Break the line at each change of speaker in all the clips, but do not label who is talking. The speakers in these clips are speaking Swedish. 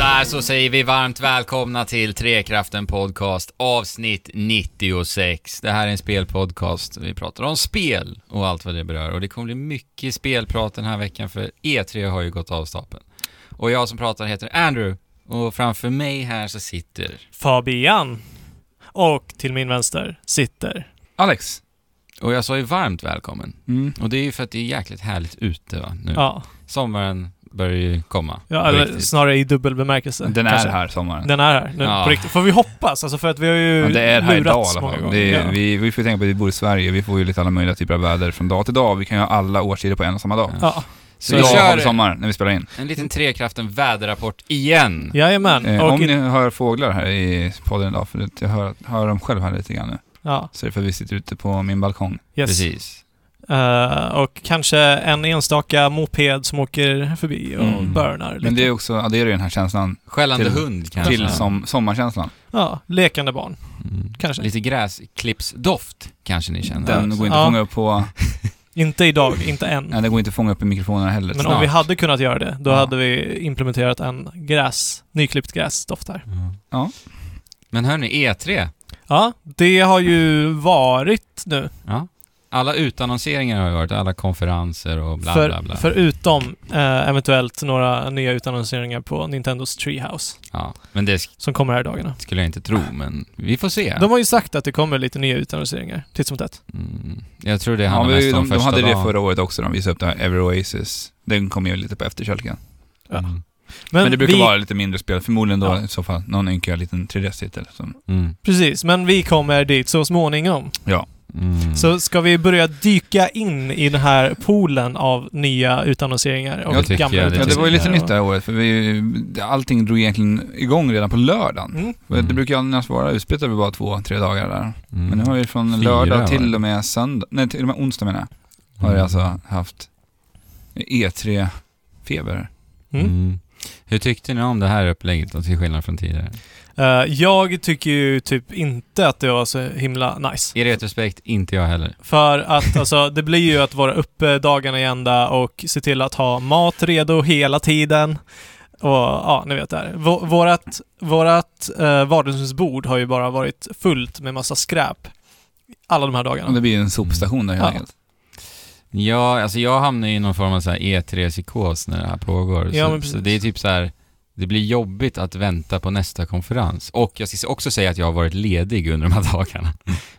här så säger vi varmt välkomna till Trekraften Podcast avsnitt 96. Det här är en spelpodcast. Vi pratar om spel och allt vad det berör. Och det kommer bli mycket spelprat den här veckan för E3 har ju gått av stapeln. Och jag som pratar heter Andrew och framför mig här så sitter
Fabian. Och till min vänster sitter...
Alex.
och jag sa ju varmt välkommen.
Mm.
Och det är ju för att det är jäkligt härligt ute va, nu.
Ja,
Sommaren börjar ju komma.
ja eller
Riktigt.
snarare i dubbel bemärkelse.
Den är
kanske.
här sommaren.
Den är här nu,
Ja.
på riktigt. Får vi hoppas? Alltså för att vi har ju
Ja, det är här idag i
lurats
alla
många
fall.
gånger.
Det är,
ja.
vi, vi får tänka på att vi bor i Sverige. Vi får ju lite alla möjliga typer av väder från dag till dag. Vi kan ju ha alla årstider på en och samma dag.
Ja.
Så
Så vi
idag har vi
kör
sommar när vi spelar in.
en liten Trekraften väderrapport igen.
Jajamän.
Eh,
Mm. och,
om ni hör fåglar här i podden idag, för att jag hör, hör dem själv här lite grann nu,
ja,
så är det för att vi sitter ute på min balkong.
yes.
Precis.
Eh, och kanske en enstaka moped som åker förbi och
Mm.
burnar lite.
Men det är också, ja, det är ju den här känslan,
Skällande
Till-
hund kanske.
till som, sommarkänslan.
liksom. Ja, lekande barn.
Mm.
Kanske.
Lite gräsklippsdoft kanske ni känner.
Den går inte
Ja.
att fånga upp på,
Inte idag, inte än.
nej, den går inte att fånga upp i mikrofonerna heller.
Men om
snart.
vi hade kunnat göra det, då
Ja.
hade vi implementerat en gräs, nyklippt gräsdoft här.
Ja.
Men hörni, E E3.
Ja, det har ju varit nu.
Ja. Alla utannonseringar har ju varit, alla konferenser och bla
för,
bla bla.
Förutom eh, eventuellt några nya utannonseringar på Nintendos Treehouse,
Ja. Men det sk-
som kommer här i dagarna.
skulle jag inte tro, men vi får se.
De har ju sagt att det kommer lite nya utannonseringar, titt som tätt.
Mm. Jag tror det
Ja,
handlar
vi,
mest om
de, de
första
hade det
dagen.
förra året också, de visade upp det här Ever Oasis. Den kom ju lite på efterkälken.
Ja.
Mm.
Men,
Men det brukar
vi,
vara lite mindre spel, förmodligen då
Ja.
i så fall någon ynka liten 3DS-titel. som-
Mm.
Precis, men vi kommer dit så småningom.
Mm.
Så ska vi börja dyka in i den här poolen av nya utannonseringar och
Jag tycker
gamla
jag det.
Ja,
utannonseringar.
det var ju lite
och-
nytt det här året, för vi, allting drog egentligen igång redan på lördagen.
Mm.
Mm.
Det brukar ju annars vara utspritt över bara två, tre dagar där.
Mm.
Men nu har vi från
Fyra, va? Mm.
lördag till och med söndag, nej till och med onsdag menar jag, har vi alltså haft E E3-feber.
Mm.
Mm. Hur tyckte ni om det här upplägget då, till skillnad från tidigare?
Eh, jag tycker ju typ inte att det var så himla nice.
I retrospekt, inte jag heller.
För att alltså, det blir ju att vara uppe dagarna i ända och se till att ha mat redo hela tiden. Och ja, ni vet det här. Vå- Vårat, vårat eh, vardagsrumsbord har ju bara varit fullt med massa skräp alla de här
Och
dagarna.
det blir en sopstation där helt
Ja.
enkelt.
Ja, alltså jag hamnar i någon form av så här E3-psykos när det här pågår.
Ja, men
så,
precis.
så det är typ så här, det blir jobbigt att vänta på nästa konferens. Och jag ska också säga att jag har varit ledig under de här dagarna,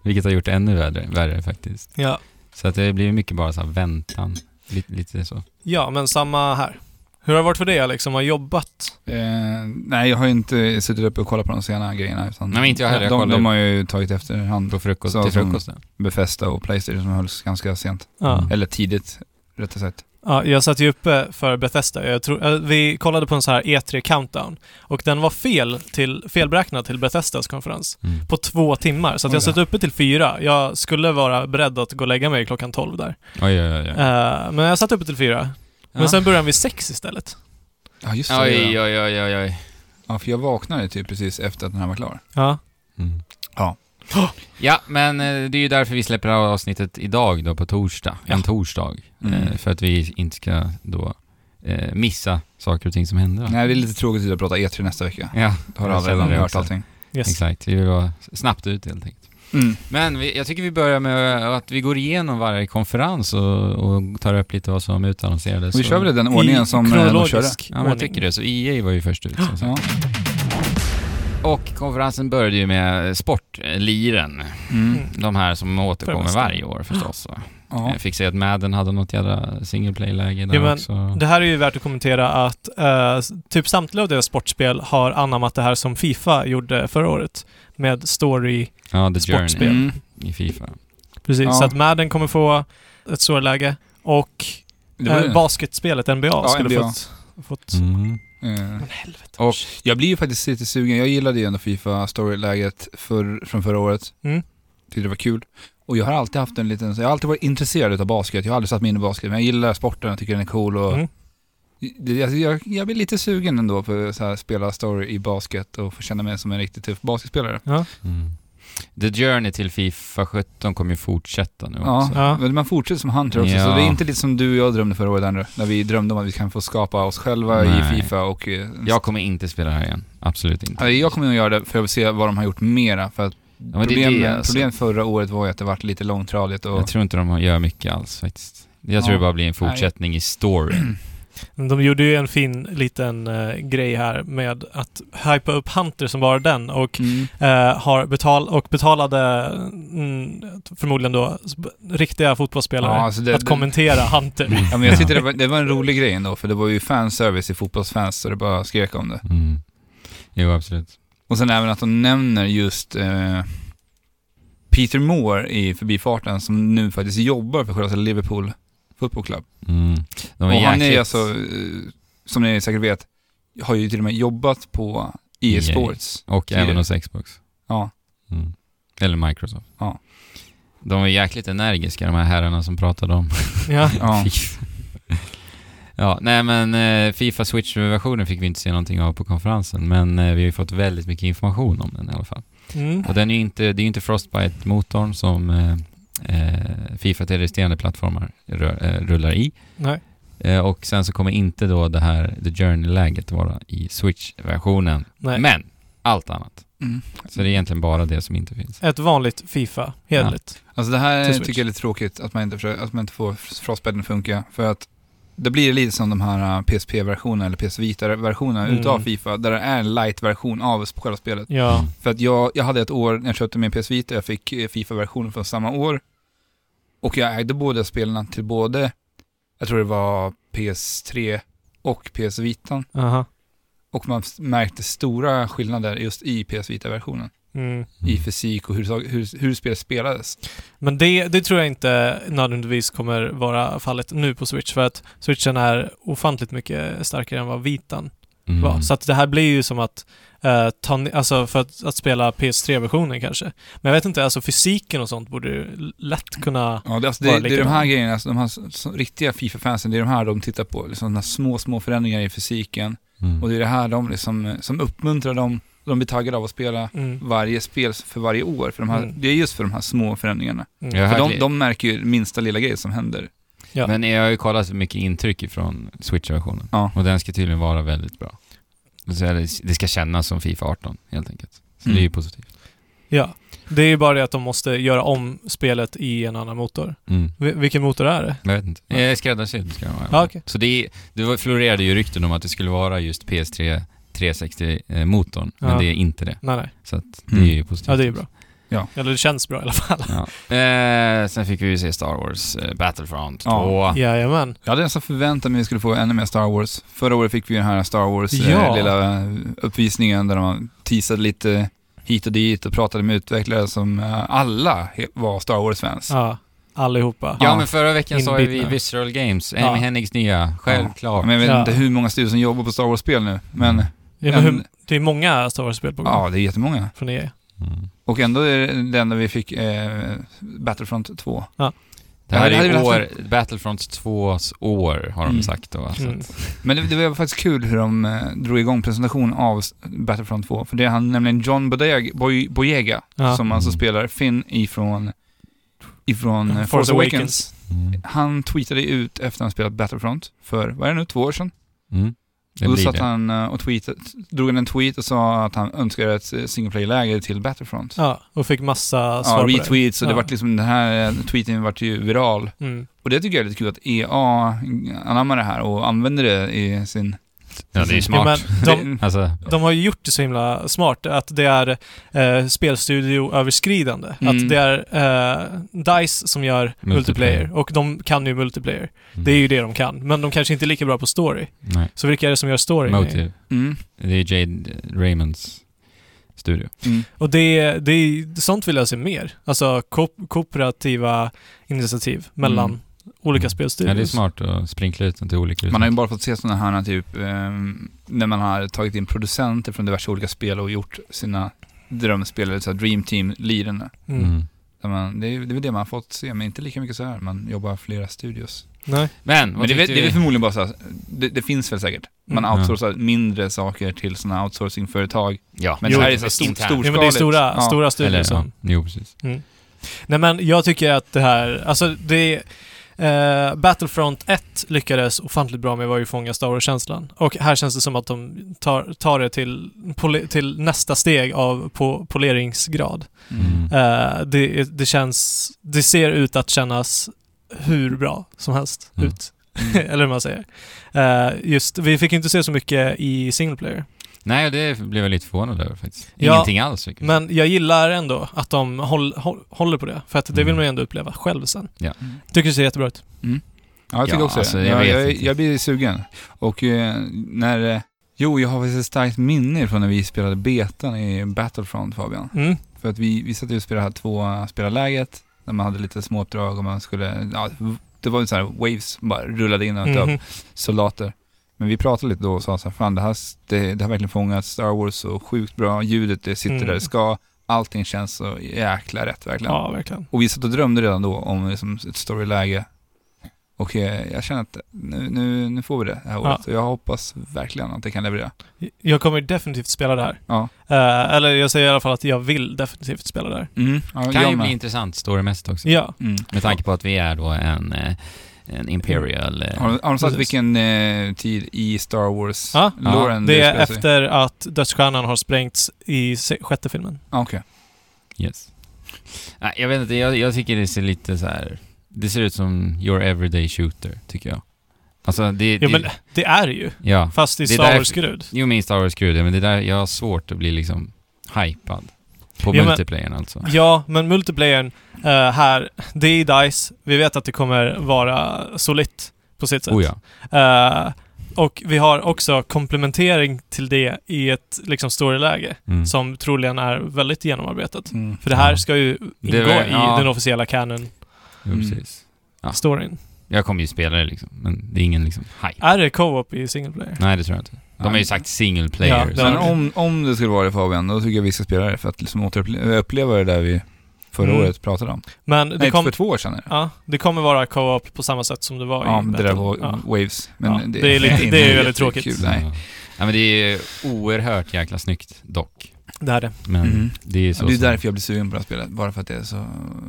vilket har gjort det ännu värre, värre faktiskt.
Ja.
Så att det blir mycket bara så här väntan, lite, lite så.
ja, men samma här. Hur har det varit för dig Alex, som har jobbat?
Eh, nej, jag har ju inte suttit uppe och kollat på de sena grejerna. Utan
Nej, men inte jag heller. Jag
de,
kollar
de
ju.
har ju tagit efterhand.
På frukost,
Så
till
som-
frukosten.
Befästa och Playstation som hölls ganska sent.
Ja.
Mm.
Eller tidigt, rättare sagt.
Ja, jag satt ju uppe för Bethesda. Jag tror, eh, vi kollade på en så här E3 countdown och den var fel till, felberäknad till Bethesdas konferens
Mm.
på två timmar. Så att
Oj
jag
då.
satt uppe till fyra. Jag skulle vara beredd att gå och lägga mig klockan tolv där.
Oj, oj, oj. oj.
Eh, men jag satt uppe till fyra.
Ja.
Men sen började den vid sex istället.
Ja, just det.
Oj, oj, oj, oj, oj.
Ja, för jag vaknade typ precis efter att den här var klar.
Ja.
Mm.
Ja.
Ja, men eh, det är ju därför vi släpper det här avsnittet idag då på torsdag. En
Ja.
torsdag.
Mm.
Eh, För att vi inte ska då eh, missa saker och ting som händer.
Nej, det är lite tråkigt att prata E3 nästa vecka.
Ja,
Då har
Jag
alla
känner
redan
det
hört
också.
allting.
Yes.
exakt. Vi vill vara snabbt ut helt enkelt.
Mm.
Men vi, jag tycker vi börjar med att vi går igenom varje konferens och, och tar upp lite vad som utannonserades.
Vi kör väl i den
I
ordningen som eh, de körde.
kronologisk
Ja, men jag
ordning.
tycker det. Så EA var ju först ut som
Ja.
sagt. Och konferensen började ju med sportliren.
Mm.
Mm.
De här som
För det
återkommer
mesta.
varje år förstås. va.
Ja.
Jag fick se att Madden hade något jävla single play-läge där
Ja, men
också.
Det här är ju värt att kommentera att eh, typ samtliga av deras sportspel har anammat det här som Fifa gjorde förra året med story
Ja, The Journey
sportspel.
Mm.
i Fifa. alltså.
Precis,
Ja.
så att Madden kommer få ett storläge och
Det var
eh,
det.
basketspelet NBA
Ja,
skulle
NBA.
fått... fått
Mm.
Eh,
Men helvete.
Och
Jag blir ju faktiskt lite sugen. Jag gillade ju ändå Fifa Story-läget för, från förra året.
Mm.
Tyckte det var kul. Och jag har alltid haft en liten, jag har alltid varit intresserad av basket. Jag har aldrig satt mig in i basket, men jag gillar sporten, jag tycker den är cool och
Mm.
Det- Jag, jag, jag blir lite sugen ändå på att så här, spela story i basket och få känna mig som en riktigt tuff basketspelare.
Mm. The Journey till Fifa 17 kommer ju fortsätta nu
Ja,
också.
Ja.
men man fortsätter som Hunter också, så
Ja.
det är inte lite som du och jag drömde förra året Andrew, när vi drömde om att vi kan få skapa oss själva
Nej.
i Fifa och... eh,
Jag kommer inte spela det här igen. Absolut inte.
Alltså, jag kommer att göra det för jag vill se vad de har gjort mera, för att
Ja, men det är
problemet,
det, alltså.
problemet förra året var ju att det vart lite långtradigt och...
Jag tror inte de gör mycket alls faktiskt. Jag tror
Ja.
det bara blir en fortsättning i storyn.
De gjorde ju en fin liten eh, grej här med att hypa upp Hunter som var den och
Mm.
eh, har betal och betalade mm, förmodligen då sp- riktiga fotbollsspelare
Ja, alltså det- Mm.
att kommentera Hunter.
Ja, men jag tyckte det var, det var en rolig grej ändå, för det var ju fanservice i fotbollsfans så det bara skrek om det.
Mm. Jo, absolut.
Och sen även att de nämner just eh, Peter Moore i förbifarten som nu faktiskt jobbar för själva Liverpool Football Club.
Mm. De
Och
är
han är
jäkligt-
alltså, eh, som ni säkert vet, har ju till och med jobbat på EA
EA.
Sports.
Och
tidigare.
även hos Xbox.
Ja.
Mm. Eller Microsoft.
Ja.
De är jäkligt energiska de här herrarna som pratade om
ja.
ja.
Fifa. Ja, nej men eh, Fifa Switch-versionen fick vi inte se någonting av på konferensen, men eh, vi har ju fått väldigt mycket information om den i alla fall.
Mm.
Och den är ju inte, det är ju inte Frostbite-motorn som eh, eh, Fifa till resterande plattformar rör, eh, rullar i.
Nej.
Eh, och sen så kommer inte då det här The Journey-läget vara i Switch-versionen.
Nej.
Men allt annat.
Mm.
Så det är egentligen bara det som inte finns.
Ett vanligt Fifa, hederligt.
Alltså det här
Till Switch.
tycker jag är lite tråkigt, att man inte, försöker, att man inte får Frostbiten att funka. För att det blir lite som de här eh, PSP-versionerna eller PS Vita-versionerna
Mm.
utav Fifa, där det är en light-version av själva spelet.
Ja.
Mm.
För att jag, jag hade ett år när jag köpte min PS Vita, jag fick eh, Fifa-versionen från samma år. Och jag ägde båda spelen till både, jag tror det var PS3 och PS Vitan.
Aha.
Och man s- märkte stora skillnader just i PS Vita-versionen.
Mm.
I fysik och hur, sak- hur, hur spelet spelades.
Men det, det tror jag inte nödvändigtvis kommer vara fallet nu på Switch för att Switchen är ofantligt mycket starkare än vad Vitan
Mm.
var. Så att det här blir ju som att eh, ta, ne- alltså för att, att spela PS3-versionen kanske. Men jag vet inte, alltså fysiken och sånt borde ju l- lätt kunna...
Ja, det, alltså,
Bara
det, det är de
likadant.
här grejerna, alltså, de här s- s- riktiga Fifa-fansen, det är de här de tittar på. Liksom, de här små, små förändringar i fysiken.
Mm.
Och det är det här de liksom, eh, som uppmuntrar dem, de blir taggade av att spela
Mm,
varje spel för varje år. För de här,
Mm.
Det är just för de här små förändringarna.
mm.
Jag
För
hörde,
de, de märker ju minsta lilla grej som händer.
Ja.
Men jag har ju kollat mycket intryck från Switch-versionen.
Ja.
Och den ska tydligen vara väldigt bra. Så är det- det ska kännas som Fifa 18 helt enkelt. Så
Mm.
det är ju positivt.
Ja. Det är ju bara det att de måste göra om spelet i en annan motor. Vi- vilken motor är det?
Mm. Jag vet inte. Eh, Skräddarsydd ska den vara.
Ja, okej.
Så det, är- det var- florerade ju rykten om att det skulle vara just PS3 360-motorn,
Ja.
eh, men det är inte det.
Nej, nej.
Så att
Mm.
det är ju positivt.
Ja, det är ju bra.
Ja.
Eller det känns bra i alla fall.
Ja. Eh, sen fick vi ju se Star Wars eh, Battlefront 2.
Ja.
Jajamän.
Jag hade nästan förväntat mig att vi skulle få ännu mer Star Wars. Förra året fick vi den här Star Wars eh,
Ja.
lilla eh, uppvisningen där de teasade lite hit och dit och pratade med utvecklare som eh, alla he- var Star Wars-fans.
Ja. Allihopa.
Ja,
Ja.
men förra veckan sa ju vi
Inbitna.
Visceral Games, Amy
Ja.
Hennigs nya, självklart.
Men jag vet
Ja.
inte hur många studier som jobbar på Star Wars-spel nu, men
Mm.
Ja, men hur,
en-
det är många Star Wars-spel på gång
ja, det är jättemånga.
från E EA.
Mm.
Och ändå är det det enda vi fick eh, Battlefront 2.
Det här
Ja, det
är
hade
ju
vi haft
år, Battlefront 2s år har de
Mm.
sagt då. alltså. Så
Mm.
att,
Men det, det var faktiskt kul hur de eh, drog igång presentationen av s- Battlefront 2. För det är han nämligen John Bodeg, Boy, Boyega,
Ja.
som alltså
Mm.
spelar Finn ifrån, ifrån eh,
Force
Force,
Awakens.
Awakens.
Mm.
Han tweetade ut efter han spelat Battlefront för, vad är det nu, två år sedan?
Mm. Det
och då
blir
satt
det.
han eh, och tweetade, drog han en tweet och sa att han önskade ett eh, single player-läge till Battlefront.
Ja, och fick massa svar
Ja,
på det.
retweets och det
Ja.
vart liksom, den här eh, tweeten vart ju viral.
Mm.
Och det tycker jag är lite kul att EA anammar det här och använder det i sin...
Ja, det är ju
Ja, men
smart.
de,
Alltså,
de har ju gjort det så himla smart att det är eh, spelstudioöverskridande. Att
Mm.
det är eh, DICE som gör multiplayer.
Multiplayer. Mm.
och de kan ju multiplayer. Det är ju det de kan, men de kanske inte är lika bra på story.
Nej.
Så vilka är det som gör story?
Motive.
Mm.
Det är Jade Raymonds studio.
Mm.
Och det, det är, sånt vill jag se mer. Alltså ko kooperativa initiativ mellan
Mm.
olika
Mm.
spelstudios.
Ja, det är smart att sprinkla ut den till olika
Man har ju bara fått se sådana här typ, ehm, när man har tagit in producenter från diverse olika spel och gjort sina drömspel, eller så här Dream Team-lirarna.
Mm.
mm.
Där man, det, är, det är väl det man har fått se, men inte lika mycket så här. Man jobbar flera studios.
Nej.
Men, vad
Men det, är väl-
tyckte
det är
vi?
väl förmodligen bara så här, det, det finns väl säkert. Man
Mm.
outsourcar mindre saker till sådana outsourcingföretag.
Ja,
Men
Jo,
det här är så här stor,
internt.
storskaligt.
Ja, men det är stora,
Ja.
stora
Eller,
studier
liksom.
som...
ja. Jo, precis.
Nej men jag tycker att det här, alltså det... Eh, Battlefront 1 lyckades ofantligt bra med var ju fånga Star Wars-känslan. Och här känns det som att de tar, tar det till, poli, till nästa steg av po, poleringsgrad.
Mm.
Eh, det, det känns, det ser ut att kännas hur bra som helst
Mm.
ut. Eller hur man säger. Eh, just, vi fick inte se så mycket i single player.
Mm. Nej, det blev jag lite förvånad över faktiskt.
Ja,
Ingenting alls. tycker jag.
Men jag gillar ändå att de håll, håll, håller på det, för att det
Mm.
vill man ju ändå uppleva själv sen.
Ja.
Mm.
Tycker det ser jättebra ut.
Ja, jag tycker
Ja,
också
alltså,
det.
jag
Jag,
vet
jag, jag,
inte.
blir sugen. Och eh, när... eh, Jo, jag har faktiskt ett starkt minne från när vi spelade betan i Battlefront, Fabian.
Mm.
För att vi, vi satt ju och spelade här två spelarläget, när man hade lite små uppdrag och man skulle... Ja, det var ju så här waves som bara rullade in och ut av
Mhm.
soldater. Men vi pratade lite då och sa så här, fan det här, det, det har verkligen fångat Star Wars så sjukt bra, ljudet det sitter
Mm.
där det ska, allting känns så jäkla rätt verkligen.
Ja, verkligen.
Och vi satt och drömde redan då om liksom, ett storyläge. Och eh, jag känner att nu, nu, nu får vi det det här året. Och jag hoppas verkligen att det kan leverera.
Jag kommer definitivt spela det här.
Ja.
Eh, eller jag säger i alla fall att jag vill definitivt spela det här.
Mm. ja
kan
jag
ju
med.
bli intressant storymässigt också.
Ja.
Mm.
Med tanke på att vi är då en, eh, en Imperial... eh,
Har, de- har de sagt
Precis.
vilken eh, tid i Star Wars?
Ja,
Lauren,
det är
spelar sig?
efter att Dödsstjärnan har sprängts i se- sjätte filmen.
Ah, Okej.
Yes. Nej, jag vet inte, jag, jag tycker det ser lite så här. Det ser ut som your everyday shooter, tycker jag. Alltså, det...
Ja,
det,
men det är det ju.
ja.
Fast i
Det är
Star
därför-
Wars-grud.
Jo, min Star Wars-krydda, men det där, jag har svårt att bli liksom hypad. På
Ja, men-
multiplayern alltså.
Ja, men multiplayern eh, här, det är i DICE. Vi vet att det kommer vara solitt på sitt sätt.
Oh ja.
Eh, och vi har också komplementering till det i ett liksom storyläge
Mm.
som troligen är väldigt genomarbetat.
Mm.
För det här
Ja.
ska ju
Det
ingå
är väl-
i
ja.
den officiella canon-storyn.
Jo,
Mm.
precis. Ja. Jag kommer ju spela det liksom, men det är ingen liksom hype.
Är det co-op i single player?
Nej, det tror jag inte. De har ju sagt single player.
Ja,
så-
Men
det-
om, om det skulle vara det Fabian, då tycker jag vi ska spela det för att liksom återuppleva det där vi förra
Mm.
året pratade om.
Men det,
Nej,
kom,
för två år sedan är det.
ja, det kommer vara co-op på samma sätt som det var
Ja,
i
men det där
Battle.
var
ja.
Waves. Men
Ja, det är lite- det är ju väldigt
jättekul.
tråkigt.
Nej.
Ja. ja, men det är ju oerhört jäkla snyggt dock.
Det här är det.
Men
Mm.
det är ju så...
Ja, det är
som-
därför jag blir sugen på det här spelet, bara för att det är så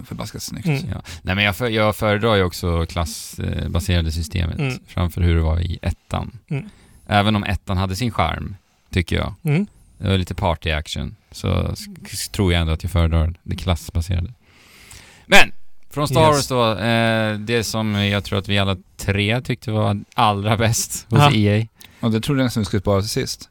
förbaskat snyggt.
Mm.
Ja. Nej, men jag, för, jag föredrar ju också klassbaserade systemet
Mm.
framför hur det var i ettan.
Mm.
Även om ettan hade sin charm, tycker jag.
Mm.
Det var lite party action, så sk- sk- tror jag ändå att jag föredrar det klassbaserade. Men! Från Star Wars
Yes.
då, eh, det som jag tror att vi alla tre tyckte var allra bäst hos E
Ja.
EA.
Och det trodde jag nästan vi skulle spara till sist.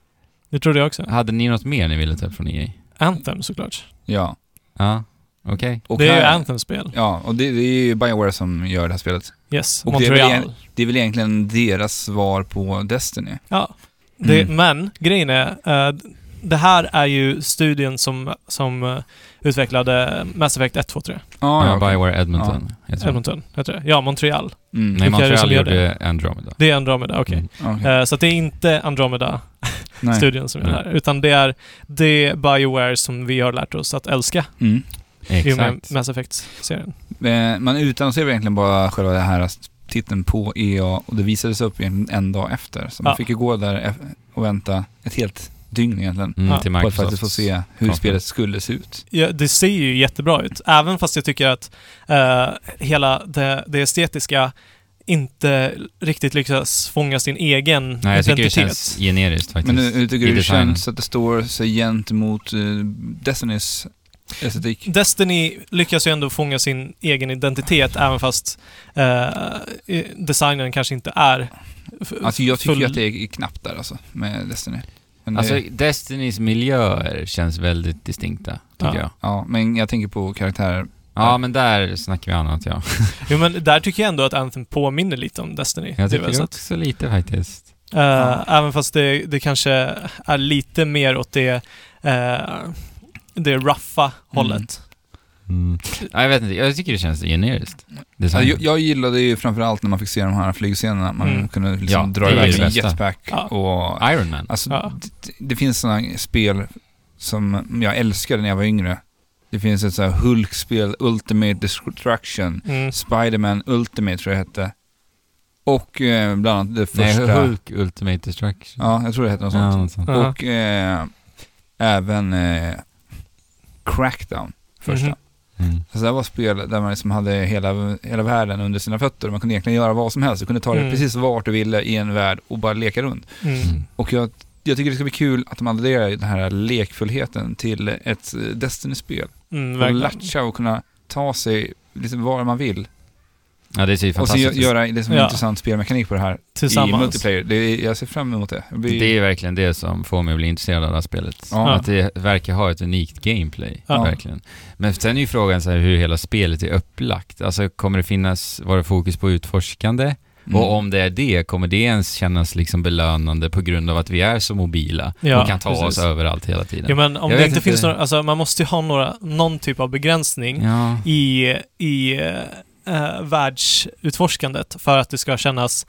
Det trodde jag också.
Hade ni något mer ni ville ta upp från EA?
Anthem såklart.
Ja.
Ja, okej.
Och
det är ju
här-
Anthem-spel.
Ja, och det, det är ju Bioware som gör det här spelet.
Yes,
Och det är väl
Montreal.
en- Det är väl egentligen deras svar på Destiny.
Ja. Det,
Mm.
Men grejen är, eh, det här är ju studien som, som eh, utvecklade Mass Effect 1, 2, 3.
Ja,
Ja,
Ah, ja, okej.
Bioware Edmonton. Jag tror.
Edmonton, heter det. Ja, Montreal.
Mm.
Nej,
Vilka är det som
Montreal
gör det?
gjorde Andromeda.
Det är Andromeda, okej.
Mm.
okej.
Eh, så att det är inte Andromeda-studion
Nej.
som är
Nej.
här, utan det är det Bioware som vi har lärt oss att älska
Mm.
i och med
Exakt.
Mass Effect-serien.
Eh, Man utannonserade egentligen bara själva det här titeln på EA och det visades upp egentligen en dag efter. Så man
Ja.
fick ju gå där eff- och vänta ett helt dygn egentligen
Mm,
Ja.
till
på att
Microsoft.
faktiskt få se hur
konferens.
spelet skulle se ut.
Ja, det ser ju jättebra ut, även fast jag tycker att eh, hela det, det estetiska inte riktigt lyckas fånga sin egen
Nej, jag tycker det
identitet.
känns generiskt faktiskt.
Men nu, hur tycker
i
du det
designen.
känns att det står sig gentemot uh, Destinys estetik?
Destiny lyckas ju ändå fånga sin egen identitet även fast eh, designen kanske inte är f-
Alltså jag tycker
Eh, full-
ju att det är knappt där alltså, med Destiny. Men
Alltså,
det,
Destinys miljöer känns väldigt distinkta, tycker
Ja.
jag.
ja, men jag tänker på karaktärer.
Ja, men där snackar vi annat, ja.
Jo, men där tycker jag ändå att Anthem påminner lite om Destiny.
Jag
Det
tycker
var så att,
också lite faktiskt.
eh, Även fast det, det kanske är lite mer åt det, eh, det ruffa hållet.
Mm. Ja, jag vet inte, jag tycker det känns generiskt.
Alltså,
Design.
jag, jag gillade ju framförallt när man fick se de här flygscenerna, man
Mm.
kunde liksom
Ja,
dra
det är
iväg
det
sin
bästa.
jetpack
Ja.
och
Iron Man.
Alltså,
Ja.
det, det finns sådana spel som jag älskade när jag var yngre. Det finns ett så här Hulk-spel, Ultimate Destruction.
Mm.
Spider-Man Ultimate tror jag det hette. Och eh, bland annat det
Nej,
första...
Hulk Ultimate Destruction.
Ja, jag tror det hette något sånt.
Ja, något sånt.
Ja.
Och eh, även eh, Crackdown, första.
Mhm.
Mm.
Så det här var spel där man liksom hade hela, hela världen under sina fötter. Man kunde egentligen göra vad som helst. Du kunde ta dig
Mm.
precis vart du ville i en värld och bara leka runt.
Mm.
Mm.
Och jag, jag tycker det ska bli kul att de adderar den här lekfullheten till ett eh, Destiny-spel.
Mm,
Och
verkligen.
latcha och kunna ta sig liksom var man vill.
Ja, det ser ju
Och sen
fantastiskt
gö-
ut.
göra liksom
Ja.
intressant spelmekanik på det här i
Tillsammans.
multiplayer. Det, är- jag ser fram emot det. Jag blir-
Det är verkligen det som får mig att bli intresserad av det här spelet.
Ja.
Att det verkar ha ett unikt gameplay.
Ja.
Verkligen. Men sen är ju frågan så här hur hela spelet är upplagt. Alltså kommer det finnas, vara fokus på utforskande?
Mm.
Och om det är det, kommer det ens kännas liksom belönande på grund av att vi är så mobila
Ja,
och kan ta oss
precis.
överallt hela tiden?
Ja, men om
Jag
det
vet
inte
inte.
finns några, alltså man måste ju ha några, någon typ av begränsning
Ja.
i, i eh, världsutforskandet för att det ska kännas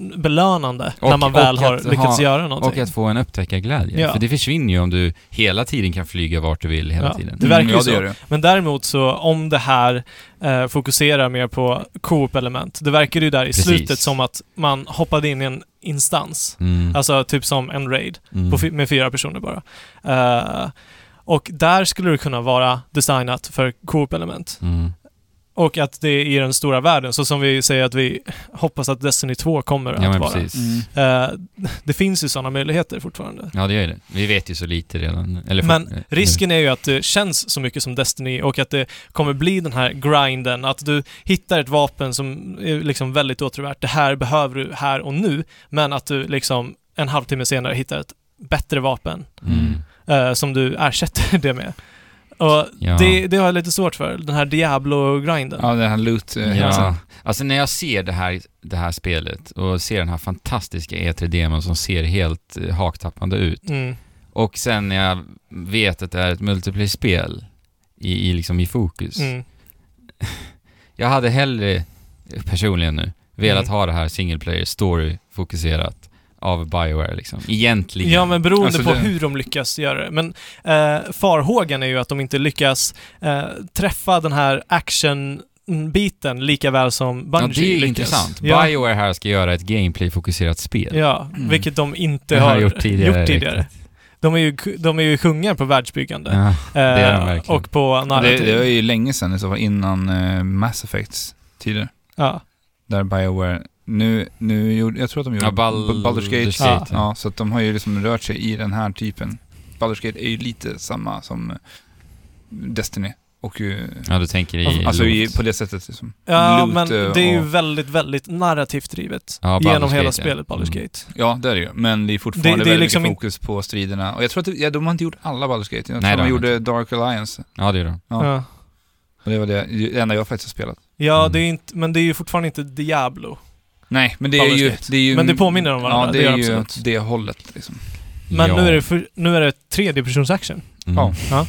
belönande när
Och-
man väl
och
har
att
lyckats
ha-
göra någonting.
Och att få en upptäckarglädje.
Ja.
För det försvinner ju om du hela tiden kan flyga vart du vill hela
Ja.
tiden.
Det verkar ju
ja, det
så.
gör det.
Men däremot så om det här eh, fokuserar mer på co-op-element, det verkar ju där i
Precis.
slutet som att man hoppade in i en instans.
Mm.
Alltså typ som en raid,
Mm.
Alltså, på fy- med fyra personer bara. Eh, och där skulle det kunna vara designat för co-op-element.
Mm.
Och att det är i den stora världen, så som vi säger att vi hoppas att Destiny 2 kommer
Ja,
att
men
vara.
precis.
Mm.
Eh, det finns ju sådana möjligheter fortfarande.
Ja, det gör ju det. Vi vet ju så lite redan. Eller
Men Risken är ju att det känns så mycket som Destiny och att det kommer bli den här grinden, att du hittar ett vapen som är liksom väldigt återvärt. Det här behöver du här och nu, men att du liksom en halvtimme senare hittar ett bättre vapen
Mm.
eh, som du ersätter det med. Och
Ja.
det, det har jag lite svårt för, den här Diablo-grinden.
Ja, den här loot eh,
Ja.
ja.
Alltså när jag ser det här, det här spelet och ser den här fantastiska E3-demon som ser helt eh, haktappande ut
Mm.
och sen när jag vet att det är ett multiplayer-spel i, i, liksom i fokus.
Mm.
Jag hade hellre, eh, personligen nu, velat
Mm.
ha det här single player story-fokuserat av Bioware liksom. Egentligen.
Ja, men beroende
Alltså,
på
det-
hur de lyckas göra det. Men eh, farhågan är ju att de inte lyckas eh, träffa den här action-biten lika väl som Bungie
ja, det är ju
lyckas.
intressant.
Ja,
Bioware här ska göra ett gameplay-fokuserat spel.
ja
Mm.
vilket de inte
Det har
har
jag gjort tidigare,
Gjort tidigare. De, är ju, de är ju kungar på världsbyggande.
Ja.
eh,
är de verkligen.
och på
Det,
narrativ.
det var ju länge sedan i så fall, innan eh, Mass Effects tider.
ja.
Där Bioware, nu, nu gjorde, jag tror att de gjorde
Ja, Bal-
B- Baldur's Gate.
Baldur's Gate,
ja. så att de har ju liksom rört sig i den här typen. Baldur's Gate är ju lite samma som eh, Destiny. Och eh,
Ja, du tänker i...
alltså i,
loot.
på det sättet liksom.
ja,
Loot,
men
eh,
det är ju
och-
väldigt, väldigt narrativt drivet.
Ja, Baldur's
genom hela
Gate, ja.
spelet Baldur's
Mm.
Gate.
Ja, det är det ju. Men det är fortfarande
Det- det är
väldigt
liksom
mycket fokus på striderna. Och jag tror att det, ja, de har inte gjort alla Baldur's Gate. Jag
Nej, det
tror de
har
gjorde Dark Alliance.
Ja, det är de.
Ja.
Ja.
Och det var det, det enda jag faktiskt har spelat.
Ja,
Mm.
det är ju inte, men det är ju fortfarande inte Diablo.
Nej, men det
Baldur's
är ju...
Gate.
Det är ju
Men det påminner om varandra,
Ja, det,
det gör
är ju
absolut.
det hållet liksom.
Men
ja.
nu är det, för, nu är det tredjepersons action.
Mm.
Ja.
Ja.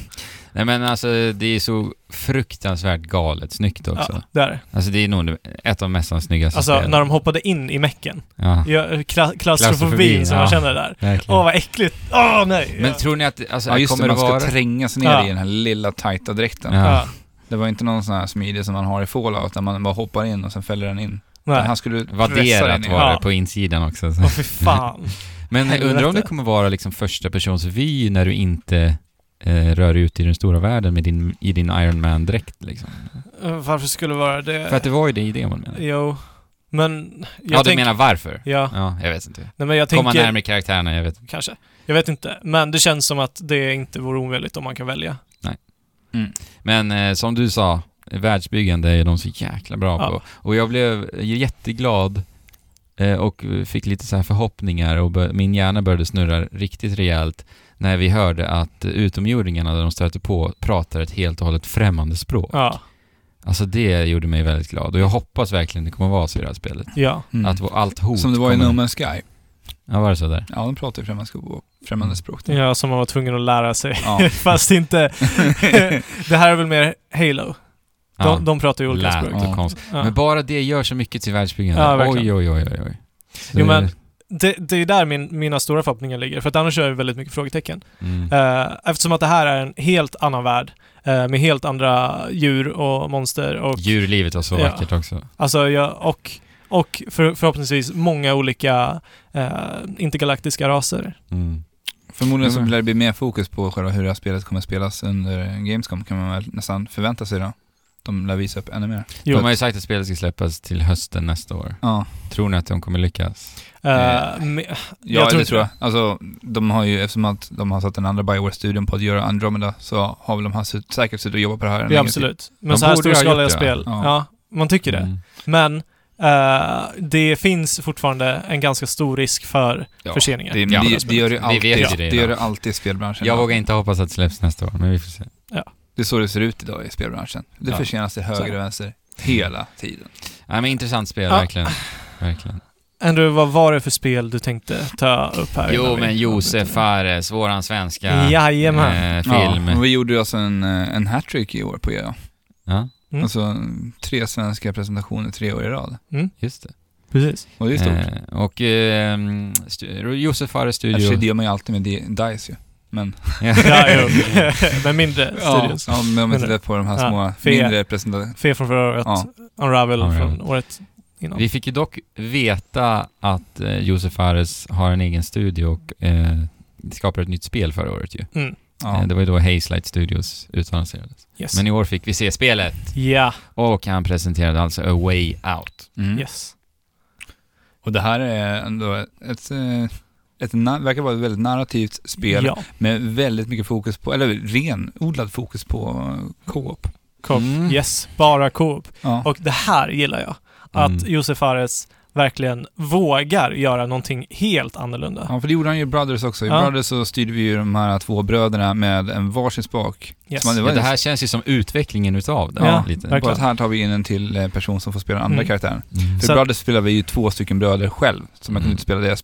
Nej men alltså det är så fruktansvärt galet snyggt också.
Ja, där.
Alltså det är nog ett av mässans snyggaste
Alltså
spel.
när de hoppade in i mecken.
Ja,
Ja, kla- klaustrofobin
Klaustrofobi,
som
ja.
man känner där.
verkligen.
Åh, vad äckligt! Åh, nej!
Men
ja.
tror ni att alltså,
Ja, just
kommer
det,
det
man ska
vara...
trängas ner
Ja.
i den här lilla tajta dräkten.
Ja.
ja.
Det var inte någon sån här smidig som man har i Fallout, där man bara hoppar in och sen fäller den in. Den
Nej.
här skulle du pressa den
Vadderat
in.
var det
Ja.
på insidan också.
Åh, fy fan.
Men jag undrar om
Helvete.
det kommer vara liksom första persons vy när du inte eh, rör dig ut i den stora världen med din, i din Iron Man-dräkt liksom.
Eh, Varför skulle det vara det?
För att det var ju det i demon menar jag.
Jo. Men... Eh, Jag
Ja, du
tänk-
menar varför?
Ja.
Ja, jag vet inte.
Nej, men jag
Komma
tänker...
närmare karaktärerna, jag vet inte.
Kanske. Jag vet inte. Men det känns som att det inte vore omöjligt om man kan välja.
Men eh, som du sa, världsbyggande är de så jäkla bra
Ja.
på. Och jag blev jätteglad eh, och fick lite så här förhoppningar och bör- min hjärna började snurra riktigt rejält när vi hörde att utomjordingarna där de stöter på pratar ett helt och hållet främmande språk.
Ja.
Alltså det gjorde mig väldigt glad och jag hoppas verkligen det kommer vara så i det här spelet.
Ja.
Mm.
Att vår- allt hot
Som det var i No
kommer...
Man's Sky.
Ja, var det så där?
Ja, de pratar ju främmande språk. Främmande språk
Mm.
där.
Ja, som man var tvungen att lära sig.
Ja.
Fast inte... det här är väl mer Halo. De,
Ja.
de pratar ju olika
Lät
språk.
så
Ja.
konstigt.
Ja.
Men bara det gör så mycket till världsbyggandet.
Ja,
oj,
verkligen.
oj, oj, oj, oj. Så
Jo,
det-
men- det, det är där min, mina stora förhoppningar ligger, för att annars är det väldigt mycket frågetecken.
Mm.
Eh, eftersom att det här är en helt annan värld eh, med helt andra djur och monster och
Djurlivet var så
Ja.
vackert också.
Alltså, jag, och, och för, förhoppningsvis många olika eh, intergalaktiska raser.
Mm.
Förmodligen så
Mm.
blir det bli mer fokus på själva hur det här spelet kommer spelas under Gamescom kan man väl nästan förvänta sig då. De lär visa upp ännu mer.
De
Jo.
har ju sagt att spelet ska släppas till hösten nästa år.
Ja,
Tror ni att de kommer lyckas?
Eh,
Eh,
me-
ja
Jag tror
det
inte
tror jag. Alltså, de har ju, eftersom att de har satt den andra Bioware-studion på att göra Andromeda så har väl de här sut- säkert suttit och jobbat på det här en
ja,
längre tid.
absolut. Men
De
så här
borde ju ha
storskaliga
gjort det,
spel,
ja.
ja. man tycker det.
Mm.
Men eh, det finns fortfarande en ganska stor risk för
Ja,
förseningar.
Det,
Ja,
det, det gör det
Vi
alltid,
vet ju det
det,
idag.
gör det alltid i spelbranschen.
Jag vågar inte hoppas att det släpps nästa år, men vi får se.
Det är så det ser ut idag i spelbranschen. Det
Ja.
försenas till höger
Så.
och vänster hela tiden.
Nej, men intressant spel,
Ja.
verkligen. verkligen.
Andrew, vad var det för spel du tänkte ta upp här?
Jo,
innan vi-
men Josef Fares, våran svenska
Jajamän.
eh, film.
Ja,
Ja.
och vi gjorde ju alltså en, eh, en hattrick i år på EA.
Mm.
Alltså tre svenska presentationer tre år i rad.
just det.
Precis.
Och det är stort.
Eh, och eh, stu- Josef Fares
I och för sig, Alltså, det
studio.
gör man ju alltid med D- DICE ju. Men,
Ja, jo. men mindre
ja,
studios.
ja, men om vi
Men-
tittar på de här
ja, E
små,
Fea.
mindre presentationerna.
Fe från förra året,
Ja.
Unravel
Unravel.
från året innan.
Vi fick ju dock veta att eh, Josef Fares har en egen studio och eh, skapade ett nytt spel förra året ju.
Mm.
Ja.
Eh, det var ju då Hazelight Studios utannonserades.
Yes.
Men i år fick vi se spelet
Ja,
och han presenterade alltså A Way Out.
Mm.
yes.
Och det här är ändå ett, eh, ett, na- verkar vara ett väldigt narrativt spel
Ja,
med väldigt mycket fokus på, eller renodlad fokus på eh, co-op.
Coop.
Mm.
Yes, bara Coop.
Ja.
Och det här gillar jag. Att
Mm.
Josef Fares verkligen vågar göra någonting helt annorlunda.
Ja, för det gjorde han ju i Brothers också. I
Ja.
Brothers så styrde vi ju de här två bröderna med en varsin spak.
Yes.
Så man- det var
Ja, det
ju-
här känns ju som utvecklingen utav det.
Ja,
lite.
verkligen.
Bara att här tar vi in en till eh, person som får spela den andra
Mm.
karaktären.
Mm.
För
Så-
i Brothers spelar vi ju två stycken bröder själv, så man kunde
Mm.
inte spela deras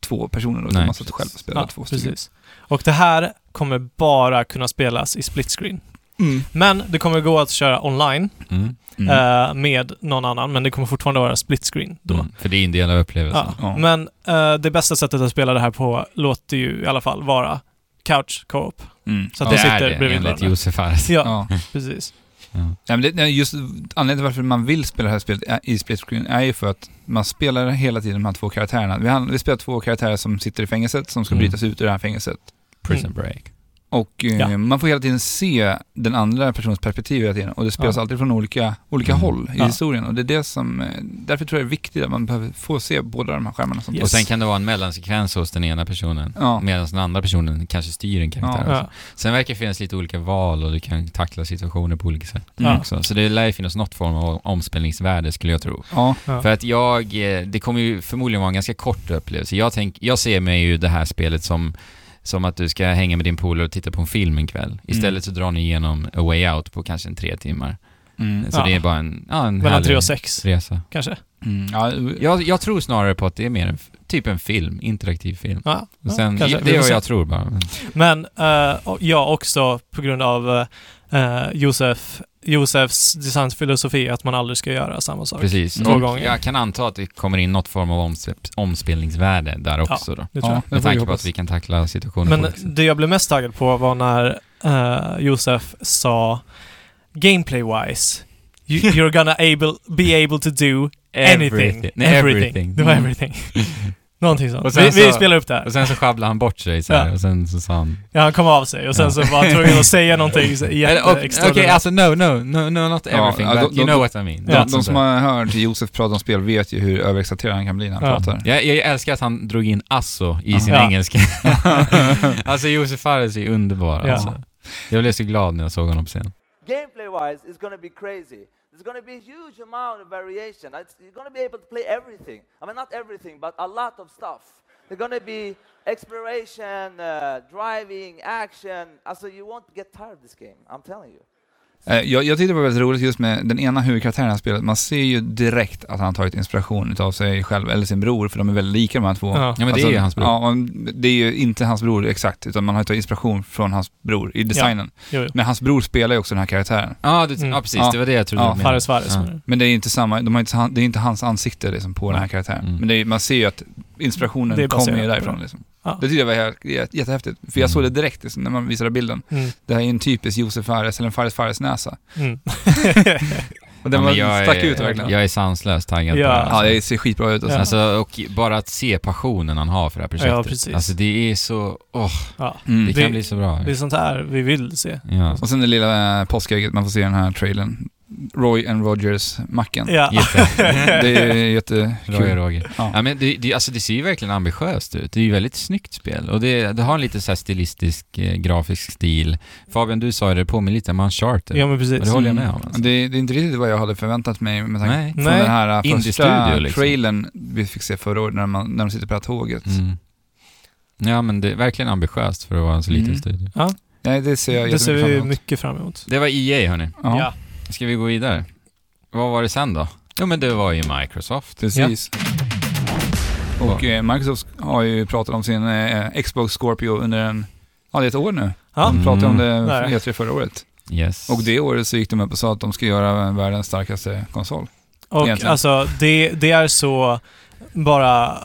två personer då, utan
Nej,
man satt själv och spelade
Ja,
två stycken.
precis. Och det här kommer bara kunna spelas i split screen.
Mm.
Men det kommer gå att köra online
Mm.
Mm.
eh, med någon annan, men det kommer fortfarande vara split screen då.
Mm. För det är en del av upplevelsen.
Ja.
Ja.
Men eh, det bästa sättet att spela det här på låter ju i alla fall vara couch co-op.
Mm.
Eh, Så att
ja.
det- sitter
är det,
bredvid
enligt
varandra. Mm.
Josef Fares.
Ja,
Ja.
precis.
Ja.
Ja, men det, nej, just anledningen till varför man vill spela det här spelet ä- i split screen är ju för att man spelar hela tiden de här två karaktärerna. Vi, handlar, vi spelar två karaktärer som sitter i fängelset, som ska
Mm.
brytas ut ur det här fängelset.
Prison Break.
Och eh,
Ja.
man får hela tiden se den andra personens perspektiv hela tiden. Och det spelas
Ja.
alltid från olika, olika
Mm.
håll i
Ja.
historien. Och det är det som, eh, därför tror jag det är viktigt att man behöver få se båda de här skärmarna. Som
Och
Yes.
sen kan det vara en mellansekvens hos den ena personen.
Ja.
Medan den andra personen kanske styr en karaktär.
Ja.
också. Sen verkar det finnas lite olika val och du kan tackla situationer på olika sätt
Mm.
Ja.
också. Så det lär ju finnas något form av omspelningsvärde skulle jag tro.
Ja.
Ja.
För att jag, eh, det kommer ju förmodligen vara en ganska kort upplevelse. Jag, tänk, jag ser mig ju det här spelet som, som att du ska hänga med din polare och titta på en film en
Mm.
kväll. Istället så drar ni igenom A Way Out på kanske en tre timmar.
Mm.
Så
Ja.
det är bara en, ja, en
Mellan
härlig
tre och sex,
resa.
kanske.
Mm. Ja, vi-
Jag, jag tror snarare på att det är mer en, f- typ en film, interaktiv film.
Ja,
Och sen,
kanske.
det
Vi
är
får
vad
se.
jag tror bara.
Men eh, och jag också på grund av eh, Josef, Josefs designfilosofi att man aldrig ska göra samma sak.
Precis.
Två
Och
gånger.
Jag kan anta att det kommer in något form av omspe- omspelningsvärde där också då.
Det tror jag.
ja, det
Med
får vi
tanke på
hoppas.
att vi kan tackla situationer på
Men
olika sätt.
det jag blev mest taggad på var när eh, Josef sa gameplay-wise, you, you're gonna able, be able to do anything.
Nej, everything.
Det var
Mm.
everything. Någonting sånt.
Och sen
Vi,
så-
vi spelar upp det här.
Och sen så sjabblade han bort sig så här,
Ja.
och sen så sa han...
Ja, han kom av sig och sen
Ja.
så var han tvungen att säga någonting så
Eller, och- Okej,
jätteextra.
alltså no, no, no, no, not everything,
ja,
but
de- de-
you know what I mean.
Ja.
Något
de, de
sånt
som
där.
har hört Josef prata om spel vet ju hur överexalterad han kan bli när han
Ja.
pratar.
jag, jag älskar att han drog in asso i sin
Ja.
engelska. alltså Josef Fares är underbar
Ja.
alltså. Jag blev så glad när jag såg honom på scen.
gameplay wise it's going to be crazy there's going to be a huge amount of variation it's, you're going to be able to play everything i mean not everything but a lot of stuff there's going to be exploration uh, driving action also you won't get tired of this game i'm telling you
Eh, Jag, jag tyckte det var väldigt roligt just med den ena huvudkaraktären i det här spelet. Man ser ju direkt att han har tagit inspiration av sig själv eller sin bror, för de är väldigt lika de här två. Alltså,
Ja.
Ja men det är ju hans bror.
Ja, och det är ju inte hans bror exakt, utan man har ju tagit inspiration från hans bror i designen.
Jo, jo.
Men hans bror spelar ju också den här karaktären.
Ja, du,
Mm.
ja precis,
Ja.
det var det jag trodde
Ja,
du menade.
Fares Fares. Mm.
Ja.
menar du?
Men det är inte samma, de har inte, han- det är inte hans ansikte liksom på den här karaktären.
Mm.
Men det är, man ser ju att
Det är
inspirationen
baserat
kommer ju
på
därifrån
det.
liksom.
Ja.
Det tyckte jag var helt- jät- jättehäftigt, för
Mm.
jag såg det direkt liksom, när man visade bilden.
Mm.
Det här är en typisk Josef Fares, eller en Fares Fares-näsa.
Mm.
Och den
Ja,
var,
men jag
stack
är-
ut verkligen.
Jag är sanslöst taggad
Ja.
på det här.
Ja, det ser skitbra ut. Alltså.
Alltså, och bara att se passionen han har för det här projektet.
Ja, precis.
Alltså det är så, åh,
Ja.
Mm.
det
Det-
kan bli så bra.
Det är sånt här vi vill se.
Ja,
Och sen det lilla eh, påskägget, man får se den här trailern. Roy and Rogers-macken.
Ja.
jätte.
Det är jättekul.
Roger, Roger.
Ja.
Ja. men det, det, alltså det ser ju verkligen ambitiöst ut. Det är ju väldigt snyggt spel och det, det har en lite så här stilistisk, eh, grafisk stil. Fabian, du sa ju det, det påminner lite om Uncharted.
Ja, men
Och det
precis.
håller jag med om.
Mm.
Alltså.
Det, det är inte riktigt vad jag hade förväntat mig med tanke
Nej.
på
Nej.
den här eh, första
Indie-studio, liksom.
trailern vi fick se förra året när, man, när de sitter på det här tåget.
Mm. Ja, men det är verkligen ambitiöst för att vara en så liten
Mm.
studio.
Nej, det ser jag
Det ser
jättemycket
vi
fram emot.
mycket fram emot.
Det var EA, hörni.
Ja,
Ska vi gå vidare? Vad var det sen då? Jo, men det var ju Microsoft.
precis. Och eh, Microsoft har ju pratat om sin eh, Xbox Scorpio under en, ja det är ett år nu.
Ja.
Mm.
De pratade om det
Nej.
E3 förra året.
Yes.
Och det året så gick de upp och sa att de ska göra världens starkaste konsol.
Och
Egentligen.
alltså, det, det är så bara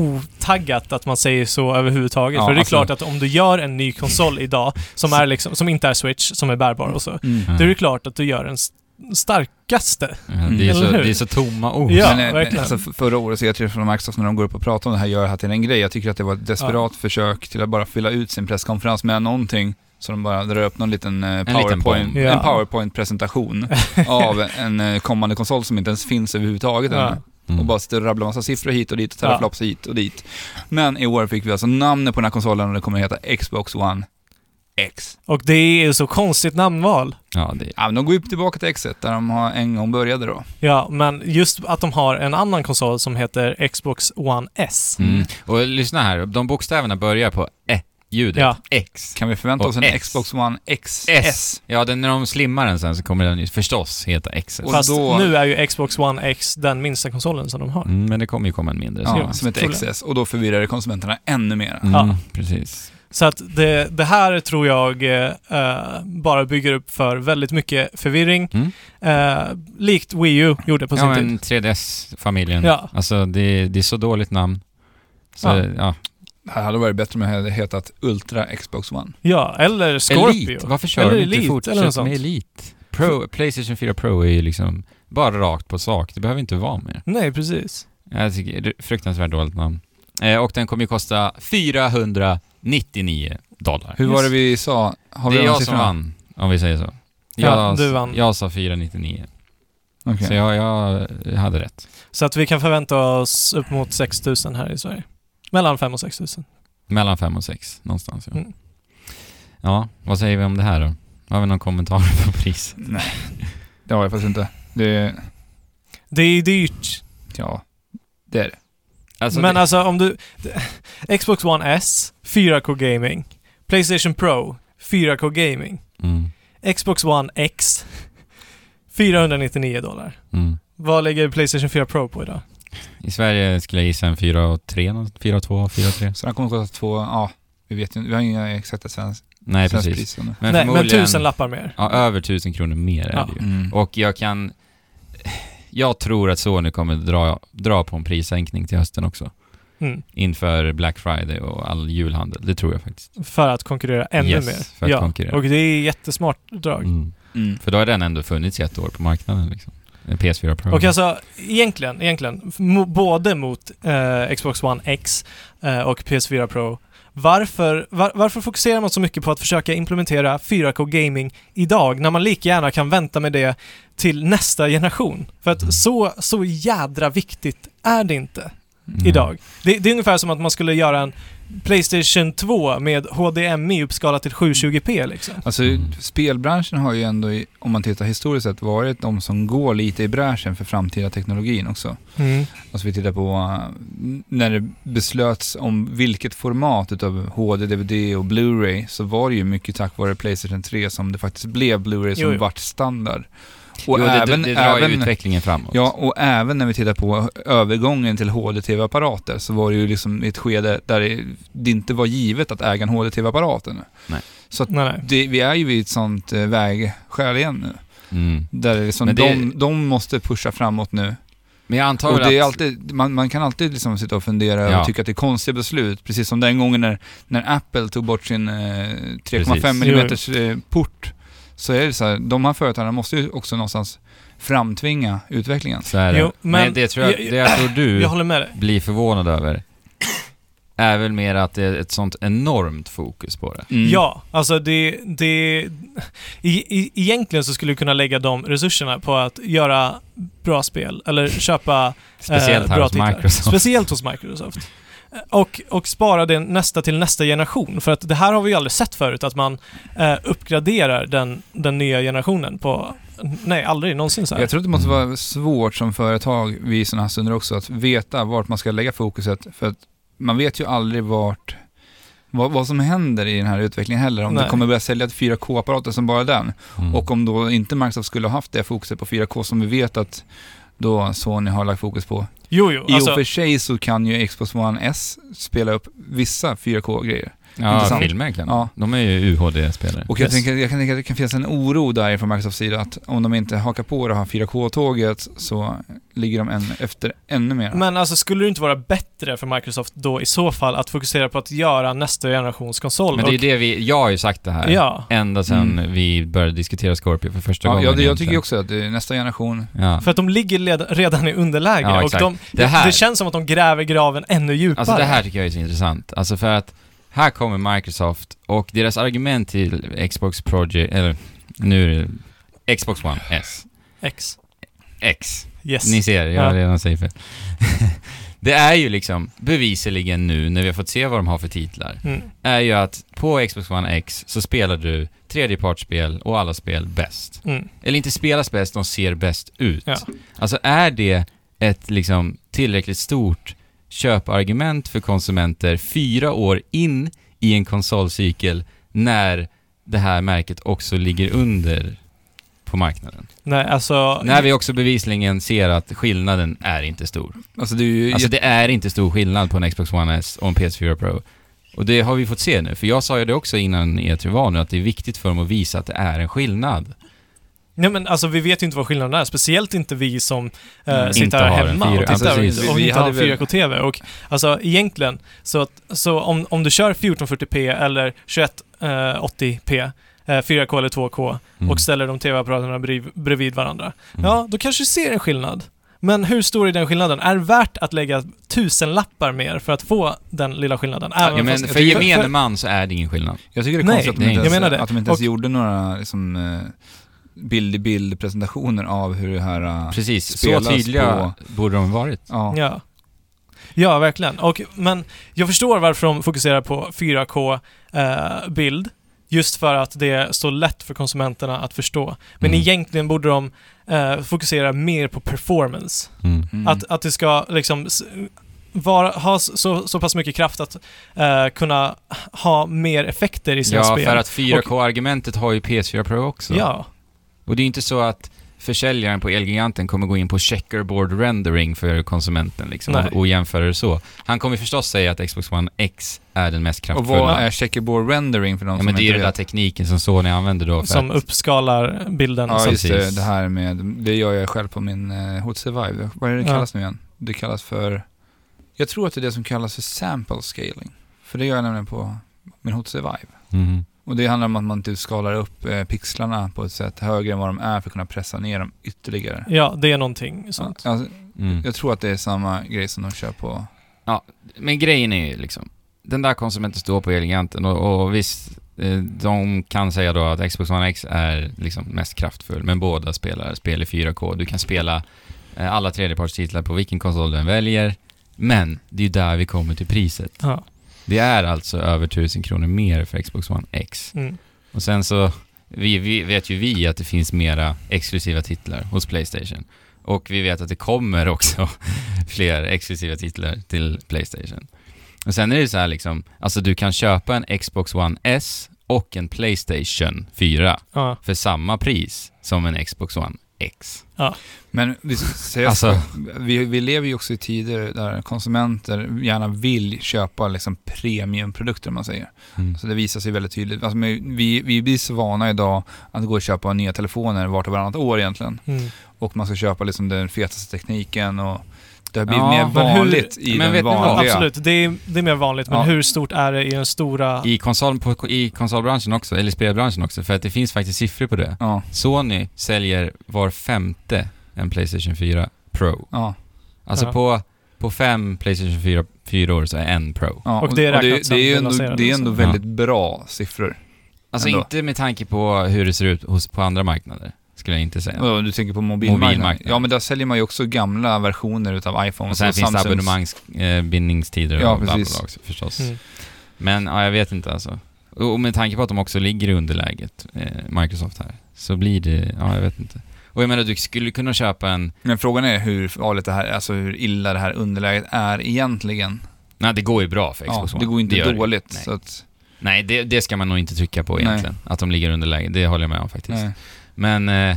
otaggat att man säger så överhuvudtaget.
Ja,
För det är
alltså-
klart att om du gör en ny konsol idag, som, är liksom, som inte är Switch, som är bärbar och så,
Mm.
då är det klart att du gör den s- starkaste.
Ja, det, är
Mm.
så,
Eller hur?
det är så tomma ord.
Ja,
eh,
verkligen.
Alltså, f- förra året E3 från Microsoft när de går upp och pratar om det här, gör det här till en grej. Jag tycker att det var ett desperat försök till att bara fylla ut sin presskonferens med någonting. Så de bara drar upp någon liten, eh,
liten
PowerPoint,
bomb.
Ja.
en PowerPoint-presentation av en eh, kommande konsol som inte ens finns överhuvudtaget
Ja.
ännu.
Mm.
Och bara sitter och rabblar massa siffror hit och dit och teraflops hit och dit. Men i år fick vi alltså namnet på den här konsolen och det kommer att heta Xbox One X.
Och det är ju så konstigt namnval.
Ja, det,
Ja, men de går ju tillbaka till X där de har en gång började då.
Ja, men just att de har en annan konsol som heter Xbox One S.
mm. Och lyssna här, de bokstäverna börjar på e-ljudet.
Ja.
X.
Kan vi förvänta
Och
oss en
S.
Xbox One XS?
S. Ja, den, när de slimmar den sen så kommer den ju förstås heta XS.
Och
Fast
då-
nu är ju Xbox One X den minsta konsolen som de har.
Mm, men det kommer ju komma en mindre. så-
Ja, som heter XS. Och då förvirrar det konsumenterna ännu mer.
Mm,
Ja.
Precis.
Så att det, det här tror jag eh, eh, bara bygger upp för väldigt mycket förvirring.
Mm.
Eh, likt Wii U gjorde på sin
Ja,
tid.
men 3DS-familjen.
Ja.
Alltså, det, det är så dåligt namn. Så,
Ja.
ja.
Det här hade varit bättre om det hade hetat Ultra Xbox One.
Ja, eller Scorpio.
Elite. Varför kör
Eller
de inte
Elite, eller något
fortsätt
sånt.
med Elite? Pro, Playstation 4 Pro är ju liksom bara rakt på sak. Det behöver inte vara mer.
Nej, precis.
Jag tycker det är fruktansvärt dåligt namn. Eh, och den kommer ju kosta 499 dollar.
Hur
Yes.
var det vi sa? Har vi
det är
de
jag som
siffrorna?
vann, om vi säger så. Jag,
Ja, du vann.
jag sa 499,
Okej.
så jag, jag hade rätt.
Så att vi kan förvänta oss upp mot 6 000 här i Sverige. Mellan 5 000 och 6 000.
Mellan 5 och 6 någonstans. Ja.
Mm.
ja, vad säger vi om det här då? Har vi någon kommentar på priset?
Nej, det har jag faktiskt inte. Det,
Det är dyrt.
ja, det är det.
Alltså,
men
det,
alltså om du... Xbox One S, 4K gaming. Playstation Pro, 4K gaming.
mm,
Xbox One X, 499 dollar.
mm.
Vad lägger Playstation 4 Pro på idag?
I Sverige skulle jag gissa en 4 och 3, 4 och 2, 4 och 3.
Så den kommer att kosta två, ja, vi vet ju inte. Vi har inga exakta svensk,
Nej,
svensk
precis.
pris ännu.
Men
Nej, men
förmodligen-
tusen lappar mer.
Ja, över 1000 kronor mer är
Ja.
det ju.
Mm.
Och jag kan... Jag tror att Sony kommer dra, dra på en prissänkning till hösten också.
Mm.
Inför Black Friday och all julhandel. Det tror jag faktiskt.
För att konkurrera ännu
Yes,
mer.
för att konkurrera.
Och det är jättesmart drag.
Mm.
Mm.
För då har den ändå funnits i ett år på marknaden liksom. En PS4 Pro.
Och alltså, egentligen, egentligen, f- mo- både mot eh, Xbox One X eh, och PS4 Pro, varför, var, varför fokuserar man så mycket på att försöka implementera 4K gaming idag, när man lika gärna kan vänta med det till nästa generation? För att så, så jädra viktigt är det inte.
Mm.
idag. Det, det är ungefär som att man skulle göra en Playstation 2 med HDMI uppskalat till 720p liksom.
Alltså,
Mm.
spelbranschen har ju ändå, i- om man tittar historiskt sett, varit de som går lite i bräschen för framtida teknologin också. Alltså vi tittar på eh, när det beslöts om vilket format utav HD, DVD och Blu-ray så var det ju mycket tack vare Playstation 3 som det faktiskt blev Blu-ray som
Jo, jo.
vart standard.
Jo,
Och
det,
även,
det, det drar ju
även,
utvecklingen framåt.
ja, och även när vi tittar på övergången till HD-TV-apparater så var det ju liksom ett skede där det, det inte var givet att äga en HD-TV-apparat
Mm.
ännu.
Nej, nej.
Det, vi är ju vid ett sånt eh, vägskäl igen nu.
Mm.
Där det är liksom
Men det-
de, de måste pusha framåt nu.
Men jag antar
Och
väl
det är
att...
alltid, man, man kan alltid liksom sitta och fundera
Ja.
och tycka att det är konstiga beslut. Precis som den gången när, när Apple tog bort sin eh, 3,5
Precis.
mm eh, port. Så är det så här, de här företagen måste ju också någonstans framtvinga utvecklingen.
Så är det.
Jo,
men,
men-
det tror jag,
jag-
det jag tror du
Jag håller med dig.
blir förvånad över är väl mer att det är ett sånt enormt fokus på det.
Mm.
Ja, alltså det... det i, i, egentligen så skulle du kunna lägga de resurserna på att göra bra spel, eller köpa
Speciellt
eh,
här
bra
hos
titlar.
Microsoft.
Speciellt hos Microsoft. Eh, Och, och spara det nästa till nästa generation, för att det här har vi ju aldrig sett förut, att man eh, uppgraderar den, den nya generationen på... Nej, aldrig någonsin så här.
Jag tror att det måste vara svårt som företag vid sådana här stunder också att veta vart man ska lägga fokuset. För att man vet ju aldrig vart, vad, vad som händer i den här utvecklingen heller. Om
Nej.
det kommer börja sälja 4K-apparater som bara den.
Mm.
Och om då inte Microsoft skulle ha haft det fokuset på 4K som vi vet att då Sony har lagt fokus på.
Jo, jo.
I
Alltså,
och för sig så kan ju Xbox One S spela upp vissa 4K-grejer.
ja,
intressant.
filmer kan
Ja.
De är ju UHD-spelare.
Och jag,
Yes.
tänker, jag kan tänka att det kan finnas en oro där från Microsofts sida att om de inte hakar på det här 4K-tåget så ligger de än efter ännu mer.
men alltså, skulle det inte vara bättre för Microsoft då i så fall att fokusera på att göra nästa generations konsol?
Men det är ju
Och-
det vi, jag har ju sagt det här.
Ja.
Ända sedan
Mm.
vi började diskutera Scorpio för första
ja,
gången.
jag, jag
egentligen.
tycker ju också att det är nästa generation.
Ja.
För att de ligger led- redan i underläge
Ja,
och
exakt.
de,
Det
det,
här-
känns som att de gräver graven ännu djupare.
Alltså det här tycker jag är så intressant. Alltså för att här kommer Microsoft och deras argument till Xbox Project, eller nu är det Xbox One S.
X.
X.
Yes.
Ni ser, jag har
Ja.
redan säger fel. det är ju liksom bevisligen nu när vi har fått se vad de har för titlar,
Mm.
är ju att på Xbox One X så spelar du tredjepartsspel och alla spel bäst.
Mm.
Eller inte spelas bäst, de ser bäst ut.
Ja.
Alltså är det ett liksom tillräckligt stort köpargument för konsumenter fyra år in i en konsolcykel när det här märket också ligger under på marknaden?
Nej, alltså...
När vi också bevisligen ser att skillnaden är inte stor.
Alltså det är ju
Alltså det är inte stor skillnad på en Xbox One S och en PS4 Pro. Och det har vi fått se nu, för jag sa ju det också innan E3 var nu, att det är viktigt för dem att visa att det är en skillnad.
Nej men alltså vi vet ju inte vad skillnaden är, speciellt inte vi som eh,
Mm.
sitter
Inte
här
har en
hemma
fyra-
och tittar
Alltså,
och
vi-
inte, och
vi
inte har
hade väl-
4K-TV. Och alltså egentligen, så, att, så om, om du kör 1440p eller 2180p, eh, 4K eller 2K
Mm.
och ställer de TV-apparaterna brev, bredvid varandra,
Mm.
ja då kanske du ser en skillnad. Men hur stor är den skillnaden? Är det värt att lägga tusen lappar mer för att få den lilla skillnaden? Även
Ja, men
fast-
för gemene man så är det ingen skillnad.
Jag tycker det är
Nej,
konstigt att de
nej,
inte
jag
ens,
menar det.
Att de inte ens
Och-
gjorde några liksom, eh, bild-i-bild-presentationer av hur det här... eh,
Precis,
Spelas
så tydliga borde de varit.
Ja.
Ja. Ja, verkligen. Och, men jag förstår varför de fokuserar på 4K-bild. just för att det är så lätt för konsumenterna att förstå. Men
Mm.
egentligen borde de eh, fokusera mer på performance.
Mm.
Att, att det ska liksom s- vara, ha s- så, så pass mycket kraft att eh, kunna ha mer effekter i sina
Ja,
spel.
för att 4K-argumentet har ju PS4 Pro också.
Ja,
Och det är ju inte så att försäljaren på Elgiganten kommer gå in på checkerboard rendering för konsumenten liksom,
Nej.
och, och jämföra det så. Han kommer förstås säga att Xbox One X är den mest
och
kraftfulla.
vad är checkerboard rendering för de
ja,
som
men det är ju
inte
den där
vet?
tekniken som Sony använder då. För
som
att,
uppskalar bilden.
Ja,
som,
just det.
Precis.
Det här med, det gör jag själv på min eh, Hot Survive. Vad är det det
Ja.
kallas nu igen? Det kallas för, jag tror att det är det som kallas för sample scaling. För det gör jag nämligen på min Hot Survive.
Mhm.
Och det handlar om att man typ skalar upp eh, pixlarna på ett sätt högre än vad de är för att kunna pressa ner dem ytterligare.
ja, det är någonting
Ja,
sånt.
Alltså,
Mm.
jag tror att det är samma grej som de kör på.
Men grejen är ju liksom, den där konsumenten står på Elgiganten och, och visst, eh, de kan säga då att Xbox One X är liksom mest kraftfull, men båda spelar spel i 4K. Du kan spela eh, alla tredjepartstitlar på vilken konsol du än väljer, men det är ju där vi kommer till priset.
Ja.
Det är alltså över 1000 kronor mer för Xbox One X.
Mm.
Och sen så vi, vi vet ju vi att det finns mera exklusiva titlar hos Playstation. Och vi vet att det kommer också fler exklusiva titlar till Playstation. Och sen är det så här liksom, alltså du kan köpa en Xbox One S och en Playstation 4
Ja.
för samma pris som en Xbox One X.
Men vi, säger,
Alltså-
vi, vi lever ju också i tider där konsumenter gärna vill köpa liksom premiumprodukter, om man säger. Så det visar sig väldigt tydligt. Alltså, men vi, vi blir så vana idag att gå och köpa nya telefoner vart och varannat år egentligen.
Mm.
Och man ska köpa liksom den fetaste tekniken och det har blivit
Ja,
mer
men
hur-
vanligt i
men vet
den
ni vad?
vanliga.
Absolut, det är, det är mer vanligt. Men
Ja.
hur stort är det i den stora...
I, konsol, på, I konsolbranschen också, eller spelbranschen också, för att det finns faktiskt siffror på det.
Ja,
Sony säljer var femte en Playstation 4 Pro.
ja,
Alltså
Ja.
på, på fem Playstation 4, 4 år så är en Pro.
ja.
Och det är räknat
det,
sen
det
den
är ändå,
lanserades,
det är ändå
så.
liksom.
väldigt bra siffror.
Alltså
Ändå.
inte med tanke på hur det ser ut hos, på andra marknader, skulle jag inte säga.
Vadå, Du tänker på mobilmarknaden?
Mobilmarknaden.
Ja, men där säljer man ju också gamla versioner utav iPhones
Och sen
och
finns det
Samsungs.
abonnemangsbindningstider och
Ja,
ja, bla bla
precis.
bla också förstås.
Mm.
Men ja, jag vet inte alltså. Och och med tanke på att de också ligger i underläget, eh, Microsoft här, så blir det, ja jag vet inte. Och jag menar du skulle kunna köpa en,
Men frågan är hur farligt det här alltså hur illa det här underläget är egentligen.
nej det går ju bra för
Ja,
Xbox One.
det går ju inte
gör det.
dåligt.
Nej.
Så att,
Nej, det, det ska man nog inte trycka på
Nej.
egentligen. Att de ligger under läge, det håller jag med om faktiskt.
nej.
Men eh,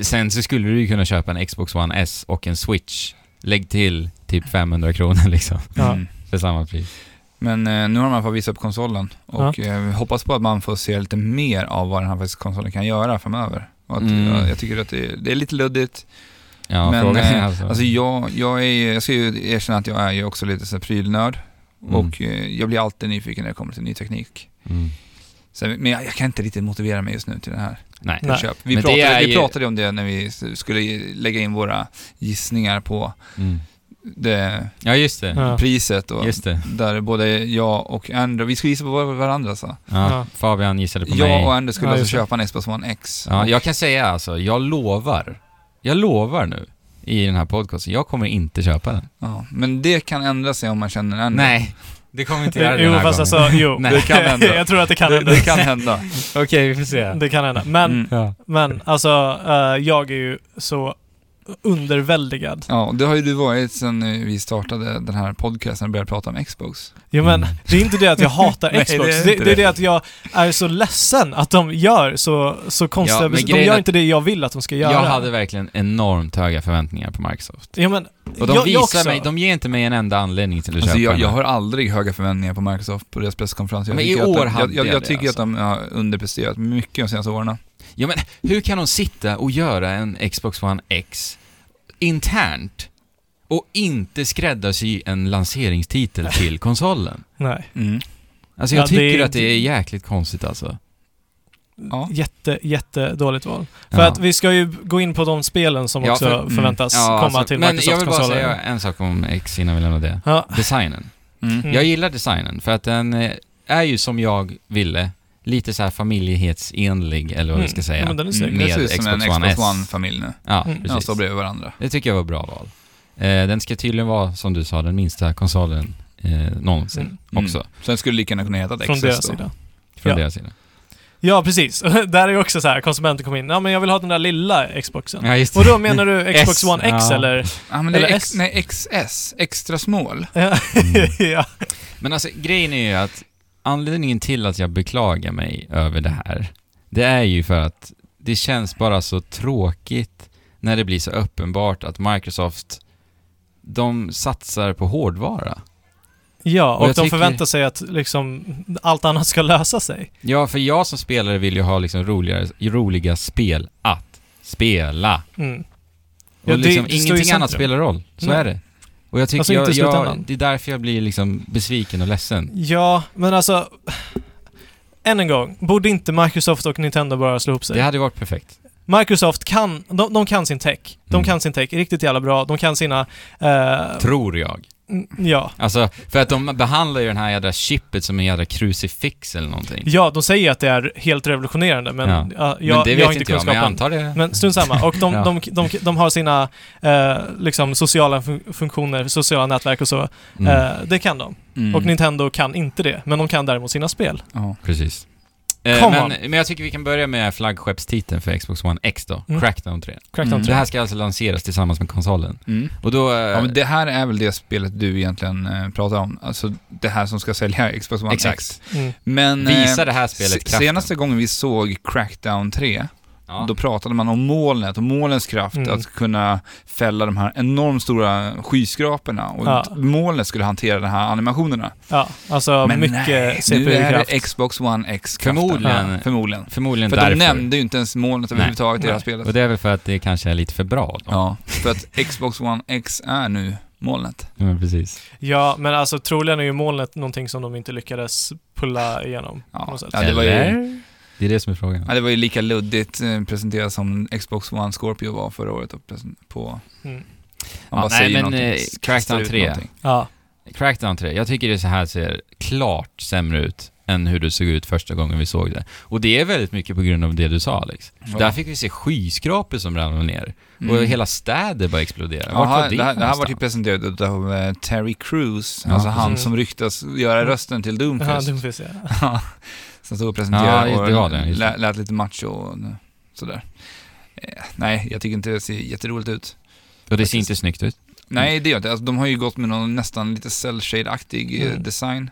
sen så skulle du ju kunna köpa en Xbox One S och en Switch. Lägg till typ 500 kronor liksom,
Ja.
Mm.
för samma pris.
Men eh, nu har man fått visa upp konsolen och eh, vi hoppas på att man får se lite mer av vad den här faktiskt konsolen kan göra framöver. Och att,
Mm.
jag, jag tycker att det, det är lite luddigt.
Ja,
Men,
frågan är
eh,
alltså...
Alltså jag, jag, är, ju- jag ska ju erkänna att jag är ju också lite så här prylnörd
Mm.
och eh, jag blir alltid nyfiken när det kommer till ny teknik.
mm.
Sen, men jag, jag kan inte riktigt motivera mig just nu till det här.
Nej.
Nej.
köp. Vi,
Men det är
pratade, vi
ju-
pratade om det när vi s- skulle lägga in våra gissningar på
Mm.
det
Ja, just det.
Ja.
priset och
Just det.
där både jag och Andrew, vi skulle gissa på var- varandra så.
Ja,
Ja.
Fabian gissade på
Jag
mig.
och Andrew skulle
Ja,
alltså
just det.
köpa en Xbox One X.
Ja, jag kan säga alltså, jag lovar. Jag lovar nu i den här podcasten, jag kommer inte köpa den.
Ja, men det kan ändra sig om man känner Andrew.
Nej, det kommer inte göra det
Jo,
den här
fast
gången.
alltså, jo.
Nej.
Det kan hända.
jag tror att det kan
det,
hända.
det kan hända.
Okej, vi får se.
Det kan hända. Men,
Mm.
alltså- Ja.
men alltså, eh, jag är ju så underväldigad.
Ja, och det har ju du varit sedan eh, vi startade den här podcasten och började prata om Xbox.
Jo men,
Mm.
det är inte det att jag hatar
Nej,
Xbox.
det är
det,
inte
det, är
det.
det att jag är så ledsen att de gör så, så konstiga
men
beslut. De
grejen
gör
är-
inte det jag vill att de ska göra.
Jag hade verkligen enormt höga förväntningar på Microsoft.
Jo men,
Och de
jag, jag
visar
också.
mig, de ger inte mig en enda anledning till att
Alltså
köpa
jag,
den.
jag har aldrig höga förväntningar på Microsoft på deras presskonferens. Jag
Men i
tycker att
år
de-
hade
jag, jag,
jag
jag
det,
tycker
alltså.
att de har underpresterat mycket de senaste åren.
Ja men hur kan de sitta och göra en Xbox One X internt och inte skräddarsy en lanseringstitel till konsolen?
Nej.
Mm.
Alltså jag
Ja, det
tycker
är-
att det är jäkligt konstigt alltså.
Ja.
Jätte, jättedåligt val. För
Ja.
att vi ska ju gå in på de spelen som
Ja,
också
för-
mm.
förväntas
Ja,
komma
alltså,
till
men jag vill bara
Microsoft-konsoler.
säga en sak om X innan vi lämnar det.
Ja,
Designen.
Mm.
Mm.
Jag gillar designen för att den eh, är ju som jag ville, lite så här familjehetsenlig eller vad vi ska
Mm.
säga.
Ja, men den är snygg.
Mm, det ser ut som en
Xbox One S.
Xbox One-familj nu.
Ja,
Mm.
precis.
De står bredvid varandra.
Det tycker jag var bra val. Eh, den ska tydligen vara, som du sa, den minsta konsolen eh, någonsin
Mm.
också.
Sen skulle det lika gärna kunna heta ett
Från
XS
deras
då.
sida.
Från
Ja.
deras sida.
Ja, precis. Där är ju också så här, konsumenten kommer in. Ja, men jag vill ha den där lilla Xboxen.
Ja, just
Och då menar du
S,
Xbox One X
ja.
eller?
Ja, men det
Eller
är
S.
X, nej, XS, extra small.
Ja. ja.
Mm. Men alltså, grejen är ju att anledningen till att jag beklagar mig över det här, det är ju för att det känns bara så tråkigt när det blir så uppenbart att Microsoft, de satsar på hårdvara.
Ja,
Och
och,
jag
de
tycker-
förväntar sig att liksom allt annat ska lösa sig.
Ja, för jag som spelare vill ju ha liksom roligare, roliga spel att spela.
Mm.
Och
Ja, det-
liksom,
det står ju i
ingenting annat
centrum.
spelar roll. Så
Nej.
är det. Och jag tycker,
Alltså,
jag,
inte i
jag,
slutändan.
det är därför jag blir liksom besviken och ledsen.
Ja, men alltså... Än en gång, borde inte Microsoft och Nintendo bara slå ihop sig?
Det hade varit perfekt.
Microsoft kan, de, de kan sin tech. De
Mm.
kan sin tech riktigt jävla bra. De kan sina... eh,
Tror jag.
mm, ja.
Alltså, för att de behandlar ju den här jädra chippet som en jädra krucifix eller någonting.
ja, de säger att det är helt revolutionerande, men
Ja.
ja.
men
jag,
det
jag har
vet inte
inte
jag, men jag
kunskapen.
antar det.
Men strunt samma. Och de,
Ja.
de, de, de har sina eh, liksom sociala fun- funktioner, sociala nätverk och så.
Mm,
Eh, det kan de.
Mm.
Och Nintendo kan inte det, men de kan däremot sina spel.
ja.
precis. Eh,
Come on.
men, men jag tycker vi kan börja med flaggskeppstiteln för Xbox One X då,
Mm.
Crackdown 3.
Crackdown
Mm.
Det
3.
här ska alltså lanseras tillsammans med konsolen.
Mm.
Och då... eh,
ja, men det här är väl det spelet du egentligen eh, pratar om? Alltså det här som ska sälja Xbox One X.
exakt.
Mm.
Men, eh,
Visa det här spelet
se-
kraften.
Senaste gången vi såg Crackdown 3,
Ja.
Då pratade man om molnet och molnens kraft
Mm.
att kunna fälla de här enormt stora skyskraporna och
Ja.
molnet skulle hantera de här animationerna.
Ja, alltså
Men nej,
mycket
nu är
CPU-kraft.
det Xbox One X-kraften.
Förmodligen.
Ja, förmodligen.
Förmodligen
För
därför.
de nämnde ju inte ens molnet
Nej.
överhuvudtaget i det här
Nej.
Och
spelet.
det är väl för att det kanske är lite för bra då.
Ja, för att Xbox One X är nu molnet.
Ja, men precis.
Ja, men alltså troligen är ju molnet någonting som de inte lyckades pulla igenom. på
Ja,
något sätt.
ja, det, var ju,
Eller? Det är det som är frågan.
ja, det var ju lika luddigt eh, presenterat som Xbox One Scorpio var förra året och presen- på... Man
Mm.
Ja, nej, men, eh,
kastar
Crackdown
ut
3.
någonting.
Ja,
Crackdown 3, jag tycker det så här ser klart sämre ut än hur det såg ut första gången vi såg det. Och det är väldigt mycket på grund av det du sa Alex.
Ja.
Där fick vi se skyskrapor som ramlade ner
Mm.
och hela städer bara exploderade. Vart
Jaha,
var det,
det, här, det här var
någonstans?
typ presenterat av eh, Terry Crews,
Ja,
alltså han
precis.
som ryktas göra rösten till
ja
Doomfist.
Doomfist ja. Mm.
Som stod och presenterade
Ja, just det,
och
det var det, just det.
lät, lät lite macho och sådär. Eh, nej, jag tycker inte det ser jätteroligt ut.
Och det ser inte snyggt ut. Mm.
Nej, det gör det alltså, De har ju gått med någon nästan lite cell shade-aktig eh,
Mm.
design.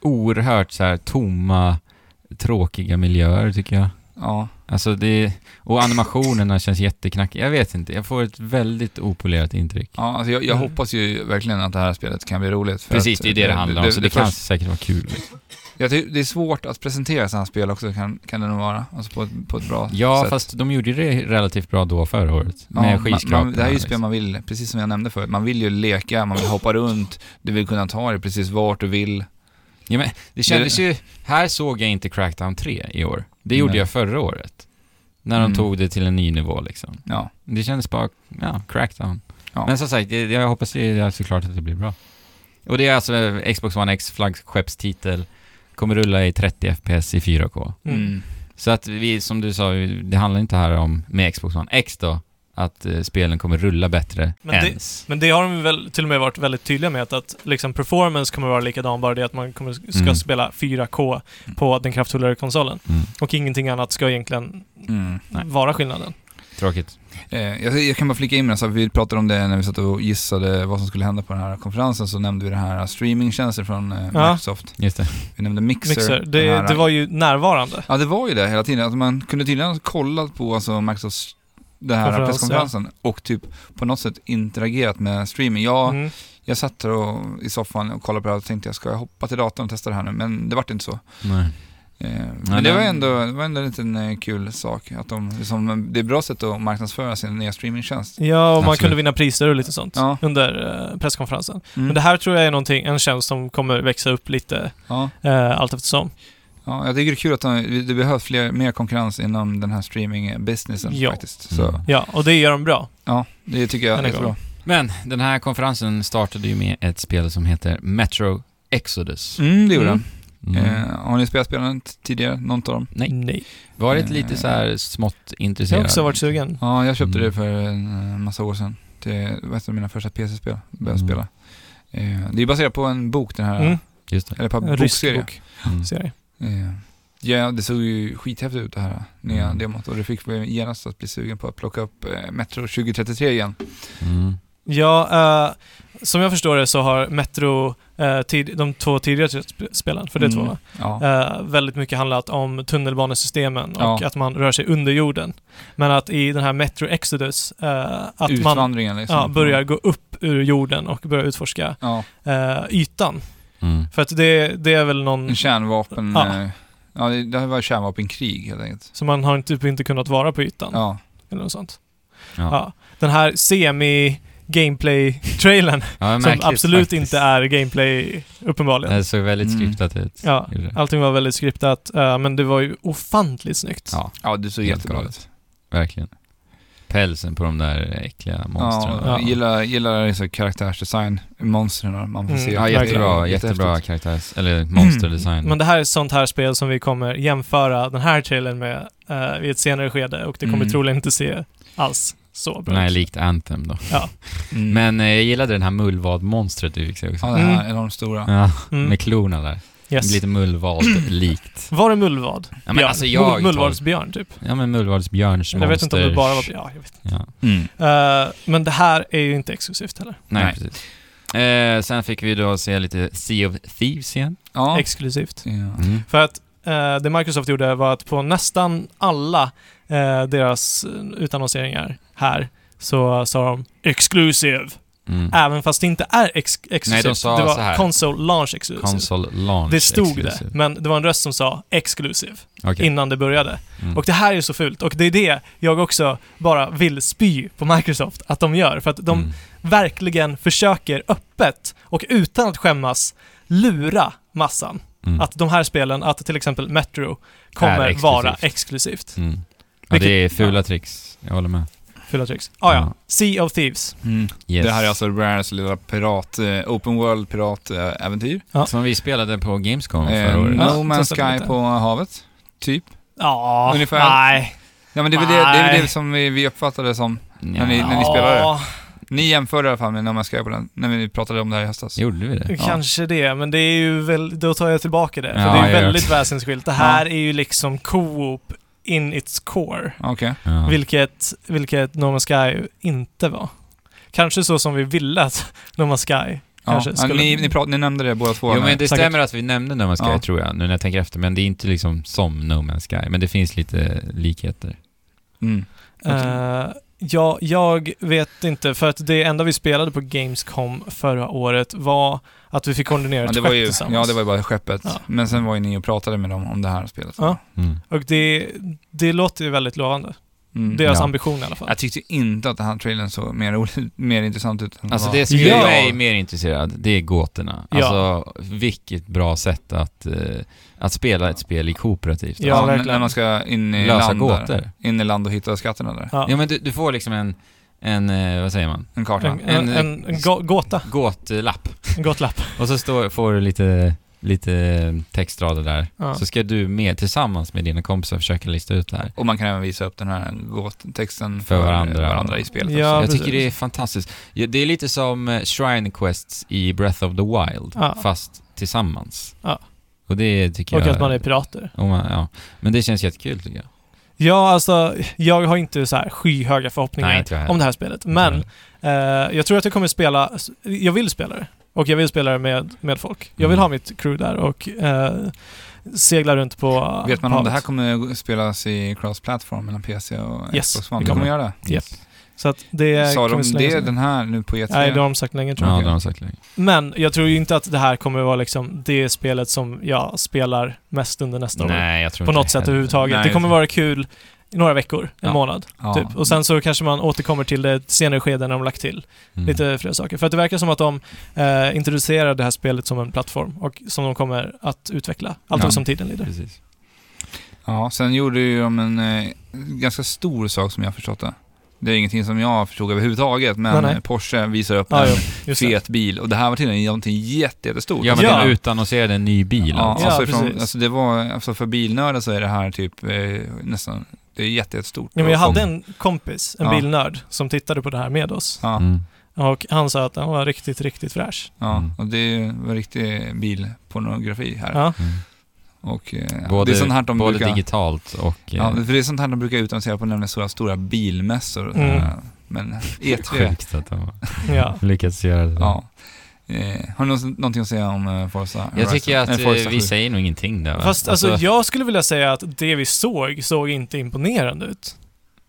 Oerhört så här tomma, tråkiga miljöer tycker jag.
Ja,
Alltså det, och animationerna känns jätteknackiga. Jag vet inte, jag får ett väldigt opolerat intryck.
ja alltså jag, jag
Mm.
hoppas ju verkligen att det här spelet kan bli roligt. för
Precis,
att,
det är det det handlar om, så det, kan säkert vara kul.
jag tycker det är svårt att presentera sådana här spel också, kan, kan det nog vara. Alltså på ett, på ett bra
Ja,
sätt.
fast de gjorde det relativt bra då förra året.
Ja,
Med
man- man,
skyskraporna.
Det här är ju
liksom.
spel man vill, precis som jag nämnde förut. Man vill ju leka, man vill hoppa runt, du vill kunna ta dig precis vart du vill.
Ja, men det kändes ju... Här såg jag inte Crackdown 3 i år. Det gjorde
Nej.
jag förra året. När de
Mm.
tog det till en ny nivå liksom.
Ja.
Det kändes bara, ja, Crackdown.
Ja.
Men som sagt, det, jag hoppas det är såklart att det blir bra. Och det är alltså Xbox One X flaggskeppstitel. Kommer rulla i 30 FPS i 4K.
Mm.
Så att vi, som du sa, det handlar inte här om, med Xbox One X då, att eh, spelen kommer rulla bättre
Men det-
ens.
Men det har de väl till och med varit väldigt tydliga med att, att liksom performance kommer vara likadan, bara det att man kommer, ska
Mm.
spela 4K
Mm.
på den kraftfullare konsolen.
Mm.
Och ingenting annat ska egentligen
Mm.
Nej.
vara skillnaden.
Tråkigt.
Eh, jag, jag kan bara flika in med det, så vi pratade om det när vi satt och gissade vad som skulle hända på den här konferensen, så nämnde vi det här streamingtjänster från eh,
Ja.
Microsoft.
Just det.
Vi nämnde Mixer.
Mixer,
den
det,
här-
det var ju närvarande.
Ja, det var ju det hela tiden. Alltså, man kunde tydligen ha kollat på alltså, Microsofts den här
Konferens,
presskonferensen och typ på något sätt interagerat med streaming. Jag,
Mm.
jag satt där och, i soffan och kollade på det här och tänkte jag ska jag hoppa till datorn och testa det här nu, men det vart inte så.
Nej.
Eh,
Nej,
Men det var
den-
ändå, det var ändå en liten eh, kul sak. Att de, liksom, det är ett bra sätt att marknadsföra sin nya streamingtjänst.
Ja, och man
Absolut.
kunde vinna priser och lite sånt
Ja.
under eh, presskonferensen.
Mm.
Men det här tror jag är någonting, en tjänst som kommer växa upp lite
ja,
eh, allt eftersom.
ja, jag tycker det är kul att de, det behövs fler, mer konkurrens inom den här streaming-businessen
Ja.
faktiskt. Så
Mm.
Ja, och det gör de bra.
ja, det tycker jag
Den
är
är
bra.
bra.
Men den här konferensen startade ju med ett spel som heter Metro Exodus.
Mm, det gjorde
Mm.
den.
Mm.
Eh, har ni spelat spelen t- tidigare, någon av dem?
Nej.
Mm. Nej.
Varit lite så här smått
Jag
intresserad.
har också varit sugen.
Ja, jag köpte
Mm.
det för en eh, massa år sedan. Det var ett av mina första PC-spel, började
Mm.
spela. Eh, det är baserat på en bok, den här,
Mm.
Just det.
eller på en
En rysk
bokserie.
bok.
Mm.
Ser jag.
Eh, Ja, det såg ju skithäftigt ut det här nya
Mm.
demot och det fick mig genast att bli sugen på att plocka upp eh, Metro 2033 igen.
Mm.
Ja, eh, som jag förstår det så har Metro, eh, tid, de två tidigare sp- spelen, för det är två
Mm.
va?
Ja.
eh, väldigt mycket handlat om tunnelbanesystemen och
Ja.
att man rör sig under jorden. Men att i den här Metro Exodus, eh, att man
Utvandringen liksom.
ja, börjar gå upp ur jorden och börjar utforska
Ja,
eh, ytan.
Mm.
För att det, det är väl någon
en kärnvapen...
Mm. Ja.
Ja, ja det, det här var kärnvapenkrig helt enkelt.
som man har typ inte kunnat vara på ytan.
Ja.
Eller något sånt.
Ja.
Ja. Den här semi-gameplay-trailern
Ja, men
som
märkligt
absolut
faktiskt.
inte är gameplay, uppenbarligen.
Det såg väldigt
Mm.
skriptat ut.
Ja,
Gjorde det.
allting var väldigt skriptat, eh, men det var ju ofantligt snyggt.
Ja,
ja, det såg
Helt
jättebra
galet.
ut.
verkligen. Pälsen på de där äckliga monstren.
Ja,
Ja,
jag gillar, gillar liksom karaktärsdesign, monstren man får
Mm.
se.
Ja,
jättebra,
Jättehäftigt.
jättebra karaktärs... Eller monsterdesign.
Mm. Men det här är ett sånt här spel som vi kommer jämföra den här trailern med uh, i ett senare skede och det kommer
Mm.
troligen inte se alls så bra
Nej,
ut.
likt Anthem då.
Mm.
Men eh, jag gillade den här mullvadmonstret du fick se också.
Ja, det här
Mm.
enormt stora.
Ja,
Mm.
med klorna där.
Yes.
Lite mullvad-likt.
Var det mullvad?
Ja, men
Björn.
alltså jag...
Mull- Mullvadsbjörn, typ.
Ja, men mullvadsbjörns
Eller jag vet inte om det
monsters-
bara var... Ja, jag vet.
Ja.
Mm.
Eh, men det här är ju inte exklusivt heller.
Nej,
Nej.
precis. Eh, sen fick vi då se lite Sea of Thieves igen.
Ja.
Exklusivt.
Ja.
Mm.
För att eh, det Microsoft gjorde var att på nästan alla eh, deras utannonseringar här så sa de “Exclusive”,
Mm.
även fast det inte är ex- exklusivt.
sa
det var
så här.
“Console launch exclusive”.
Console launch
det stod
exclusive.
det, men det var en röst som sa “exclusive”
Okej.
innan det började.
Mm.
Och det här är så fult och det är det jag också bara vill spy på Microsoft att de gör, för att de
Mm.
verkligen försöker öppet och utan att skämmas lura massan
Mm.
att de här spelen, att till exempel Metro, kommer
Är exklusivt.
vara exklusivt.
Mm. Ja,
Vilket-
det är fula tricks. Jag håller med.
Fula tricks. Ah, ja,
Ja.
Sea of Thieves.
Mm.
Yes.
Det här är alltså Rares lilla pirat, eh, open world piratäventyr.
Som vi spelade på Gamescom
Eh,
förra året.
no
Ja,
Man's
testa det
Sky
lite.
på havet, typ.
Ja,
Ungefär.
nej.
Ja, men det är väl det, det, är väl
Nej.
det som vi, vi uppfattade det som. när ni- när
Nja,
spelar det?
Ja,
Ni jämförde i alla fall med No Man's Sky på den, när vi pratade om det här i höstas.
Gjorde vi det?
Ja.
Kanske det, men det är ju väl, då tar jag tillbaka det. För
Ja,
det är ju
jag gör
väldigt väsensskilt. Det här är ju liksom co-op in its core.
Okej.
Ja.
Vilket, vilket No Man's Sky inte var. Kanske så som vi ville att No Man's Sky
Ja.
kanske
Ja,
skulle...
ni, ni, prat, ni nämnde det båda två.
Jo men det
Säkert.
stämmer att vi nämnde No Man's Sky
Ja.
tror jag, nu när jag tänker efter, men det är inte liksom som No Man's Sky, men det finns lite likheter.
mm.
Eh, ja, jag vet inte, för att det enda vi spelade på Gamescom förra året var att vi fick koordinera
ja,
ett
det
skepp
var ju,
tillsammans.
ja, det var ju bara skeppet.
Ja.
Men sen var ju ni och pratade med dem om det här spelet.
Ja.
Mm.
Och det, det låter ju väldigt lovande.
Mm.
Deras
Ja.
ambition i alla fall.
Jag tyckte inte att den här trailern såg mer, rolig, mer intressant ut. än
Alltså
vad-
det som gör
Ja.
mig mer intresserad, det är gåtorna.
Ja.
Alltså vilket bra sätt att, eh, att spela ett spel i kooperativt.
Ja,
Alltså,
när-
verkligen.
När man ska in i
lösa
land där.
gåtor.
In i land och hitta skatterna där.
Ja.
Ja men du, du får liksom en, en, eh, vad säger man,
En karta.
En, en, en, en gå- gåta,
gåtlapp.
en gåtlapp.
Och så står, får du lite, lite textrader där.
Ja.
Så ska du med, tillsammans med dina kompisar försöka lista ut det här.
Och man kan även visa upp den här gåttexten
För varandra.
varandra i spelet.
Ja.
också.
jag
precis.
tycker det är fantastiskt. Ja, Det är lite som eh, Shrine Quests i Breath of the Wild,
Ja.
fast tillsammans.
Ja.
Och det tycker
Och
jag...
att man är pirater.
och man, ja. Men det känns jättekul tycker jag.
Ja, alltså, jag har inte så här skyhöga förhoppningar
Nej, inte jag heller.
om det här spelet. Men eh, jag tror att jag kommer spela, jag vill spela det. Och jag vill spela det med, med folk. Jag vill
Mm.
ha mitt crew där och eh, segla runt på
Vet man
på
om det här
havet.
kommer spelas i cross-platform mellan PC och
Yes,
Xbox One?
det
Det kommer
kommer.
göra det.
Japp. Så att det
Sa de
kommer slängas
det
in.
den här nu på E E3?
Nej, det har de sagt länge tror
Ja,
jag.
det har de sagt länge.
Men jag tror ju inte att det här kommer vara liksom det spelet som jag spelar mest under nästa år.
Nej, jag tror
På
inte
något sätt
heller.
överhuvudtaget.
Nej,
det kommer
det-
vara kul i några veckor, en
Ja.
månad.
ja.
Typ. Och sen så kanske man återkommer till det i ett senare skede när de lagt till
Mm.
lite fler saker. För att det verkar som att de eh, introducerar det här spelet som en plattform och som de kommer att utveckla allt
Ja.
som tiden lider.
Precis.
ja, sen gjorde ju de en eh, ganska stor sak som jag har förstått det. Det är ingenting som jag förstod överhuvudtaget, men
Nej, nej.
eh, Porsche visar upp
Ja,
en
jo, just det.
fet bil och det här var tydligen någonting jätte- jättestort.
Ja, men
Ja.
de utannonserade en ny bil
Ja,
alltså.
Ja,
alltså, från,
precis.
alltså det var, alltså för bilnördar så är det här typ eh, nästan, det är jätte- jättestort.
Ja, men jag
Och-
hade en kompis, en
Ja.
bilnörd, som tittade på det här med oss.
Ja,
Mm.
Och han sa att den var riktigt, riktigt fräsch.
ja
Mm.
och det var riktig bilpornografi här.
Ja.
Mm.
Och, eh,
Både,
det är sånt här de
både
brukar,
digitalt och... eh,
ja, för det är sånt här de brukar utannonsera på nämligen stora, stora bilmässor.
Mm.
Eh, Men E3,
Sjukt att de har
Ja.
lyckats göra det.
ja. Eh, har du något- någonting att säga om eh, Forza
Jag
Horizon?
tycker att
Eh,
eh,
Forza
vi
7.
säger nog ingenting där va?
Fast alltså, jag skulle vilja säga att det vi såg, såg inte imponerande ut.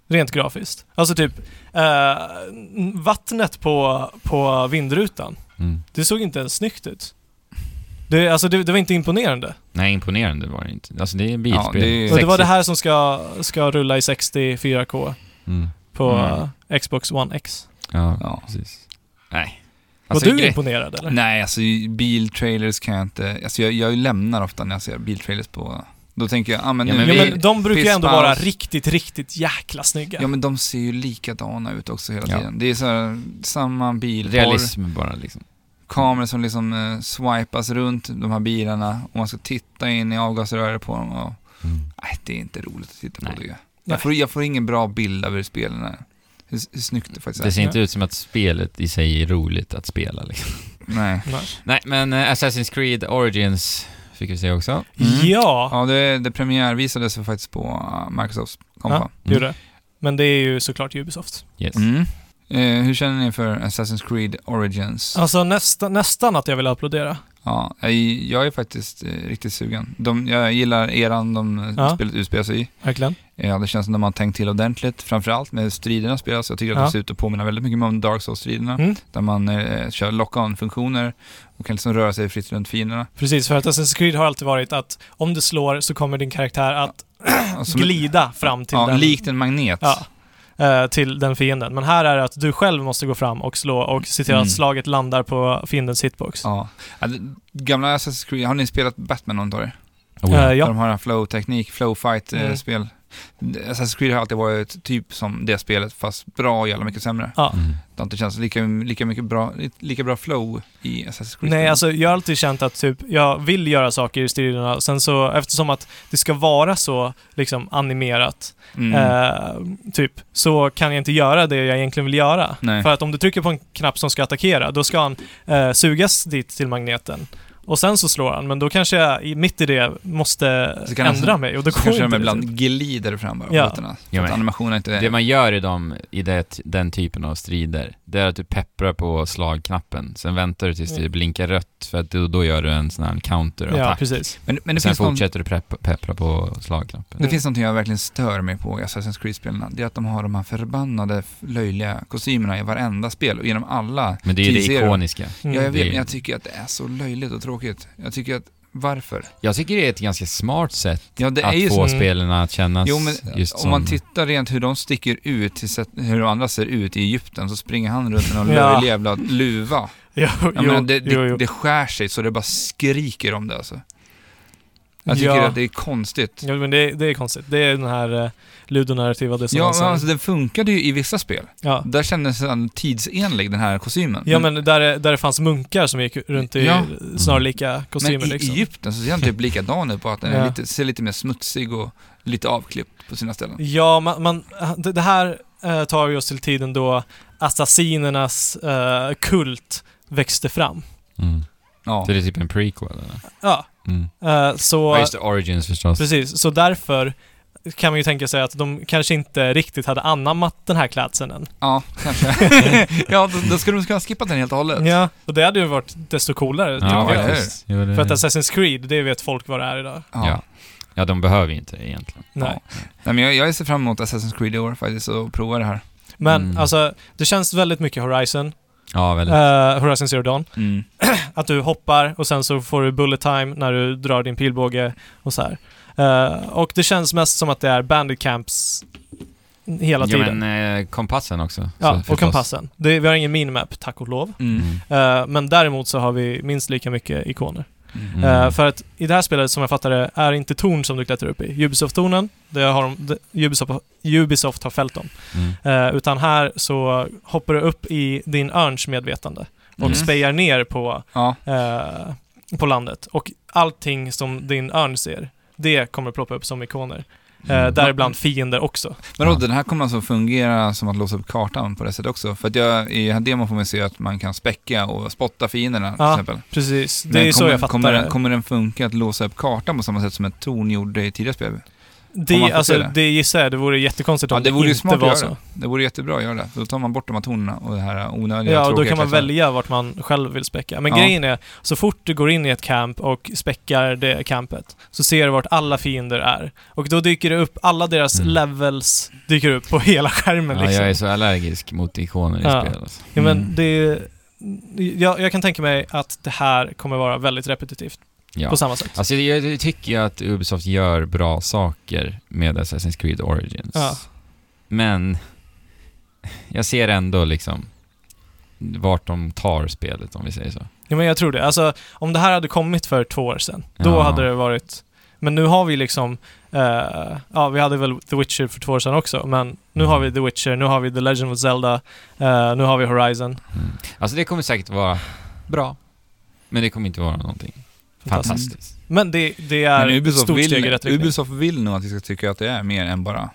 Rent grafiskt. Alltså typ, eh, vattnet på, på vindrutan,
mm.
det såg inte ens snyggt ut. Det, alltså, det, det var inte imponerande.
Nej, imponerande var det inte. Alltså det är bilspel.
Ja, det är-
Och det var det
Sexigt.
här som ska, ska rulla i 60 4K
Mm.
på
Mm.
eh, Xbox One X.
Ja,
Ja.
precis. Nej.
Var
Alltså,
du
gre-
imponerad eller?
Nej, alltså biltrailers kan jag inte, alltså jag, jag lämnar ofta när jag ser biltrailers på, då tänker jag, ah, men
Ja,
nu,
men
Ja,
vi-
men de brukar ju ändå
Pisspaus.
vara riktigt, riktigt jäkla snygga.
Ja men de ser ju likadana ut också hela
Ja.
tiden. Det är så här, samma bilporr,
Realism bara liksom.
kameror som liksom eh, swipas runt de här bilarna och man ska titta in i avgasröret på dem och, nej det är inte roligt att titta
Nej.
på det.
Nej.
Jag får, jag får ingen bra bild över hur spelen är. Hur, hur snyggt det faktiskt är.
Det ser inte ut som att spelet i sig är roligt att spela liksom.
Nej.
Nej.
Nej, men eh, Assassin's Creed Origins fick vi se också.
Mm.
Ja,
Ja, det, det premiärvisades faktiskt på eh, Microsofts kompa.
det gjorde det. Men det är ju såklart Ubisoft.
Yes.
Mm. Eh, hur känner ni för Assassin's Creed Origins?
Alltså nästa, nästan att jag vill applådera.
Ja, jag, jag är faktiskt eh, riktigt sugen. De, jag gillar eran de
Ja.
ja. spelet utspelar sig i.
Verkligen.
Ja, det känns som de har tänkt till ordentligt, framförallt med striderna spelas. Jag tycker att
Ja.
de ser ut att påminna väldigt mycket om Dark Souls-striderna,
Mm.
där man eh, kör lock-on-funktioner och kan liksom röra sig fritt runt fienderna.
Precis, för att Assassin's Creed har alltid varit att om du slår så kommer din karaktär att
Och som-
glida fram till
ja,
den.
likt en magnet.
Ja. eh, till den fienden. Men här är det att du själv måste gå fram och slå och se till
Mm.
att slaget landar på fiendens hitbox.
Ja. Ja, det- Gamla Assassin's Creed, har ni spelat Batman antar jag?
Oh,
Eh,
Där
ja.
de har en flow-teknik,
Mm.
flow-fight-spel. eh, Assassin's Creed har alltid varit typ som det spelet, fast bra och jävla mycket sämre.
Ja.
Mm.
Det har inte känts lika, lika, mycket bra, lika bra flow i Assassin's Creed.
Nej, alltså jag har alltid känt att typ, jag vill göra saker i striderna. Sen så, eftersom att det ska vara så liksom animerat,
Mm.
eh, typ, så kan jag inte göra det jag egentligen vill göra.
Nej.
För att om du trycker på en knapp som ska attackera, då ska han eh, sugas dit till magneten. Och sen så slår han, men då kanske jag i- mitt i det måste
Så kan han-
ändra mig och då
Så
går
kanske de
inte det. typ.
ibland glider fram bara på
Ja.
fötterna.
Ja,
Ja,
men-
att animationen inte...
Det man gör i, dem, i det, den typen av strider, det är att du pepprar på slagknappen. Sen väntar du tills det
Mm.
blinkar rött, för att då, då gör du en sån här
Ja,
counterattack.
precis.
men, men det,
sen
finns någon,
fortsätter du prepp, peppra på slagknappen.
det
Mm.
finns någonting jag verkligen stör mig på i Assassin's Creed-spelen. Det är att de har de här förbannade löjliga kostymerna i varenda spel och genom alla.
Men det är ju det
T-Zero.
ikoniska.
Mm.
Ja, jag
det är-
vet, men jag tycker att det är så löjligt och tråkigt. Jag tycker att, varför?
Jag tycker det är ett ganska smart sätt
Ja, det är
att
ju
få
Mm.
spelen att kännas
Jo, men
just
om
som...
man tittar rent hur de sticker ut, till sätt, hur de andra ser ut i Egypten, så springer han runt med någon
Ja.
löjlig jävla luva.
Jo,
Jag
jo,
menar, det,
jo,
det,
jo.
det skär sig så det bara skriker om det alltså. Jag tycker
Ja.
att det är konstigt.
Ja, men det, det är konstigt. Det är den här eh, ludonarrativa
Ja,
dissonansen.
men alltså den funkade ju i vissa spel.
ja.
Där kändes den tidsenlig, den här kostymen.
ja, men där, det- där det fanns munkar som gick runt i
Ja.
snarlika
men
kostymer
i
liksom.
Egypten så ser den typ likadan ut, bara att den är
Ja.
lite, ser lite mer smutsig och lite avklippt på sina ställen.
Ja, man, man, det, det här eh, tar ju oss till tiden då assassinernas eh, kult växte fram.
Mm.
Ja.
Så det är typ en prequel eller?
Ja,
Mm.
eh, så...
Ja, just det, Origins förstås.
Precis, så därför kan man ju tänka sig att de kanske inte riktigt hade anammat den här klädseln än.
Ja, kanske. ja, då, då skulle de kunna skippa den helt och hållet.
Ja, och det hade ju varit desto coolare,
Ja, Mm.
tycker jag.
Äh. eller hur?
faktiskt. Jo, det-
För att alltså- Assassin's Creed, det vet folk vad det är idag.
Ja.
Ja. ja, de behöver ju inte det egentligen.
Nej.
Nej, men jag, jag ser fram emot Assassin's Creed i år faktiskt och prova det här.
Men
Mm.
alltså, det känns väldigt mycket Horizon,
Ja, väldigt.
eh, Horizon Zero Dawn.
Mm.
Att du hoppar och sen så får du bullet time när du drar din pilbåge och så här. Eh, och det känns mest som att det är bandit camps hela
ja,
tiden.
men eh, kompassen också.
ja,
så
och
förstås.
kompassen. Det, vi har ingen minimap, tack och lov.
Mm.
Eh, men däremot så har vi minst lika mycket ikoner.
Mm.
Mm.
Eh, för att i det här spelet, som jag fattar det, är det inte torn som du klättrar upp i. Ubisoft-tornen, det har de, det, Ubisoft, Ubisoft har fällt dem.
Mm.
Eh, utan här så hoppar du upp i din örns medvetande och
Mm.
spejar ner på
Ja,
eh, på landet. Och allting som din örn ser, det kommer ploppa upp som ikoner.
Mm.
Eh, däribland fiender också.
men då,
Ja.
den här kommer alltså fungera som att låsa upp kartan på det sättet också. För att jag, i den här demon får man se att man kan späcka och spotta fienderna till
Ja.
exempel.
Precis, det
Men
är så
kommer-
jag fattar
kommer den,
det.
kommer den funka att låsa upp kartan på samma sätt som ett torn gjorde i tidigare spel? om man
Det,
får se
alltså,
det.
det gissar jag, det vore jättekonstigt om
Ja, det vore ju
inte
smart att
var
göra
så.
det. Det vore jättebra att göra det. För Då tar man bort de här tornen och det här onödiga
Ja, och då
tråkiga
kan man
klättrarna.
välja vart man själv vill späcka. Men
Ja.
grejen är, så fort du går in i ett camp och späckar det campet, så ser du vart alla fiender är. Och då dyker det upp, alla deras
Mm.
levels dyker upp på hela skärmen
ja,
liksom.
jag är så allergisk mot ikoner i
Ja.
spel. Alltså.
Ja, men
Mm.
det är, jag, jag kan tänka mig att det här kommer vara väldigt repetitivt
Ja.
på samma sätt.
Alltså, jag jag tycker ju att Ubisoft gör bra saker med Assassin's Creed Origins.
Ja.
Men jag ser ändå liksom vart de tar spelet, om vi säger så.
Ja, men jag tror det. Alltså, om det här hade kommit för två år sedan, då
Ja.
hade det varit... Men nu har vi liksom... eh, ja, vi hade väl The Witcher för två år sedan också, men nu har vi The Witcher, nu har vi The Legend of Zelda, eh, nu har vi Horizon.
Alltså det kommer säkert vara bra, men det kommer inte vara någonting
Fantastiskt.
fantastiskt.
Men det, det
Men
är ett
Ubisoft
stort steg i
vill,
rätt riktning.
Ubisoft vill nog att vi ska tycka att det är mer än bara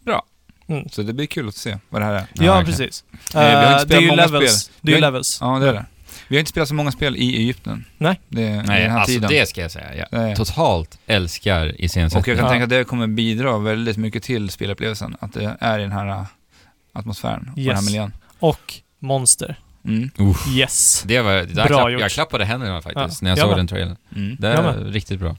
bra.
Mm.
Så det blir kul att se vad det här är.
Ja,
verkligen.
precis.
Eh, vi har inte
Eh, det är
spelat
ju
många
levels.
spel.
Det är
Vi
ju
har-
levels.
Ja, det är det. Vi har inte spelat så många spel i Egypten.
Nej.
Det, Nej,
Nej,
den här
alltså
tiden.
det ska jag säga. Jag
Nej.
totalt älskar
Och jag
iscensättningen.
kan
Ja.
tänka att det kommer bidra väldigt mycket till spelupplevelsen. Att det är i den här äh, atmosfären och den här
Yes.
miljön.
Och monster.
Mm.
Uff.
Yes.
Det var, där
Bra
klapp,
gjort.
jag klappade händerna faktiskt
Ja,
när jag
jag
såg
med.
den trailern.
Mm.
Det
Jag
är
med.
riktigt bra.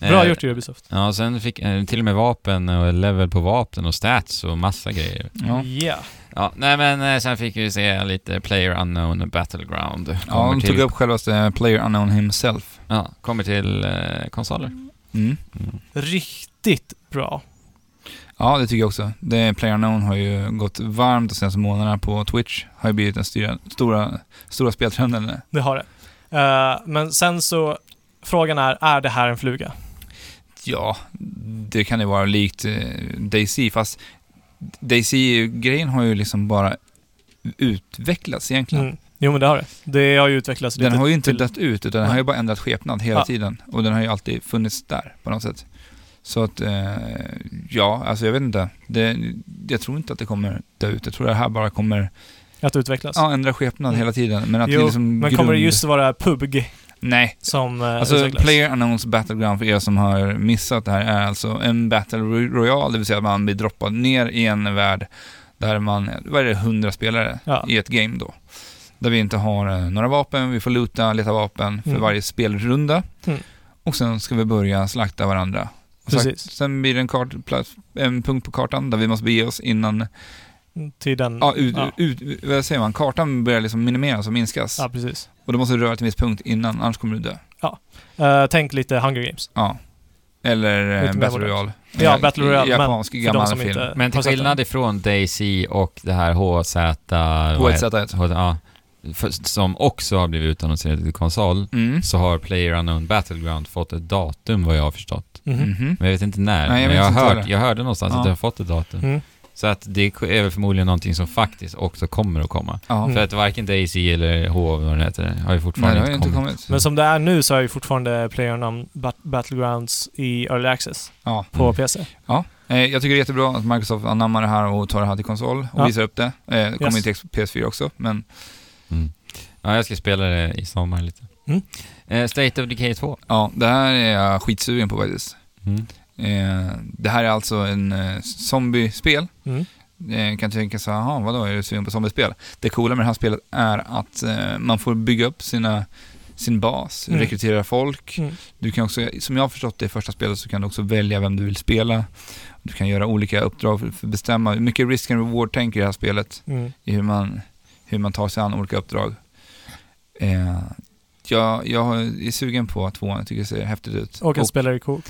Bra
Eh,
gjort Ubisoft.
Ja, sen fick eh, till och med vapen och level på vapen och stats och massa grejer.
Ja.
Yeah.
Ja, nej men eh, sen fick vi se lite Player Unknown Battleground.
Ja, de
till,
tog upp självaste Player Unknown himself.
ja, kommer till eh, konsoler.
Mm.
Riktigt bra.
Ja, det tycker jag också. Det, Player Unknown har ju gått varmt de senaste månaderna på Twitch. Har ju blivit den styra, stora, stora speltrenden.
Det har det. Eh, men sen så, frågan är, är det här en fluga?
Ja, det kan ju vara likt eh, DayZ, fast DayZ-grejen har ju liksom bara utvecklats egentligen.
Mm. Jo men det har det. Det har ju utvecklats
Den
lite
har ju inte
till-
dött ut, utan den
Nej.
har ju bara ändrat skepnad hela
Ja.
tiden. Och den har ju alltid funnits där på något sätt. Så att, eh, ja, alltså jag vet inte. Det, jag tror inte att det kommer dö ut. Jag tror det här bara kommer
att utvecklas.
ja, ändra skepnad
Mm.
hela tiden. Men att det
jo,
är liksom
men kommer det just vara PUBG
Nej,
som eh,
Alltså,
utvecklas?
Player Unknowns Battleground, för er som har missat det här, är alltså en Battle Ro- Royale, det vill säga att man blir droppad ner i en värld där man, vad är det, 100 spelare
Ja.
i ett game då. Där vi inte har eh, några vapen, vi får luta, leta vapen för
Mm.
varje spelrunda.
Mm.
Och sen ska vi börja slakta varandra. Och slakt-
Precis.
Sen blir det en, kart, plats- en punkt på kartan där vi måste bege oss innan,
Till den...
ja, ut,
Mm. ja.
Ut, vad säger man, kartan börjar liksom minimeras och minskas.
ja precis.
Och då måste du röra till en viss punkt innan, annars kommer du dö.
Eh, tänk lite Hunger Games.
Ja. Eller
Lite
eh,
mer
Battle
modernt.
Royale.
Ja,
Eh,
Battle Royale, men
Japansk
För de
gammal
som
film.
inte
Men till
har sett den.
skillnad ifrån DayZ och det här HZ... vad heter-
HZ1.
HZ ja, för, som också har blivit utannonserat till konsol,
Mm.
så har Player Unknown Battleground fått ett datum vad jag har förstått.
Mhm.
Mhm.
Men jag vet inte när,
Nej,
men
jag vet
jag,
inte
har hört,
heller.
jag hörde någonstans
Ja.
att det har fått ett datum.
Mm.
Så att det är väl förmodligen någonting som faktiskt också kommer att komma.
Ja.
Mm.
För att varken DayZ eller HV, vad den heter, har ju
Nej,
fortfarande
det har ju
inte
inte
kommit.
kommit.
Men som det är nu så är ju fortfarande PlayerUnknown Bat- Battlegrounds i Early Access
Ja.
på
Mm.
PC.
Eh, jag tycker det är jättebra att Microsoft anammar det här och tar det här till konsol och
Ja.
visar upp det. Eh, det kommer
Yes.
ju till PS4 också, men
Ja, jag ska spela det i sommar lite.
Mm.
Eh, State of Decay 2.
ja, det här är jag skitsugen på faktiskt.
Mm.
Eh, det här är alltså en eh, zombiespel.
Mm.
Eh, kan tänka så här, jaha, vadå, är du sugen på zombiespel? Det coola med det här spelet är att eh, man får bygga upp sina, sin bas,
Mm.
rekrytera folk.
Mm.
Du kan också, som jag har förstått det i första spelet, så kan du också välja vem du vill spela. Du kan göra olika uppdrag för för att bestämma. Mycket risk and reward tänker i det här spelet,
Mm.
i hur man, hur man tar sig an olika uppdrag. Eh, jag, jag är sugen på tvåan, jag tycker det ser häftigt ut.
Och en spelare i coop.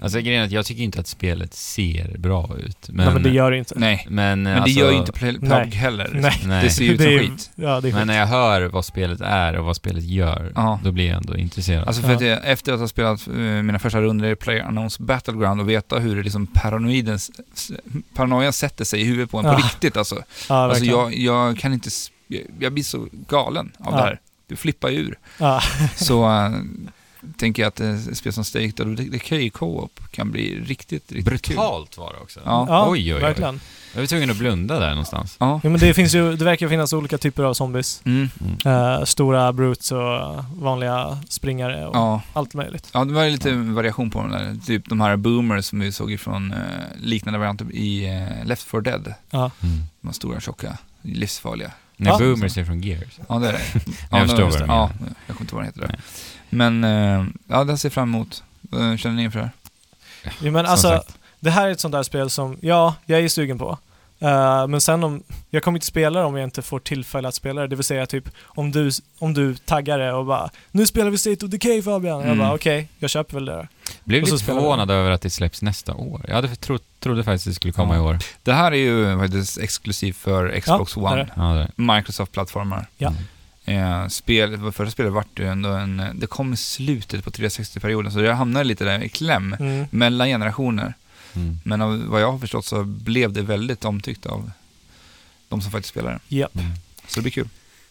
Alltså grejen är att jag tycker inte att spelet ser bra ut. Men,
Nej men det gör det inte.
nej,
men,
men
alltså,
det gör ju inte Pl- PUBG
Nej.
heller.
Nej.
Nej.
Det ser ju ut som
är-
skit.
Ja, det är
Men
skit.
när jag hör vad spelet är och vad spelet gör,
Ja.
då blir jag ändå intresserad.
Alltså för att jag, efter att ha spelat eh, mina första runder i Player Unknowns Battleground och veta hur det liksom paranoidens, s- paranoia sätter sig i huvudet på en på
Ja.
riktigt alltså.
Ja,
alltså
verkligen.
jag, jag kan inte, s- jag- jag blir så galen av
Ja.
det här. Du flippar ju ur.
Ja,
Så äh, tänker jag att eh, ett spel som Staked och Decay Co-op kan bli riktigt, riktigt kul.
Brutalt var det också.
Ja.
ja
Oj, oj, oj.
verkligen.
Jag var tvungen att blunda där någonstans.
Ja.
Jo, men det, finns ju, det verkar finnas olika typer av zombies.
Mm.
Eh, stora brutes och vanliga springare och
Ja.
allt möjligt.
ja, det var ju lite variation på den där. Typ de här boomers som vi såg ifrån eh, liknande varianter i eh, Left 4 Dead.
Mm.
De här stora, tjocka, livsfarliga.
När
Ja.
Boomers är från Gears.
Ja, det är det.
Jag
ja,
förstår vad du
just det.
menar.
Ja, jag kommer inte ihåg vad den heter. Där. Men eh, ja, det här ser jag fram emot. Eh, Känner ni inför det här?
Jo, men
Som
alltså,
sagt.
det här är ett sånt där spel som, ja, jag är sugen på. Eh, men sen om, jag kommer inte spela det om jag inte får tillfälle att spela det. Det vill säga typ om du, om du taggar det och bara “Nu spelar vi State of Decay Fabian” Jag
Mm.
bara okej, jag köper väl det då.
Blev
Och så
lite
spelar vi.
förvånad över att det släpps nästa år. Jag hade tro, trodde faktiskt det skulle komma
Ja.
i år.
Det här är ju faktiskt exklusivt för Xbox
Ja, det är
One,
det.
Ja, det.
Microsoft-plattformar.
Ja.
Eh, spel, förra spelet vart ju ändå en, det kom i slutet på 360-perioden, så jag hamnade lite där i kläm
Mm.
mellan generationer.
Mm.
Men av vad jag har förstått så blev det väldigt omtyckt av de som faktiskt spelar det.
Japp.
Så det blir kul.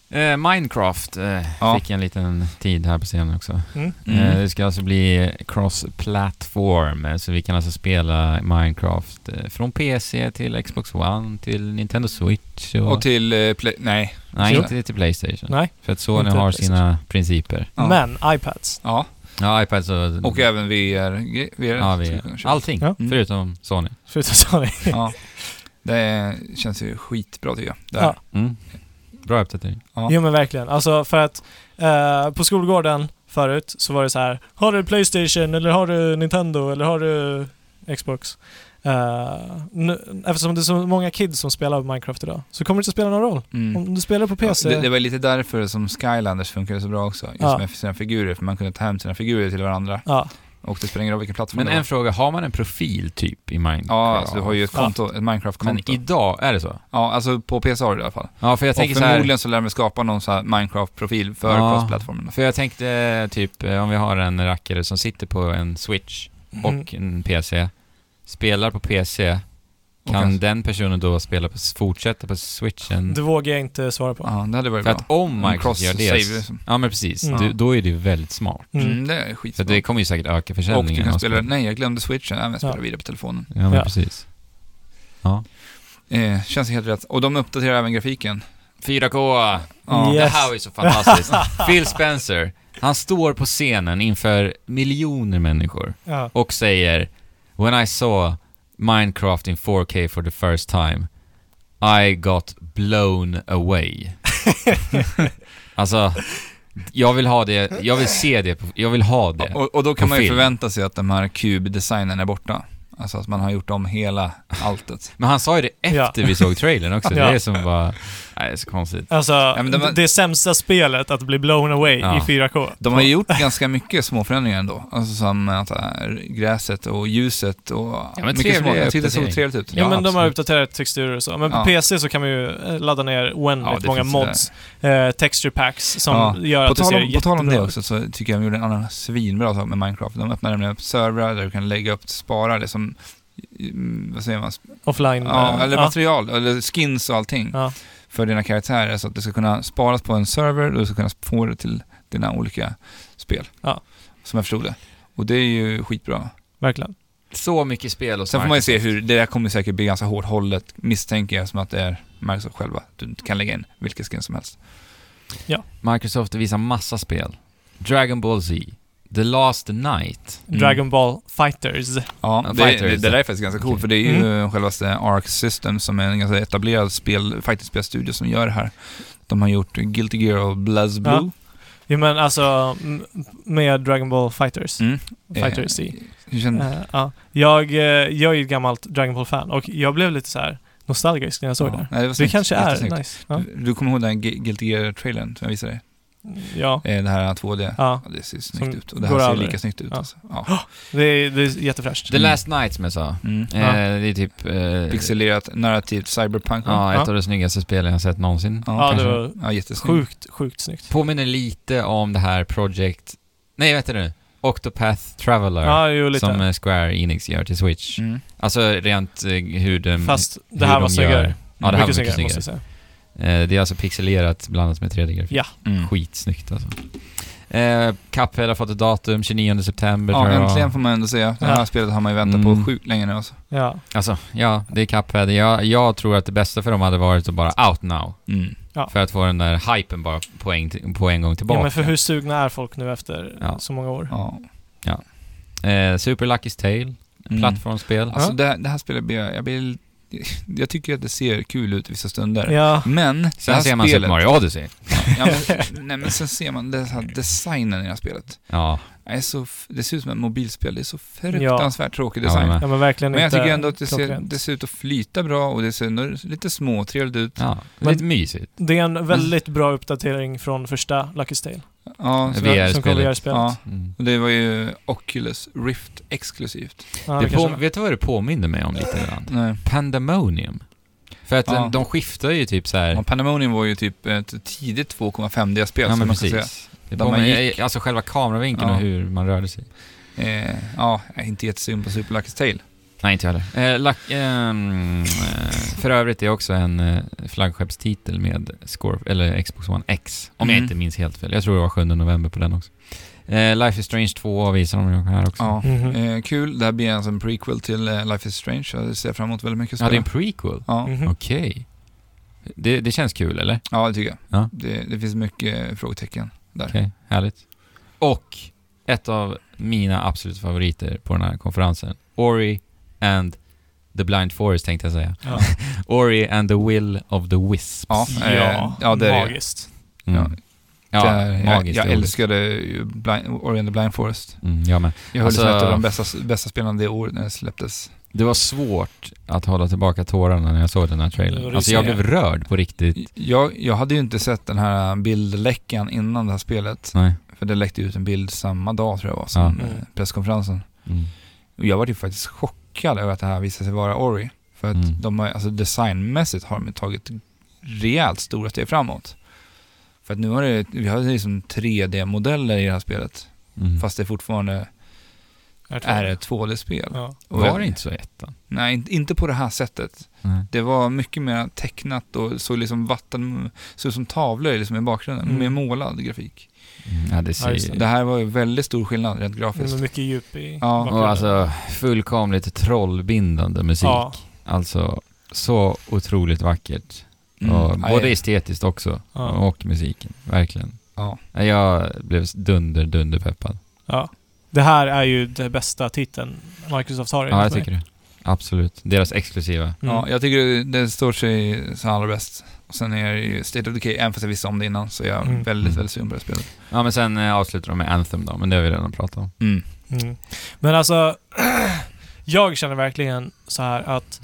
Eh, Minecraft eh,
Ja.
fick en liten tid här på scenen också.
Mm.
Eh, det ska alltså bli cross-platform, eh, så vi kan alltså spela Minecraft eh, från PC till Xbox One till Nintendo Switch och...
Och till, eh, play, nej,
nej,
Jo.
inte till Playstation.
Nej.
För att Sony
Inte
har
Playstation.
sina principer.
Ja.
Men iPads.
ja,
Ja, iPads och...
och även VR. gre- VR
Mm. ja,
skulle
vi,
vi kunna köra.
allting,
Ja.
Mm.
förutom Sony.
Förutom Sony.
Ja, det känns ju skitbra tycker jag. Det här.
Ja.
Mm. Bra uppdatering.
Ja.
Jo men verkligen. Alltså för att eh, på skolgården förut så var det så här Har du Playstation eller har du Nintendo eller har du Xbox? Eh, nu, eftersom det är så många kids som spelar Minecraft idag så kommer det inte spela någon roll.
Mm.
Om du spelar på PC.
Ja, det, det var lite därför som Skylanders funkade så bra också, just
Ja.
med sina figurer, för man kunde ta hem sina figurer till varandra.
ja.
Och det spelar ingen roll vilken plattform
Men
det var.
en fråga, har man en profil typ i Minecraft?
Ja, alltså du har ju ett
Ja.
konto, ett
Men
Minecraft-konto.
idag, är det så?
Ja, alltså på PC har du det i alla fall.
Ja, för jag tänker
och
så här,
förmodligen så lär de skapa någon så här Minecraft-profil för
Ja.
cross-plattformen.
för jag tänkte eh, typ eh, om vi har en rackare som sitter på en Switch
Mm.
och en PC, spelar på PC,
Mhm. Och
kan
en-
den personen då spela på, fortsätta på Switchen?
Det vågar jag inte svara på.
Ja, det hade varit
För
bra.
att om
En
Microsoft gör
cross-save,
det,
liksom.
ja men precis,
Mm.
du, då är det ju väldigt smart.
Mm.
Mm, det är
För
skitbra.
det kommer ju säkert öka
Och du
försäljningen. av
kan spela,
spel.
nej jag glömde switchen, även spela
Ja.
vidare på telefonen.
Ja, men
Ja.
precis.
Eh, känns helt rätt. Och de uppdaterar även grafiken.
4K!
Ja.
Yes.
Det här är så fantastiskt. Phil Spencer, han står på scenen inför miljoner människor
Ja.
och säger “When I saw Minecraft in 4K for the first time, I got blown away”. alltså, jag vill ha det, jag vill se det, på, jag vill ha det.
Och, och då kan
På
man ju
film.
förvänta sig att den här kubdesignen är borta. Alltså att man har gjort om hela alltet.
Men han sa ju det efter vi såg trailern också, det
Ja.
är som bara... Nej, det är så konstigt.
Alltså,
men det var-
det sämsta spelet att bli blown away
Ja.
i 4K.
De har ju gjort ganska mycket små förändringar ändå. Alltså som att äh, gräset och ljuset och...
men
mycket
trevlig
små. Jag tyckte det såg
uppdatering.
trevligt ut.
Ja,
Ja,
men de har
absolut.
uppdaterat texturer och så. Men på
Ja.
PC så kan man ju eh, ladda ner
Ja,
oändligt
det
många
finns det
mods, eh, texture packs som
Ja.
gör
På
att det
tal,
ser
om, på tal om det
jättebra ut.
också så tycker jag de gjorde en annan svinbra sak med Minecraft. De öppnade nämligen upp servrar där du kan lägga upp, spara det som, mm, vad säger man,
Offline.
ja,
eh,
eller
ja.
material, eller skins och allting
Ja.
för dina karaktärer så att det ska kunna sparas på en server och du ska kunna få det till dina olika spel.
Ja.
Som jag förstod det. Och det är ju skitbra.
Verkligen.
Så mycket spel och
Sen får man ju se hur, det där kommer säkert bli ganska hårt hållet misstänker jag som att det är Microsoft själva. Du kan lägga in vilka skin som helst.
Microsoft visar massa spel. Dragon Ball Z, The Last Night.
Mm.
Dragon Ball Fighters.
Ja,
Ja,
det,
fighters.
det, det där är faktiskt ganska coolt för det är ju
Mm.
mm. självaste Arc System som är en ganska etablerad spel, fighting-spelstudio som gör det här. De har gjort Guilty Gear och BlazBlue.
Jo men alltså, m- med Dragon Ball Fighters.
Mm.
Fighter Z.
Hur känner
Eh, ja. jag, eh, jag är ju ett gammalt Dragon Ball-fan och jag blev lite så här nostalgisk när jag såg det.
Nej, det var
Det
snyggt.
kanske är
Jättesnyggt.
nice. Ja.
Du, du kommer ihåg den här Gu- Guilty Gear-trailern som jag visade dig?
ja.
Eh, Det här 2D.
ja.
Ja, det ser snyggt ut. Och det
går
här ser
över.
lika snyggt ut.
Ja.
Alltså. Ja.
Det, är, det är jättefräscht.
The Last Night som jag sa.
Mm.
Eh,
Ja.
det är typ... Eh,
Pixelerat, narrativt, cyberpunk.
Ja,
Ja.
ett av de snyggaste spelen jag har sett någonsin.
Ja,
Ja, det
kanske.
var
ja jättesnyggt.
sjukt, sjukt snyggt.
Påminner lite om det här Project... Nej, vad heter det? Octopath Traveler.
Ja, jo lite.
som eh, Square Enix gör till Switch.
Mm.
Alltså rent eh, hur de...
Fast
hur
det här
de
var
gör.
snyggare.
Ja, det här var
mycket
mycket
snyggare,
snyggare.
måste jag säga.
Eh, det är alltså pixelerat blandat med 3D-grafik.
Ja.
Mm.
Skitsnyggt alltså. Eh, Cuphead har fått ett datum, 29 september
Ja,
tror jag.
äntligen får man ändå säga. Det här
Ja.
spelet har man ju väntat
Mm.
på sjukt länge nu alltså.
Ja.
Alltså, ja, det är Cuphead. Jag, jag tror att det bästa för dem hade varit att bara out now.
Mm.
Ja.
För att få den där hypen bara på en, på en gång tillbaka.
ja, men för hur sugna är folk nu efter
Ja.
så många år?
Ja.
eh, Super Lucky's Tale,
Mm.
plattformsspel.
Alltså
Ja.
det, det här spelet, blir, jag, blir, jag tycker att det ser kul ut vissa stunder.
Ja,
Men, det här
Sen ser man
spelet,
Super Mario Odyssey.
Ja, men, nej men sen ser man den här designen i det här spelet.
Ja,
Det Är så, f- det ser ut som ett mobilspel, det är så fruktansvärt tråkig
jag håller
design.
med.
ja men verkligen
men jag
inte
tycker ändå att det ser,
klockrent.
det ser ut att flyta bra och det ser ändå lite småtrevligt ut.
ja.
Men-
Lite mysigt.
Det är
Mm.
en väldigt bra uppdatering från första Lucky's Tale,
Ja, så-
VR.
som kom i
VR-spelet.
VR-spelet.
ja,
Mm.
och det var ju Oculus Rift exklusivt.
Ja,
det
det
på,
kanske var.
vet du vad det påminner mig om lite grann?
Nej.
Pandemonium. För att
Mm. Ja.
den, de skiftar ju typ så här.
Ja, Pandemonium var ju typ ett tidigt 2,5D-spel
Ja,
som
men
man ska säga.
precis. Det
Där man
påminner, Alltså själva kameravinkeln
Ja.
och hur man rörde sig.
Eh, ja, jag är inte jättesugen på Super Lucky's Tale.
Nej, inte jag heller. Eh, lack, ehm, eh, för övrigt är också en eh, flaggskeppstitel med Scorp eller Xbox One X. Om jag
Mm.
inte minns helt fel. Jag tror det var 7 november på den också. Eh, Life is Strange 2 visar de ju här också.
Ja.
Mhm.
Eh, kul, det här blir alltså en prequel till eh, Life is Strange. så Det ser jag fram emot väldigt mycket. att
Ja, det Mm. är en
spela.
prequel.
ja.
Mhm.
Okej. Det, det känns kul, eller?
ja, det tycker jag.
Ja.
Det, det finns mycket eh, frågetecken.
Okej, härligt. Och ett av mina absoluta favoriter på den här konferensen. Ori and The Blind Forest tänkte jag säga. Ori and the Will of the Wisps.
Ja, eh,
ja,
ja, det är det.
magiskt.
Mm. Ja,
Där- jag,
magiskt.
jag
roligt.
älskade ju Blind, Ori and the Blind Forest.
Mm, jag med.
Jag höll
Alltså-
det som ett av de bästa, bästa spelen det året när det släpptes.
Det var svårt att hålla tillbaka tårarna när jag såg den här
Det var
trailern.
det
Alltså jag
jag.
blev rörd på riktigt.
Jag, jag hade ju inte sett den här bildläckan innan det här spelet.
Nej.
För det läckte ut en bild samma dag tror jag var, som
Ja.
eh, presskonferensen.
Mm.
Och jag var ju faktiskt chockad över att det här visade sig vara Ori. För att
Mm.
de har, alltså designmässigt har de ju tagit rejält stora steg framåt. För att nu har det, vi har liksom 3D-modeller i det här spelet.
Mm.
Fast det fortfarande
Jag tror
är
det.
ett 2D-spel.
Ja.
Och
var
jag-
det inte så i ettan?
Nej, inte- inte på det här sättet.
Nej.
Det var mycket mer tecknat och såg liksom vatten, såg ut som tavlor liksom i bakgrunden,
Mm.
med målad grafik.
Mm, ja, det
Ja, just
ser
Det här var ju väldigt stor skillnad rent grafiskt.
Med mycket djup i
Ja, och
Och
bakgrunden.
alltså fullkomligt trollbindande musik.
ja,
Alltså så otroligt vackert.
Mm.
Och
Ja,
både
ja.
estetiskt också
Ja.
och musiken, verkligen.
Ja.
Jag blev dunder, dunderpeppad.
ja. Det här är ju den bästa titeln Microsoft har
Ja, jag tycker det. Absolut. Deras exklusiva.
Mm.
Ja, jag tycker det står sig som allra bäst. Och sen är det ju State of Decay, även fast jag visste om det innan, så är jag
Mm.
väldigt,
Mm.
väldigt sugen på det spelet.
Ja, men sen eh, avslutar de med Anthem då, men det har vi redan pratat om.
Mm.
Mm. Men alltså, jag känner verkligen så här att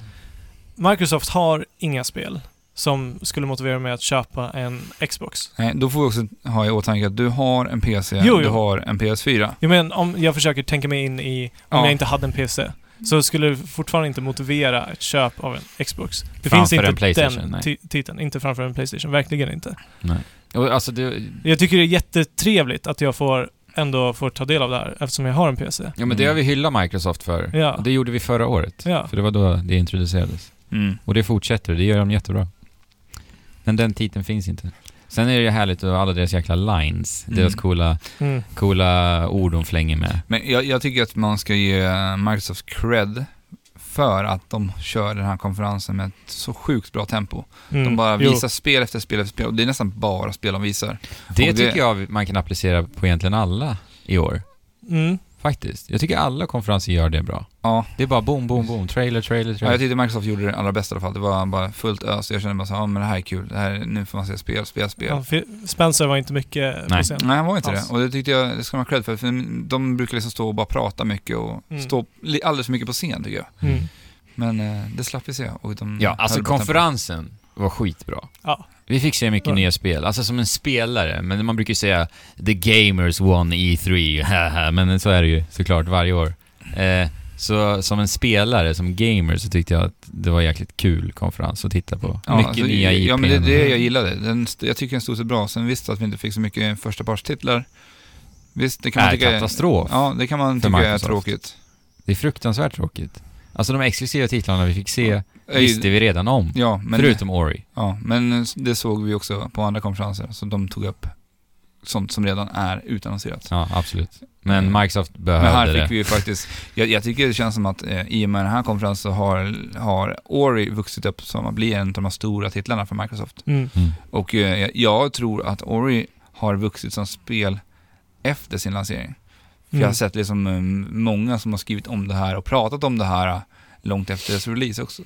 Microsoft har inga spel som skulle motivera mig att köpa en Xbox.
Nej, då får vi också ha i åtanke att du har en PC,
Jo,
du
jo.
har en PS4.
Jag menar, om jag försöker tänka mig in i om
Ja.
jag inte hade en PC, så skulle det fortfarande inte motivera ett köp av en Xbox. Det
Framför
finns inte
en PlayStation,
den
nej.
ti- titeln, inte framför en Playstation, verkligen inte.
Och, alltså, det,
Jag tycker det är jättetrevligt att jag får ändå får ta del av det här eftersom jag har en PC.
ja, men det har vi hyllat Microsoft för.
Ja.
Det gjorde vi förra året.
Ja.
För det var då det introducerades.
Mm.
Och det fortsätter, det gör de jättebra. Men den titeln finns inte. Sen är det ju härligt att alla deras jäkla lines,
Mm.
deras coola,
Mm.
coola ord de flänger med.
Men jag, jag tycker att man ska ge Microsoft cred för att de kör den här konferensen med ett så sjukt bra tempo.
Mm.
De bara
Jo.
visar spel efter spel efter spel och det är nästan bara spel de visar.
Det
Och det-
tycker jag man kan applicera på egentligen alla i år.
Mm.
Faktiskt. Jag tycker alla konferenser gör det bra.
Ja,
Det är bara boom, boom, boom. Trailer, trailer,
ja jag
trailer.
tyckte Microsoft gjorde det allra bästa i alla fall. Det var bara fullt ös jag kände bara så här, ja men det här är kul, det här, nu får man se spel, spel, spel.
Ja, för Spencer var inte mycket
Nej.
på scen.
Nej, han var inte
Alls.
det. Och det tyckte jag, det ska man ha cred för, för de brukar liksom stå och bara prata mycket och
Mm.
stå li- alldeles för mycket på scen tycker jag.
Mm.
Men eh, det slapp vi se. Och de
Ja, alltså
höll på
konferensen var skitbra.
Ja.
Vi fick se mycket
Ja.
nya spel, alltså som en spelare, men man brukar ju säga “The Gamers won E3”, haha, men så är det ju såklart varje år. Eh, så som en spelare, som gamer, så tyckte jag att det var en jäkligt kul konferens att titta på.
tempot.
mycket
alltså,
nya IPn.
Ja, men det är det jag gillade. Den, st- jag tycker den stod sig bra. Sen visst att vi inte fick så mycket förstapartstitlar. Visst, det kan man
är
tycka
katastrof.
Ja, det kan man
för
tycka
Microsoft.
är tråkigt.
Det är fruktansvärt tråkigt. Alltså de exklusiva titlarna vi fick se
Eh,
visste vi redan om,
Ja men,
förutom Ori.
ja, men det såg vi också på andra konferenser. Så de tog upp sånt som redan är utannonserat.
Ja, absolut. Men Microsoft behövde
Mm. Men här
det.
fick vi ju faktiskt, jag, jag tycker det känns som att eh, i och med den här konferensen så har, har Ori vuxit upp som att bli en av de stora titlarna för Microsoft.
Mm.
Mm.
Och eh, jag, jag tror att Ori har vuxit som spel efter sin lansering. För Jag har
Mm.
sett liksom eh, många som har skrivit om det här och pratat om det här eh, långt efter dess release också.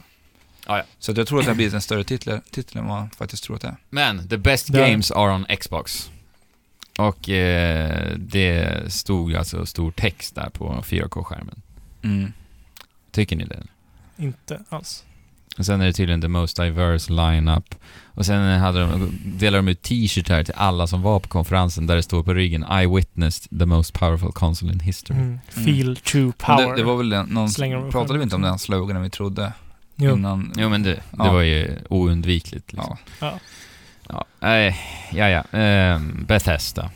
Ja, ja.
Så att jag tror att det har blivit en större titel, titel än vad man faktiskt tror att det är.
Men the best
Där.
games are on Xbox. Och eh, det stod alltså stor text där på 4K-skärmen.
Mm.
Tycker ni det?
Inte alls.
Och sen är det tydligen the most diverse lineup. Och sen hade de, delade de ut t-shirt här till alla som var på konferensen där det står på ryggen I witnessed the most powerful console in
Mm.
history.
Mm. Feel true
Typ. Men
power.
Det, det var väl den, någon,
Slänger de upp
pratade
den.
vi inte om den sloganen vi trodde
Jo.
innan?
Jo men det, det
Ja.
var ju oundvikligt liksom.
Ja.
Ja, eh, ja, ja. Ehm, Bethesda.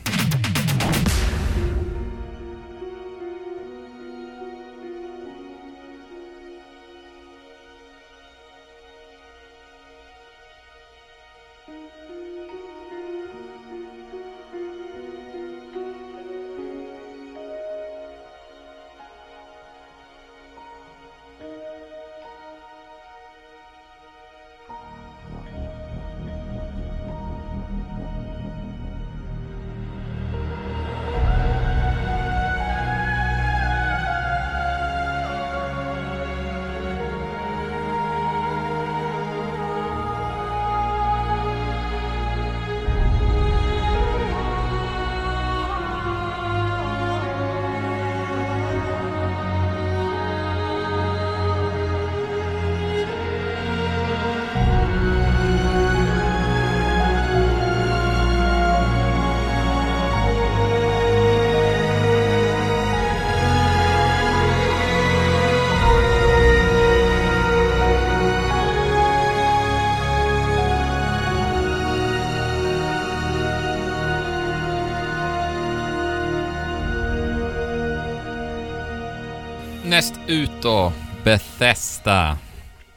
Näst ut då, Bethesda.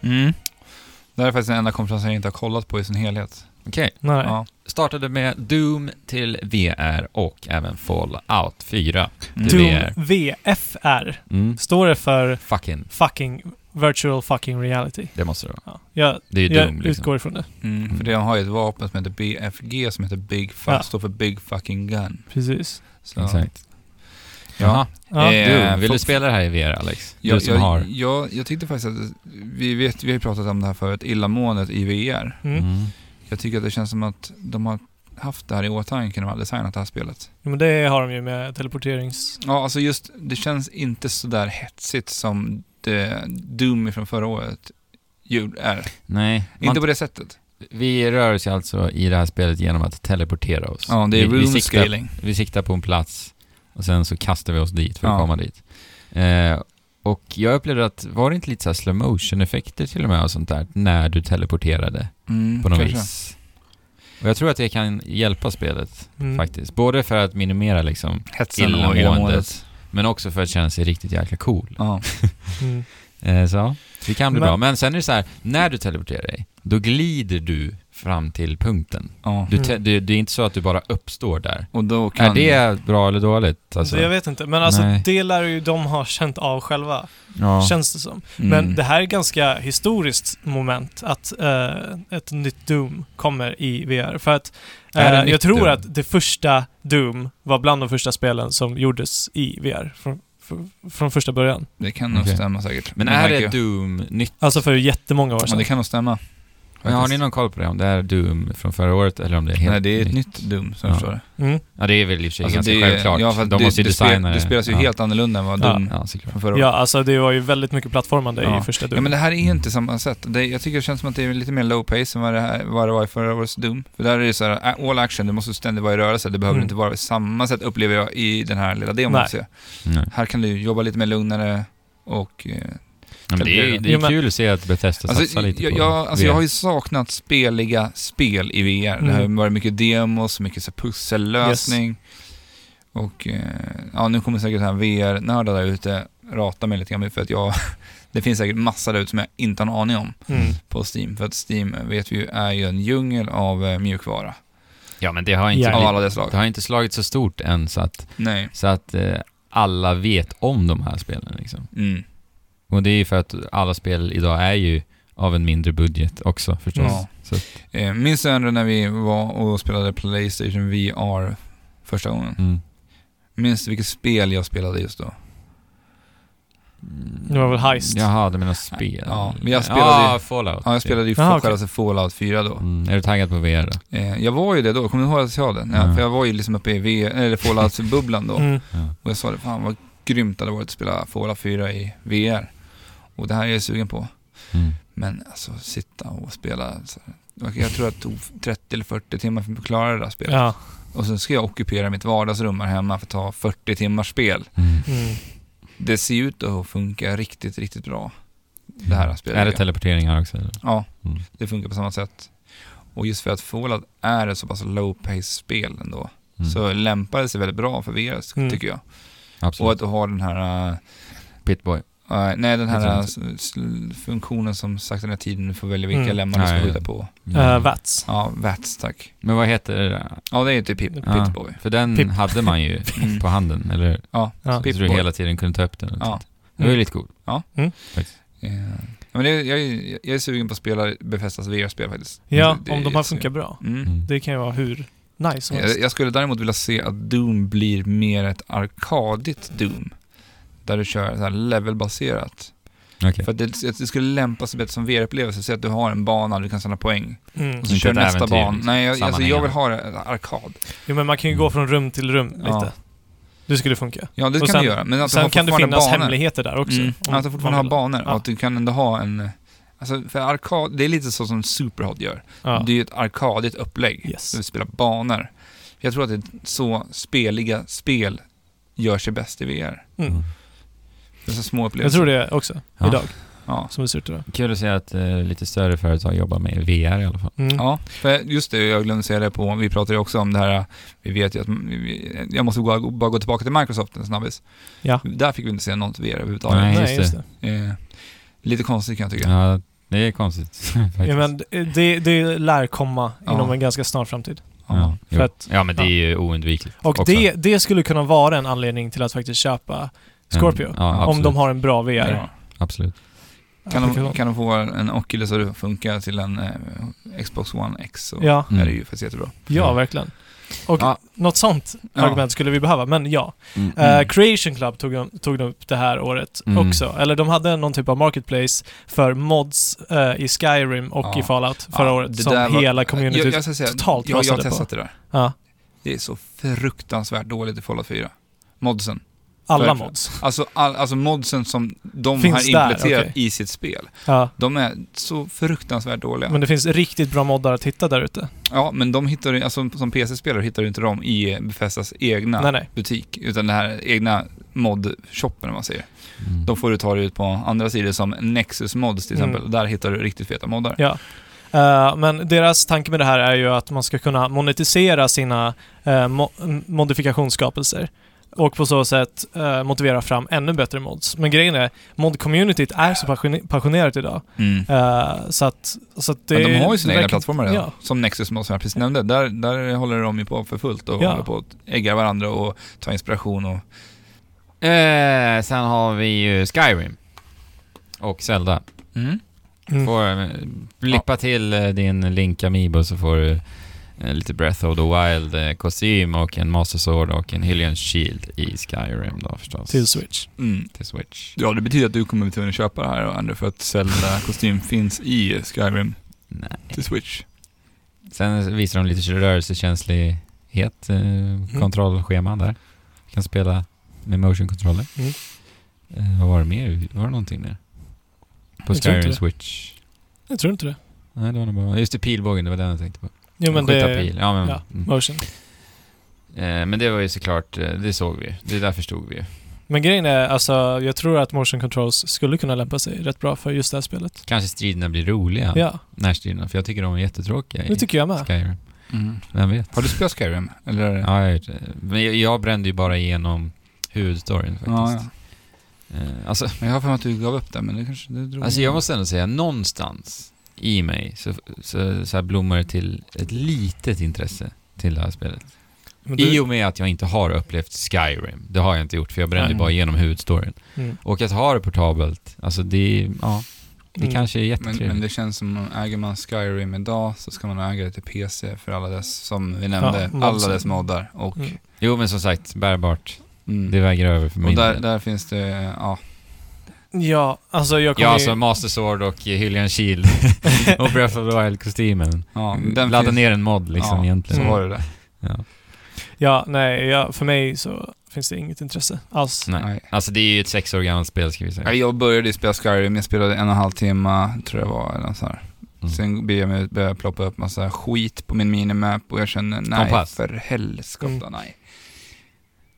Mm. Det här är faktiskt den enda konferensen jag inte har kollat på i sin helhet.
Okej.
Nej.
Ja.
Startade med Doom till VR och även Fallout 4 till
Doom
VR.
VFR.
Mm.
Står det för
Fucking.
fucking virtual fucking reality?
Det måste det vara.
Ja. Jag,
Det är ju
jag
Doom liksom.
utgår ifrån det.
Mm. För de har ju ett vapen som heter BFG som heter Big Fuck,
Ja.
står för Big Fucking Gun.
Precis.
Så,
Exakt.
Ja.
Jaha,
Ja.
Eh,
du, vill
för-
du spela det här i VR Alex? Du
Jag,
som
jag,
har...
Jag, jag tyckte faktiskt att, vi, vet, vi har ju pratat om det här förut, illamåendet i VR.
Mm.
Mm.
Jag tycker att det känns som att de har haft det här i åtanke när de har designat det här spelet.
Jo, men det har de ju med teleporterings...
Ja, alltså just, det känns inte så där hetsigt som det Doom från förra året gjorde är.
Nej, man,
Inte på det sättet.
vi rör oss alltså i det här spelet genom att teleportera oss.
Ja, det
vi,
är room
vi, siktar,
scaling.
vi siktar på en plats och sen så kastar vi oss dit för att
Ja.
komma dit. Eh, och jag upplevde att, var det inte lite så här slow motion effekter till och med och sånt där när du teleporterade
Mm,
på något
kanske.
vis? Och jag tror att det kan hjälpa spelet
Mm.
faktiskt. Både för att minimera liksom
Hetsen och illamåendet.
illamåendet, men också för att känna sig riktigt jäkla cool.
Ja.
Mm.
Eh, Så ja, det kan bli
Men-
bra. Men sen är det så här, när du teleporterar dig, då glider du fram till punkten.
ja.
Du te-
Mm.
du, det är inte så att du bara uppstår där.
Och då kan...
Är det bra eller dåligt? Alltså,
Det, jag vet inte, men alltså
Nej.
det lär ju de ha känt av själva,
ja.
känns det som.
Mm.
Men det här är ganska historiskt moment att eh, ett nytt Doom kommer i VR. För att eh,
Är det
jag
nytt
tror
Doom?
att det första Doom var bland de första spelen som gjordes i VR från, från, från första början.
Det kan nog
Okej.
stämma säkert.
Men
Det
är
här
det
kan-
Doom nytt?
Alltså för jättemånga år
Ja,
sedan.
det kan nog stämma.
Men har ni
Faktiskt.
någon koll på det? Om det är Doom från förra året eller om det är helt
Nej, det är ett
nytt?
nytt Doom som
Ja.
jag förstår det.
Mm.
Ja, det är väl i och för sig
Alltså,
ganska
det-
självklart.
Ja, för att
De
det,
måste ju
det,
designa
spel, det spelas ju
ja.
helt annorlunda än vad Doom
Ja, såklart.
från förra
Ja,
året.
alltså det var ju väldigt mycket plattformande
Ja.
i första Doom.
Ja, men det här är inte samma sätt. Det, jag tycker det känns som att det är lite mer low pace än vad det, här, vad det var i förra årets Doom. För där är det så här, ä- all action, du måste ständigt vara i rörelse. Det behöver
Mm.
inte vara på samma sätt, upplever jag, i den här lilla demon.
Nej.
så jag-
Nej.
Här kan du jobba lite mer lugnare och... Eh,
Ja, men det är, ju- det är
Jo, men-
kul att se att Bethesda
alltså,
satsar lite
jag,
på
jag, alltså, jag
VR.
har ju saknat speliga spel i VR. Det har
Mm.
varit mycket demos, mycket så här pussellösning. Och eh, ja, nu kommer säkert så här VR-nördar där ute rata mig lite grann för att jag, det finns säkert massa där ute som jag inte har en aning om
mm.
på Steam. För att Steam vet vi ju är ju en djungel av eh, mjukvara
Ja, men det har inte,
Ja.
av
blivit-
alla dess slag.
det har inte slagit så stort än så att,
Nej.
så att eh, alla vet om de här spelen liksom.
Mm.
Och det är ju för att alla spel idag är ju av en mindre budget också förstås.
Ja.
Så, att-
Eh, minns du ändå när vi var och spelade Playstation VR första gången?
mm.
Minns du vilket spel jag spelade just då?
Det var väl Heist?
Jaha, du menar spel?
Ja, men jag spelade
Ja, Fallout.
Ja, jag spelade ju
Jaha,
själva
okej.
okay. Fallout 4 då.
Mm. Är du taggad på VR då?
Eh, jag var ju det då, kommer du ihåg att jag sa det? Ja,
Mm.
För jag var ju liksom uppe i v- eller Fallout-bubblan då.
Mm.
Och jag sa det, fan vad grymt det hade varit att spela Fallout 4 i VR. Och det här är jag sugen på.
Mm.
Men alltså sitta och spela. Så, jag tror att det tog 30 eller 40 timmar för att klara det där spelet.
Ja.
Och sen ska jag ockupera mitt vardagsrum här hemma för att ta 40 timmars spel.
Mm.
Mm.
Det ser ju ut att funka riktigt, riktigt bra. Det här spelet.
Mm. Är det teleportering här också? eller?
Ja,
Mm.
det funkar på samma sätt. Och just för att Fallout är ett så pass low-pace-spel ändå,
Mm.
så lämpar det sig väldigt bra för VR,
Mm.
tycker jag. Och
Absolut.
att du har den här,
Pitboy.
eh, nej den här
Jag tror
eh, s- s- funktionen som saktar ner tiden, du får välja vilka
Mm.
lemmar du ska
Nej.
skjuta på.
Eh, Vats.
Ja, VATS tack.
Mm. Men vad heter det? där?
Ja, det är typ Pip,
Ja.
Pitboy.
För den
Pip.
hade man ju
Mm.
på handen, eller hur?
Ja,
Ja.
Så du
Pip-boy.
hela tiden kunde ta upp den. och
Ja.
titta. Det
Mm.
var ju lite coolt.
Eh, ja, men det, jag, är- jag är sugen på att spela Befestas VR-spel faktiskt.
Ja,
Det- det
om de
är
här
så-
funkar bra.
Mm.
Mm.
Det kan ju vara hur nice som helst.
Jag, jag skulle däremot vilja se att Doom blir mer ett arkadigt Doom. Där du kör så här levelbaserat.
Okej.
För att det, det skulle lämpa sig bättre som VR-upplevelse. Så att du har en bana, du kan samla poäng.
Mm.
Och så
Inte
kör
ett
nästa
äventyr,
bana.
liksom.
Nej, jag, alltså, jag
Sammanhängande.
vill ha det ett arkad.
Jo, men man kan ju gå från rum till rum lite.
Mm. Ja.
Det skulle funka.
Ja, det
Och
kan
sen-
du göra. Men att du har
Sen kan det
fortfarande
finnas
banor.
hemligheter där också.
Mm.
om
Att du fortfarande har
man vill.
banor
Ja.
och att du kan ändå ha en... Alltså, för arkad, det är lite så som Superhot gör.
Ja.
Det är ju ett arkadigt upplägg.
Yes.
Där vi spelar banor. Jag tror att det är så speliga spel gör sig bäst i VR.
Mm.
Det är så små
Jag
upplevelser.
tror det också,
Ja.
idag.
Ja.
som det ser ut idag.
Kul att se att eh, lite större företag jobbar med VR i alla fall.
Mm.
Ja, för just det, jag glömde säga det på, vi pratade ju också om det här, vi vet ju att, vi- jag måste gå, bara gå tillbaka till Microsoft en snabbis.
Ja.
Där fick vi inte se något VR överhuvudtaget.
Nej,
Nej,
just det.
Eh, lite konstigt kan jag tycka.
Ja, det är konstigt faktiskt.
Ja, men det, det lär komma inom
Ja.
en ganska snar framtid.
Ja, jo.
För att-
ja men det är ju oundvikligt
Och
också. Mm.
det, det skulle kunna vara en anledning till att faktiskt köpa Scorpio.
Mm, ja,
om
absolut.
de har en bra VR.
Ja.
Absolut.
Kan, de,
applikation.
kan de få en Oculus att funka till en eh, Xbox One X så
Ja. Mm.
är det ju faktiskt jättebra.
Ja, verkligen. Och
Ja.
något sånt
Ja.
argument skulle vi behöva, men ja. Eh,
Mm.
Creation Club tog, de- tog de upp det här året
Mm.
också. Eller de hade någon typ av marketplace för mods eh, i Skyrim och
Ja.
i Fallout förra
Ja,
året
det
som
där var-
hela communityt...
jag, jag ska säga,
totalt
jag, jag
rasade
har
på.
testat det där.
ja,
Det är så fruktansvärt dåligt i Fallout 4. Modsen.
alla
verkligen.
mods.
Alltså, all, alltså modsen som de
Finns
har
där,
implementerat
okej.
i sitt spel.
Ja.
De är så fruktansvärt dåliga.
Men det finns riktigt bra moddar att hitta där ute.
Ja, men de hittar du- alltså som PC-spelare hittar du inte dem i Befestas egna
Nej, nej.
butik, utan den här egna mod-shoppen, om man säger.
Mm.
Då får du ta dig ut på andra sidor som Nexus Mods till
Mm.
exempel, och där hittar du riktigt feta moddar.
Ja. Eh, men deras tanke med det här är ju att man ska kunna monetisera sina eh, mo- m- modifikationsskapelser och på så sätt eh, motivera fram ännu bättre mods. Men grejen är, mod-communityt är så passione- passionerat idag.
Mm.
Eh, så att, så att det
Men de har ju sina
det
egna
verkar-
plattformar redan,
Ja.
som Nexus Mods som jag precis nämnde. Där, där håller de ju på för fullt och
Ja.
håller på att ägga varandra och ta inspiration och...
Eh, sen har vi ju Skyrim. Och Zelda.
Mm.
Mm.
Får, eh, blippa till eh, din Link Amiibo så får du eh, lite Breath of the Wild-kostym och en Master Sword och en Hylian Shield i Skyrim då förstås.
Till Switch.
Mm.
Till Switch.
Ja, det betyder att du kommer bli tvungen att köpa det här, Andrew, för att Zelda-kostym finns i Skyrim
Nej.
till Switch.
Sen visar de lite rörelsekänslighet, eh,
Mm.
kontrollschema där. Du kan spela med motion controller.
Mm.
Eh, vad var det mer? Var det någonting mer? På
Jag tror inte
Skyrim
det.
Switch?
Jag tror inte det.
Nej, det var nog bara... Just det, pilbågen, det var den jag tänkte på.
Jo men
Skjuta
det...
pil. Ja, men,
Ja,
mm.
motion.
Eh, men det var ju såklart, eh, det såg vi ju. Det där förstod vi ju.
Men grejen är, alltså, jag tror att motion controls skulle kunna lämpa sig rätt bra för just det här spelet.
Kanske striderna blir roliga,
Ja,
närstriderna, för jag tycker de är jättetråkiga
det
i
tycker jag med.
Skyrim.
Mm.
Vem vet?
Har du spelat Skyrim? Eller?
Ja, jag, har gjort det. men jag, jag brände ju bara igenom huvudstoryn faktiskt.
Ja, ja.
Eh, alltså,
Men jag har för mig att du gav upp det, men det kanske det drog
Alltså jag måste ändå säga, någonstans i mig så, så, så här blommar det till ett litet intresse till det här spelet.
Men
I
du,
och med att jag inte har upplevt Skyrim. Det har jag inte gjort för jag brände
Nej.
bara igenom huvudstoryn.
mm,
Och att ha det portabelt, alltså det, ja, det
Mm.
kanske är
men,
jättetrevligt.
men det känns som, om äger man Skyrim idag så ska man äga det till PC för alla dess, som vi nämnde,
mods.
alla dess moddar. Och,
Mm.
mm.
Jo men som sagt, bärbart. Det väger över för
och
min
där,
del.
där finns det, ja.
ja, alltså jag kommer
Ja,
ju-
alltså Master Sword och Hylian Shield och Breath of the Wild-kostymen.
ja
Ladda
finns-
ner en mod liksom
ja,
egentligen.
Så var det där.
Ja.
Ja, nej, ja, för mig så finns det inget intresse alls.
Nej.
Nej.
Alltså det är ju ett sex år gammalt spel ska vi säga.
Nej, Jag började ju spela Skyrim, jag spelade en och en halv timme, tror jag var, eller något sånt här.
Mm.
Sen började jag med- började ploppa upp massa skit på min minimap och jag känner, nej
Kompass.
för
Mm.
helskotta, nej.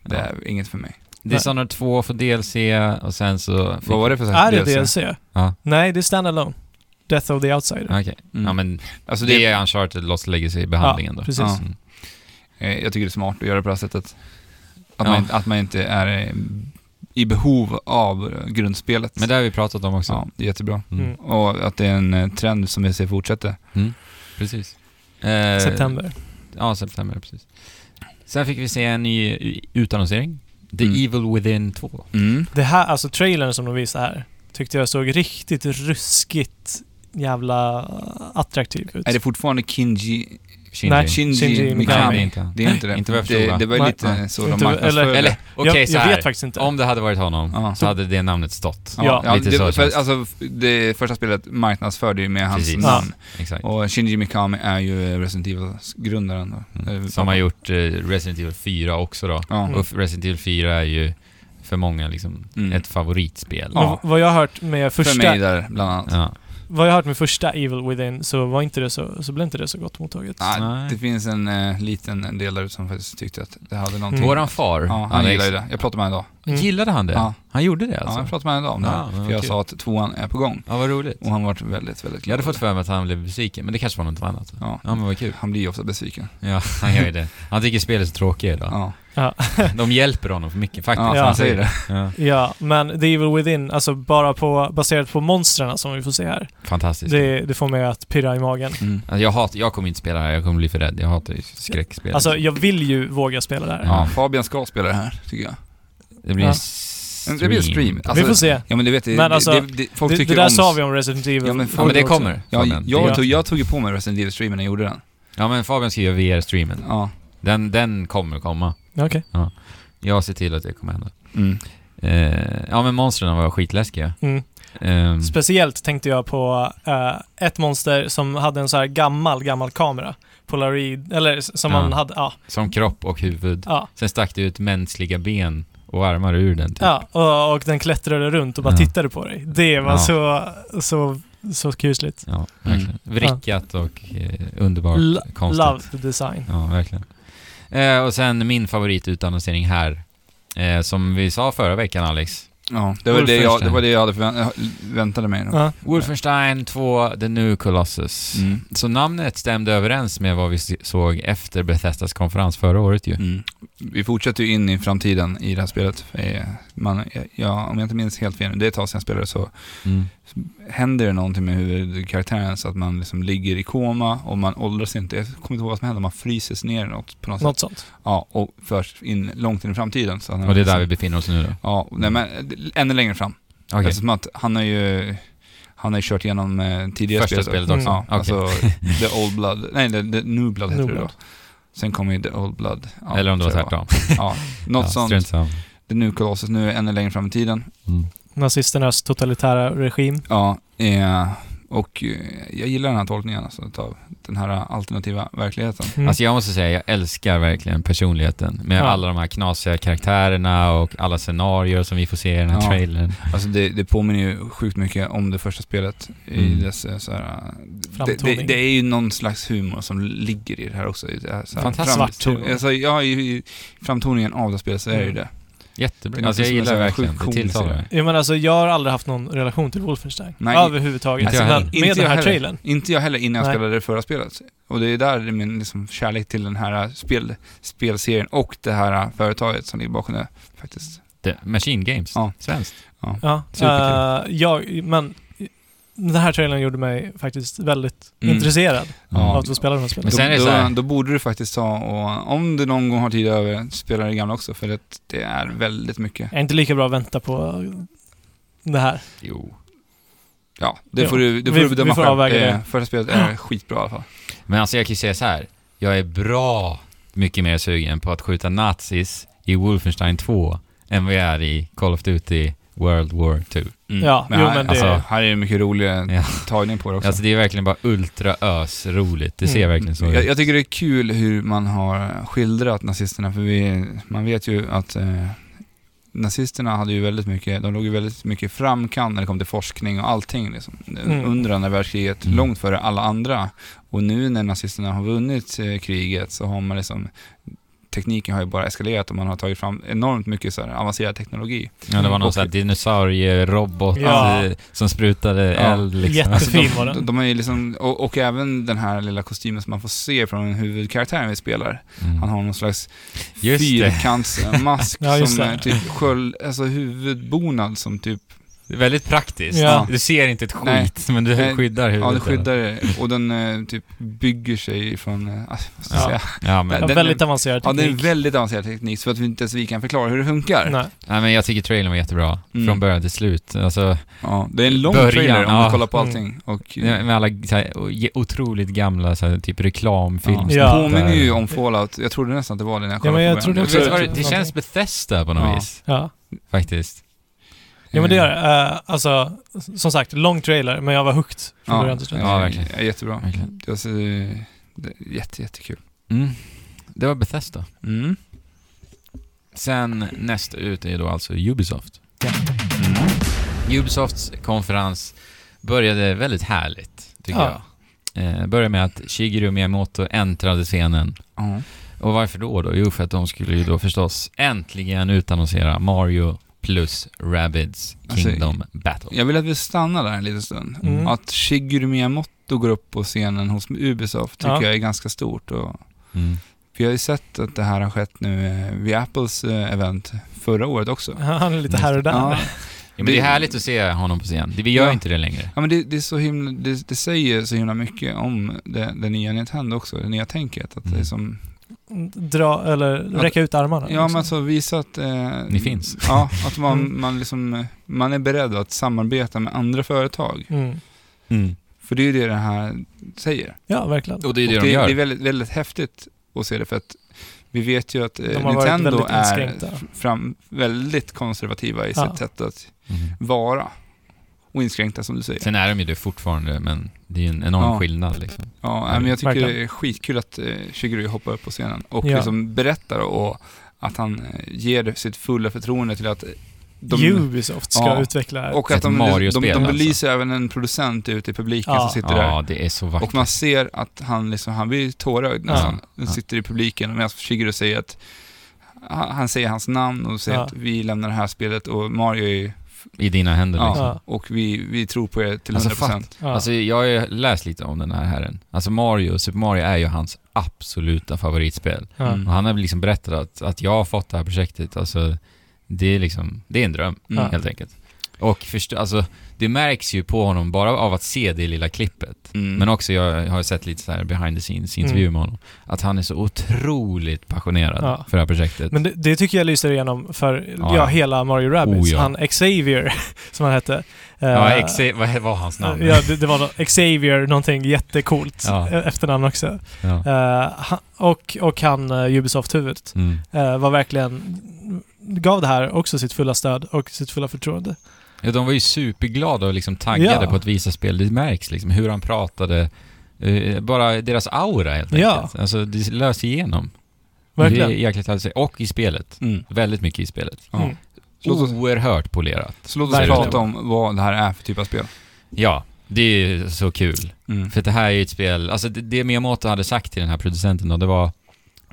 Det
Ja.
är inget för mig.
Dishonored 2 för DLC och sen så...
Vad var det för slags
Är det
DLC?
DLC?
Ja.
Nej, det är standalone. Death of the Outsider.
Okej.
Mm.
Ja men
Alltså
det
det,
är Uncharted Lost Legacy-behandlingen då.
precis.
Mm.
eh, jag tycker det är smart att göra på det här sättet. Att,
Ja.
man, inte- att man inte är eh, i behov av eh, grundspelet.
Men det har vi pratat om också.
ja, det är jättebra.
Mm.
Mm.
Och att det är en eh, trend som vi ser
Eh.
fortsätta.
Precis. Eh,
September.
Ja, september, precis. Sen fick vi se en ny u- utannonsering. The
Mm.
Evil Within 2.
Mm.
Det här, alltså trailern som de visade här, tyckte jag såg riktigt ruskigt jävla attraktiv ut.
Är det fortfarande Kinji?
Shinji.
Nej,
Shinji,
Shinji
Nej,
Mikami.
det är inte han.
Det är inte det.
Inte vad jag förstod, va?
det, det var
Nej.
lite
Nej.
så de
Inte-
marknadsförde det.
Eller okej
jag,
så
jag vet
här.
faktiskt inte.
Om det hade varit honom
Ja.
så hade det namnet stått.
Ja.
Ja, ja,
Lite så
det,
känns
för,
det.
alltså, f- det första spelet marknadsförde ju med hans
Precis.
namn.
Exakt.
Och Shinji Mikami är ju Resident Evil-grundaren. då. Eh,
Som har gjort eh, Resident Evil 4 också då.
Ja.
Mm.
Och Resident Evil 4 är ju för många liksom
Mm.
ett favoritspel.
Men
Ja.
vad jag har hört med
För
första...
mig där, bland annat.
Ja.
vad jag har hört med första Evil Within så, var inte det så, så blev inte det så gott mottaget.
Nej,
Nej.
det finns en eh, liten del där ute som faktiskt tyckte att det hade någonting.
Mm. Våran far,
Mm. Ja, han
Alex,
gillar ju det. Jag pratade med honom idag.
Mm.
gillade han det?
Ja.
Han gjorde det
Ja,
alltså?
jag pratade med honom idag om det
Ja,
här,
men
För jag
kul.
sa att tvåan är på gång.
Ja, vad roligt.
Och han var väldigt, väldigt
Jag
glad.
hade fått för mig att han blev besviken, men det kanske var något annat.
Ja.
Ja, men vad kul.
Han blir ju ofta besviken.
Ja, han gör ju det. Han tycker spel är så tråkiga idag.
Ja,
De hjälper honom för mycket faktiskt.
ja,
Ja.
han säger det.
Ja,
Ja, men The Evil Within, alltså bara på, baserat på monstren som vi får se här,
fantastiskt.
det, det får mig att pirra i magen.
Mm.
Alltså, jag, hat, jag kommer inte spela det här, jag kommer bli för rädd. Jag hatar ju skräckspel.
Alltså, jag vill ju våga spela det här.
Ja.
Fabian ska spela det här, tycker jag.
det blir
ja.
en stream.
Det blir en stream. Alltså,
vi får se.
Ja, men du vet, det,
Men alltså,
det, det, folk
Det,
tycker
det
om...
där sa vi om Resident Evil.
Ja, men
Ja, men det
också.
kommer.
Ja,
Fabian.
jag,
Ja.
tog, jag tog ju på mig Resident Evil-streamen när jag gjorde den.
ja, men Fabian ska göra VR-streamen.
Ja.
Den, den kommer komma.
Ja, Okej.
Jag ser till att det kommer hända.
Mm.
Eh, ja, men monstren var skitläskiga.
Mm.
Ehm,
Speciellt tänkte jag på eh, ett monster som hade en så här gammal, gammal kamera. Polaroid, eller s- som
Ja.
man hade, ja.
som kropp och huvud.
ja,
Sen stack det ut mänskliga ben och armar ur den typ.
ja och, och den klättrade runt och bara
Ja.
tittade på dig. Det var
Ja.
så, så, så kusligt.
Ja, verkligen. Vrickat och eh, underbart
Mm. L-
konstigt.
Love the design.
Ja, verkligen. Eh, och sen min favoritutannonsering här, eh, som vi sa förra veckan Alex.
Ja, det var det jag, det var det jag hade förvänt, väntade mig.
Ja.
Wolfenstein 2 The New Colossus.
Mm.
Så namnet stämde överens med vad vi s- såg efter Bethesdas konferens förra året ju.
Mm. Vi fortsätter ju in i framtiden i det här spelet. Eh, Man, ja, om jag inte minns helt fel nu, det är ett tag sedan jag spelade, så händer det någonting med huvudkaraktären så att man liksom ligger i koma och man åldras inte. Jag kommer inte ihåg vad som händer, man fryses ner i något på något sätt.
Något sånt.
Ja, och förs in långt in i framtiden. Så han-
Och det är där vi befinner oss nu då. Alltså,
Ja, nej, men eh, ännu längre fram.
Okej.
Eftersom att han har ju, han har ju kört igenom eh, tidigare
Första spelet också.
Ja,
Okej.
alltså The Old Blood, nej The, the New Blood heter
New
det då.
Blood.
Sen kommer ju The Old Blood. Ja,
Eller om det var
tror jag
tvärtom.
Ja, något
Ja,
sånt.
strunt samma.
The New Colossus nu är ännu längre fram i tiden.
Mm.
Nazisternas totalitära regim.
Ja, eh, och eh, jag gillar den här tolkningen alltså av den här alternativa verkligheten.
Mm.
Alltså jag måste säga, jag älskar verkligen personligheten med
Ja.
alla de här knasiga karaktärerna och alla scenarier som vi får se i den här
Ja.
trailern.
Alltså det, det påminner ju sjukt mycket om det första spelet i
Mm.
dess eh, så här, eh, det, det,
Framtoning.
det är ju någon slags humor som ligger i det här också. i det här, så här,
Fantastiskt.
Svarttoning.
alltså, ja, i, i framtoningen av det spelet så är det ju
Mm.
det. Det
Jättebra.
är
Alltså jag
något som
gillar
är så
verkligen,
sjukt
det
komiskt i
tilltalar
det.
mig.
Jag menar alltså, jag har aldrig haft någon relation till Wolfenstein.
Nej.
Överhuvudtaget.
Inte jag
Men
heller.
med
Inte
den
jag
här
heller.
trailern.
Inte jag heller innan jag
Nej.
spelade det förra spelet. Och det är där det är min liksom, kärlek till den här eh, spel, spelserien och det här eh, företaget som ligger bakom det faktiskt.
The Machine Games.
Ja.
Svenskt.
Ja.
Superkul.
eh, jag, men den här trailern gjorde mig faktiskt väldigt
Mm.
intresserad
Ja.
av att få spela de här
Men
spelen.
sen är det
då,
så här-
då, då borde du faktiskt ta och, om du någon gång har tid över, spela det gamla också för det, det är väldigt mycket.
Jag är inte lika bra att vänta på det här.
Jo.
Ja, det
Ja.
får du, det får
Vi-
du bedöma
vi får
själv.
avväga det.
Eh, Första spelet är skitbra i alla fall.
Men alltså jag kan ju säga så här. jag är bra mycket mer sugen på att skjuta nazis i Wolfenstein 2 än vad jag är i Call of Duty World War 2.
Ja,
men
jo,
här,
men det-
alltså, här är det mycket roligare
Mm. Ja.
tagning på det också.
Alltså det är verkligen bara ultra ös roligt. Det ser
Mm.
verkligen så
jag,
ut.
jag tycker det är kul hur man har skildrat nazisterna, för vi, man vet ju att eh, nazisterna hade ju väldigt mycket, de låg ju väldigt mycket i framkant när det kom till forskning och allting liksom.
Mm.
Under andra världskriget,
Mm.
långt före alla andra. Och nu när nazisterna har vunnit eh, kriget så har man liksom Tekniken har ju bara eskalerat och man har tagit fram enormt mycket så här avancerad teknologi.
Ja, det var någon
Och-
sån här dinosaurierobot
Ja.
eh, som sprutade
Ja.
eld liksom.
Alltså,
Jätte- Fin var
de,
den.
de är ju liksom, och, och även den här lilla kostymen som man får se från huvudkaraktären vi spelar.
Mm.
Han har någon slags
Just det.
fyrkantsmask
Ja, just
som
det.
är typ sköld, alltså huvudbonad som typ,
Det är väldigt praktiskt.
Ja.
Du ser inte ett skit,
Nej.
men du
Nej.
skyddar huvudet.
ja det skyddar det. Och den eh, typ bygger sig från, eh, alltså, vad ska jag
Ja.
säga?
Ja, men,
En
den-
väldigt avancerad
Ja det är en
teknik.
väldigt avancerad teknik så att vi inte ens vi kan förklara hur det funkar.
Nej.
nej, men jag tycker trailern var jättebra.
Mm.
Från början till slut. Alltså,
Ja, det är en lång
Början,
trailer om
ja.
du kollar på
Mm.
allting. Och, eh,
med alla så här, o- ge- otroligt gamla så här, typ reklamfilm.
Ja.
Påminner ju om Fallout, jag trodde nästan att det var det när jag kollade
men jag
på
trodde
Jag
början.
vet inte vad det, det
Någonting.
känns Bethesda på något
Ja.
vis,
Ja.
faktiskt.
ja, men det gör det. Eh, alltså, som sagt, lång trailer, men jag var hooked från
Ja,
början till slut.
Ja, verkligen.
Ja, jättebra.
Verkligen.
Det var så, eh, det är jätte, jättekul.
Mm. Det var Bethesda.
Mm.
Sen nästa ut är ju då alltså Ubisoft.
Ja.
Ubisofts konferens började väldigt härligt, tycker
Ja.
jag. Eh, började med att Shigeru Miyamoto äntrade scenen.
Ja.
Och varför då då? Jo, för att de skulle ju då förstås äntligen utannonsera Mario plus Rabbids
Alltså,
Kingdom Battle.
Jag vill att vi stannar där en liten stund.
Mm.
Att Shigeru Miyamoto går upp på scenen hos Ubisoft tycker
Ja.
jag är ganska stort. Och
Mm.
Vi har ju sett att det här har skett nu eh, vid Apples eh, event förra året också.
Han är lite här och där.
Ja,
Ja, men det är
Det-
härligt att se honom på scen. Vi gör
Ja.
inte det längre.
ja men det, det, är så himla, det, det säger så himla mycket om det, det nya Nintendo också, det nya tänket. Att det är
Mm.
som,
Dra, eller räcka ut armarna.
ja men
liksom.
alltså visa att... Eh,
Ni finns.
Ja, att man,
Mm.
man, liksom, eh, man är beredd att samarbeta med andra företag.
mm.
För det är ju det det här säger.
Ja, verkligen.
Och det är det
Och
de
det,
gör.
det är väldigt, väldigt häftigt att se det för att vi vet ju att eh,
De har varit
Nintendo
väldigt
är
inskränkta.
f- fram, väldigt konservativa i
Ja.
sitt sätt att
Mm.
vara. Och inskränkta som du säger.
Sen är de ju det fortfarande, men det är ju en enorm
Ja.
skillnad liksom.
Ja, nej, men jag tycker
Verkligen.
det är skitkul att eh, Shigeru hoppar upp på scenen och
Ja.
liksom berättar och att han eh, ger sitt fulla förtroende till att eh, de,
Ubisoft ska
Ja.
utveckla det här.
och att
Ett
de, de, de,
Mario-spel, alltså.
belyser även en producent ute i publiken
Ja.
som sitter där.
Ja, det är så vackert.
Och man ser att han, liksom, han blir tårögd
Ja.
nästan. Han
Ja.
sitter i publiken medan Shigeru säger att han han säger hans namn och säger
Ja.
att vi lämnar det här spelet och Mario är,
I dina händer
ja,
liksom.
Ja.
och vi, vi tror på er till 100%.
Alltså, fatt.
ja.
Alltså jag har ju läst lite om den här herren. Alltså Mario, Super Mario är ju hans absoluta favoritspel.
ja.
Mm.
Och han har väl liksom berättat att, att jag har fått det här projektet, alltså det är liksom, det är en dröm
Mm.
Ja.
helt enkelt. Och förstå, alltså det märks ju på honom bara av att se det lilla klippet.
Mm.
Men också, jag har sett lite så här behind the scenes intervjuer med honom, att han är så otroligt passionerad
Mm. Ja.
för det här projektet.
Men det, det tycker jag lyser igenom för
Ja.
ja. hela Mario Rabbids.
Oh, ja.
Han Xavier, som han hette. eh,
ja, exa- vad var hans namn?
Ja, det, det var nå- Xavier, någonting jättecoolt
Ja.
eh, efternamn också.
Ja.
Eh, han- och, och han eh, Ubisoft-huvudet
Mm.
eh, var verkligen gav det här också sitt fulla stöd och sitt fulla förtroende.
Ja, de var ju superglada och liksom taggade
Ja.
på att visa spel. Det märks liksom hur han pratade. Eh, bara deras aura helt
Ja.
enkelt. Alltså det löser igenom.
Verkligen.
Det är jäkligt härligt att se. Och i spelet.
Mm.
Väldigt mycket i spelet.
Ja.
Mm.
Så låt oss,
Oerhört polerat.
så låt oss
Verkligen.
prata om vad det här är för typ av spel.
Ja, det är ju så kul.
Mm.
För det här är ju ett spel, alltså det, det Miyamoto hade sagt till den här producenten då, det var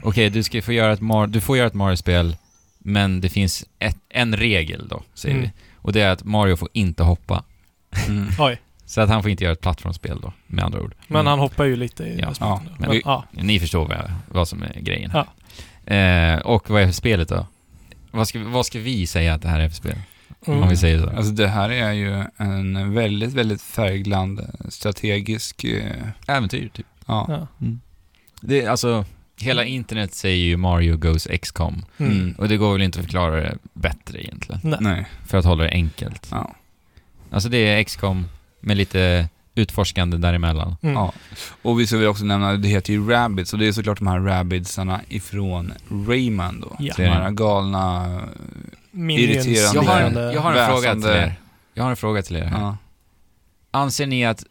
okej, du ska få göra ett Mar- du får göra ett Mario-spel, men det finns ett, en regel då, säger
Mm.
vi. Och det är att Mario får inte hoppa.
Mm.
Oj,
Så att han får inte göra ett plattformsspel då, med andra ord.
men
Mm.
han hoppar ju lite i
Ja,
ja,
ja, men
men,
vi-
ja.
Ni förstår vad, vad som är grejen här. Eh, och vad är för spelet då? Vad ska, vad ska vi säga att det här är för spel? Om vi
Mm.
säger så.
Alltså det här är ju en väldigt, väldigt färggland strategisk, eh,
Äventyr, typ.
ja.
Ja.
Det, är alltså, hela internet säger ju Mario Goes XCOM.
Mm.
Mm.
Och det går väl inte att förklara det bättre egentligen.
Nej.
För att hålla det enkelt.
Ja.
Alltså det är XCOM med lite utforskande däremellan.
Mm.
Ja. Och vi ska väl också nämna, det heter ju Rabbids och det är såklart de här Rabbidsarna ifrån Rayman då.
Ja.
De här galna...
Mm. Minions,
irriterande.
Jag har en,
liknande-
jag har en fråga till
Väsande.
er. Jag har en fråga till er här.
Ja.
Anser ni att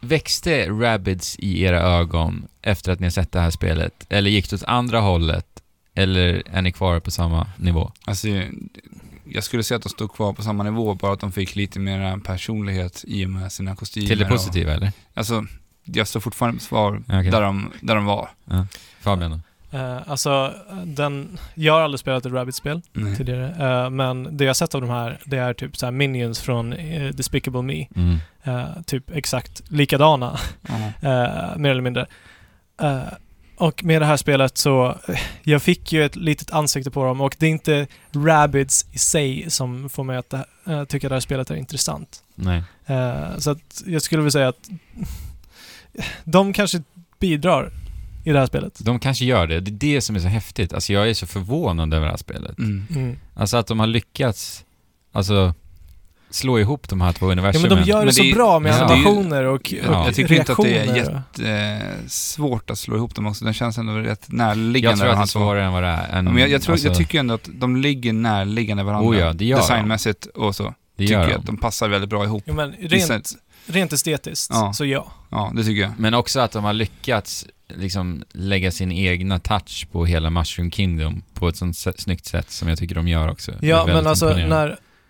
växte Rabbids i era ögon efter att ni har sett det här spelet? Eller gick det åt andra hållet? Eller är ni kvar på samma nivå?
Alltså, jag skulle säga att de stod kvar på samma nivå, bara att de fick lite mer personlighet i och med sina kostymer.
Till det
och-
positiva eller?
Alltså, jag står fortfarande kvar
Ja, okej.
där, de, där de var.
Fabian då?
Eh, alltså, den, jag har aldrig spelat ett Rabbit-spel
Nej.
tidigare, eh, men det jag sett av de här, det är typ så här minions från eh, Despicable Me.
Mm.
Eh, typ exakt likadana,
Ja.
eh, mer eller mindre. Eh, och med det här spelet så, eh, jag fick ju ett litet ansikte på dem och det är inte Rabbids i sig som får mig att eh, tycka det här spelet är intressant.
Nej.
Eh, så att jag skulle vilja säga att de kanske bidrar i det här spelet.
De kanske gör det. Det är det som är så häftigt. Alltså jag är så förvånad över det här spelet.
Mm.
Mm.
Alltså att de har lyckats, alltså slå ihop de här två
Ja,
universumen.
men de gör
Men
det,
det
så
är-
bra med
ja.
animationer och,
Ja.
och
Jag
Jag tycker inte att det är
reaktioner.
jättesvårt att slå ihop dem också. Den känns ändå rätt närliggande.
jag tror att det
de
är
här två.
svårare än vad det är.
Ja,
än-
men jag, jag, tror,
alltså,
jag tycker ändå att de ligger närliggande varandra.
Oh ja, det gör de.
Designmässigt och så.
det
tycker
gör
jag
de.
att de passar väldigt bra ihop.
Jo, men rent,
Rent.
rent estetiskt,
Ja.
så ja.
Ja, det tycker jag.
Men också att de har lyckats liksom lägga sin egna touch på hela Mushroom Kingdom på ett sånt sä- snyggt sätt som jag tycker de gör också. Typ. Det är
Ja,
väldigt
men alltså
imponerande.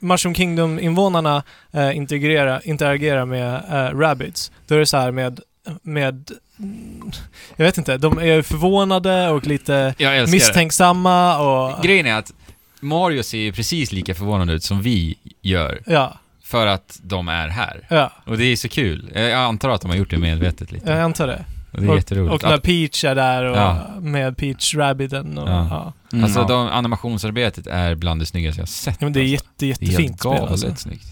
när Mushroom Kingdom-invånarna eh, integrera, interagerar med eh, rabbits, då är det så här med, med... mm, Jag vet inte, de är förvånade och lite
Jag älskar
misstänksamma och...
det. Grejen är att Mario ser ju precis lika förvånad ut som vi gör,
Ja,
för att de är här.
ja,
Och det är så kul. Jag antar att de har gjort det medvetet lite.
jag antar det.
Och det är jätteroligt.
Och när
Att-
Peach är där och
Ja.
med Peach Rabbiten och...
Ja.
Ja.
Mm,
Alltså
ja.
de, animationsarbetet är bland det snyggaste jag har sett.
Ja, men det är
alltså.
jätte,
det är
jättefint
helt
spel
galet
alltså.
snyggt.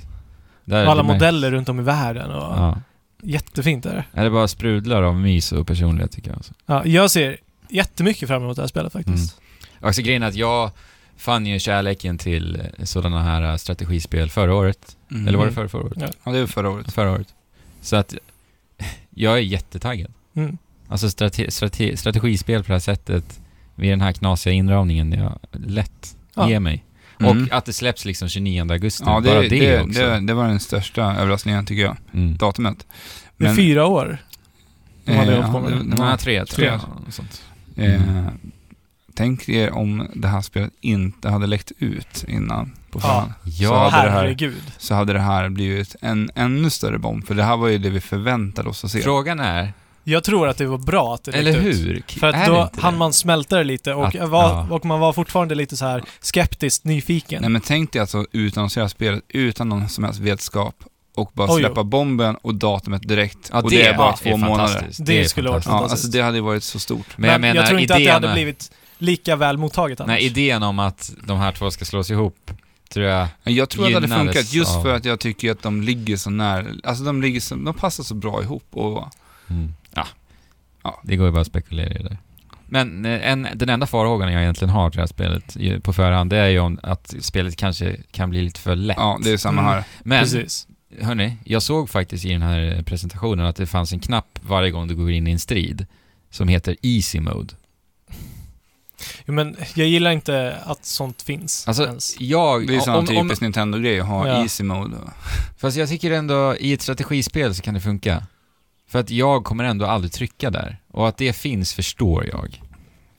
Där,
Och Alla
det märks-
modeller runt om i världen och...
Ja.
Jättefint är det.
Är det bara sprudlar av mys och personlighet tycker jag. Alltså.
Ja, jag ser jättemycket fram emot det här spelet faktiskt.
Alltså grejen är att jag fann ju kärleken till sådana här äh, strategispel förra året.
Mm.
Eller var det förra, förra året?
Ja, det var förra året.
Förra året. Så att jag är jättetaggad.
Mm.
Alltså strate, strate, strategispel på det här sättet vid den här knasiga inramningen, jag lätt
Ja.
ger mig.
Mm.
Och att det släpps liksom 29 augusti,
Ja, det,
bara
det,
det,
det,
också.
det, var den största överraskningen tycker jag,
mm.
datumet.
Det är
Men-
fyra år. de hade
Eh,
hållit på med
det-
det.
det var-
Nej, tre,
tre.
tre. Ja, sånt.
Eh, tänk er om det här spelet inte hade läckt ut innan på förhand. Så
Ja,
hade det här-
Herregud.
Så hade det här blivit en ännu större bomb, för det här var ju det vi förväntade oss att se.
frågan är,
Jag tror att det var bra att det läckte
eller
Ut.
hur?
För att
är det
då
inte
hann
det?
man smälta det lite och,
Att-
jag var,
ja.
och man var fortfarande lite så här skeptiskt nyfiken.
Nej men tänk dig alltså utannonsera spelet utan någon som helst vetskap och bara
Oj,
släppa bomben och datumet direkt.
Ja,
och det är bara
ja,
två
är
månader.
fantastiskt.
Det
är
skulle varit
fantastiskt.
Ja,
Fantastiskt.
alltså det hade ju varit så stort.
Men jag menar,
tror inte att det
idén-
hade blivit lika väl mottaget annars.
Nej, idén om att de här två ska slås ihop, tror jag...
Jag tror att det hade
Gynnades
funkat just
av-
för att jag tycker att de ligger så nära, alltså de ligger så, de passar så bra ihop och
Ja.
Ja.
Det går ju bara att spekulera i det. där. Men eh, en, den enda farhågan jag egentligen har till det här spelet ju, på förhand, det är ju om att spelet kanske kan bli lite för lätt.
ja, det är samma
Mm.
här.
Men,
Precis.
hörni, jag såg faktiskt i den här presentationen att det fanns en knapp varje gång du går in i en strid som heter Easy Mode.
Jo, Men jag gillar inte att sånt finns
Alltså,
ens.
jag...
Det är ju sån
om, om,
typisk Nintendo-grej att ha
Ja.
easy mode. och-
Fast jag tycker ändå, i ett strategispel så kan det funka. För att jag kommer ändå aldrig trycka där. Och att det finns förstår jag.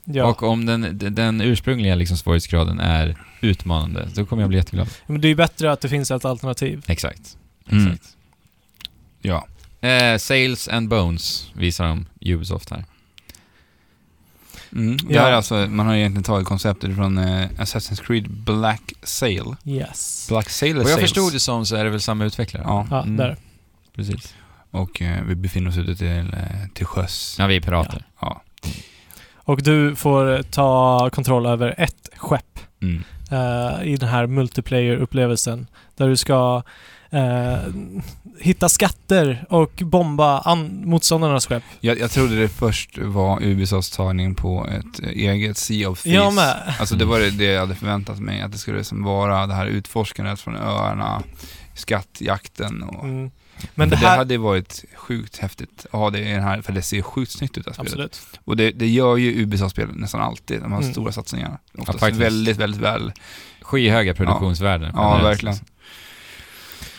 Ja.
Och om den, den ursprungliga liksom svårighetsgraden är utmanande, då kommer jag bli jätteglad.
Men det är ju bättre att det finns ett alternativ.
Exakt.
Mm.
Exakt.
Ja.
Eh, sales and Bones visar de Ubisoft här.
Mm. Det
Ja.
här är alltså, man har egentligen tagit konceptet från eh, Assassin's Creed Black Sail.
Yes.
Black Sail eller
Vad jag
Sales?
förstod det som så är det väl samma utvecklare?
Ja,
Ja,
Mm.
där.
Precis.
och eh, vi befinner oss ute till, eh, till sjöss.
Ja, vi är pirater.
Ja.
Och du får ta kontroll över ett skepp.
Mm.
eh, i den här multiplayer-upplevelsen där du ska eh, hitta skatter och bomba an- motståndarnas skepp.
Jag, jag trodde det först var Ubisofts tagning på ett eh, eget Sea of Thieves.
Jag med.
Alltså det var det, det jag hade förväntat mig, att det skulle liksom vara det här utforskandet från öarna, skattjakten och...
Mm.
Men
Men det
det,
här...
hade ju varit sjukt häftigt att ha det i den här, för det ser sjukt snyggt ut det här spelet.
Absolut.
Och det, det gör ju Ubisoft-spel nästan alltid, de här
Mm.
stora satsningarna. Oftast
faktiskt.
väldigt, väldigt väl.
Skyhöga produktionsvärden.
Ja,
generellt.
verkligen.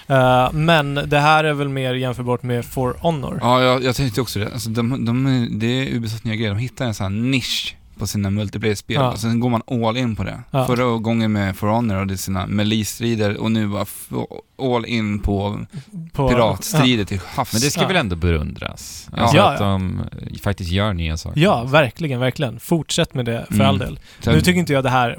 Eh, men det här är väl mer jämförbart med For Honor.
Ja, jag, jag tänkte också det. Alltså de, de, det är Ubisofts nya grej, de hittar en sån här nisch på sina multiplayer-spel
Ja.
och sen går man all in på det.
Ja.
Förra gången med For Honor och det är sina melee-strider och nu bara f- all in på
På,
piratstrider till havs.
Men det ska
Ja.
väl ändå beundras?
Ja.
Alltså
Ja,
att
ja.
de eh, faktiskt gör nya saker.
Ja, verkligen, verkligen. Fortsätt med det för
Mm.
all del.
Så-
Nu tycker inte jag det här...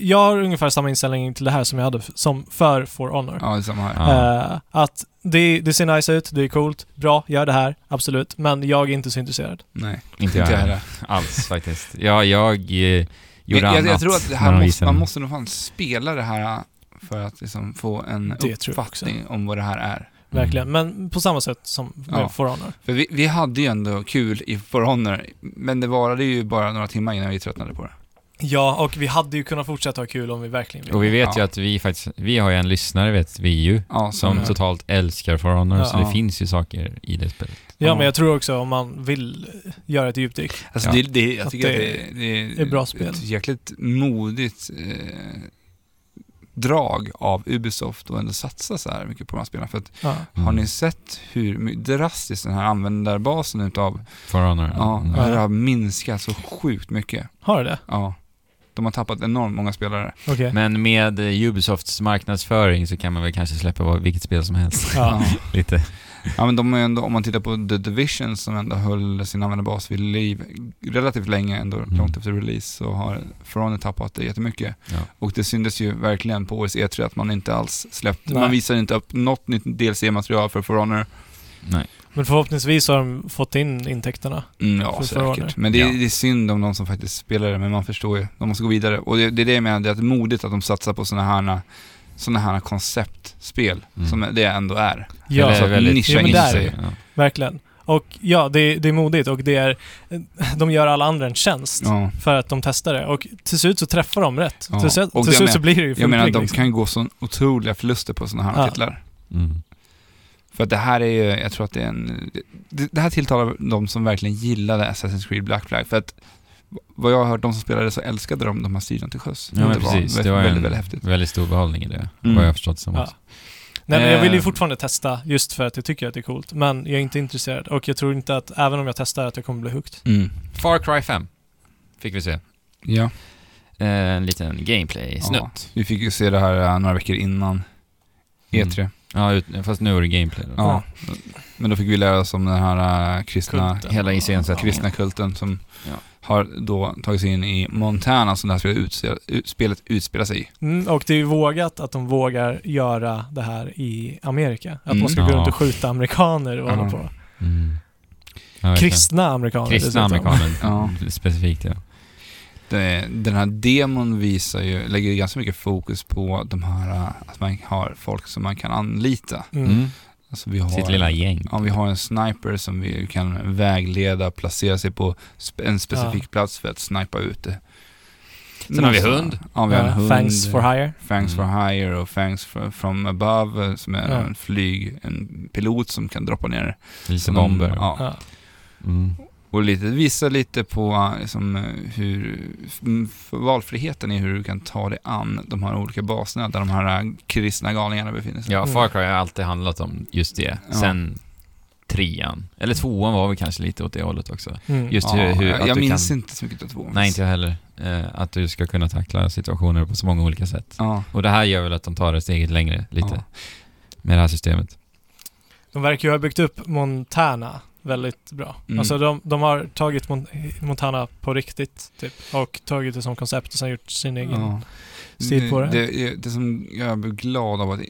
Jag har ungefär samma inställning till det här som jag hade f- som för For Honor.
Ja, det är samma här.
Ja.
Eh, att det, det ser nice ut, det är coolt, bra, gör det här, absolut. Men jag är inte så intresserad.
Nej,
Inte jag heller. alls faktiskt. Ja, jag eh, gjorde
Men
annat.
jag, jag tror att det
när
här
de
måste,
visade
man
den.
måste nog fan spela det här för att liksom få en
Det tror jag
uppfattning om vad det här är.
Mm.
Verkligen. Men på samma sätt som med
Mm. Ja.
For Honor.
För vi, vi hade ju ändå kul i For Honor, men det varade ju bara några timmar innan vi tröttnade på det.
Ja, och vi hade ju kunnat fortsätta ha kul om vi verkligen ville.
Och vi vet ju
Ja.
att vi faktiskt, vi har ju en lyssnare vet vi ju,
Ja, så,
som
Mm.
totalt älskar For Honor, så
Ja.
det finns ju saker i det spelet.
Ja,
Ja.
men jag tror också om man vill eh, göra ett djupdyk.
alltså
Ja.
det, det, jag
Att
tycker att
det
det, det
är bra spel.
ett jäkligt modigt eh, drag av Ubisoft att ändå satsa så här mycket på de här spelarna. För att,
Ja.
har
Mm.
ni sett hur my- drastiskt den här användarbasen utav,
For Honor.
ja,
Mm.
det här har minskat så sjukt mycket.
Har du det?
Ja. De har tappat enormt många spelare.
Okej.
Men med eh, Ubisofts marknadsföring så kan man väl kanske släppa vad- vilket spel som helst.
Ja.
Lite.
Ja, men de är ändå, om man tittar på The Division som ändå höll sin användarbas vid liv relativt länge, ändå
Mm.
långt efter release, så har Frony tappat det jättemycket.
Ja.
Och det syndes ju verkligen på årets E3 att man inte alls släppte,
Nej.
man visar inte upp något nytt DLC-material för For Honor.
Nej.
Men förhoppningsvis har de fått in intäkterna.
Mm, ja,
För
säkert.
For Honor.
Men det är,
Ja.
det är synd om de som faktiskt spelar det, men man förstår ju. De måste gå vidare. Och det, det är det jag menar, det är att det är modigt att de satsar på sådana här, såna här konceptspel,
Mm.
som det ändå är.
Ja,
Eller
så att
väldigt-
nischa
Ja, men
in
där.
sig.
Ja.
verkligen. Och ja, det, det är modigt och det är... eh, De gör alla andra en tjänst
Ja.
för att de testar det. Och till slut så träffar de rätt.
Ja.
Till, slut-
Och
till
jag
slut så
menar-
blir det ju
Jag menar,
fullprig,
de
liksom.
kan ju gå så otroliga förluster på sådana här
Ja.
titlar.
Mm.
För att det här är ju, jag tror att det är en... Det, det här tilltalar de som verkligen gillade Assassin's Creed Black Flag. För att vad jag har hört, de som spelade så älskade de de här striderna till sjöss.
Ja, men precis.
var
Det var
väldigt,
en
väldigt häftigt.
väldigt stor behållning i det,
Mm.
vad jag har förstått som
Ja.
också.
Nej, men jag vill ju
Eh.
fortfarande testa just för att jag tycker att det är coolt. Men jag är inte intresserad och jag tror inte att, även om jag testar, att jag kommer bli hooked.
Mm.
Far Cry 5 fick vi se. Eh,
Ja. Eh,
En liten gameplay-snutt.
Vi fick ju se det här eh, några veckor innan E E3.
Ja, ut, fast nu var det gameplay då.
Ja. Men då fick vi lära oss om den här eh, kristna,
Kulten.
Hela iscensättningen.
kristna kulten som
Ja.
har då tagit sig in i Montana som det här spelet, utse- ut, spelet utspelar sig i.
Mm, och det är ju vågat att de vågar göra det här i Amerika. Att
Mm.
man ska gå
Ja.
runt och skjuta amerikaner och hålla
Ja.
på.
Mm. Ja, verkligen.
Kristna amerikaner
Kristna
dessutom.
amerikaner,
Ja.
specifikt ja.
Det, den här demon visar ju, lägger ju ganska mycket fokus på de här, eh, att man har folk som man kan anlita.
Mm.
Mm.
Alltså vi har,
Sitt lilla gäng.
Ja, vi har en sniper som vi kan vägleda, placera sig på spe- en specifik plats för att snipa ut det.
Sen har vi
Någonstans-
hund.
Ja, vi har en
Ja,
hund.
Eh, Thanks for hire.
Fangs
Mm.
for Hire och Fangs for, from Above eh, som är
Ja.
en flyg, en pilot som kan droppa ner
Lite
som
bomber.
de- Ja.
Ja.
Mm.
Och lite, visa lite på eh, liksom, eh, hur, mm, för valfriheten i hur du kan ta dig an de här olika baserna där de här eh, kristna galningarna befinner sig.
Ja,
Mm.
Far Cry har alltid handlat om just det.
Ja.
Sen trean. Eller tvåan var väl kanske lite åt det hållet också.
Mm.
Just hur, hur
jag
att
jag
du
minns
kan...
inte så mycket av två.
Nej, inte jag heller. Eh, att du ska kunna tackla situationer på så många olika sätt.
Ja.
Och det här gör väl att de tar det steget längre lite.
Ja.
Med det här systemet.
De verkar ju ha byggt upp Montana väldigt bra.
Mm.
Alltså de, de har tagit Mon- Montana på riktigt typ, och tagit det som koncept och sen gjort sin egen.
Ja.
stil på det.
Det, det som jag blev glad av, att,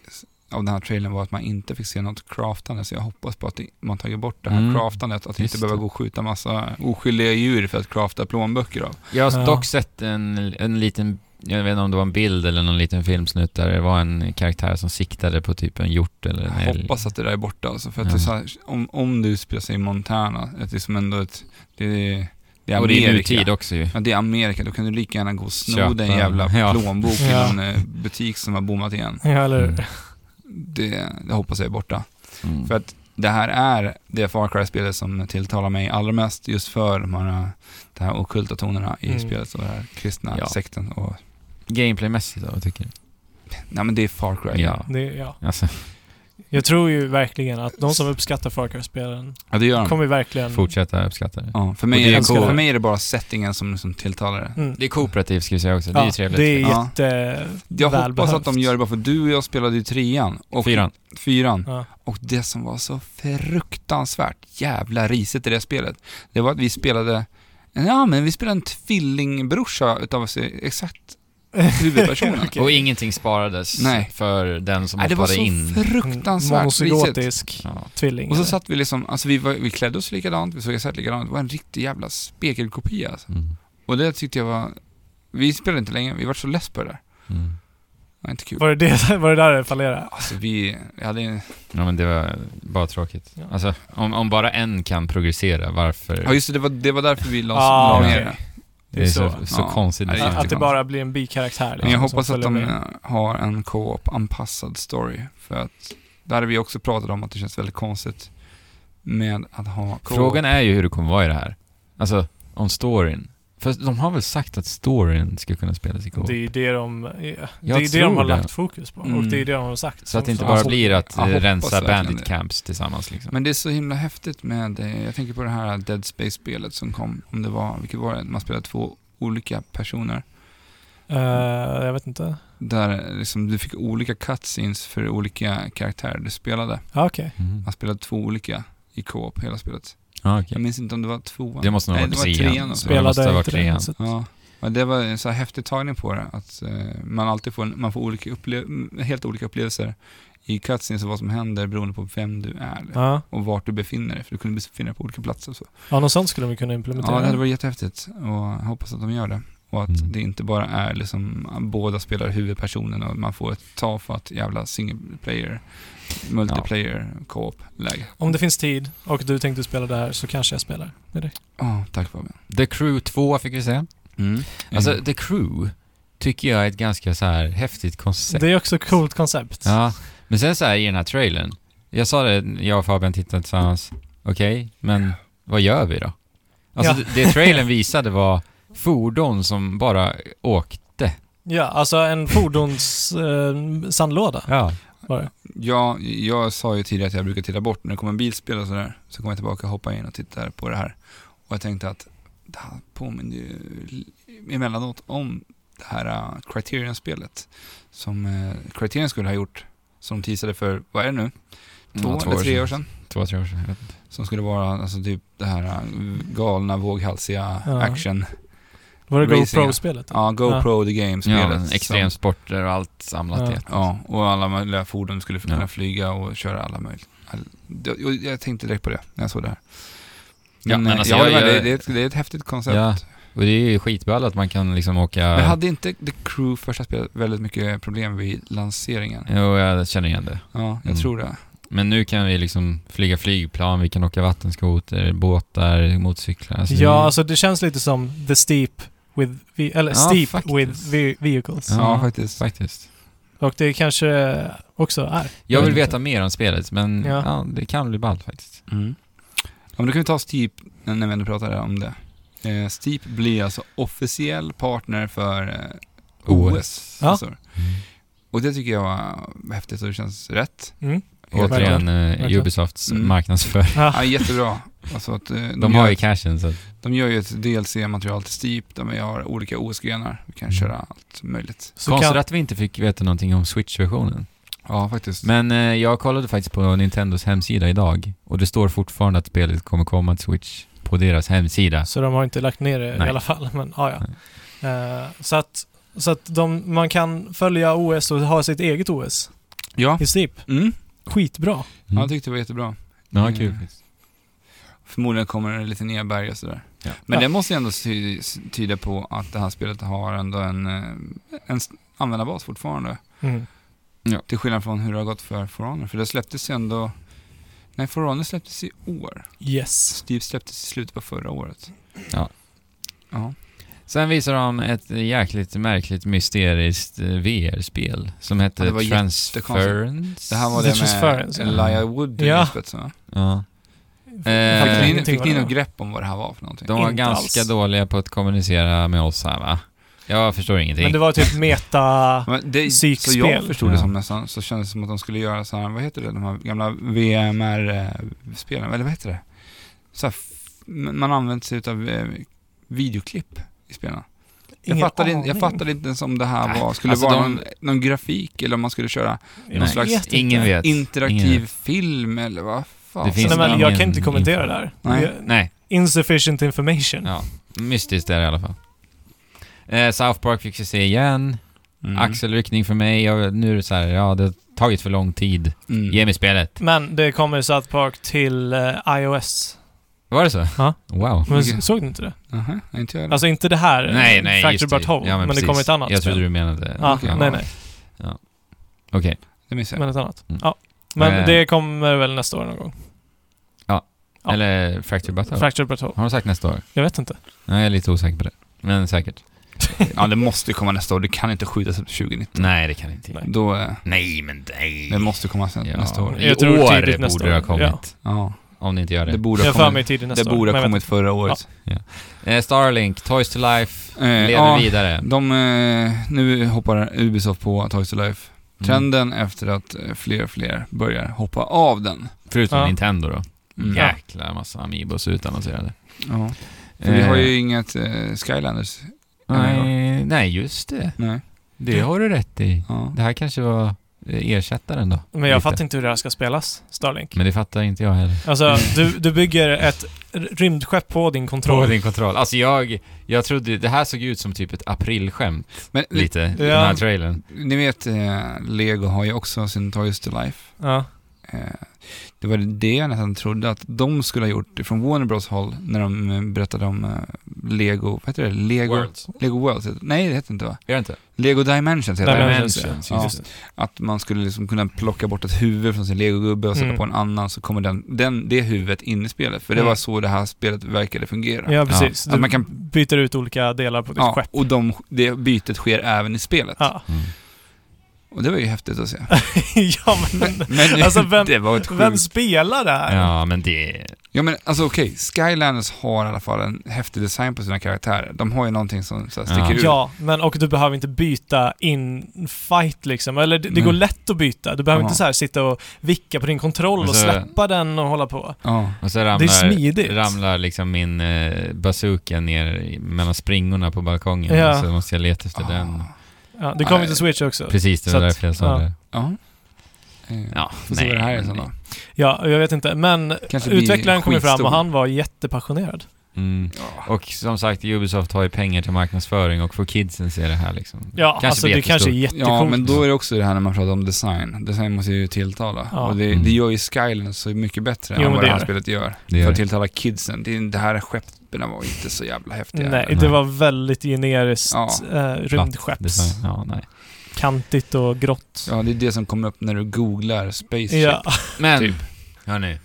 av den här trailern var att man inte fick se något craftande, så jag hoppas på att det, man tagit bort det här
Mm.
craftandet, att
Just
inte behöva
det.
gå och skjuta massa oskyldiga djur för att crafta plånböcker av.
Jag har
Ja.
dock sett en, en liten, jag vet inte om det var en bild eller någon liten filmsnutt där det var en karaktär som siktade på typ en hjort eller en
Jag hoppas att det där är borta alltså, för att
Ja.
det är så här, om, om det utspelar sig i Montana, att det är som ändå ett, det, är- det är
Och det är
Amerika.
ju nutid också ju.
Ja, det är Amerika, då kan du lika gärna gå och sno
Köpa-
den jävla
Ja.
plånbok i
Ja.
någon eh, butik som har bommat igen.
Ja, eller
Mm.
Det, det hoppas jag är borta.
Mm.
För att det här är det Far Cry-spelet som tilltalar mig allra mest just för de här, de här ockulta tonerna i
Mm.
spelet och den här kristna
Ja.
sekten. Och,
Gameplaymässigt då, vad tycker du?
nej men det är Far Cry.
Ja.
Det, ja.
Alltså,
Jag tror ju verkligen att de som uppskattar Far Cry-spelen
ja det gör de.
kommer ju verkligen...
fortsätta uppskatta det.
Mm. Ja, för,
Och det
mig
är
är det,
cool.
för mig är det bara settingen som, som tilltalar det.
Mm.
Det är kooperativt ska vi säga också, det är ju
Ja,
trevligt.
det är
Ja.
jätte...
Jag hoppas att
välbehövt.
de gör det bara för du och jag spelade ju trean. Och
Fyran.
Fyran.
Ja.
Och det som var så fruktansvärt jävla risigt i det spelet, det var att vi spelade, ja men vi spelade en tvillingbrorsa utav oss, exakt huvudpersonen.
Okej.
Och ingenting sparades
Nej.
för den som
Nej, det var
hoppade
så
in.
fruktansvärt risigt.
Monozygotisk
Ja.
tvilling.
Och så
eller?
satt vi liksom, alltså vi, var, vi klädde oss likadant, vi såg exakt likadant. Det var en riktig jävla spegelkopia alltså.
Mm.
Och det tyckte jag var, vi spelade inte länge, vi var så less på det där.
Mm.
Det var inte kul.
var, det det, var det där det fallerade?
Alltså vi, jag hade en,
Ja men det var bara tråkigt.
Ja.
Alltså, om, om bara en kan progressera, varför?
ja just det, det var, det var därför vi la
Ah,
la
okej.
ner det.
det är så, så,
Ja.
konstigt.
Ja, det
Att-
är
Att det
jättekonstigt.
bara blir en bikaraktär liksom,
Men jag
som
hoppas att
följer
de
med.
eh, har en co-op-anpassad story. För att, där hade vi också pratat om att det känns väldigt konstigt med att ha co-op.
Frågan är ju hur det kommer vara i det här. Alltså, om storyn. För de har väl sagt att storyn ska kunna spelas i
Det
co-op?
är ju det de, ja, det
Jag
är ju det de
tror
har
det.
lagt fokus på. Och
Mm.
det är ju det de har sagt.
Så att det
som-
inte
som-
bara
Alltså,
blir att
jag
eh,
hoppas
rensa
verkligen
bandit
det.
camps tillsammans liksom.
Men det är så himla häftigt med, eh, jag tänker på det här Dead Space-spelet som kom, om det var, vilket var det, man spelade två olika personer.
Eh, jag vet inte.
Där liksom du fick olika cutscenes för olika karaktärer du spelade.
Ja, okej.
Man spelade två olika i co-op hela spelet.
Mm. Ja,
Jag
okej.
minns inte om det var tvåan.
Det måste nog ha
Nej,
varit
det var
trean. Det
trean.
måste ha
Spelade
varit
inte det.
trean.
Så att,
Ja. Men det var en så här häftig tagning på det, att eh, man alltid får, man får olika upple- mm, helt olika upplevelser i cutscenes och vad som händer beroende på vem du är
ja.
och vart du befinner dig, för du kunde befinna dig på olika platser. och Så.
ja, något sånt skulle vi kunna
Ja,
implementera.
det hade varit jättehäftigt och jag hoppas att de gör det. Och att
Mm.
det inte bara är liksom, båda spelar huvudpersonen och man får ett tafatt jävla single player, multiplayer, co-op läge.
Om det finns tid och du tänkte spela det här så kanske jag spelar med dig.
Ja, tack Fabian.
The Crew 2 fick vi se.
Mm.
Alltså,
Mm.
The Crew tycker jag är ett ganska så här häftigt koncept.
Det är också ett coolt koncept.
Ja, men sen så här i den här trailern. Jag sa det, jag och Fabian tittade tillsammans. Okej, men vad gör vi då? Alltså
Ja.
det, det trailern visade var fordon som bara åkte.
Ja, alltså en fordons eh, sandlåda
Ja.
var det.
Ja, jag sa ju tidigare att jag brukar titta bort när det kommer bilspel och sådär. Så kommer jag tillbaka och hoppar in och tittar på det här. Och jag tänkte att det här påminner ju emellanåt om det här eh, Criterion-spelet. Som eh, Criterion skulle ha gjort, som de teasade för, vad är det nu? Mm. Två,
Ja, två
eller
år
tre
sedan.
år sedan.
Två, tre år sedan. jag vet inte.
Som skulle vara alltså typ det här eh, galna, våghalsiga
Ja.
action.
Var det
Racing, ja.
GoPro-spelet?
Ja, GoPro the
Ja,
Game-spelet.
men extremsporter och allt samlat
Ja.
i ett.
Ja, och alla möjliga fordon skulle kunna
Ja.
flyga och köra alla möjliga. All, det- och jag tänkte direkt på det när jag såg det här.
Ja,
Men,
men
eh,
alltså,
ja,
jag-
men det,
jag-
det, är ett, det är ett häftigt koncept.
Ja. Och det är ju skitball att man kan liksom åka...
Men hade inte The Crew första spelet väldigt mycket problem vid lanseringen?
Jo, jag känner igen det.
Ja, jag
Mm.
tror det.
Men nu kan vi liksom flyga flygplan, vi kan åka vattenskoter, båtar, motorcyklar. Alltså,
ja,
det-
alltså det känns lite som The Steep with, ve- eller
Ja,
Steep
faktiskt.
with ve- Vehicles.
Ja.
Ja, faktiskt.
faktiskt.
Och det kanske också är.
Jag vill
vet
veta mer om spelet, men ja.
Ja.
det kan bli ballt faktiskt.
Mm. Ja, men då kan vi ta Steep eh, när vi ändå pratar om det. Eh, Steep blir alltså officiell partner för eh,
OS.
OS.
Ja.
Alltså. Och det tycker jag var häftigt och det känns rätt.
Mm.
Helt rätt.
Återigen, eh,
Verkligen.
Ubisofts
Mm.
marknadsföring.
Ja, jättebra. Alltså att, eh,
De
gör
har ju
ett-
cashen, så att,
De gör ju ett DLC-material till Steep där vi har olika OS-grenar. Vi kan
Mm.
köra allt möjligt.
Så
Konstigt
kan,
att vi inte fick veta någonting om Switch-versionen.
Ja, faktiskt.
Men eh, jag kollade faktiskt på Nintendos hemsida idag och det står fortfarande att spelet kommer komma till Switch på deras hemsida.
så de har inte lagt ner det
Nej.
i alla fall. Men, ja, ja. Eh, så att, så att de, man kan följa OS och ha sitt eget OS
ja.
i Steep.
Mm.
Skitbra.
Mm.
ja, jag tyckte det var jättebra.
Ja, kul.
Mm. Förmodligen kommer det lite nedberg och sådär.
Ja.
Men
Ja.
det måste ju ändå ty- tyda på att det här spelet har ändå en, eh, en s- användarbas fortfarande.
Mm.
Till skillnad från hur det har gått för For Honor. För det släpptes ju ändå... Nej, For Honor släpptes i år.
Yes.
Steep släpptes i slutet på förra året.
Ja.
Ja.
Sen visar de ett jäkligt märkligt mysteriskt eh, VR-spel som hette
Ja, det var
Transference.
Det här
The
var det med
Transference, ja.
Elijah Wood i
Ja.
spetsen, va?
Ja.
Fattar
Fick
Eh,
ni,
ingenting
fick ni
vad det
något
var.
grepp om vad det här var för någonting?
De var
Inte
ganska
alls.
dåliga på att kommunicera med oss här va? Jag förstår ingenting.
Men det var typ meta...
Men det,
Psykspel.
Så jag förstod det
Ja.
som nästan, så kändes det som att de skulle göra så här, vad heter det, de här gamla VMR-spelen, eh, eller vad heter det? Så här, f- man använder sig av videoklipp i spelen. Jag
Ingen
fattade, in, jag
aning.
fattade inte ens om det här
Nej,
var, skulle
alltså
vara
de-
någon, någon grafik eller om man skulle köra
Jag
Nej.
slags
vet inte.
Ingen vet.
interaktiv
Ingen vet.
film eller vad fan.
Det finns
Nej,
Så
men
den-
jag
ingen
kan inte kommentera det här.
Nej.
Jag-
Nej,
Insufficient information.
Ja. mystiskt är det i alla fall. Eh, South Park fick vi se igen.
Mm.
Axelryckning för mig. Jag, nu är det så här, ja det har tagit för lång tid.
Mm.
Ge mig spelet.
Men det kommer South Park till eh, iOS.
Var det så?
Ja.
Wow.
Men
Okej.
såg ni inte det?
Aha, inte jag heller.
Alltså inte det här,
Nej, nej,
Factory
just
But Home,
Ja,
men, det
precis.
kommer ett annat
Jag trodde
spel.
du menade...
Ja,
Okej,
nej,
ja.
nej.
Okej.
det missade jag.
Men ett annat.
Mm.
Ja. Men
Eh.
det kommer väl nästa år någon gång? Ja.
Eller Fracture Battle.
Fractured But Whole.
har de sagt nästa år?
Jag vet inte.
Nej, jag är lite osäker på det. Men säkert.
Ja, det måste ju komma nästa år. Det kan inte skjutas upp till 2019.
Nej, det kan inte.
Nej.
Då, eh,
Nej, men nej.
det måste komma sen,
Ja,
nästa år.
I
Jag tror
år
tidigt
borde
nästa
det ha
år.
kommit.
Ja,
Om det inte gör det.
det borde
Jag
ha
har för mig
kommit,
tidigt
det
nästa
borde
år. men
ha
jag vet
kommit förra året.
Eh, Starlink, Toys to Life,
Eh,
lever
ja,
vidare.
De, eh, nu hoppar Ubisoft på Toys to Life.
Mm.
Trenden efter att eh, fler och fler börjar hoppa av den.
Förutom
Ja.
Nintendo då.
Mm.
Jäkla massa Amiibos utannonserade.
Ja. För vi har
Eh,
ju inget eh, Skylanders
Nej, nej, just det.
Nej.
Det har du rätt i.
Ja.
Det här kanske var eh, ersättaren då.
Men jag
Lite.
fattar inte hur det här ska spelas, Starlink.
Men det fattar inte jag heller.
Alltså, du, du bygger ett r- rymdskepp på din kontroll.
På din kontroll. Alltså jag, jag trodde, det här såg ut som typ ett aprilskämt
Men li-
lite, i den
Ja.
här trailern.
ni vet, eh, Lego har ju också sin Toys to Life.
Ja.
Eh, det var det jag nästan trodde att de skulle ha gjort från Warner Bros håll när de eh, berättade om eh, Lego, vad heter det? Lego
Worlds.
Lego Worlds? heter- Nej, det heter inte va?
Gör det inte?
Lego Dimensions heter det.
Dimensions.
ja.
just det.
Att man skulle liksom kunna plocka bort ett huvud från sin legogubbe och sätta
Mm.
på en annan så kommer den, den, det huvudet in i spelet. För det
Mm.
var så det här spelet verkade fungera.
ja, precis.
Ja,
Du
att man kan-
byter ut olika delar på ditt
Ja,
skepp.
och de, det bytet sker även i spelet.
Ja.
Mm.
Och det var ju häftigt att se.
ja, men
Men
Alltså, vem-
det var ett
vem
sjukt...
spelar det här?
Ja, men det...
Ja men alltså okej, Skylanders har i alla fall en häftig design på sina karaktärer. De har ju någonting som så här, sticker
Ja.
ut.
Ja, men och du behöver inte byta in fight liksom. Eller det, det går
Nej.
lätt att byta. Du behöver
Mm. Ja.
inte så här sitta och vicka på din kontroll och
Alltså-
släppa den och hålla på.
Ja.
Och så
det är
ramlar,
smidigt.
ramlar liksom min eh, bazooka ner i- mellan springorna på balkongen.
Ja.
Så måste jag leta efter
Ah.
den.
Ja, det kommer
Nej.
till Switch också.
Precis, det
Så
var
att-
därför jag sa
ja.
det.
Ja. Eh,
Ja,
Får se vad det här är sen då.
Ja, jag vet inte. Men
Kanske blir
utvecklaren kom ju fram
skitstor.
och han var jättepassionerad.
Mm. Och som sagt, Ubisoft har ju pengar till marknadsföring och för kidsen ser det här liksom.
Ja, alltså
blir
det kanske är
jättestort.
jättecoolt.
Ja, men då är det också det här när man pratar om design. Design måste ju tilltala.
Ja.
Och det,
Mm.
det gör ju Skylanders så mycket bättre
Jo,
än
men
vad
det
det här
gör det.
spelet gör.
Det
För
gör
att
det.
tilltala kidsen. Det, det här skeppen var inte så jävla häftiga.
Nej,
Nej.
det var väldigt generiskt
Ja.
eh, rymdskepps.
Design. Ja, nej.
Kantigt och grått.
Ja, det är det som kommer upp när du googlar spaceship.
Ja,
Men,
Typ.
hörni.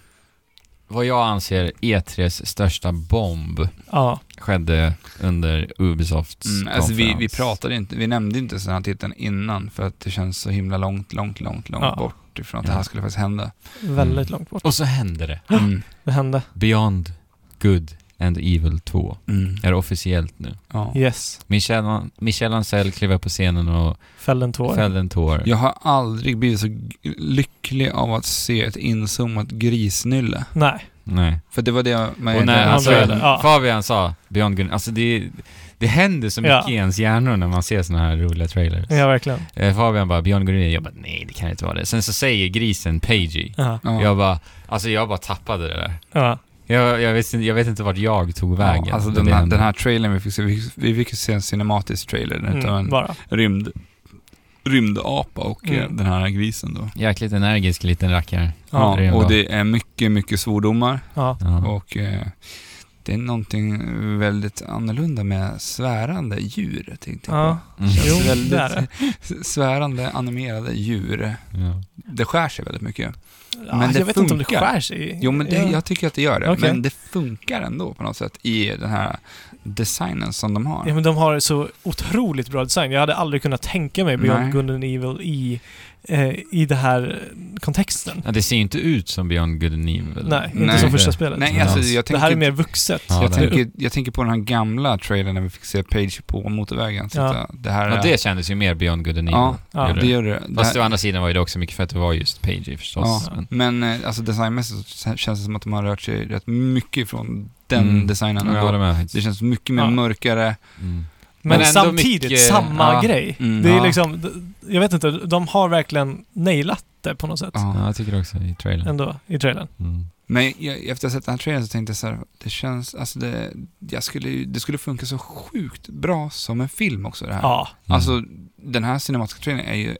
Vad jag anser E3s största bomb
ja.
skedde under Ubisofts
Mm, alltså vi,
konferens.
vi pratade inte, vi nämnde inte den här titeln innan för att det känns så himla långt, långt, långt, långt
Ja.
bort ifrån att det här skulle faktiskt hända.
väldigt långt bort.
Och så hände det.
Mm.
Det hände.
Beyond Good and Evil 2
Mm.
är officiellt nu.
Ja.
Yes.
Michel, Michel Ancel klev upp på scenen och
Fällde en tår.
fällde en tår.
Jag har aldrig blivit så g- lycklig av att se ett inzoomat grisnylle.
Nej.
Nej.
För det var det man...
Och när
han
alltså,
började, ja.
Fabian sa Beyond Good, alltså det, det händer så mycket
Ja.
i ens hjärnor när man ser såna här roliga trailers.
Ja, verkligen.
Eh, Fabian bara Beyond Good, and Evil." jag bara nej det kan inte vara det. Sen så säger grisen Pagey.
Ja.
Ja.
Jag bara, alltså jag bara tappade det där.
Ja.
Jag, jag, visste, inte- jag vet inte vart jag tog
Ja,
vägen.
alltså
när
den
det
här,
hände.
den här trailern vi fick se, vi fick, vi fick ju se en cinematisk trailer utav
Mm,
en
bara.
rymd, rymdapa och eh,
Mm.
den här grisen då.
Jäkligt energisk liten rackare.
Ja.
Ja,
det är bra.
och det är mycket, mycket svordomar
Ja.
Ja.
och eh, det är någonting väldigt annorlunda med svärande djur, tänkte jag
ja.
på.
Mm.
Det
Jo,
känns
det är det.
väldigt svärande animerade djur.
Ja.
Det skär sig väldigt mycket.
Ja,
Men det
Alltså, jag vet inte om det
funkar.
skär sig.
Jo, men det,
ja.
jag tycker att det gör det.
Okej.
Men det funkar ändå på något sätt i den här designen som de har.
Ja, men de har så otroligt bra design. Jag hade aldrig kunnat tänka mig Beyond
Nej.
Good and Evil i, eh, i det här kontexten.
Ja, det ser ju inte ut som Beyond Good and Evil.
Nej, inte
Nej.
som första spelet.
Nej,
Ja.
alltså jag
det
tänker...
här är mer vuxet.
Ja,
jag,
det är det.
tänker, jag tänker på den här gamla trailern när vi fick se Page på motorvägen. Så
Ja.
att, det här
Ja, det kändes ju mer Beyond Good and Evil.
Ja,
Ja.
Gjorde
det gör det. det
Fast å
här,
andra sidan var ju det också mycket för att det var just Pagey förstås.
Ja.
Men,
men eh, alltså designmässigt så känns det som att de har rört sig rätt mycket från den
Mm.
designen.
jag
ändå.
håller med.
det känns mycket mer
Ja.
mörkare.
Mm.
Men,
Men ändå
samtidigt,
mycket-
samma
ja.
grej.
Mm,
det är
ja.
liksom, d- jag vet inte, de har verkligen nailat det på något sätt.
Ja,
Ja.
jag tycker också i trailern.
Ändå, i trailern.
Mm.
Men jag, efter att ha sett den här trailern så tänkte jag så här, det känns, alltså det, jag skulle, ju- det skulle funka så sjukt bra som en film också det här.
Ja, Mm.
Alltså den här cinematiska trailern är ju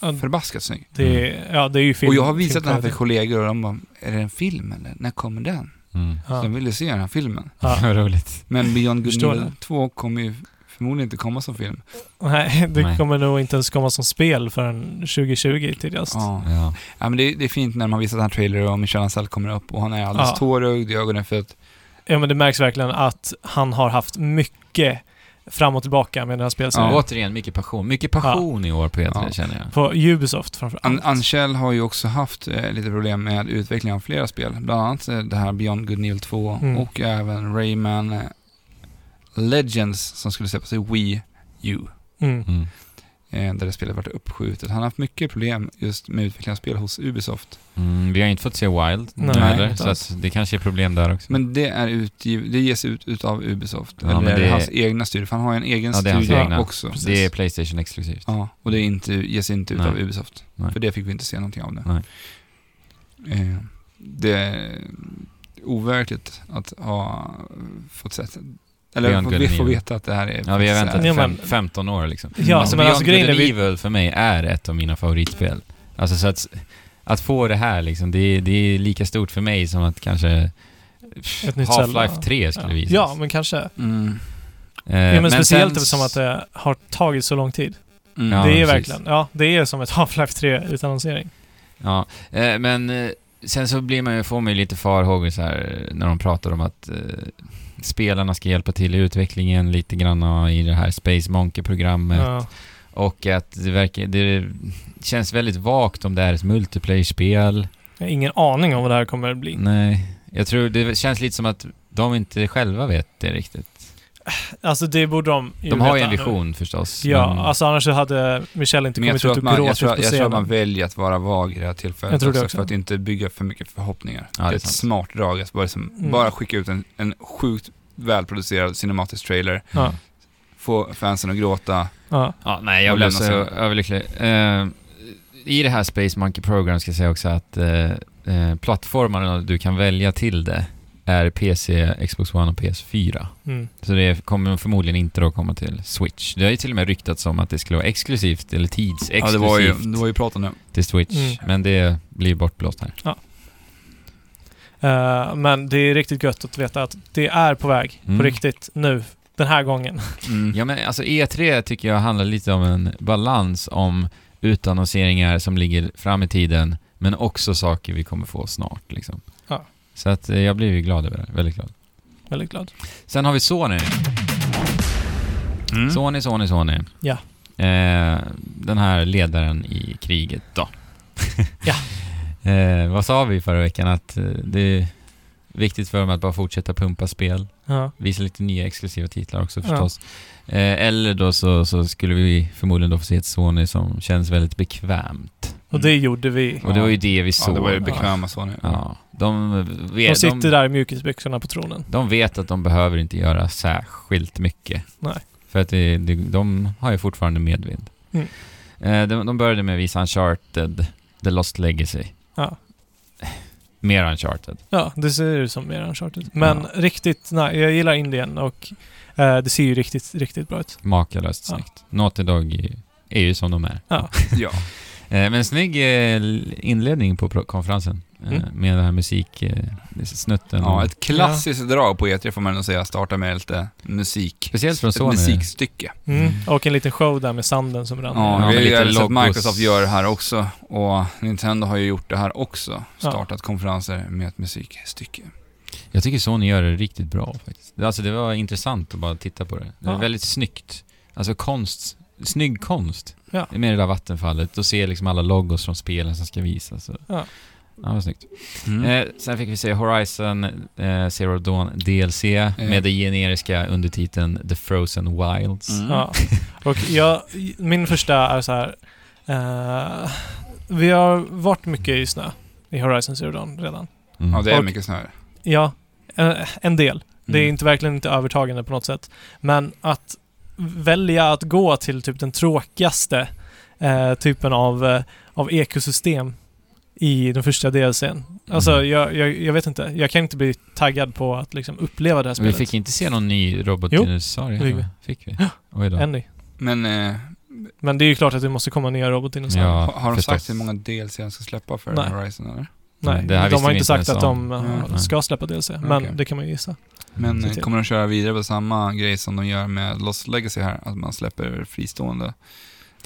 Ja.
förbaskat snygg.
det, är- ja, det är ju film.
och jag har visat den här för
filmkvalitet.
kollegor och de bara, är det en film eller? När kommer den?
Mm.
Så de ville se den här filmen.
Ja.
Vad roligt.
Men Beyond Good
Förstår
and Evil
det.
2 kommer ju förmodligen inte komma som film.
Ja. Nej, det
Nej.
kommer nog inte ens komma som spel förrän 2020 tidigast.
Ja.
Ja.
ja, men det, är- det är fint när man visar den här trailern och Michel Ancel kommer upp och han är alldeles
Ja.
tårögd i ögonen för att,
Ja, men det märks verkligen att han har haft mycket fram och tillbaka med den här spelserien.
Så återigen, mycket passion. Mycket passion i år på E3
Ja.
känner jag.
På Ubisoft framförallt.
An- Ancel har ju också haft eh, lite problem med utvecklingen av flera spel. Bland annat eh, det här Beyond Good and Evil 2
Mm.
och även Rayman eh, Legends som skulle släppas i Wii U.
Mm.
Mm.
eh, där det spelet varit uppskjutet. Han har haft mycket problem just med utveckling av spel hos Ubisoft.
Mm, vi har inte fått se Wild nu
Nej,
heller,
inte
så
alls.
att det kanske är problem där också.
Men det är utgiv- det ges ut utav Ubisoft.
Ja, men
eller
det-
hans egna studio, för han har ju en egen
Ja, det är hans
studio
egna.
också.
det är Playstation exklusivt.
Ja, och det är inte, ges inte ut
Nej.
av Ubisoft.
Nej.
För det fick vi inte se någonting av nu.
Nej.
Eh, det är overkligt att ha fått sett, eller
Beyond
fått,
Good
vi
and
får
Evil.
veta att det här är
Ja, vi har
faktiskt-
väntat
Ja,
i fem,
men-
15 år liksom.
Ja,
alltså,
men alltså
Beyond
grejen är
Good
vi-
and Evil för mig är ett av mina favoritspel. Alltså så att, att få det här liksom, det är, det är lika stort för mig som att kanske pff,
Ett nytt
Half-Life
Zelda.
3 skulle visas.
Ja, men kanske.
Mm.
Eh,
ja, men, speciellt
sen-
eftersom att det har tagit så lång tid.
Mm.
Ja,
det är
precis.
verkligen, ja, det är som ett Half-Life 3 utan annonsering.
Ja, eh, men eh, sen så blir man ju, får man ju lite farhågor så här eh, när de pratar om att eh, spelarna ska hjälpa till i utvecklingen lite grann i det här Space Monkey-programmet
Ja.
och att det verkar, det känns väldigt vagt om det är ett multiplayer-spel.
Jag har ingen aning om vad det här kommer att bli.
Nej, jag tror det känns lite som att de inte själva vet det riktigt.
Alltså det borde de ju
De har ju
veta
en
nu.
vision förstås.
Ja,
men-
alltså annars så hade Michelle inte
Mm. Men
kommit
jag tror,
ut
att
och
man, jag,
gråtit
tror,
på
jag tror att man
scenen.
väljer att vara vag i det här tillfället
Jag tror det också.
för att inte bygga för mycket förhoppningar.
Ja, det
det
är
är ett
sant.
smart drag att bara, liksom,
Mm.
bara skicka ut en, en sjukt välproducerad cinematisk trailer,
Ja.
få fansen att gråta.
Ja.
Ja, nej, jag
Och
blev
lämna
så
sig.
överlycklig. Eh, I det här Space Monkey Program ska jag säga också att eh, eh, plattformarna du kan välja till det är PC, Xbox One och PS4.
Mm.
Så det kommer förmodligen inte då komma till Switch. Det har ju till och med ryktats om att det skulle vara exklusivt, eller tidsexklusivt
Ja, det var ju, det var ju prat om det.
till Switch.
Mm.
Men det blir bortblåst här.
Eh, men det är riktigt gött att veta att det är på väg,
Mm.
på riktigt, nu, den här gången.
Mm.
Ja, men alltså E3 tycker jag handlar lite om en balans om utannonseringar som ligger fram i tiden, men också saker vi kommer få snart liksom.
Ja.
Så att eh, jag blir ju glad över det, väldigt glad.
Väldigt glad.
Sen har vi Sony.
Mm.
Sony, Sony, Sony.
Ja.
Eh, den här ledaren i kriget då.
Ja.
eh, vad sa vi förra veckan? Att eh, det är viktigt för dem att bara fortsätta pumpa spel.
Ja.
Visa lite nya exklusiva titlar också
Ja.
förstås. Eh, eller då så, så skulle vi förmodligen då få se ett Sony som känns väldigt bekvämt.
Och det gjorde vi.
Och det var ju det vi såg.
Ja, Mm. det var ju bekväma så nu.
Ja. De, vet,
De sitter
de,
där i mjukisbyxorna på tronen.
de vet att de behöver inte göra särskilt mycket.
Nej.
För att det, det, de har ju fortfarande medvind.
Mm.
Eh, de, de började med att visa Uncharted, The Lost Legacy.
Ja.
Mer Uncharted.
Ja, det ser ut som mer Uncharted. Men riktigt, nej, jag gillar Indien och eh, det ser ju riktigt, riktigt bra ut.
Makalöst
Ja.
snyggt. Naughty Dog är- är ju som de är.
Ja.
Eh, men snygg eh, inledning på pro- konferensen. Eh,
Mm.
Med den här eh, musiksnutten.
ja, ett klassiskt drag på E3 får man nog säga, starta med lite musik.
Speciellt från
Ett
Sony.
musikstycke.
Mm.
Mm.
Och en liten show där med sanden som rann.
Ja,
Ja,
vi
med
har ju
lite
även sett
logos.
Microsoft gör det här också och Nintendo har ju gjort det här också. Startat konferenser med ett musikstycke.
Jag tycker Sony gör det riktigt bra faktiskt. Alltså det var intressant att bara titta på det. Det är
Ja.
väldigt snyggt. Alltså konst, snygg konst.
Ja.
Med det där vattenfallet. Och se liksom alla logos från spelen som ska visas. Så.
Ja.
Ja, vad snyggt.
Mm.
Eh, sen fick vi se Horizon eh, Zero Dawn DLC
Eh.
med det generiska undertiteln The Frozen Wilds.
Mm.
Ja. Och jag, min första är så här. eh, vi har varit mycket i snö i Horizon Zero Dawn redan.
Mm.
Ja, det är
Och-
mycket snöre.
Ja, eh, en del. Det är
Mm.
inte, verkligen inte övertagande på något sätt. Men att välja att gå till typ den tråkigaste eh, typen av, eh, av ekosystem i den första DLCn. Alltså,
Mm.
jag, jag, jag vet inte. Jag kan inte bli taggad på att liksom uppleva det här
Vi
spelet.
fick inte se någon ny
Jo.
robotdinosaurie
Det fick
heller. Fick vi? Oj då.
Ännu.
Men eh,
Men det är ju klart att det måste komma nya robotdinosaurier.
Ja,
har- har de
förstås.
sagt hur många DLC de ska släppa för
Nej.
Horizon eller?
Nej,
Mm, det här
de
visste
har
vi
inte
inte
sagt
ens
att
om.
de eh,
Mm.
ska släppa DLC, men
Okej.
det kan man ju gissa.
Men
Så
eh,
till.
kommer de köra vidare på samma grej som de gör med Lost Legacy här? Att man släpper fristående?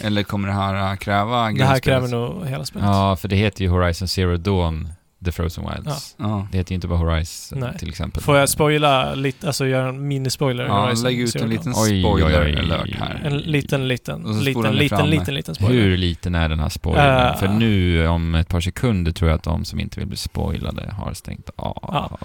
Eller kommer det här eh, kräva
Det här
grundspelet?
kräver nog hela spelet.
Ja, för det heter ju Horizon Zero Dawn The Frozen Wilds.
Ja.
Det heter ju inte bara Horizon
Nej.
till exempel.
Får jag spoila lite, alltså göra en mini-spoiler? i
ja,
Horizon
lägg ut
Zero
en
Dawn?
liten
Oj, oj, oj.
spoiler-alert här.
En liten,
Och
liten,
så spolar
liten,
ni fram
liten,
det.
liten, liten spoiler.
Hur liten är den här spoilern?
Eh.
För nu om ett par sekunder tror jag att de som inte vill bli spoilade har stängt av.
Ja.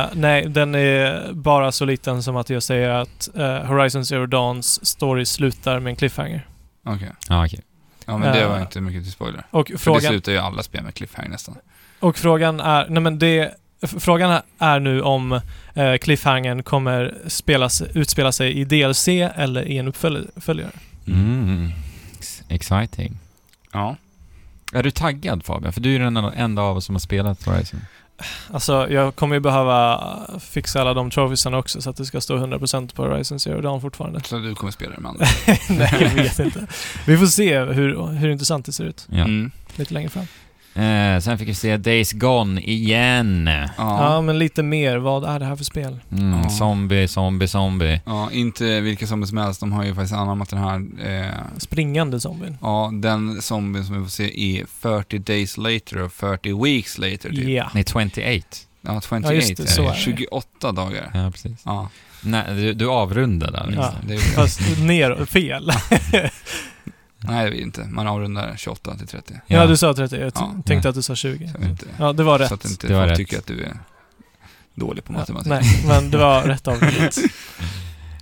Eh, nej, den är bara så liten som att jag säger att eh, Horizon Zero Dawns story slutar med en cliffhanger.
Okej.
Ja, okej.
Ja, men det
Eh,
var inte mycket till spoiler.
Och
För det
frågan,
slutar ju alla spel med cliffhanger nästan.
och frågan är, nej men det, f- frågan är nu om eh, cliffhangern kommer spelas, utspela sig i DLC eller i en uppfölj- uppföljare.
Mm. Ex- Exciting.
Ja.
Är du taggad Fabian? För du är ju den enda av oss som har spelat Horizon.
Alltså, jag kommer ju behöva fixa alla de trophiesarna också så att det ska stå 100% på Horizon Zero Dawn fortfarande.
Så du kommer spela det med andra.
Nej, jag vet inte. Vi får se hur, hur intressant det ser ut
Ja.
Mm.
lite längre fram.
Eh, sen fick vi se Days Gone igen.
Ja.
Ja.
men lite mer. Vad är det här för spel?
Mm,
Ja.
Zombie, zombie, zombie.
ja. Inte vilka zombies som helst. De har ju faktiskt anammat den här... Eh,
Springande zombien.
ja, den zombien som vi får se är 40 days later och 40 weeks later typ.
Ja.
Nej, 28.
Ja, 28
Ja, just det,
så
är
är
det.
det.
28 dagar.
Ja, precis.
Ja,
Nej, du, du avrundar där.
Ja.
Liksom.
det är
Fast ner, fel.
Nej, det vill inte. Man avrundar 28 till 30.
Ja, du sa 30. Jag t-
Ja.
tänkte att du sa 20.
Så, att inte,
Ja, det var
så att
rätt.
inte
Det var
folk
rätt.
tycker att du är dålig på
Ja,
matematik.
nej, men det var rätt avgjort.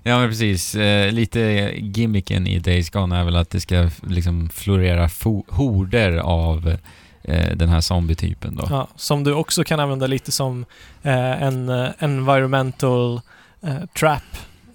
Ja men precis, eh, lite gimmicken i Days Gone är väl att det ska f- liksom florera fo- horder av eh, den här zombietypen då.
Ja, som du också kan använda lite som eh, en eh, environmental eh, trap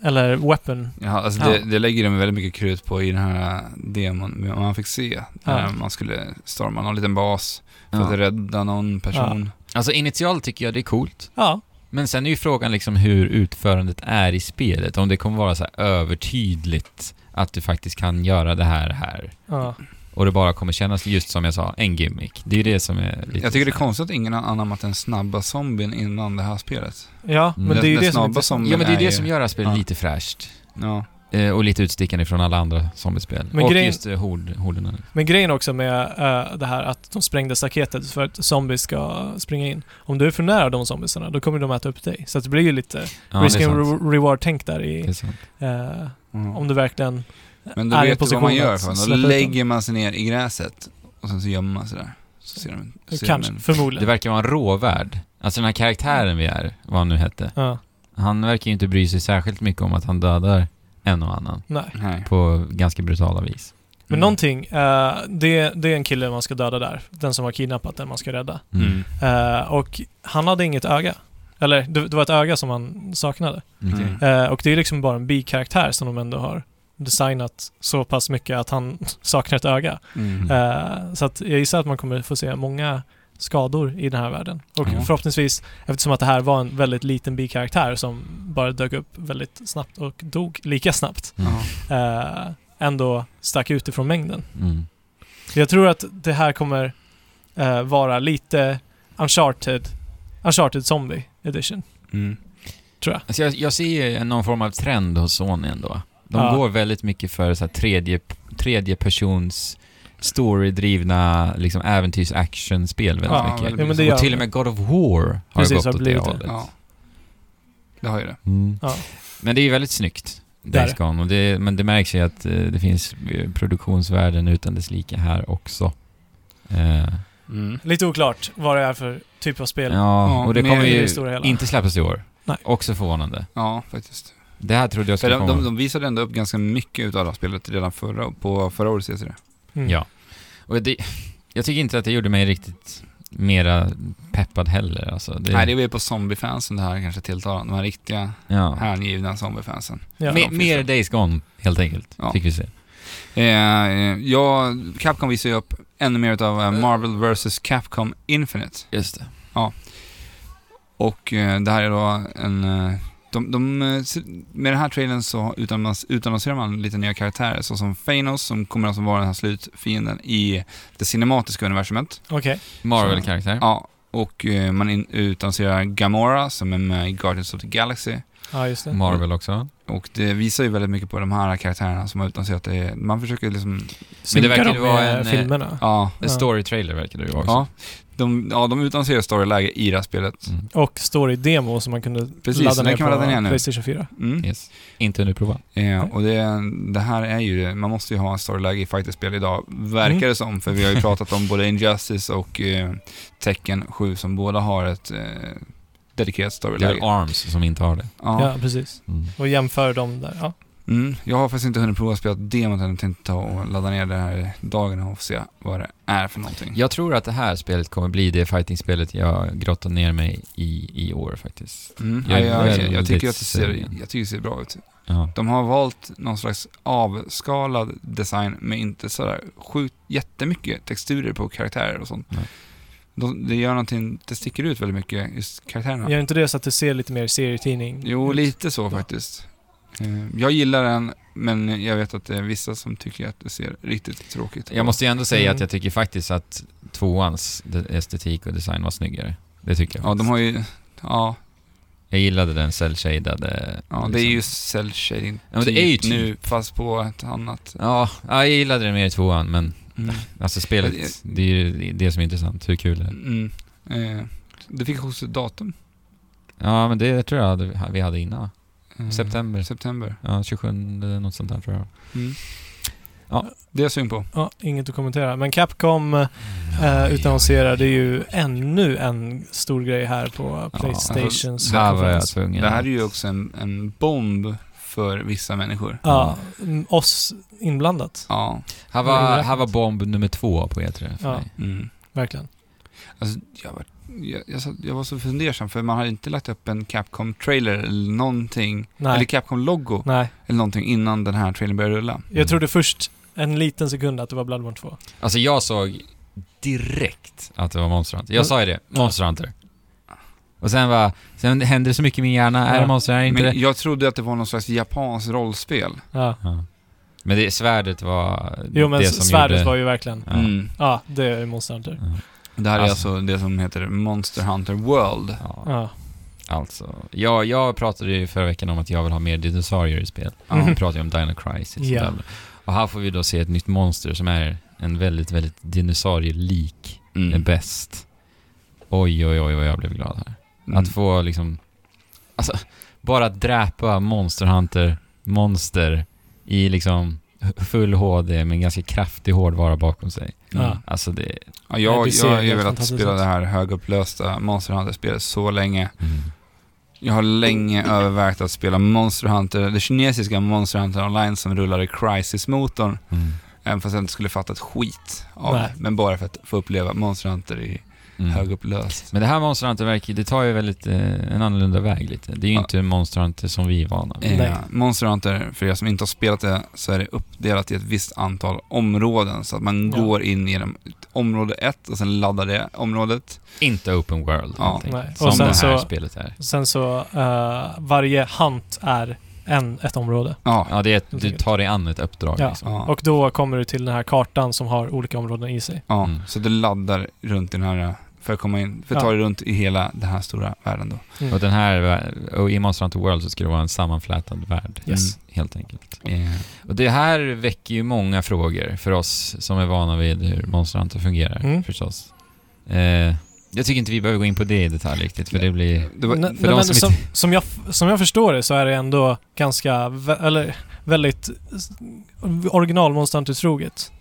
eller weapon.
Ja, alltså
Ja.
Det, det lägger de väldigt mycket krut på i den här demon man fick se. När
Ja.
man skulle storma någon liten bas för
Ja.
att rädda någon person.
Alltså initialt tycker jag det är coolt,
Ja,
men sen är ju frågan liksom hur utförandet är i spelet, om det kommer vara så här övertydligt att du faktiskt kan göra det här här.
ja.
Och det bara kommer kännas, just som jag sa, en gimmick. Det är ju det som är lite...
Jag tycker det är konstigt att ingen har anammat den snabba zombien innan det här spelet.
ja men
Mm.
det är ju
Den-
det
den
som är
snabba
intressant.
zombien
Ja men det är ju det som
ju-
gör det här spelet
Ja.
lite fräscht.
Ja.
Eh, och lite utstickande från alla andra zombiespel.
Men
och
grejen-
just eh, hord, horderna.
Men grejen också med eh, det här att de sprängde staketet för att zombies ska springa in. Om du är för nära de zombiesarna, då kommer de äta upp dig. Så att det blir ju lite
Ja,
risk
det är
and
sant.
re- reward-tänk där i,
Det är sant.
eh,
Mm.
om du verkligen...
Men då
är i
vet du vad
position
man gör.
att
För
släppa
honom.
ut dem.
Då lägger man sig ner i gräset och sen så gömmer man sig där. Så ser de, ser de
Eh, Kanske,
en-
Det
förmodligen.
verkar vara en råvärld. Alltså den här karaktären vi är, vad han nu hette.
Ja,
Han verkar ju inte bry sig särskilt mycket om att han dödar en och annan
nej.
Nej.
på ganska brutala vis.
Men
Mm.
någonting, eh, det, det är en kille man ska döda där. Den som har kidnappat den man ska rädda.
Mm.
Eh, och han hade inget öga. Eller det, det var ett öga som han saknade.
Okej.
Mm.
Eh, och det är liksom bara en bikaraktär som de ändå har designat så pass mycket att han saknar ett öga.
Mm.
Eh, så att jag gissar att man kommer få se många skador i den här världen. Och
Mm.
Ja.
förhoppningsvis, eftersom att det här var en väldigt liten bikaraktär som bara dök upp väldigt snabbt och dog lika snabbt,
Mm.
Ja.
eh, ändå stack ut ifrån mängden.
Mm.
Jag tror att det här kommer eh, vara lite Uncharted, Uncharted Zombie Edition.
Mm.
Alltså jag, jag ser ju någon form av trend hos Sony ändå. De
Ja.
går väldigt mycket för så här tredje, tredje persons storydrivna liksom äventyrs action spel väldigt
Ja,
mycket.
väldigt
Ja, men det gör
och till och
det.
med God of War har
Precis, har
gått åt det
blivit det.
hållet.
ja. Det har ju det.
Mm.
Ja.
Men det är ju väldigt snyggt,
Det är
Days Gone. Och det, men det märks ju att eh, det finns eh, produktionsvärden utan dess lika här också. Eh,
Mm.
Lite oklart vad det är för typ av spel.
ja, och det
men
kommer
i
det
ju
stora hela.
inte släppas i år.
Nej.
Också förvånande.
Ja, faktiskt.
Det här trodde jag
För
skulle
de,
komma.
de, de visade ändå upp ganska mycket utav det här spelet redan förra, på förra årets E3.
Mm.
Ja. Och det, jag tycker inte att det gjorde mig riktigt mera peppad heller. Alltså, det,
Nej, det är väl på zombiefansen det här kanske tilltalar. De här riktiga
ja.
hängivna zombiefansen.
Ja.
Me- mer Days Gone, helt enkelt,
Ja.
fick vi se.
Eh, eh, ja, Capcom visar ju upp ännu mer utav eh, Marvel vs. Capcom Infinite.
Just det.
Och eh, det här är då en... eh, De, de, eh, s- med den här trailern så utannons- utannonserar man lite nya karaktärer, såsom Thanos som kommer alltså vara den här slutfienden i det cinematiska universumet.
Okej.
Marvel-karaktär.
Ja, och eh, man in, utannonserar Gamora som är med i Guardians of the Galaxy.
Ja, just det.
Marvel också.
Och det visar ju väldigt mycket på de här karaktärerna som har utannonserat det. Man försöker liksom,
Men det
Synkar
verkar
de
vara
med
en, eh,
filmerna.
ja,
En story-trailer verkar det ju också.
ja. De, ja, de utannonserar storyläge i det här spelet.
Mm.
Och story-demo som man kunde
Precis,
ladda
så
ner
den kan man
på
ladda ner nu.
Playstation 4.
Mm.
Yes. Inte under prova.
Eh, och det, det här är ju, man måste ju ha en storyläge i fighterspel idag, verkar
Mm.
det som. För vi har ju pratat om både Injustice och eh, Tekken 7 som båda har ett eh, dedikerat
Det är
storyläge.
Arms som inte har det.
Ja,
Ja. precis.
Mm.
Och jämför dem där. Ja.
Mm, jag har faktiskt inte hunnit prova att spela demot än, jag tänkte ta och ladda ner det här dagen och se vad det är för någonting.
Jag tror att det här spelet kommer bli det fighting-spelet jag grottar ner mig i i år faktiskt.
Mm,
Jag
jag,
är
jag, jag,
väldigt
tycker att det ser,
sugen.
jag tycker det ser bra ut.
Ja.
De har valt någon slags avskalad design med inte sådär sjukt jättemycket texturer på karaktärer och sånt.
Nej.
De, det gör någonting, det sticker ut väldigt mycket, just karaktärerna.
Gör inte det så att det ser lite mer serietidning
Jo,
ut?
lite så faktiskt. Eh, Jag gillar den, men jag vet att det är vissa som tycker att det ser riktigt tråkigt ut.
Jag måste ju ändå säga
Mm.
att jag tycker faktiskt att tvåans de- estetik och design var snyggare. Det tycker jag.
Ja, de
faktiskt.
har ju... Ja,
Jag gillade den cell-shadade.
ja det är ju cell shading
Liksom. Ja, men det är ju typ.
nu, fast på ett annat...
Ja, ja, jag gillade den mer i tvåan, men
Mm.
alltså spelet, det är ju det som är intressant. Hur kul är det?
Mm. Eh, Du fick hos ett datum?
Ja, men det tror jag hade- vi hade innan. va? Mm.
Eh,
September.
September.
Ja, 27 eller något sånt där tror jag.
Mm.
Ja.
Det är jag sugen på.
Ja, inget att kommentera. Men Capcom eh, utannonserade ju ännu en stor grej här på
Ja,
Playstations
Där var jag alltså.
konferens.
tvungen.
Det här är ju också en, en bomb för vissa människor.
Ja, mm, oss inblandat.
Ja.
Här var, här var bomb nummer två på E3 för
Ja.
mig.
Mm.
Verkligen.
Alltså, jag, var, jag, jag, satt- jag var så fundersam för man hade inte lagt upp en Capcom-trailer eller någonting.
Nej.
Eller Capcom-logo
Nej.
eller någonting innan den här trailern började rulla.
Mm.
Jag trodde först en liten sekund att det var Bloodborne 2.
Alltså jag såg direkt att det var Monster Hunter. Jag sa ju det, Monster Hunter. Och sen bara, sen hände det så mycket i min hjärna, är det
Ja.
Monster Hunter, är det inte
Men
det?
jag trodde att det var någon slags japanskt rollspel.
Ja.
Ja. Men det, svärdet var
Jo, men
det
s- svärdet
gjorde...
var ju verkligen...
Ja.
Mm.
Ja, det är Monster Hunter.
Ja.
Det här
Alltså.
är alltså det som heter Monster Hunter World.
Ja,
Ja.
alltså. Jag, jag pratade ju förra veckan om att jag vill ha mer dinosaurier i spel.
Ja.
Vi pratade ju om Dino Crisis.
Ja.
Yeah. Och här får vi då se ett nytt monster som är en väldigt, väldigt dinosaurielik
Mm.
bäst. Oj, oj, oj, oj, jag blev glad här.
Mm.
Att få liksom, alltså, bara att dräpa Monster Hunter monster i liksom full HD med en ganska kraftig hårdvara bakom sig.
Ja.
Mm.
Alltså det...
Ja,
Ja,
jag,
det ser
jag har ju
helt
velat
fantastiskt
spela
ut.
det här högupplösta Monster Hunter-spelet så länge. Jag har länge övervägt att spela Monster Hunter, det kinesiska Monster Hunter Online som rullar i Crisis-motorn.
Mm.
Även fast jag inte skulle fatta ett skit av
Nej.
det. Men bara för att få uppleva Monster Hunter i
Mm.
högupplöst.
Men det här Monster Hunter verkar, det tar ju väldigt, eh, en annorlunda väg lite. Det är ju
Ja.
inte Monster Hunter som vi är vana vid.
Eh. Nej.
Eh, Monster Hunter, för er som inte har spelat det, så är det uppdelat i ett visst antal områden. Så att man
Ja.
går in genom område ett och sen laddar det området.
Inte Open World,
Ja.
helt enkelt,
Nej.
som
Och sen
det här
så-
spelet är.
Sen så, eh, varje hunt är en, ett område.
Ja.
Ja, det är ett,
Helt
du
enkelt.
tar dig an ett uppdrag
Ja.
liksom.
ja.
Och då kommer du till den här kartan som har olika områden i sig.
Ja,
Mm.
så du laddar runt i den här, för att komma in, för att ta
Ja.
dig runt i hela den här stora världen då.
Mm.
Och den här, och i Monster Hunter World så ska det vara en sammanflätad värld,
Yes.
Mm.
helt enkelt.
Eh,
Och det här väcker ju många frågor för oss som är vana vid hur Monster Hunter fungerar,
Mm.
förstås. Eh, jag tycker inte vi behöver gå in på det i detalj riktigt, för det blir...
det var,
Nej,
för
nej,
de
men
som
som,
inte-
som, jag, f- som jag förstår det så är det ändå ganska, vä- eller väldigt s- original Monster Hunter-troget.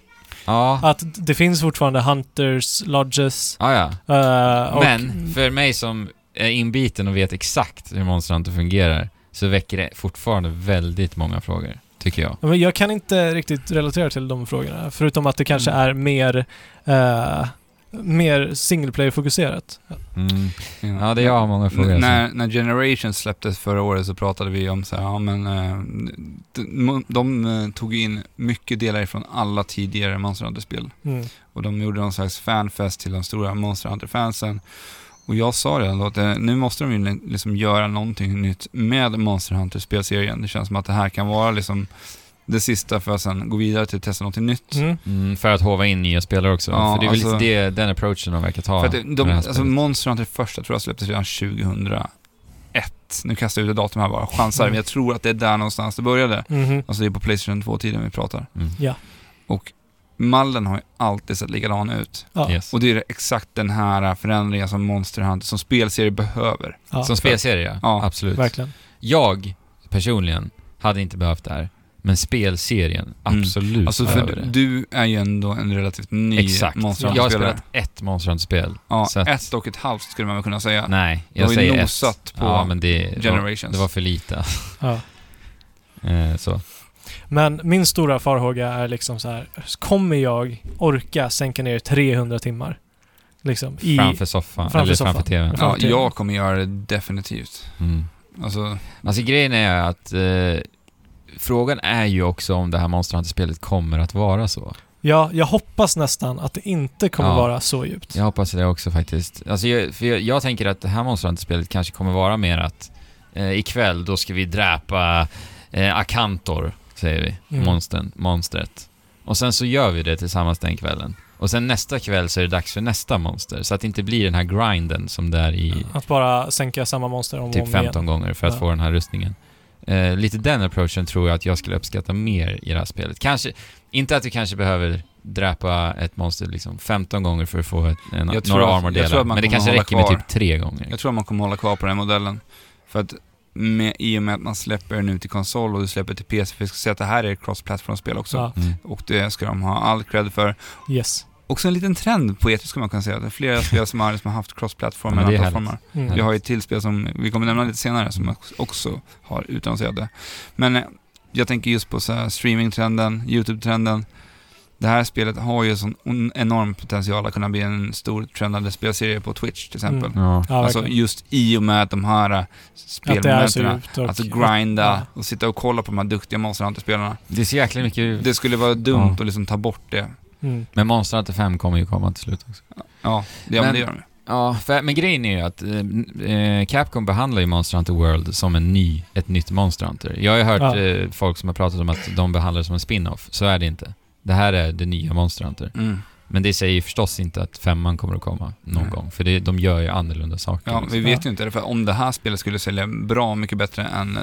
Ja,
Att d- det finns fortfarande Hunters, Lodges,
ja, ja.
eh, och,
Mm.
Men för mig som är inbiten och vet exakt hur Monster Hunter fungerar, så väcker det fortfarande väldigt många frågor, tycker jag.
Ja, Men jag kan inte riktigt relatera till de frågorna, förutom att det kanske
Mm.
är mer, eh, mer single player-fokuserat.
Mm. Ja, det är jag har många frågor.
N-
alltså.
När, när Generations släpptes förra året så pratade vi om så här, ja men eh, de, de eh, tog ju in mycket delar från alla tidigare Monster Hunter-spel.
Mm.
Och de gjorde någon slags fanfest till de stora Monster Hunter-fansen. Och jag sa redan då att eh, nu måste de ju li- liksom göra någonting nytt med Monster Hunter-spelserien. Det känns som att det här kan vara liksom det sista för att sen gå vidare till att testa någonting nytt.
Mm.
Mm, för att hova in nya spelare också.
Ja,
för det är väl
alltså-
lite det, den approachen de verkar ta.
För att det-
med
de,
det här
alltså
spelet.
Monster Hunter första tror jag släpptes redan 2001. Nu kastar jag ut ett datum här bara, chansar.
Mm.
Men jag tror att det är där någonstans det började.
Mhm.
Alltså det är på Playstation 2-tiden vi pratar.
Mm.
Ja.
Och mallen har ju alltid sett likadan ut.
Ja.
Yes.
Och det är exakt den här förändringen som Monster Hunter som spelserie behöver.
Ja,
Som spelserie, ja.
Ja,
Absolut.
Verkligen.
Jag personligen hade inte behövt det här, men spelserien
Mm.
absolut
Alltså för
behöver
du,
det.
du är ju ändå en relativt ny
Exakt.
Monster
Jag har
Hunter-spelare.
spelat ett Monster Hunter-spel.
Ja,
så att-
ett och ett halvt skulle man väl kunna säga.
Nej,
har
jag
ju
säger ett.
nosat på
ja, men det, det var,
Generations.
det var för lite.
Ja.
Eh, så.
Men min stora farhåga är liksom så här, kommer jag orka sänka ner 300 timmar? Liksom i...
framför soffan,
framför
eller
soffan.
framför tvn.
Ja,
Framtiden.
jag kommer göra det definitivt.
Mm.
Alltså,
Alltså grejen är att eh, frågan är ju också om det här Monster Hunter-spelet kommer att vara så.
Ja, jag hoppas nästan att det inte kommer
Ja.
vara så djupt.
Jag hoppas det också faktiskt. Alltså jag, för jag, jag tänker att det här Monster Hunter-spelet kanske kommer vara mer att eh, ikväll då ska vi dräpa eh, Akantor, säger vi,
Mm.
monstern, monstret. Och sen så gör vi det tillsammans den kvällen. Och sen nästa kväll så är det dags för nästa monster, så att det inte blir den här grinden som det är i
Att bara sänka samma monster om och
typ
om igen.
15 gånger för att
Ja.
få den här rustningen. Eh, lite den approachen tror jag att jag skulle uppskatta mer i det här spelet. Kanske, inte att du kanske behöver dräpa ett monster liksom 15 gånger för att få ett, en,
Jag tror
några
att- jag tror
armordelar,
att man
men det
kommer
kanske
hålla
räcker med
kvar.
typ tre gånger.
jag tror att man kommer hålla kvar på den här modellen. För att med, i och med att man släpper nu till konsol och du släpper till PC, för jag ska säga att det här är cross-platform-spel också.
Ja,
Mm.
Och det ska de ha all cred för.
yes.
Också en liten trend på E3 skulle man kunna säga. Det är flera spel som har liksom haft cross-platform
Ja, men
mellan
det är
plattformar.
Mm.
Ja.
Vi har ju ett till spel som vi kommer nämna lite senare som också har utannonserat det. Men eh, jag tänker just på så här streamingtrenden, YouTube-trenden. Det här spelet har ju sån on- enorm potential att kunna bli en stor trendande spelserie på Twitch till exempel.
Mm.
Ja.
Ja,
alltså
verkligen.
just i och med att de här eh,
Att det är så
spelmomenten,
djupt och...
alltså grinda
Ja.
och sitta och kolla på de här duktiga Monster Hunter-spelarna.
Det är så jäkla mycket...
Det skulle vara dumt
Ja.
att liksom ta bort det.
Mm.
Men Monster Hunter 5 kommer ju komma till slut också.
Ja, det, ja, men,
Men-
det gör de.
Ja, för, men grejen är ju att eh, eh, Capcom behandlar ju Monster Hunter World som en ny, ett nytt Monster Hunter. Jag har ju hört
Ja.
eh, folk som har pratat om att de behandlar det som en spin-off. Så är det inte. Det här är det nya Monster Hunter.
Mm.
Men det säger ju förstås inte att femman kommer att komma någon
Nej.
gång, för det, de gör ju annorlunda saker.
Ja,
liksom.
vi vet ju inte det, för om det här spelet skulle sälja bra mycket bättre än, eh,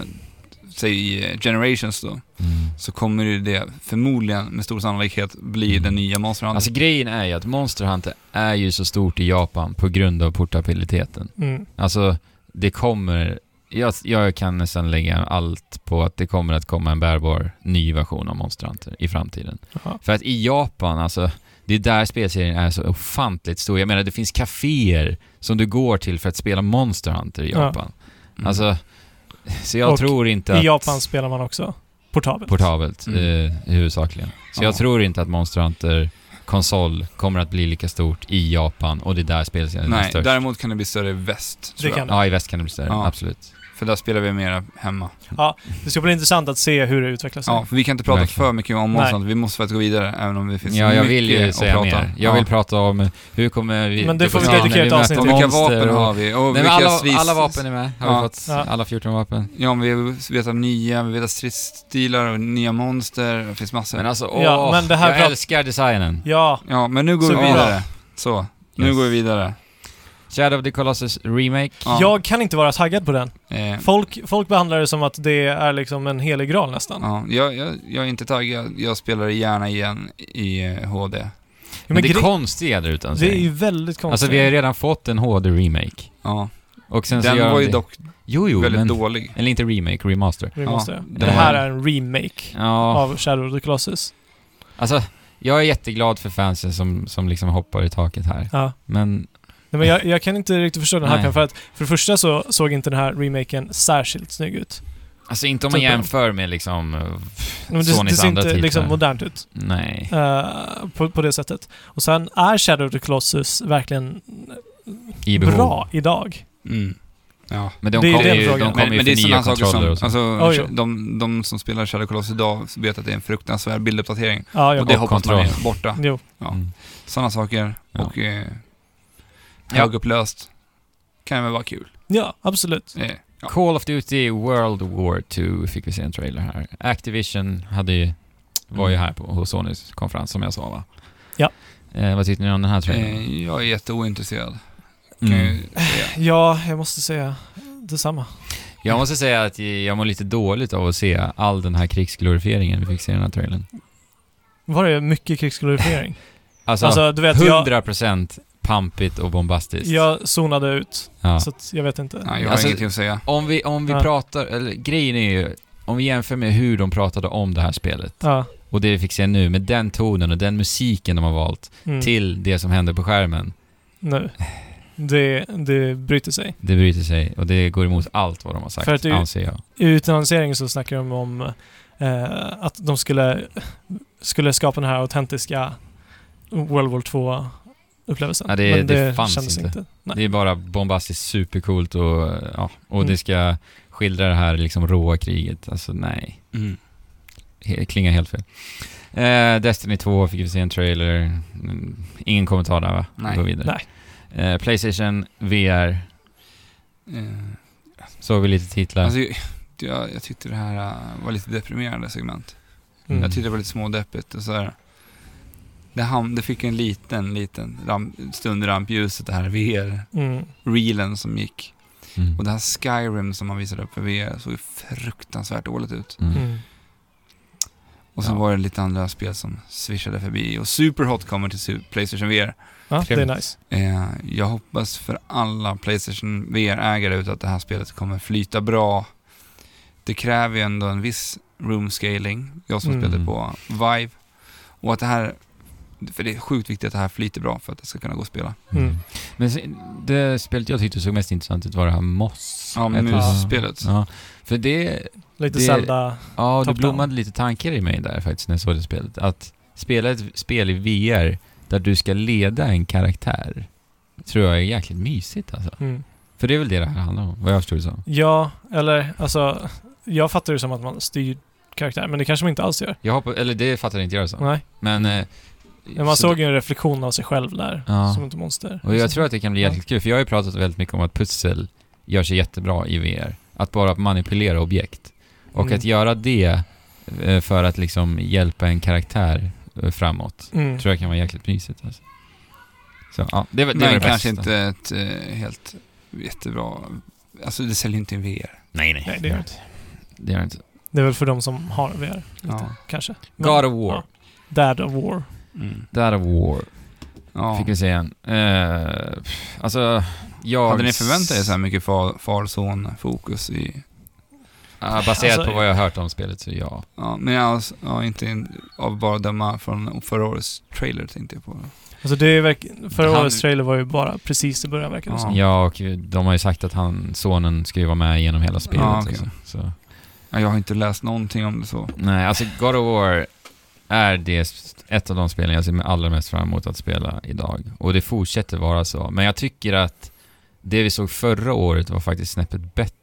säg eh, Generations då,
Mm.
så kommer ju det förmodligen med stor sannolikhet bli
Mm.
den nya Monster Hunter.
Alltså grejen är ju att Monster Hunter är ju så stort i Japan på grund av portabiliteten.
Mm.
Alltså, det kommer... Jag, jag kan nästan lägga allt på att det kommer att komma en bärbar ny version av Monster Hunter i framtiden.
Jaha.
För att i Japan, alltså, det är där spelserien är så ofantligt stor. Jag menar, det finns kaféer som du går till för att spela Monster Hunter i
Ja.
Japan.
Mm.
Alltså, så jag
Och
tror inte att...
I Japan spelar man också portabelt.
portabelt
Mm.
eh, huvudsakligen. Så jag
Ja.
tror inte att Monster Hunter konsol kommer att bli lika stort i Japan och det är där spelserien är
Nej,
störst.
däremot kan det bli större i väst, tror
Det
jag.
kan det.
Ja, i väst kan det bli större,
Ja.
absolut.
För där spelar vi mer hemma.
Det ska bli intressant att se hur det utvecklar sig.
Ja, för vi kan inte prata
Verkligen.
för mycket om Monster
Nej.
Hunter, vi måste faktiskt gå vidare, även om det finns
Ja, jag
mycket
vill ju
att
säga
prata om.
mer. Jag
Ja.
vill prata om eh, hur kommer vi...
Men det får vi
kommer-
dedikera
när
ett
möter
avsnitt till.
monster
Vilka vapen
och-
har vi? Och
Nej, men
vilka
alla,
stris-
alla vapen är med, har
Ja.
vi fått.
Ja.
Alla 14 vapen.
Ja, men vi vet om nya, vi vet att stridsstilar och nya monster, det finns massor.
Men alltså, åh,
Ja, men det här
jag
prat-
älskar designen.
Ja,
ja, men nu går
Så
vi
vi-
vidare. Så, nu
Yes.
går vi vidare.
Shadow of the Colossus Remake.
Ja.
jag kan inte vara taggad på den.
Eh,
Mm.
Folk, folk behandlar det som att det är liksom en helig graal nästan.
Ja, jag, jag, jag är inte taggad. Jag spelar det gärna igen i eh, HD.
Men, det är
gre-
konstiga där utan
det är ju
sig.
väldigt konstigt.
Alltså vi har ju redan fått en HD-remake.
Ja.
Och sen så
Den
gör de
var ju
det.
dock
Jo, jo,
väldigt
men...
dålig.
Eller inte remake, remaster.
Vi
Ja,
måste.
det
det här
var-
är en remake
Ja,
av Shadow of the Colossus.
alltså jag är jätteglad för fansen som, som liksom hoppar i taket här.
Ja.
Men
Nej, men jag, jag kan inte riktigt förstå den här
Nej.
hypen, för att för det första så såg inte den här remaken särskilt snygg ut.
alltså inte om man
Typ-
jämför med liksom eh,
Men det, det
Sonys
ser
andra
inte
titlar.
liksom modernt ut
Nej.
eh, på, på det sättet. Och sen är Shadow of the Colossus verkligen
I behov.
bra idag.
Mm. Ja.
Men de
Det är
kommer
den
ju, de
frågan.
kommer
Men,
ju
men det är
för
sådana
nya
saker som,
kontroller och så.
alltså,
Oj, ja.
de, de som spelar Shadow Colossus idag vet att det är en fruktansvärd bilduppdatering.
Ja, jag
och det
Och
hoppas man
kontroll.
är borta.
Jo.
ja.
Mm.
Sådana saker
Ja.
och eh,
Ja.
högupplöst kan väl vara kul.
Ja, absolut.
Eh, ja.
Call of Duty World War 2 fick vi se en trailer här. Activision hade ju, var ju här på, hos Sonys konferens som jag sa va?
Ja.
Eh, vad tyckte ni om den här trailern?
Eh, jag är jätteointresserad.
Eh,
Kan
Mm.
ju säga.
Ja, jag måste säga detsamma.
Jag måste säga att jag mår lite dåligt av att se all den här krigsglorifieringen vi fick se i den här trailern.
Var det mycket krigsglorifiering?
Alltså,
alltså, du vet, jag,
100% pampigt och bombastiskt.
jag zonade ut,
Ja.
så att jag vet inte.
Nej, jag har
Alltså-
ingenting att säga.
Om vi, om vi
Ja.
pratar, eller grejen är ju, om vi jämför med hur de pratade om det här spelet
Ja,
och det vi fick se nu med den tonen och den musiken de har valt
mm,
till det som händer på skärmen.
nu. Det, det bryter sig.
Det bryter sig och det går emot allt vad de har sagt,
För att det-
anser jag.
I utannonseringen så snackar de om eh, att de skulle, skulle skapa den här autentiska World War 2-upplevelsen.
Ja, det-
Men
det fanns
kändes
inte.
Nej.
Det är bara bombastiskt supercoolt och, ja, och
Mm.
det ska skildra det här liksom råa kriget. Alltså nej, He- klingar helt fel. Eh, Destiny 2 fick vi se en trailer. Mm, Ingen kommentar där va? Vi
Nej.
Går vidare. Eh, Playstation VR
Eh,
såg vi lite titlar.
Alltså, jag, jag tyckte det här eh, var lite deprimerande segment.
Mm.
Jag tyckte det var lite smådeppigt och så här. Det, ham- det fick en liten, liten ramp, stund i rampljuset, det här
Mm.
VR-reelen som gick.
mm.
Och det här Skyrim som man visade upp för VR såg ju fruktansvärt dåligt ut.
Mm.
Mm.
Och sen
Ja.
var det lite andra spel som swishade förbi. Och Superhot kommer till Su- Playstation VR.
Ja, det är
Trevligt.
nice.
Eh, jag hoppas för alla Playstation VR-ägare ute att det här spelet kommer flyta bra. Det kräver ju ändå en viss room scaling, jag som
Mm.
spelade på Vive. Och att det här, för det är sjukt viktigt att det här flyter bra för att det ska kunna gå att spela.
Mm.
Men se- det spelet jag tyckte såg mest intressant ut var det här Moss.
Ja,
Heter det?
musspelet.
Ja, för det,
Lite
Det-
Zelda.
ja det
Top down.
blommade lite tankar i mig där faktiskt när jag såg det spelet. Att spela ett spel i VR där du ska leda en karaktär tror jag är jäkligt mysigt alltså.
Mm.
För det är väl det det här handlar om, vad jag förstod det som.
Ja, eller alltså, jag fattar det som att man styr karaktär, men det kanske man inte alls gör.
Jag hoppas, eller det fattade inte jag det som.
Nej.
Men... eh,
Men man
så-
såg ju en reflektion av sig själv där,
Ja.
som ett monster. Alltså,
Och jag tror att det kan bli
Ja.
jäkligt kul, för jag har ju pratat väldigt mycket om att pussel gör sig jättebra i VR. Att bara manipulera objekt. Och
Mm.
att göra det eh, för att liksom hjälpa en karaktär eh, framåt,
Mm.
tror jag kan vara jäkligt mysigt alltså. Så ja, det, var- det är
Men
det bästa.
kanske inte ett eh, helt jättebra, alltså det säljer inte in VR.
Nej, nej.
Nej, det gör det inte.
Det gör det inte.
Det är väl för de som har VR,
Ja.
kanske. Men-
God of War.
Ja. Dad of War.
Mm.
Dad of War,
ja.
fick vi se en. Eh, pff, alltså, jag...
Hade ni förväntat er så här mycket far- far-son-fokus i
Ja, baserat
Alltså,
på vad jag har hört om spelet så ja.
Ja, men jag alltså, ja, inte in, av bara att döma från förra årets trailer tänkte jag på.
Alltså det är verk- förra
Han-
årets trailer var ju bara precis i början verkar det
Ja.
som.
Ja, och de har ju sagt att han, sonen ska ju vara med genom hela spelet.
Ja, okej.
också, så.
Ja, jag har inte läst någonting om det så.
Nej, alltså God of War är det ett av de spelen jag ser mig allra mest fram emot att spela idag. Och det fortsätter vara så. Men jag tycker att det vi såg förra året var faktiskt snäppet bättre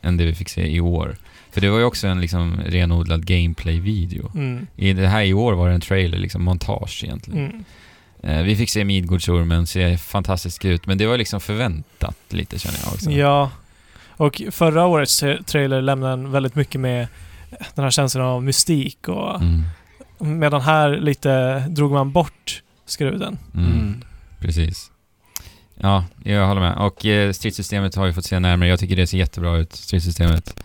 än det vi fick se i år. För det var ju också en liksom renodlad gameplay-video.
Mm.
I det här i år var det en trailer, liksom montage egentligen.
Mm.
Eh, vi fick se Midgårdsormen, se fantastisk ut, men det var liksom förväntat lite känner jag också.
Ja. Och förra årets tra- trailer lämnade en väldigt mycket med den här känslan av mystik och
Mm.
medan här lite drog man bort skruden.
Mm. Precis. Ja, jag håller med. Och eh, stridssystemet har vi fått se närmare. Jag tycker det ser jättebra ut, stridssystemet.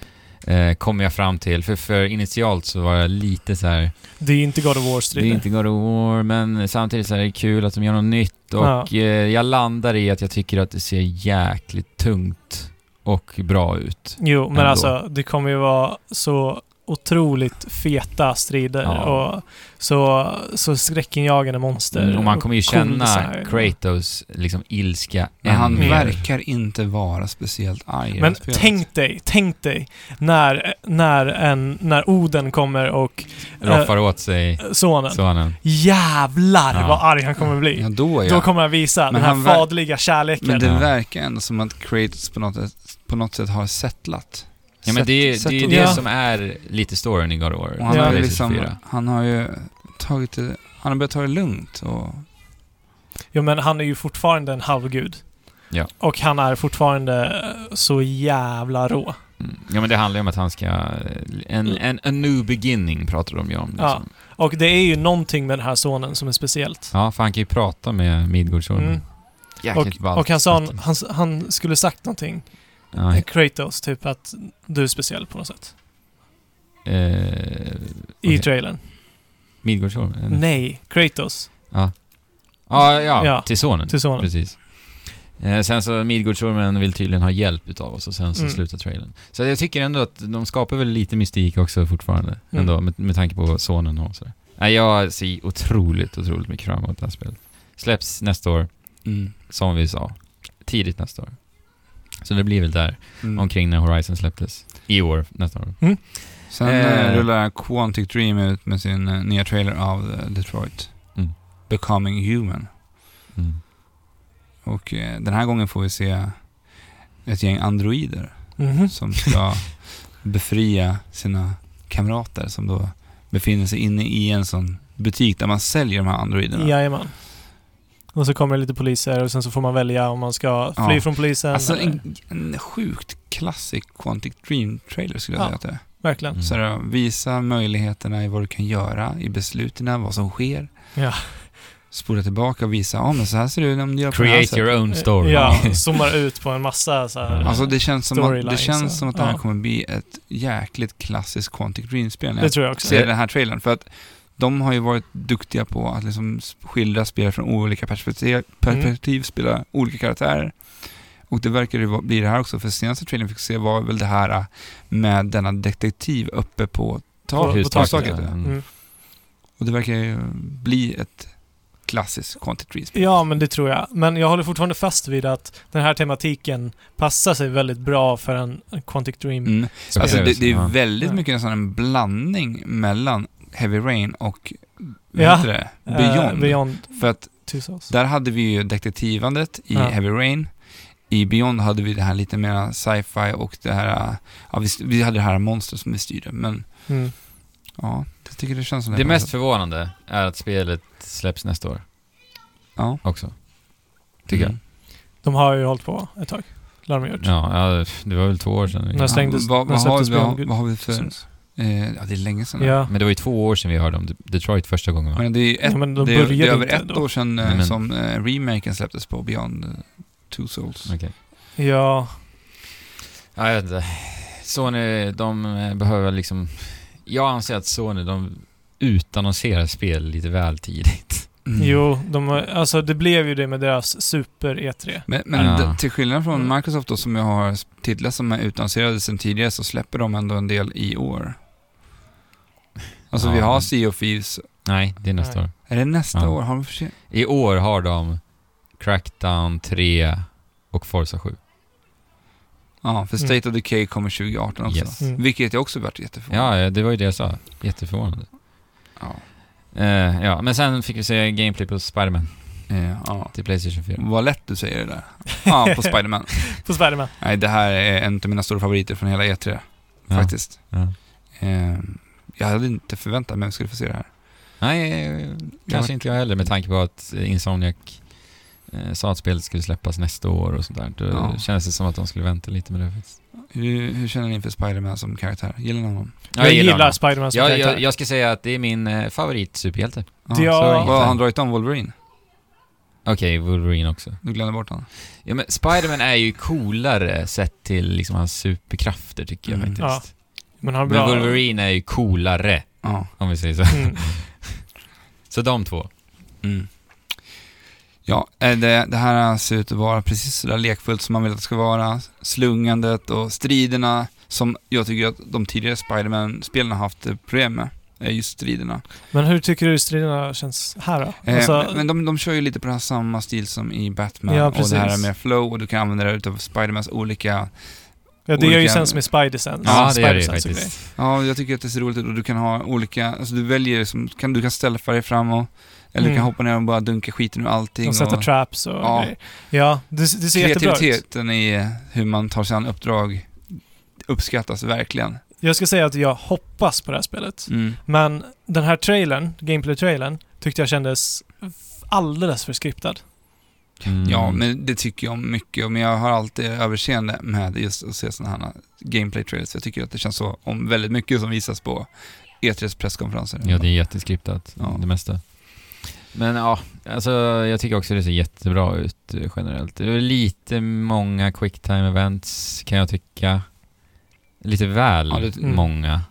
Eh, kommer jag fram till. För, för initialt så var jag lite så här.
Det är ju inte God of War
det är
strider.
inte God of War, men samtidigt så här, är det kul att de gör något nytt. Och
Ja.
eh, jag landar i att jag tycker att det ser jäkligt tungt och bra ut.
Jo, men
ändå.
alltså det kommer ju vara så otroligt feta strider
Ja.
och så, så skräckinjagande monster.
Mm, Och man kommer ju
och cool
känna
design.
Kratos liksom ilska
Men han
än mer.
verkar inte vara speciellt arg i
Mm. Men
det här spelet.
tänk dig, tänk dig när, när, en, när Oden kommer och
Roffar åt sig
eh, sonen.
sonen.
Jävlar
Ja.
vad arg han kommer bli.
Ja, då ja.
Då kommer han visa
Men
den här
han ver-
faderliga kärleken.
men det
Ja.
verkar ändå som att Kratos på något, sätt- på något sätt har settlat.
Ja men det, är- det är ju
Settled
det
Ja.
down.
som är lite storyn i God of War. Alltså,
Och han,
Ja.
har ju
Playstation
liksom,
4.
han har ju tagit det, han har börjat ta det lugnt och...
Jo men han är ju fortfarande en halvgud.
Ja.
Och han är fortfarande eh, så jävla rå.
Mm. Ja men det handlar ju om att han ska... eh, En, en a new beginning pratar de ju om. Liksom.
Ja.
Ja.
Och det är ju någonting med den här sonen som är speciellt.
för han kan ju prata med Midgårdsormen.
Mm.
Jäkligt
Och,
ballt.
och han sa, han, han skulle sagt någonting,
Ja,
Kratos, typ att du är speciell på något sätt.
eh,
I
Okej.
trailern.
Midgårdsormen?
Mm.
eller?
Nej, Kratos
Ja, ja,
Ja,
till sonen.
till sonen.
Precis. Eh, sen så Midgårdsormen vill tydligen ha hjälp utav oss och sen så
Mm.
slutar trailern. Så jag tycker ändå att de skapar väl lite mystik också fortfarande.
Mm.
Ändå, med, med tanke på sonen och sådär. Nej, jag ser otroligt, otroligt mycket fram emot det här spelet. Släpps nästa år.
Mm.
som vi sa, tidigt nästa år. Så det blir väl där,
Mm.
omkring när Horizon släpptes. I år, nästa år.
Sen
Eh.
eh. rullar Quantic Dream ut med sin eh, nya trailer av eh, Detroit.
Mm.
Becoming Human.
Mm.
Och eh, den här gången får vi se ett gäng androider
Mhm.
som ska befria sina kamrater som då befinner sig inne i en sån butik där man säljer de här androiderna.
Jajamän. Och så kommer det lite poliser och sen så får man välja om man ska fly
Ja.
från polisen.
Alltså
eller-
en, en sjukt klassisk Quantic Dream-trailer skulle jag
Ja.
säga att det är.
Mm.
Verkligen.
Så här, visa möjligheterna i vad du kan göra, i besluten, vad som sker.
Ja.
Spola tillbaka och visa, ja men så här ser det ut om du gör på det här
Create
sättet.
your own story.
Ja, zoomar ut på en massa så här.
Alltså det känns, som att, det
Storylines, ja.
känns som att det här
Ja.
kommer bli ett jäkligt klassiskt Quantic Dream-spel när
det
jag
tror jag också.
ser den här trailern. För att de har ju varit duktiga på att liksom skildra spelare från olika perspektiv, perspektiv spela olika karaktärer. Och det verkar ju vara- bli det här också, för senaste trailern fick se var väl det här äh, med denna detektiv uppe på
På-
taket.
på taket,
taket, ja.
Mm.
Och det verkar ju bli ett klassiskt Quantic Dream-spel.
Ja, men det tror jag. Men jag håller fortfarande fast vid att den här tematiken passar sig väldigt bra för en Quantic Dream.
Mm. Alltså det, det är
Ja.
väldigt
Ja.
mycket en sån en blandning mellan Heavy Rain och vad
Ja.
heter det?
Eh,
Beyond.
Beyond typ
För att
Two Souls.
där hade vi ju detektivandet i
Ja.
Heavy Rain. I Beyond hade vi det här lite mer sci-fi och det här, eh, ja vi, vi hade det här monstret som vi styrde, men
Mm.
ja, jag tycker det känns som
Det
på
mest
något
förvånande är att spelet släpps nästa år
Ja.
också.
sätt.
tycker jag.
Mm.
De har ju hållit på ett tag. Lär de gjort.
Ja, ja, det var väl två år sedan.
Nästa-
Vi...
stängdes-
Mm. vad,
när
vad, har,
släpptes
vi- vad,
Beyond
vad har vi för,
Syns.
eh, ja det är länge sedan.
Ja.
Men det var ju två år sedan vi hörde om De- Detroit första gången va?
Men det är ju ett,
Ja, men de
det är, det
började
är över
inte
ett
då.
år sedan eh,
Nej, men-
som eh, remaken släpptes på Beyond eh, Two Souls.
Okej.
Ja,
Ja, jag vet inte. Sony, de eh, behöver liksom... Jag anser att Sony, de utannonserar spel lite väl tidigt.
Mm.
jo, de, har- alltså det blev ju det med deras Super E E3.
Men, men
Ja.
d- till skillnad från
Mm.
Microsoft då, som jag har titlar som är utannonserade sedan tidigare, så släpper de ändå en del i år. Alltså
Ja,
vi har
men-
Sea of Thieves.
Nej, det är nästa
Nej.
år.
Är det nästa
Ja.
år? Har de för sig?
I år har de Crackdown 3 och Forza 7.
Ja, för State of Decay kommer 2018 också.
Yes.
Mm.
Vilket jag också varit jätteförvånad
Ja, ja, det var ju det jag sa. Jätteförvånande.
ja.
Eh, ja, men sen fick vi se gameplay på Spiderman
Eh, ja.
till Playstation 4.
Vad lätt du säger det där. Ja, på Spiderman.
På Spiderman.
Nej, det här är en av mina stora favoriter från hela E3,
Ja.
faktiskt.
Ja.
Eh, jag hade inte förväntat mig att jag skulle få se det här.
Nej, eh, kanske inte jag heller med tanke på att eh, Insomniac eh, sa att spelet skulle släppas nästa år och sånt där. Då
Ja.
kändes det som att de skulle vänta lite med det faktiskt.
Hur, hur känner ni för Spiderman som karaktär? Gillar ni honom?
Ja,
jag gillar,
honom.
Spiderman som
jag,
karaktär.
jag, jag ska säga att det är min eh, favorit superhjälte.
Ja,
Ja.
så- Vad har
Ja.
han dragit om Wolverine?
Okej, Wolverine också.
Du glömde bort honom.
Ja, men Spiderman är ju coolare sett till liksom hans superkrafter tycker jag
Mm.
faktiskt.
Men han är
Men
bra.
Wolverine är ju coolare,
Ja.
om vi säger så.
Mm.
Så de två. Mm.
Mm. Ja, eh, det, det här ser ut att vara precis så där lekfullt som man vill att det ska vara. Slungandet och striderna som jag tycker att de tidigare Spiderman-spelen har haft eh, problem med. är just striderna.
Men hur tycker du striderna känns här då?
Eh,
Alltså,
men- men de, de kör ju lite på den här samma stil som i Batman.
Ja,
och det här är
precis.
mer flow och du kan använda dig utav Spidermans olika...
ja, det gör ju
olika-
sens med Spider-Sense.
Ja, det är det ju
Spider-Sense och
faktiskt.
Ja, jag tycker att det ser roligt ut och du kan ha olika... Alltså du väljer, som, kan, du kan ställa för dig fram och... Eller du
Mm.
kan hoppa ner och bara dunka skiten ur allting.
grejer. Och sätta
och-
traps och
Ja.
grejer. Ja, det, det ser jättebra ut.
kreativiteten i hur man tar sig an uppdrag uppskattas verkligen.
Jag ska säga att jag hoppas på det här
Mm.
spelet. Men den här trailern, Gameplay-trailern, tyckte jag kändes f- alldeles för skriptad.
Mm.
Ja, men det tycker jag om mycket, men jag har alltid överseende med just att se sådana här gameplay-trailers. Jag tycker att det känns så om väldigt mycket som visas på E3s presskonferenser.
Ja, det är jätteskriptat,
Ja.
det mesta. Men ja, alltså jag tycker också det ser jättebra ut eh, generellt. Det är lite många quick time events kan jag tycka. Lite väl
Ja, det-
Mm.
många.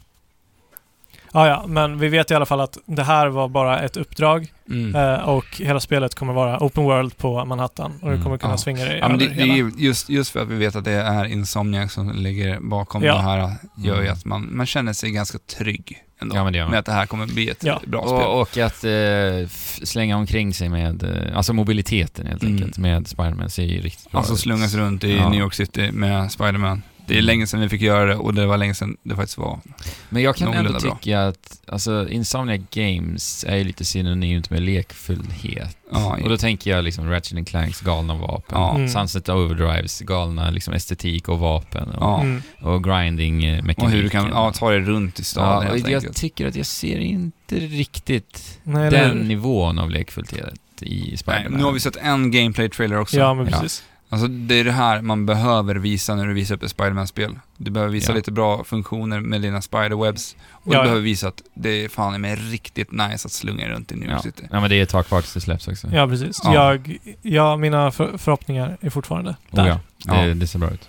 Ja, ja, men vi vet i alla fall att det här var bara ett uppdrag
Mm.
eh, och hela spelet kommer vara open world på Manhattan och du
Mm,
kommer kunna
ja.
svinga dig
Ja, men det,
över
det är
hela.
ju just, just för att vi vet att det är Insomniac som ligger bakom
Ja.
det här eh, gör ju
Mm.
att man, man känner sig ganska trygg ändå.
Ja, men det gör man.
med att det här kommer bli ett
Ja.
bra spel.
Och, och att eh, f- slänga omkring sig med, eh, alltså mobiliteten helt
Mm.
enkelt med Spiderman ser ju riktigt bra
Alltså
ut.
slungas runt i
Ja. Mm.
New York City med Spiderman. Det är länge sedan vi fick göra det och det var länge sedan det faktiskt var.
Men jag kan ändå
Någorlunda
tycka
bra.
att, alltså Insomnia Games är ju lite synonymt med lekfullhet.
Ja,
Och då tänker jag liksom Ratchet and Clanks galna vapen,
Ja.
Mm.
Sunset Overdrives galna liksom estetik och vapen och,
Ja.
Mm.
och grinding-mekaniken.
Och hur du kan ja, ta dig runt i
Ja,
staden
och
helt
jag
enkelt.
tycker att jag ser inte riktigt
Nej, eller
den
hur?
nivån av lekfullhet i
Nej,
Spider-Man.
nu har vi sett en gameplay-trailer också.
Ja, men precis.
Alltså det är det här man behöver visa när du visar upp ett Spider-Man-spel. Du behöver visa
Ja.
lite bra funktioner med dina spiderwebs och
Ja,
du
ja.
behöver visa att det är fan med riktigt nice att slunga runt i New York
ja.
City.
ja, men det är ett tag kvar tills det släpps också. Oh,
Ja, precis.
Ja.
Jag, ja, mina för, förhoppningar är fortfarande där.
Oh, ja. Det,
Ja.
det ser bra ut.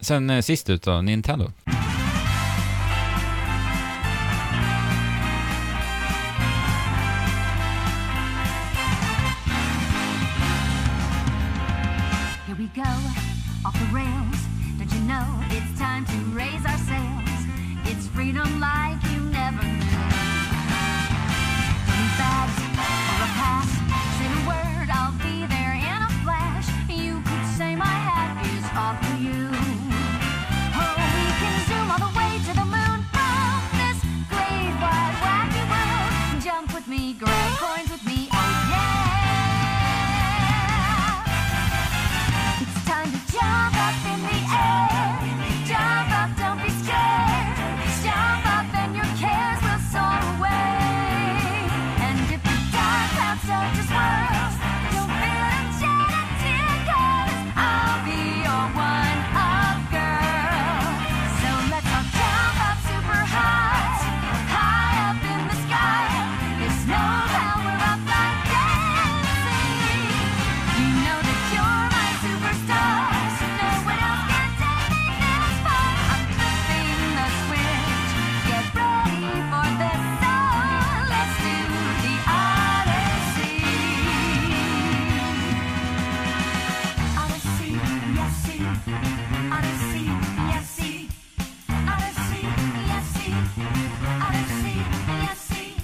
Sen eh, sist ut då, Nintendo.
Here we go, off the rails. Don't you know it's time to raise our sails? It's freedom like you never knew. Money bags or a pass, say the word, I'll be there in a flash. You could say my hat is off to you. Oh, we can zoom all the way to the moon from this great wide wacky world. Jump with me, grab coins with me, oh yeah. It's time to jump up in the air. Jump up, don't be scared. Jump up and your cares will soar away. And if the dark clouds start to swirl, don't feel a jet of tears. I'll be your one-up girl. So let's all jump up super high, high up in the sky. There's no power up like dancing. You know that you're my superstar. So no one else can take me this far. I'm flipping the switch. Get ready for the sun. Let's do the Odyssey. Odyssey, yes, see. Odyssey, yes, see. Odyssey, yes, see.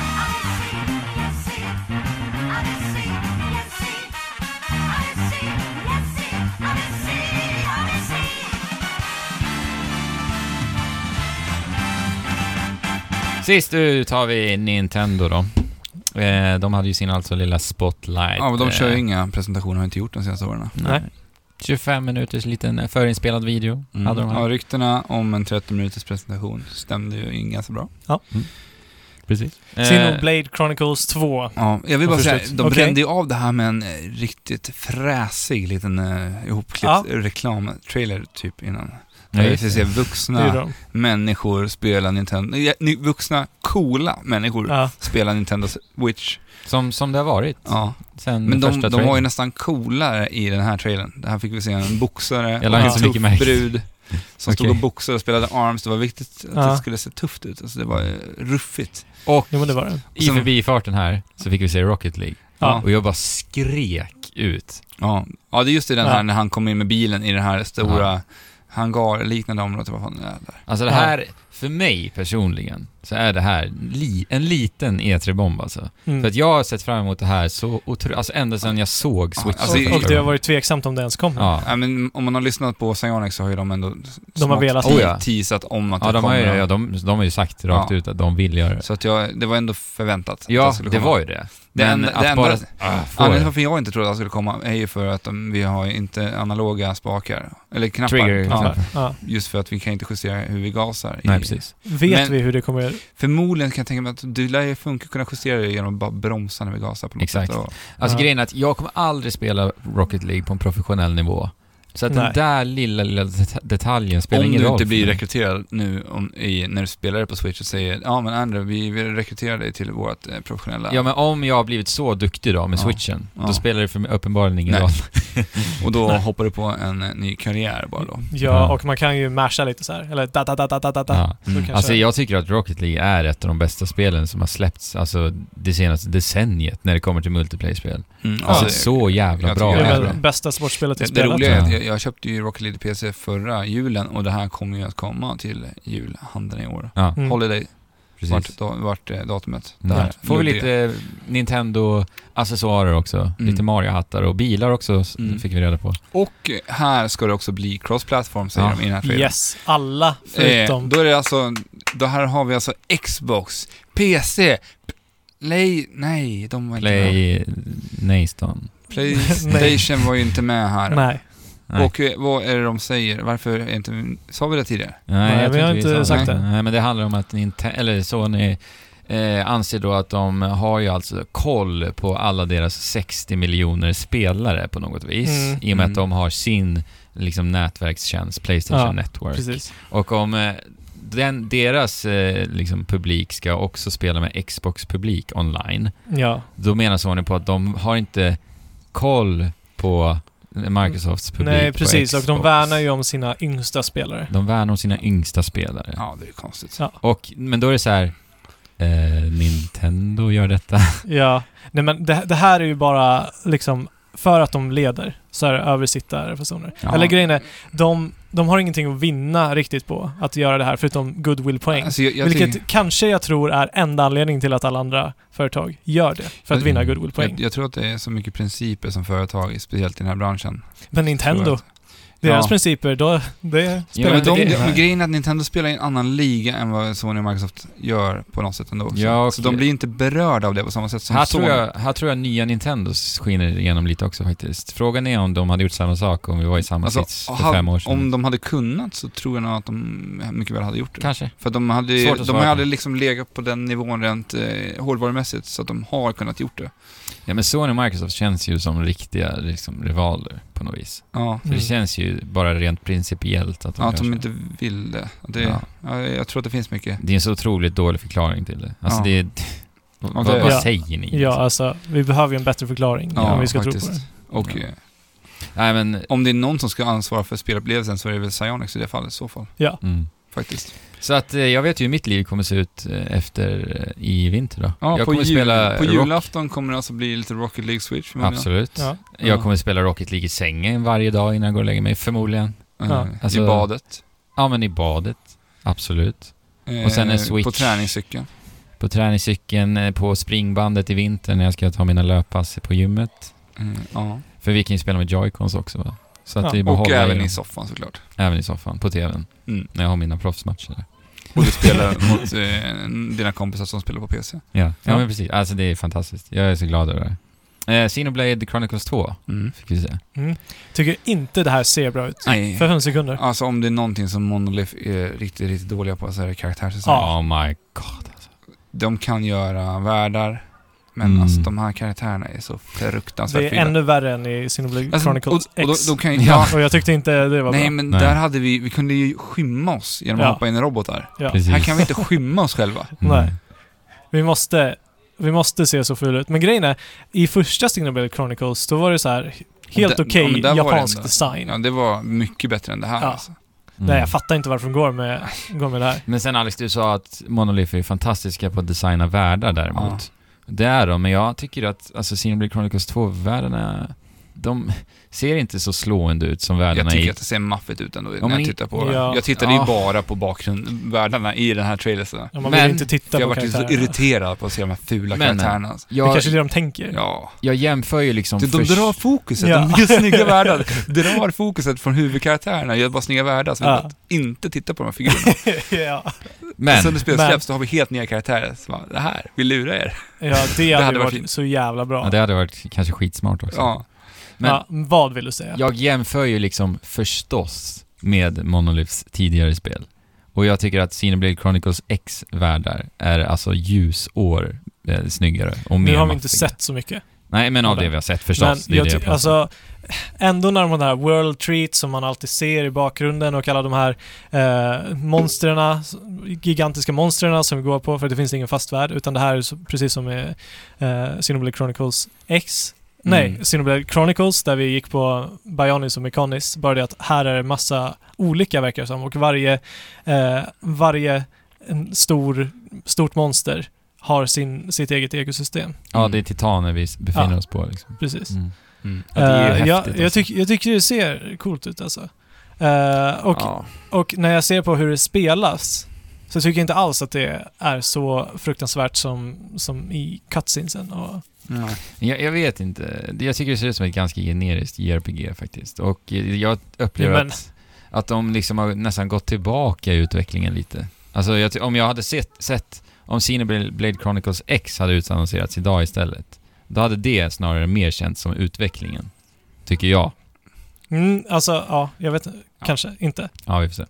Odyssey, yes, see. Odyssey, yes, see. Odyssey, yes, see. Odyssey, yes, see. Odyssey, Odyssey.
Sist ut har vi Nintendo då. Eh, de hade ju sin alltså lilla spotlight.
Ja, men de kör ju
eh,
inga presentationer, har inte gjort de senaste åren.
Nej. 25 minuters liten eh, förinspelad video hade de här.
Mm. Ja, ryktena om en 30 minuters presentation stämde ju in ganska bra.
precis. Eh,
Xenoblade Chronicles 2.
Ja, jag vill bara
Ja,
säga,
förstås.
de
Okej.
brände ju av det här med en eh, riktigt fräsig liten eh, ihopklippt
Ja.
reklamtrailer typ innan.
ja,
Där vi
just
får se
det.
Det är
vuxna
de.
människor spela Nintendo, ja, ni- vuxna coola människor
Ja.
spela Nintendo Switch.
Som, som det har varit
Ja.
sen
Men de,
Mm, första
de var ju
trailern.
nästan coolare i den här trailern. Det här fick vi se en boxare
Jag
och
la
en
inte så
tuff
mycket märke.
brud som stod
Okej.
och boxade och spelade arms. Det var viktigt att
Ja.
det skulle se tufft ut. Alltså det var eh, ruffigt.
Och
Jo, men det var det.
i
som-
förbifarten här så fick vi se Rocket League.
Ja.
Och jag bara skrek ut.
Ja, ja det är just i den
Ja.
här när han kom in med bilen i den här stora hangarliknande området. Vad fan det är där.
Alltså det
Ja.
här, för mig personligen, så är det här li, en liten E3-bomb alltså. För
Mm.
att jag har sett fram emot det här så otroligt, alltså ända sedan jag såg Switch.
Alltså,
första
och, och det
gången.
har varit tveksamt om det ens kommer.
Ja.
Ja, men om man har lyssnat på Psyonic så har ju de ändå
De har
smått
velat-
Oh, ja.
teasat om att
Ja,
det
de har,
kommer.
ju, ja de, de har ju sagt rakt
Ja.
ut att de vill göra det.
Så att jag, det var ändå förväntat. att
Ja,
skulle
det
komma.
var ju det.
Det
Men
enda-
att
det enda-
bara... Ah, får
Anledningen till
jag.
varför jag inte trodde att det skulle komma är ju för att de, vi har ju inte analoga spakar. Eller knappar.
Trigger.
Ja,
knappar.
Ja.
just för att vi kan inte justera hur vi gasar. i-
Nej, precis.
Vet
Men-
vi hur det kommer...
Förmodligen kan jag tänka mig att du lär ju funka kunna justera det genom att bara bromsa när vi gasar på något
Exakt.
sätt. Och,
Alltså
Ja.
grejen är att jag kommer aldrig spela Rocket League på en professionell nivå. Så att
Nej.
den där lilla, lilla det- detaljen spelar
om
ingen
du
roll.
inte
för
blir
mig.
rekryterad nu om, i, när du spelar det på Switch och säger ja men Andrew, vi vill rekrytera dig till vårt eh, professionella.
Ja, men om jag har blivit så duktig då med
Ja.
switchen,
Ja.
då spelar det för mig uppenbarligen ingen
Nej.
roll.
Och då hoppar du på en eh, ny karriär bara då.
Ja.
Ja, och man kan ju masha lite så här. Eller da da da da da da da.
Ja.
Så
Mm.
kanske-
Alltså jag tycker att Rocket League är ett av de bästa spelen som har släppts, alltså det senaste decenniet när det kommer till multiplayer-spel.
Mm,
Alltså
ja.
så jävla
jag
bra.
det
tycker
är
är
det.
väl bästa sportspelet i
Det, det
spelet.
roliga är att
Ja.
jag, jag köpte ju Rocket League PC förra julen och det här kommer ju att komma till julhandeln i år.
Ja,
Mm.
Holiday.
precis.
vart, da, vart eh, datumet.
Mm.
Där.
Får vi
Luddiga.
lite Nintendo-accessoarer också. Lite Mario-hattar och bilar också, s-
Mm.
fick vi reda på.
Och här ska det också bli cross-platform, säger
Ja.
de i den här trailern.
Yes, alla
Eh,
förutom...
då är det alltså, då här har vi alltså Xbox, PC, Play, nej, de var inte med.
Play Nayston.
Playstation var ju inte med här.
nej,
Nej.
Och eh, vad är det de säger? Varför är inte, sa vi det tidigare?
Nej,
Nej,
jag
vi
tror
har inte
sa
sagt det.
Nej, men det handlar om att Nintendo, eller Sony, eh, anser då att de har ju alltså koll på alla deras 60 miljoner spelare på något vis.
Mm.
I och med att
Mm.
de har sin liksom, nätverkstjänst, Playstation
Ja,
Network.
precis.
Och om eh, den, deras eh, liksom, publik ska också spela med Xbox-publik online,
Ja.
då menar Sony på att de har inte koll på Microsofts publik
Nej,
på
precis. Och de
Xbox.
värnar ju om sina yngsta spelare.
De värnar om sina yngsta spelare.
Ja, det är konstigt.
Ja.
Och, men då är det så här, eh, Nintendo gör detta.
Ja. Nej men det, det här är ju bara liksom, för att de leder så är det översittarfasoner.
Ja.
Eller grejen är, de, de har ingenting att vinna riktigt på att göra det här, förutom goodwill-poäng.
Alltså, jag, jag
Vilket
tycker-
kanske jag tror är enda anledningen till att alla andra företag gör det, för att
Jag-
vinna goodwill-poäng.
jag, jag tror att det är så mycket principer som företag, speciellt i den här branschen.
Men Nintendo,
Tror
deras
Ja.
principer, då, det
Ja,
spelar
Men
inte
de,
in.
det-
men grejen är att Nintendo spelar i en annan liga än vad Sony och Microsoft gör på något sätt ändå också.
Ja, och-
Så de blir inte berörda av det på samma sätt som
Här
Sony.
tror, jag, här tror jag nya Nintendo skiner igenom lite också faktiskt. Frågan är om de hade gjort samma sak om vi var i samma
Alltså,
sits för
ha-
fem år sedan.
Om de hade kunnat så tror jag nog att de mycket väl hade gjort det.
Kanske.
För att de hade,
Svårt att
de
svara på.
hade liksom legat på den nivån rent eh, hårdvarumässigt så att de har kunnat gjort det.
Ja men Sony och Microsoft känns ju som riktiga liksom, rivaler på något vis.
Ja.
Mm.
För det känns ju bara rent principiellt att de
Ja,
gör
att de
så.
inte vill det. Att det
Ja.
ja. jag tror att det finns mycket.
Det är en så otroligt dålig förklaring till det. Alltså
Ja.
det är... Vad,
det-
vad
Ja.
säger ni?
Ja, alltså, vi behöver ju en bättre förklaring
Ja,
om vi ska
faktiskt.
tro på det.
Och
Ja.
eh,
Liksom? Nej men...
om det är någon som ska ansvara för spelupplevelsen så är det väl Psyonix i det fallet i så fall.
Mm.
Faktiskt.
Så att eh, jag vet ju hur mitt liv kommer se ut eh, efter eh, i vinter då.
Ja,
jag
på,
kommer
jul,
spela
på
rock-
julafton kommer det alltså bli lite Rocket League Switch för många.
Absolut.
Ja.
Jag kommer spela Rocket League i sängen varje dag innan jag går och lägger mig, förmodligen.
Eh,
Ja.
Alltså-
I badet.
Ja, men i badet. Absolut. Och sen är
Eh,
Switch.
På träningscykeln.
På träningscykeln, eh, på springbandet i vinter när jag ska ta mina löppass på gymmet.
Eh, ja.
För vi kan ju spela med joycons också va? Så att
Ja,
det är bara
Och
hålla
även
dem.
i soffan såklart.
även i soffan, på tvn.
Mm.
När jag har mina proffsmatcher. där.
Och du spelar mot eh, dina kompisar som spelar på PC.
Ja, ja,
Ja.
men precis. Alltså det är fantastiskt. Jag är så glad över det. Eh, Xenoblade Chronicles 2
Mm.
fick vi se.
Tycker inte det här ser bra ut.
Nej.
För fem sekunder.
Alltså om det är någonting som Monolith är riktigt, riktigt dåliga på så är det karaktärsdesign.
Ja.
Oh my god.
De kan göra världar, men
Mm.
alltså de här karaktärerna är så fruktansvärt
Det är
fula.
ännu värre än i Xenoblade
alltså,
Chronicles
och, och då,
X.
då kan ju,
Ja,
ja,
Och jag tyckte inte det var
Nej
bra.
men
Nej.
där hade vi, vi kunde ju skymma oss genom att
Ja.
hoppa in i robotar.
Ja.
Precis.
Här kan vi inte skymma oss själva.
Mm.
Nej. Vi måste, vi måste se så fula ut. Men grejen är, i första Xenoblade Chronicles, då var det så här helt
Där-
okej
ja, men där var det
japansk
ändå.
design.
Ja, det var mycket bättre än det här
Ja.
alltså.
Mm.
Nej, jag fattar inte varför de går med, går med det här.
Men sen Alex, du sa att Monolith är fantastiska på att designa världar däremot. Det är de, men jag tycker att alltså, Xenoblade Chronicles 2-världarna, de ser inte så slående ut som
Jag
världarna
tycker
i...
att det ser maffigt ut ändå
men
när
i-
jag tittar på det.
ja.
Jag tittade ju
Ja.
bara på bakgrundvärldarna i den här trailern. så.
Ja, Man
Men-
vill ju inte titta
För jag
på
varit så
karaktärerna.
irriterad på att se de här fula
Men, eh, men.
karaktärerna. Alltså.
Det är
Jag,
kanske är det de tänker.
Ja.
jag jämför ju liksom...
De, de
först-
drar fokuset,
Ja.
de mycket snygga världar drar fokuset från huvudkaraktärerna, gör bara snygga världar, så vi
Ja.
bara inte titta på de här figurerna.
ja.
men,
Sen när spelet
Men-
släpps, då har vi helt nya karaktärer. Så bara, det här, vi lurar er.
ja, det hade,
hade varit
varit
fint.
så jävla bra.
ja, det hade varit kanske skitsmart också.
Ja.
men-
ja, vad vill du säga?
Jag jämför ju liksom förstås med Monoliths tidigare spel. Och jag tycker att Xenoblade Chronicles X-världar är alltså ljusår eh, snyggare och mer
nu har
maffiga.
vi inte sett så mycket.
Nej, men av
Eller?
det vi har sett förstås. det
Men
är
jag
det
ty-
jag pratar om.
alltså, ändå när de har den här World Treat som man alltid ser i bakgrunden och alla de här eh, monstren, gigantiska monstren som vi går på för det finns ingen fast värld utan det här är så, precis som i eh, Xenoblade Chronicles X. Nej,
Mm.
Xenoblade Chronicles där vi gick på Bionis och Mechanis. Bara det att här är det massa olika verkar det som och varje, eh, varje en stor, stort monster har sin, sitt eget ekosystem.
Ja, det är titaner vi s- befinner
Mm. Ja.
oss på liksom.
Precis.
Mm.
Mm.
Ja, det är ju
Eh,
häftigt
jag, jag,
alltså.
tyck, jag tycker det ser coolt ut alltså. Eh, och,
ja.
och när jag ser på hur det spelas Så jag tycker inte alls att det är så fruktansvärt som, som i cutscenesen. Och,
Ja.
Jag, jag vet inte. Det- Jag tycker det ser ut som ett ganska generiskt JRPG faktiskt. Och eh, jag upplever
Ja, men-
att, att de liksom har nästan gått tillbaka i utvecklingen lite. Alltså jag, ty- om jag hade sett, sett om Blade Chronicles X hade utannonserats idag istället, då hade det snarare mer känts som utvecklingen. Tycker jag.
mm, alltså, ja, jag vet kanske inte.
Ja, vi får se.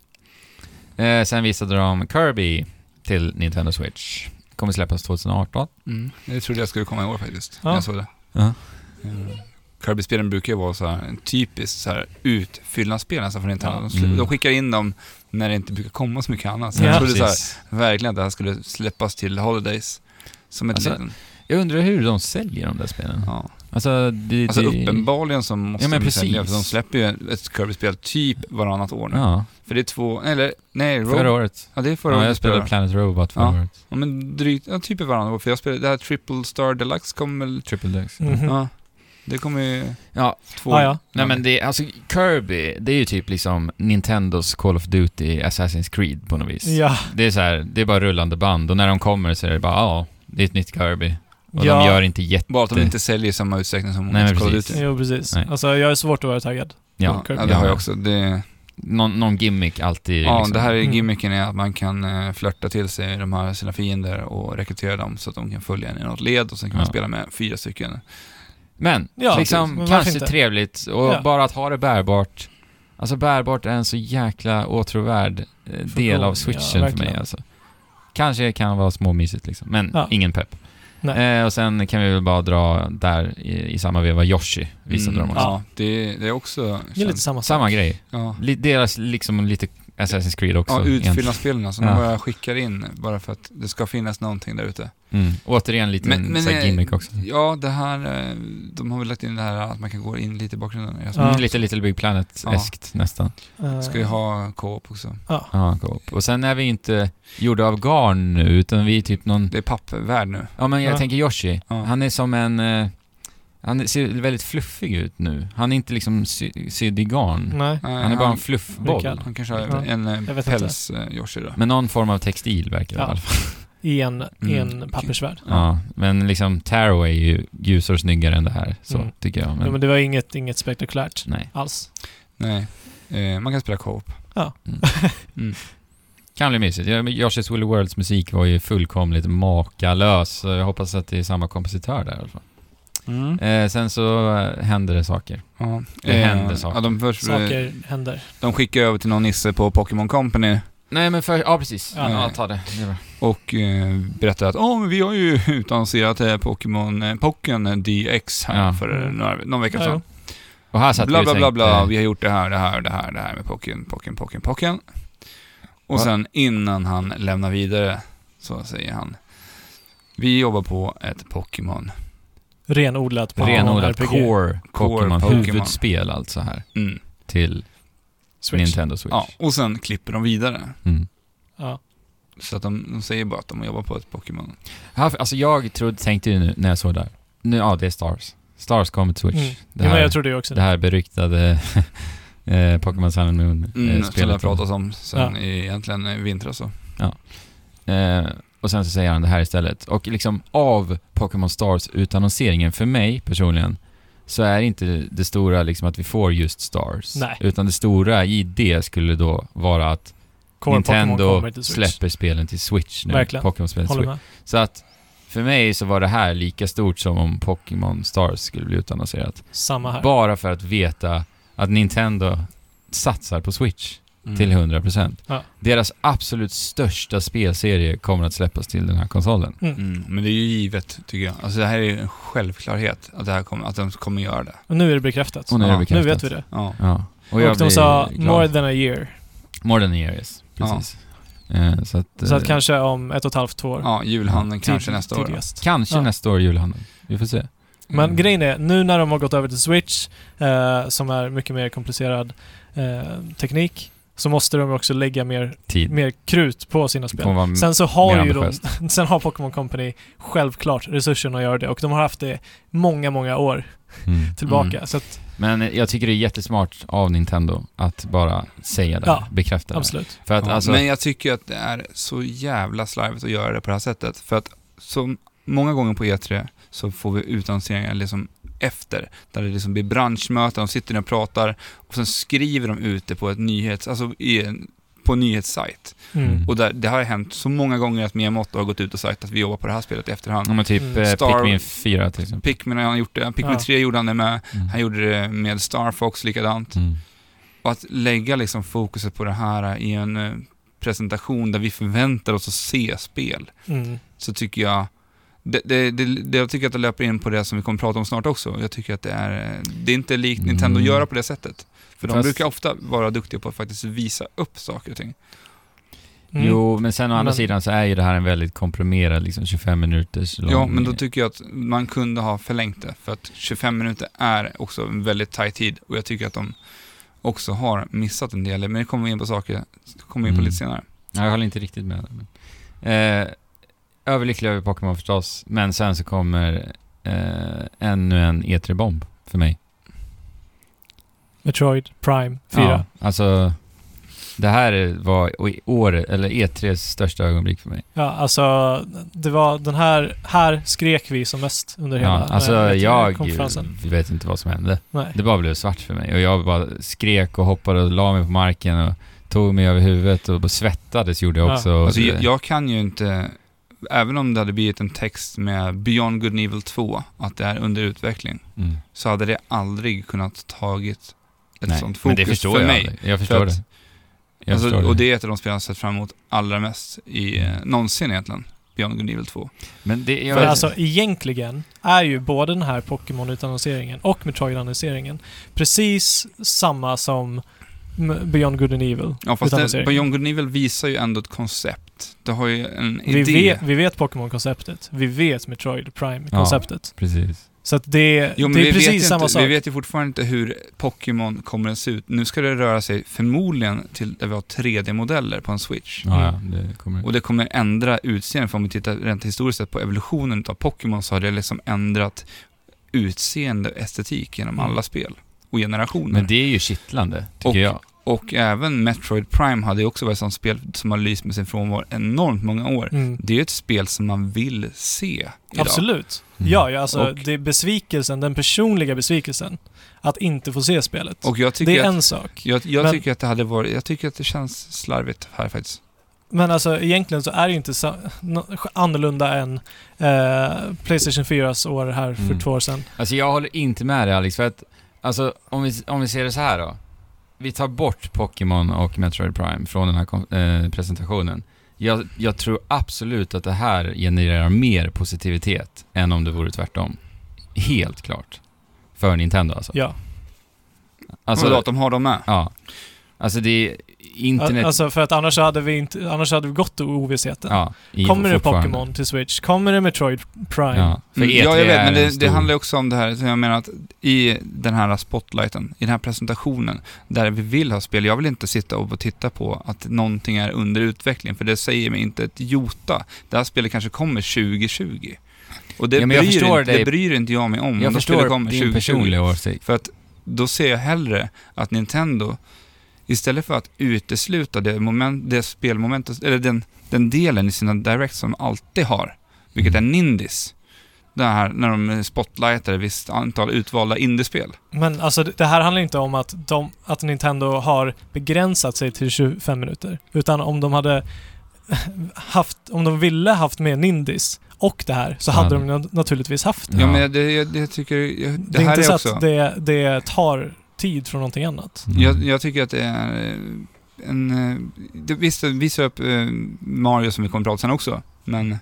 Eh, sen visade de Kirby till Nintendo Switch. Kommer släppas 2018.
Mm. Det trodde jag skulle komma i år faktiskt.
Ja.
när Jag såg det.
Ja.
Eh, Kirby-spelen brukar ju vara så här, en typisk så här, utfyllnadsspel nästan för Nintendo. De, sl-
Mm.
de skickar in dem när det inte brukar komma så mycket annat. Så
Ja,
jag trodde så här,
precis.
verkligen att det här skulle släppas till Holidays. Som ett
Alltså,
liten,
Jag undrar hur de säljer de där spelen.
ja.
Alltså, det,
alltså
det,
uppenbarligen så måste
Ja, men
de ju sälja,
precis.
för de släpper ju ett Kirby-spel typ varannat år nu.
Ja,
För det är två, eller nej, Rob,
förra året.
ja det är förra
Ja, jag
året. tror
spelade
jag.
Planet Robot förra
Ja.
året.
Ja men drygt, ja, typ varannat år, för jag spelade, det här Triple Star Deluxe kom väl,
Triple Dex.
Mhm.
ja. Det kommer ju
Ja,
två
Ah, Ja, ja.
nej men det, alltså Kirby, det är ju typ liksom Nintendos Call of Duty, Assassin's Creed på något vis.
Ja,
Det är så här, det är bara rullande band och när de kommer så är det bara, ja, det är ett nytt Kirby. Och
Ja.
de gör inte jätte...
Bara att de
Det-
inte säljer i samma utsträckning som
Nej, men
Call of
precis.
Duty.
jo precis.
Nej.
Alltså, jag är svårt att vara taggad.
Ja,
Ja, det har jag också. Det,
Någon, någon gimmick alltid
ja,
liksom.
det här är
Mm.
gimmicken är att man kan eh, flörta till sig de här sina fiender och rekrytera dem så att de kan följa en i något led och sen kan man
Ja.
spela med fyra stycken.
Men,
Ja, precis. Men
liksom,
varför
kanske
inte?
trevligt och
Ja.
bara att ha det bärbart. Alltså bärbart är en så jäkla åtråvärd eh, del av
ja,
switchen för mig
verkligen.
alltså. Kanske kan vara småmysigt liksom, men
Ja.
ingen pepp.
Nej.
Eh, och sen kan vi väl bara dra där i, i samma veva Yoshi visade de också.
Ja.
Mm. Ja, det, det är också...
Det är lite samma sak.
Samma grej.
ja.
Li- deras liksom lite Assassin's Creed också.
Ja,
egentligen.
utfyllnadsspelen som
Ja.
de bara skickar in bara för att det ska finnas någonting där ute.
Mm. Återigen lite
Men- men,
så här
eh,
gimmick också.
Ja, det här, eh, de har väl lagt in det här att man kan gå in lite i bakgrunden. Jag
Ja.
Mm, lite Little Big Planet-eskt nästan.
Eh,
ska ju ha co-op också.
Ja, co-op. Och sen är vi inte gjorda av garn nu, utan vi är typ någon
Det är pappvärd nu.
Ja men jag
Ja.
tänker Yoshi,
Ja.
han är som en... eh, han ser väldigt fluffig ut nu. Han är inte liksom sy- sydd i garn.
Mm. Nej.
Nej,
Eh, Han är bara en fluffboll.
Mikael.
Han kanske har
Ja.
en
Jag
eh,
vet
päls, eh, Yoshi då.
Men någon form av textil verkar det i
Ja.
alla fall.
I en, i en
okej.
pappersvärld.
Mm. Ja, men liksom Taro är ju ljusår snyggare än det här, så
Mm.
tycker jag. Men,
Ja, men det var inget, inget spektakulärt
Nej.
alls.
Nej, eh, man kan spela co-op.
Kan bli mysigt. Ja, men Yoshi's Woolly Worlds musik var ju fullkomligt makalös, så jag hoppas att det är samma kompositör där i alla fall.
Mm.
Eh, sen så eh, händer det saker.
Ja.
Det
Eh,
händer saker.
Ja, de, först,
Saker händer.
de skickar över till någon nisse på Pokémon Company
Nej men för, ja precis.
Ja.
Ja, ta det. det är bra.
och eh, berättar att oh, men vi har ju utannonserat eh, Pokémon eh, Pocken DX här
Ja.
för eh, några, någon vecka
Ja,
sedan.
jo.
Och här satt
bla,
vi och
bla, bla, bla,
tänkte-
vi har gjort det här, det här, det här, det här med Pocken, Pocken, Pocken, Pocken. Och
Va?
sen innan han lämnar vidare så säger han Vi jobbar på ett Pokémon.
Renodlat på
Renodlat
RPG.
core Pokémon,
Pokémon.
huvudspel alltså här
Mm.
till
Switch.
Nintendo Switch.
Ja, och sen klipper de vidare.
Mm.
Ja.
Så att de, de säger bara att de jobbar på ett Pokémon.
Här- Alltså jag trodde, tänkte ju nu när jag såg där, nu, ja det är Stars. Stars kommer till Switch.
Mm.
Det,
ja,
här,
men jag tror det också.
det här beryktade eh, Pokémon Sun and Moon eh,
Mm, som det har
spelet.
pratats om sen
Ja.
i egentligen i vintras. så.
Eh, och sen så säger han det här istället. Och liksom av Pokémon Stars utannonseringen, för mig personligen, så är inte det stora liksom att vi får just Stars.
Nej.
Utan det stora i det skulle då vara att
Core Pokémon
Nintendo
kommer till Switch.
släpper spelen till Switch nu.
Verkligen.
Pokémon-spelen till
Håller
Switch.
med.
Så att för mig så var det här lika stort som om Pokémon Stars skulle bli utannonserat.
Samma här.
Bara för att veta att Nintendo satsar på Switch
Mm.
till 100%.
Mm. Ja.
Deras absolut största spelserie kommer att släppas till den här konsolen.
Mm, men det är ju givet, tycker jag. Alltså det här är ju en självklarhet, att, det här kommer, att de kommer göra det.
Och nu är det bekräftat.
Och nu är det
Ja,
nu
bekräftat.
vet vi det.
Ja.
Ja.
Och,
jag
de
blir
sa
glad.
more than a year.
More than a year, yes. Precis. Eh, så att,
Så
eh,
att kanske om ett och ett halvt år.
Ja, julhandeln
Tid-
kanske nästa år. då.
tidigast.
kanske
Ja.
nästa år i julhandeln. Vi får se.
Men
Mm.
grejen är, nu när de har gått över till Switch, eh, som är mycket mer komplicerad eh, teknik, så måste de också lägga mer,
Tid.
mer krut på sina
Det
spel.
kommer vara
Sen så har
mer
ju de,
ambitiöst.
sen har Pokémon Company självklart resurserna att göra det och de har haft det många, många år
Mm.
tillbaka.
Mm.
Så att
Men jag tycker det är jättesmart av Nintendo att bara säga det,
Ja,
bekräfta det.
Absolut.
För att
Ja,
alltså,
Men jag tycker att det är så jävla slarvigt att göra det på det här sättet. För att så många gånger på E3 så får vi utannonseringar liksom efter, där det liksom blir branschmöten, de sitter ner och pratar och sen skriver de ut det på ett nyhets, alltså i en, på en nyhetssajt.
Mm.
Och där, det har hänt så många gånger att Miyamoto har gått ut och sagt att vi jobbar på det här spelet i efterhand.
ja, men typ
Mm.
eh,
Star-
Pikmin 4 till exempel.
Pikmin har han gjort det, Pikmin
Ja.
3 gjorde han det med,
Mm.
han gjorde det med Star Fox likadant.
Mm.
Och att lägga liksom fokuset på det här i en eh, presentation där vi förväntar oss att se spel,
Mm.
så tycker jag det, det, det, det, jag tycker att det löper in på det som vi kommer prata om snart också. Jag tycker att det är, eh, det är inte likt Nintendo
Mm.
att göra på det sättet. För de
Fast-
brukar ofta vara duktiga på att faktiskt visa upp saker och ting.
Mm.
Jo, men sen å andra
Men-
sidan så är ju det här en väldigt komprimerad, liksom 25 minuters lång...
Ja, men då tycker jag att man kunde ha förlängt det. För att 25 minuter är också en väldigt tajt tid och jag tycker att de också har missat en del. Men det kommer vi in på saker, kommer vi in på
Mm.
lite senare.
Ja, Jag håller inte riktigt med. Men. Eh, överlycklig över Pokémon förstås, men sen så kommer eh, ännu en E3-bomb för mig.
Metroid Prime 4.
Ja, alltså, det här var i år, eller E3s största ögonblick för mig.
Ja, alltså det var den här, här skrek vi som mest under hela
ja, alltså
eh,
jag
konferensen.
vet inte vad som hände.
Nej.
Det bara blev svart för mig och jag bara skrek och hoppade och la mig på marken och tog mig över huvudet och bara svettades gjorde jag
Ja.
också. Och
Alltså,
så-
jag, jag kan ju inte, även om det hade blivit en text med Beyond Good and Evil 2, att det är under utveckling,
Mm.
så hade det aldrig kunnat tagit ett
Nej,
sånt fokus
men det förstår
för
jag
mig.
aldrig. Jag förstår
att-
det. Jag
alltså,
förstår
Och
det. Mm.
det är ett av de spel jag har sett fram emot allra mest i, eh, någonsin egentligen, Beyond Good and Evil 2.
Men det, jag,
För alltså egentligen är ju både den här Pokémon-utannonseringen och Metroid-annonseringen precis samma som M- Beyond Good and Evil.
Ja, fast det,
utannonseringen.
Beyond Good and Evil visar ju ändå ett koncept. Det har ju en
Vi
idé.
vet, vi vet Pokémon-konceptet. Vi vet Metroid Prime-konceptet.
precis.
Så att det,
Jo, men
det är
vi vet ju
precis samma
inte,
sak.
Vi vet ju fortfarande inte hur Pokémon kommer att se ut. Nu ska det röra sig förmodligen till där vi har 3D-modeller på en Switch.
Ja, ja, det kommer.
Och det kommer ändra utseendet, för om vi tittar rent historiskt sett på evolutionen av Pokémon så har det liksom ändrat utseende och estetik genom
Mm.
alla spel och generationer.
Men det är ju kittlande, tycker
Och-
jag.
Och även Metroid Prime hade ju också varit ett sånt spel som har lyst med sin frånvaro enormt många år.
Mm.
Det är ju ett spel som man vill se idag.
Absolut.
Mm.
Ja, ja, alltså
Och-
det är besvikelsen, den personliga besvikelsen, att inte få se spelet.
Och jag
det
tycker,
är
att,
en sak.
jag, jag
men-
tycker att det hade varit, jag tycker att det känns slarvigt här faktiskt.
Men alltså egentligen så är det ju inte så, nå- annorlunda än eh, Playstation 4s år här för
Mm.
två år sedan.
Alltså jag håller inte med dig Alex, för att alltså, om, vi, om vi ser det så här då. Vi tar bort Pokémon och Metroid Prime från den här kon- eh, presentationen. Jag, jag tror absolut att det här genererar mer positivitet än om det vore tvärtom. Helt klart. För Nintendo alltså.
Ja.
Alltså,
Alltså,
Vadå, att de har dem med?
ja. alltså det är internet...
Al- Alltså för att annars hade vi, inte, annars hade vi gått ur ovissheten.
ja, i-
Kommer det
fortfarande.
Pokémon till Switch? Kommer det Metroid Prime?
Ja, för
Mm,
E3
ja, jag vet, men
är en
det,
stor...
det handlar ju också om det här, så jag menar att i den här spotlighten, i den här presentationen, där vi vill ha spel, jag vill inte sitta och titta på att någonting är under utveckling, för det säger mig inte ett jota. Det här spelet kanske kommer 2020. Och det,
Ja, men jag
bryr,
förstår
inte,
dig.
det bryr inte jag mig om. om
Jag
det spelet
förstår
kommer
din
2020.
personliga åsikt.
För att då ser jag hellre att Nintendo, istället för att utesluta det, moment, det spelmomentet, eller den, den delen i sina Direct som de alltid har, vilket är Nindis. Det här när de spotlightar ett visst antal utvalda indiespel.
Men alltså det det här handlar inte om att, de, att Nintendo har begränsat sig till 25 minuter. Utan om de hade haft, om de ville haft med Nindis och det här så
Ja,
hade
det-
de na- naturligtvis haft det.
Ja,
Ja.
men det, jag, det tycker jag, det,
Det är
här
inte
är
så
också...
att det, det tar tid från någonting annat.
Mm.
Jag, jag tycker att det är eh, en... eh, Det, visst, det visar upp eh, Mario som vi kommer att prata om sen också, men...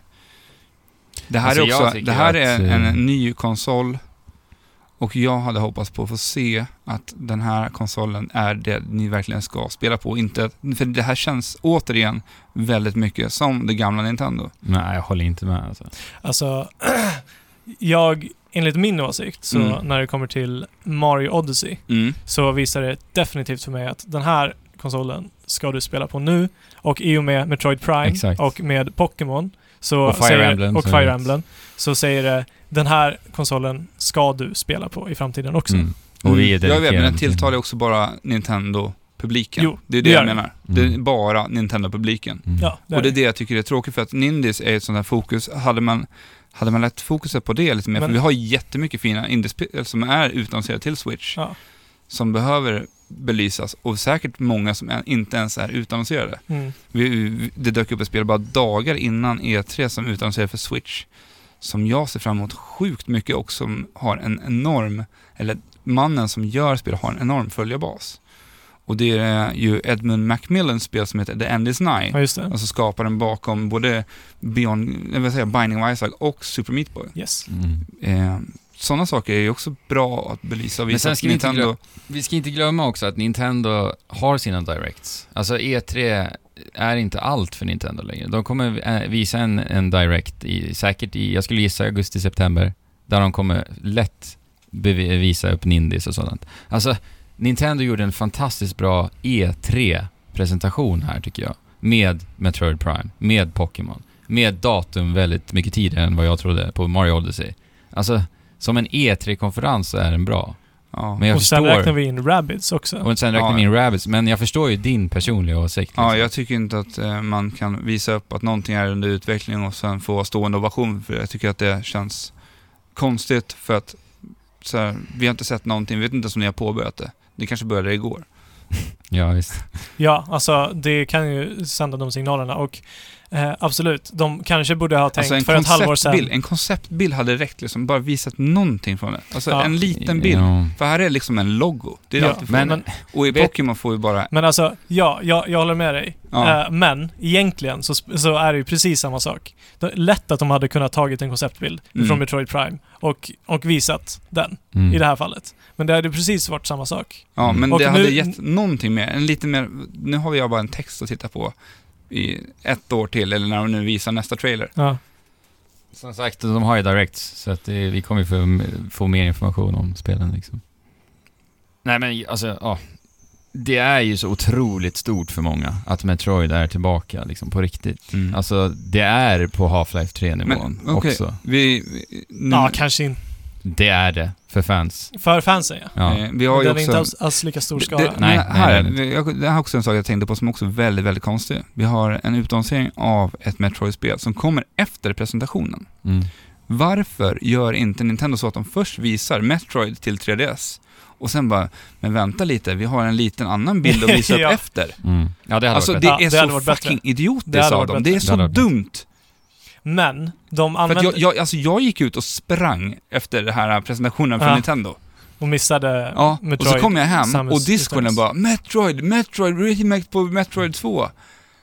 Det här
Alltså, jag
är också...
tycker
Det här är
att, eh,
en ny konsol och jag hade hoppats på att få se att den här konsolen är det ni verkligen ska spela på. Inte, för det här känns återigen väldigt mycket som det gamla Nintendo.
Nej, jag håller inte med alltså.
Alltså, jag, enligt min åsikt, så
Mm.
när det kommer till Mario Odyssey så visar det definitivt för mig att den här konsolen ska du spela på nu och i och med Metroid Prime
Exakt.
och med Pokémon så
Och Fire
säger,
Emblem,
och
så
Fire
vet.
Emblem så säger det den här konsolen ska du spela på i framtiden också.
Mm. Och vi är
jag vet, men
dedikerade till-
den tilltalar ju också bara Nintendo-publiken.
Jo,
det är
det
det
gör
jag
den.
menar.
Mm.
Det är bara Nintendo-publiken.
Ja, det är
Och det
det.
är det jag tycker är tråkigt för att Nindies är ett sånt här fokus. Hade man, hade man lagt fokuset på det lite mer,
Men-
för vi har jättemycket fina indiespel som är utannonserade till Switch,
Ja.
som behöver belysas och säkert många som än- inte ens är utannonserade.
Mm.
Vi, vi- det dök upp ett spel bara dagar innan E3 som utannonserade för Switch, som jag ser fram emot sjukt mycket och som har en enorm, eller mannen som gör spel har en enorm följarbas. Och det är ju Edmund Macmillans spel som heter The End Is Nigh.
ja, just det.
Alltså skaparen bakom både Beyond, eh, jag vill säga Binding of Isaac och Super Meat Boy.
Yes.
Mm.
Eh, Sådana saker är ju också bra att belysa och
Men
visa
sen
att
ska vi inte
Nintendo...
Vi ska inte glömma också att Nintendo har sina directs. Alltså E3 är inte allt för Nintendo längre. De kommer eh, visa en, en direct, i, säkert i, jag skulle gissa augusti-september, där de kommer lätt bevi- visa upp Nindies och sådant. Alltså, Nintendo gjorde en fantastiskt bra E3-presentation här tycker jag. Med Metroid Prime, med Pokémon, med datum väldigt mycket tidigare än vad jag trodde på Mario Odyssey. Alltså, som en E3-konferens så är den bra.
Ja.
Men jag
och sen
förstår...
räknar vi in Rabbids också.
Och sen räknar
Ja.
vi in rabbits, men jag förstår ju din personliga åsikt.
ja,
liksom.
jag tycker inte att eh, man kan visa upp att någonting är under utveckling och sen få stående ovation för jag tycker att det känns konstigt för att så här, vi har inte sett någonting, vi vet inte ens om ni har påbörjat det. Det kanske började igår.
ja visst.
Ja, alltså det kan ju sända de signalerna och eh, absolut, de kanske borde ha tänkt för ett halvår
Alltså, konceptbild-
sedan.
en konceptbild hade räckt liksom, bara visat någonting från det. Alltså
Ja.
en liten bild.
Ja.
För här är liksom en logo. Det är
Ja,
alltid
Men,
Men-
Och i
Vet-
Pokémon får vi bara...
Men alltså, ja, jag, jag håller med dig.
Ja.
Eh, men egentligen så, sp- så är det ju precis samma sak. Det är lätt att de hade kunnat tagit en konceptbild
Mm.
från Metroid Prime och, och visat den
mm.
i det här fallet. Men det hade precis varit samma sak.
Ja, men
Och
det
nu-
hade gett någonting mer. En lite mer... Nu har jag bara en text att titta på i ett år till, eller när de nu visar nästa trailer.
Ja.
Som sagt, de har ju directs, så att det, vi kommer ju få, få mer information om spelen liksom. Nej men alltså, ja. Det är ju så otroligt stort för många att Metroid är tillbaka liksom på riktigt.
Alltså,
Alltså det är på Half-Life 3-nivån
Men, okej.
också.
vi, vi- nu,
ja, kanske inte.
Det är det, för fans.
För fansen ja.
Ja.
eh, vi har
Men
ju
Den är inte
också...
alls, alls lika stor
Det,
skala.
det,
Nej,
nej,
nej,
här,
nej,
jag- det här är också en sak jag tänkte på som också är väldigt, väldigt konstig. Vi har en utannonsering av ett Metroid-spel som kommer efter presentationen.
Mm.
Varför gör inte Nintendo så att de först visar Metroid till 3DS och sen bara, men vänta lite, vi har en liten annan bild att visa upp
Ja.
efter.
Mm. Ja, det hade
Alltså
varit
det
bättre.
bättre. Ja,
är
det hade
så
varit bättre.
fucking
Det
idiotiskt
hade
av
varit
dem. Det är
bättre.
så
Det hade varit
dumt.
Men de
För att
använde
jag, jag, alltså jag gick ut och sprang efter den här presentationen från
Ja.
Nintendo.
och missade
Ja, och
Metroid.
så kom jag hem
Samus
och discorden
Returns.
bara Metroid, Metroid, remake på Metroid 2.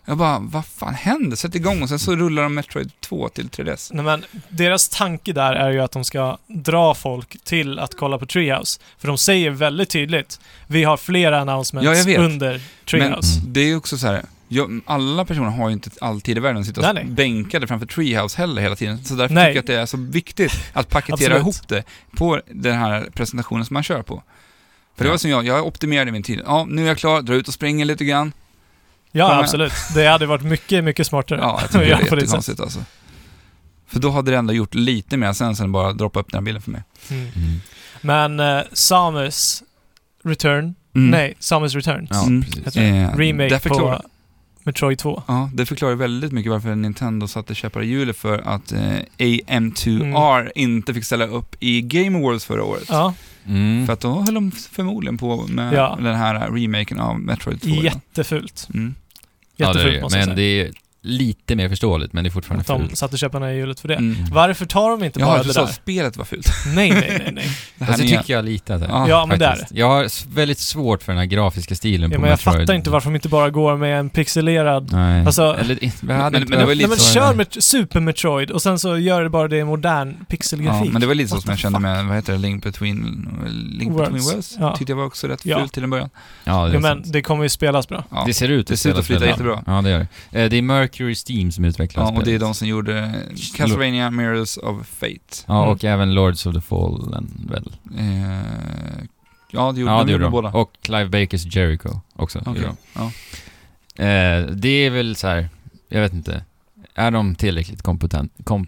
Jag bara, vad fan händer? Sätt igång och sen så rullar de Metroid 2 till 3DS.
Nej, men deras tanke där är ju att de ska dra folk till att kolla på Treehouse. För de säger väldigt tydligt, vi har flera
Ja,
announcements
jag vet.
under Treehouse.
Mm.
Det är ju också så här, jag, alla personer har ju inte alltid i världen att sitta
Nej, nej.
bänkade framför Treehouse heller hela tiden. Så därför
Nej.
tycker jag att det är så viktigt att paketera
Absolut.
ihop det på den här presentationen som man kör på. För det
Ja.
var som jag, jag optimerade min tid. Ja, nu är jag klar, drar ut och springer lite grann.
Ja,
Kommer-
absolut. Det hade varit mycket, mycket smartare.
Ja, jag tycker det
Ja,
är
på det
jättekonstigt alltså. För då hade det ändå gjort lite mer sens än bara droppa upp den här bilden för mig.
Mm.
Mm.
Men eh, Samus Return,
Mm.
nej, Samus Returns.
Ja,
Mm.
precis.
Heter det.
Eh,
Remake
det förklarar-
på Metroid 2.
Ja, det förklarar väldigt mycket varför Nintendo satte käppar i hjulet för att eh, AM2R inte fick ställa upp i Game Awards förra året.
Ja,
Mm.
För att då höll de förmodligen på med
Ja.
den här remaken av Metroid 2. redan.
jättefult.
Mm.
Ja, det är
Jättefult
det.
måste jag
Men det
säga.
är lite mer förståeligt, men det är fortfarande
Att de
fult.
satte käpparna i hjulet för det.
Mm.
Varför tar de inte
Jaha,
bara
jag
det
förstår
där?
att spelet var fult.
Nej, nej, nej, nej.
Det här
Alltså, det
nya.
tycker jag lite att det är.
Ja,
Ja, men det är det.
faktiskt. Jag har s- väldigt svårt för den här grafiska stilen
Ja,
på
men jag
Metroid.
fattar inte varför de inte bara går med en pixelerad...
Nej.
Alltså-
Eller, i- vi hade
Men-
inte
men det var
behövt-
ju
Nej
lite
men
så
kör med Super Metroid och sen så gör det bara det i modern
Ja,
pixelgrafik.
men det var lite så
What
som jag
the
kände
fuck?
med, vad heter det, Link Between, Link Between
Worlds.
Worlds?
Ja.
Tyckte jag var också rätt
Ja.
fult till en början.
Ja, det,
Jo,
är
men
men,
det kommer ju spelas bra.
Ja.
det ser ut
Det ser ut att
spela
flyta
spelet.
jättebra.
Ja, det gör det. Eh, Det är Mercury Steam som utvecklar
Ja, och det är
spelet.
de som gjorde Castlevania Mirrors of Fate.
Ja, och även Lords of the Fallen väl?
Eh, ja, det gjorde,
ja,
de
det
gjorde
gjorde de.
båda.
Och Clive Bakers Jericho också.
Okej.
gjorde de.
Ja.
Eh, det är väl så här, jag vet inte. Är de tillräckligt kompetent, kom,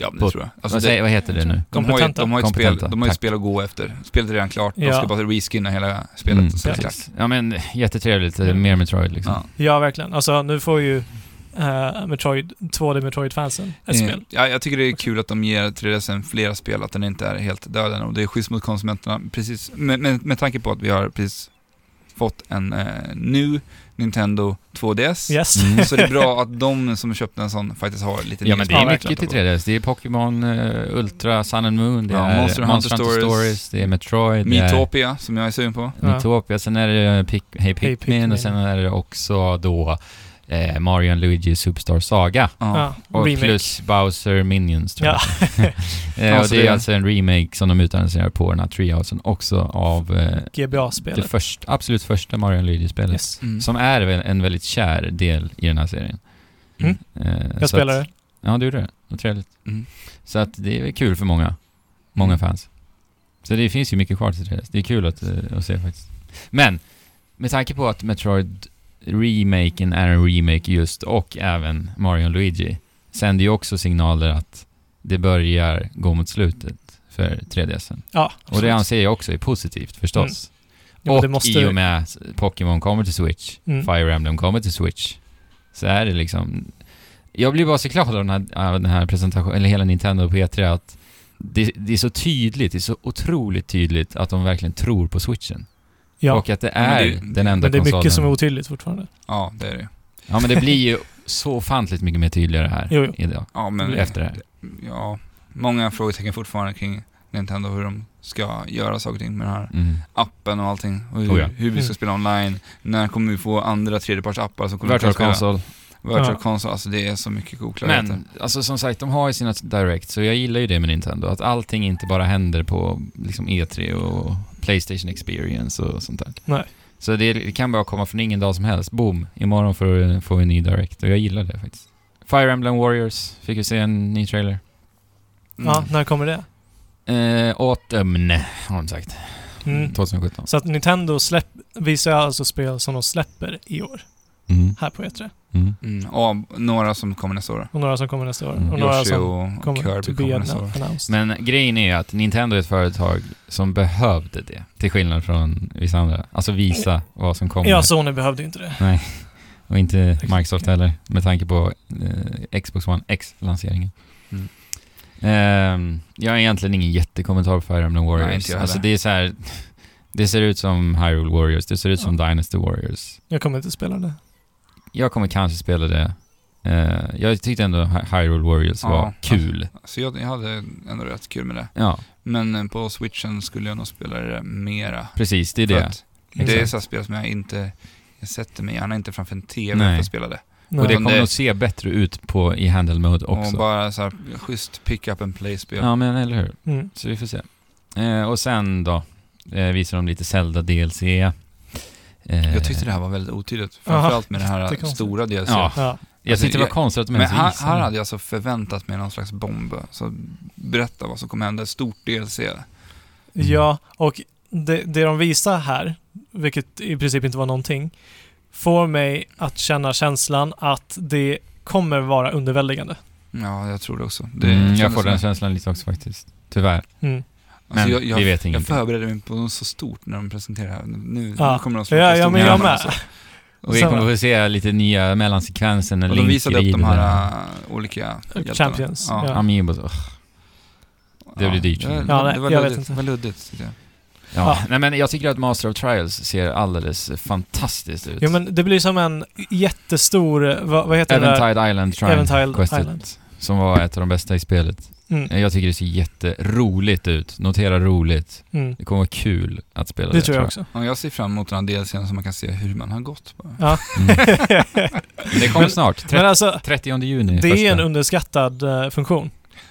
Ja, men
På-
det tror jag. Alltså,
vad,
det,
säger, vad heter det nu?
de, har ju,
Kompetenta.
de har ju ett spel,
Kompetenta,
de har ju ett
tack.
spel att gå efter. Spelet är redan klart, de
Ja.
ska bara reskinna hela spelet.
Mm,
och så är det klart.
precis. ja men jättetrevligt, eh, mer Metroid liksom.
Ja.
Ja, verkligen. Alltså, nu får ju eh, Metroid, 2D Metroid-fansen ett
Mm.
Eh,
spel.
Ja, jag tycker det är kul att de ger 3DSen flera spel, att den inte är helt död än. Och det är schysst mot konsumenterna, precis. Med, med, med tanke på att vi har precis fått en eh, ny Nintendo 2DS.
Yes.
Mm.
Så det är bra att de som köpte en sån faktiskt har lite
Ja men det är
Ja,
mycket till 3DS. Det är Pokémon eh, Ultra, Sun and Moon, det
Ja,
är
Monster
Monster,
Hunter
Hunter,
Stories.
Stories. det är Metroid, det
Mytopia, som jag är sugen på.
är Mytopia, sen är det Pic Hey Pikmin,
Pikmin.
och sen är det också då eh, Mario and Luigi Superstar Saga.
Ja.
Ja,
Och
remake.
plus Bowser Minions tror jag. eh,
Ja,
och
så
det
det-
är alltså en remake som de utannonserar på den här Treehousen också av eh, det
GBA-spelet.
först, absolut första Mario and Luigi-spelet.
Yes.
Mm.
Som är väl en väldigt kär del i den här serien.
Mm.
Eh, så
Jag
att-
spelar det.
Ja, du gjorde det. Vad trevligt.
Mm.
Så att det är väl kul för många. Många
Mm.
fans. Så det finns ju mycket kvar till 3DS. Det är kul att, eh, att se faktiskt. Men, med tanke på att Metroid remaken är en remake just och även Mario och Luigi sänder ju också signaler att det börjar gå mot slutet för 3DSen.
Ja,
Och det
absolut.
anser jag också är positivt förstås.
Jo, men
och
det måste-
i och med att Pokémon kommer till Switch,
Mm.
Fire Emblem kommer till Switch, så är det liksom... Jag blir bara så glad av den här, av den här presentationen, eller hela Nintendo på E3, att det, det är så tydligt, det är så otroligt tydligt att de verkligen tror på Switchen.
Ja,
Och att det
men
är
det-
den enda
men det är
konsolen.
mycket som är otydligt fortfarande.
Ja, det är det.
Ja, men det blir ju så ofantligt mycket mer tydligare här
Jo, jo.
idag.
Ja, men
Efter det här.
ja, många frågetecken fortfarande kring Nintendo, hur de ska göra saker och ting med den här
Mm.
appen och allting. Och hur,
Oh ja.
hur vi ska
Mm.
spela online. När kommer vi få andra tredjepartsappar som kommer
Virtual
kunna spela?
Console.
Virtual
Ja.
Console. Alltså det är så mycket oklarheter.
Men, alltså som sagt, de har ju sina Direct, så jag gillar ju det med Nintendo. Att allting inte bara händer på liksom E3 och Playstation Experience och sånt där.
Nej.
Så det, det kan bara komma från ingen dag som helst. Boom! Imorgon får, får vi en ny Direct och jag gillar det faktiskt. Fire Emblem Warriors fick vi se en ny trailer.
Mm.
Ja, när kommer det?
Eh, Autumn, har de sagt.
Mm.
2017.
Så att Nintendo släpp, visar alltså spel som de släpper i år,
Mm.
här på E3.
Mm.
Mm. Och några som kommer nästa år.
Och några som kommer nästa år.
Mm.
Och några
Yoshi
som
och, och
kommer to
Kirby
be
kommer nästa år.
anno- announced.
Men grejen är ju att Nintendo är ett företag som behövde det, till skillnad från vissa andra. Alltså visa vad som kommer.
Ja, Sony behövde ju inte det.
Och inte Microsoft heller, med tanke på eh, Xbox One X-lanseringen.
Mm.
Ehm, jag har egentligen ingen jättekommentar på Fire Emblem Warriors.
Nej, inte jag
alltså
heller.
det är så här, det ser ut som Hyrule Warriors, det ser ut
Ja.
som Dynasty Warriors.
Jag kommer inte spela det.
Jag kommer kanske spela det. Eh, jag tyckte ändå Hy- Hyrule Warriors
Ja,
var
alltså.
kul.
Så jag, jag hade ändå rätt kul med det.
Ja,
Men eh, på switchen skulle jag nog spela det mera.
precis, det är
För
det.
att Det är
Exakt.
så här spel som jag inte, jag sätter mig gärna inte framför en TV
Nej.
för att spela det.
Nej.
Och det
utan
kommer
det-
nog se bättre ut på, i handle mode också.
Och bara så här, schysst pick up and play-spel.
Ja, men eller hur.
Mm.
Så vi får se. Eh, och sen då, eh, visar de lite Zelda DLC. Eh,
Jag tyckte det här var väldigt otydligt.
Aha.
Framförallt med det här
Jättekonstigt.
stora DLC.
Ja,
Ja.
jag tyckte det var
Alltså,
konstigt att de
Men
ens
här,
visade.
här hade jag alltså förväntat mig någon slags bomb. Så berätta vad som kommer hända. Ett stort DLC.
ja, och det, det de visar här, vilket i princip inte var någonting, får mig att känna känslan att det kommer vara underväldigande.
Ja, jag tror det också. Det
Mm, jag
kändes
får
som-
den känslan lite också faktiskt. Tyvärr. Men
Mm.
Alltså, jag,
vi
jag,
vet
jag
ingenting.
förberedde mig på något så stort när de presenterade det här. Nu,
Ja.
nu kommer de
Ja,
släppa
ja,
stora
men jag
namn
med.
alltså.
Och vi kommer få se lite nya mellansekvenser när
Och de
Link
visade upp de
rider
här äh, olika hjältarna.
Champions,
där.
ja.
Amiibos. Ugh. det blir dyrt.
Det,
Ja,
det
nej,
var
jag vet
luddigt.
inte.
Det var luddigt. tycker jag.
Ja.
Ja.
Nej men jag tycker att Master of Trials ser alldeles fantastiskt ut.
Jo, men det blir som en jättestor, eh, vad, vad heter det där?
Eventide Island Trial
Eventide
questet,
Island.
Som var ett av de bästa i spelet.
Mm.
Jag tycker det ser jätteroligt ut. Notera roligt.
Mm.
Det kommer vara kul att spela det.
Det tror jag också.
Ja, jag ser fram emot den här DLCn så man kan se hur man har gått. Bara.
Mm. Det kommer snart.
Men
Tre-
alltså,
30 juni.
det är en
första.
underskattad eh, funktion.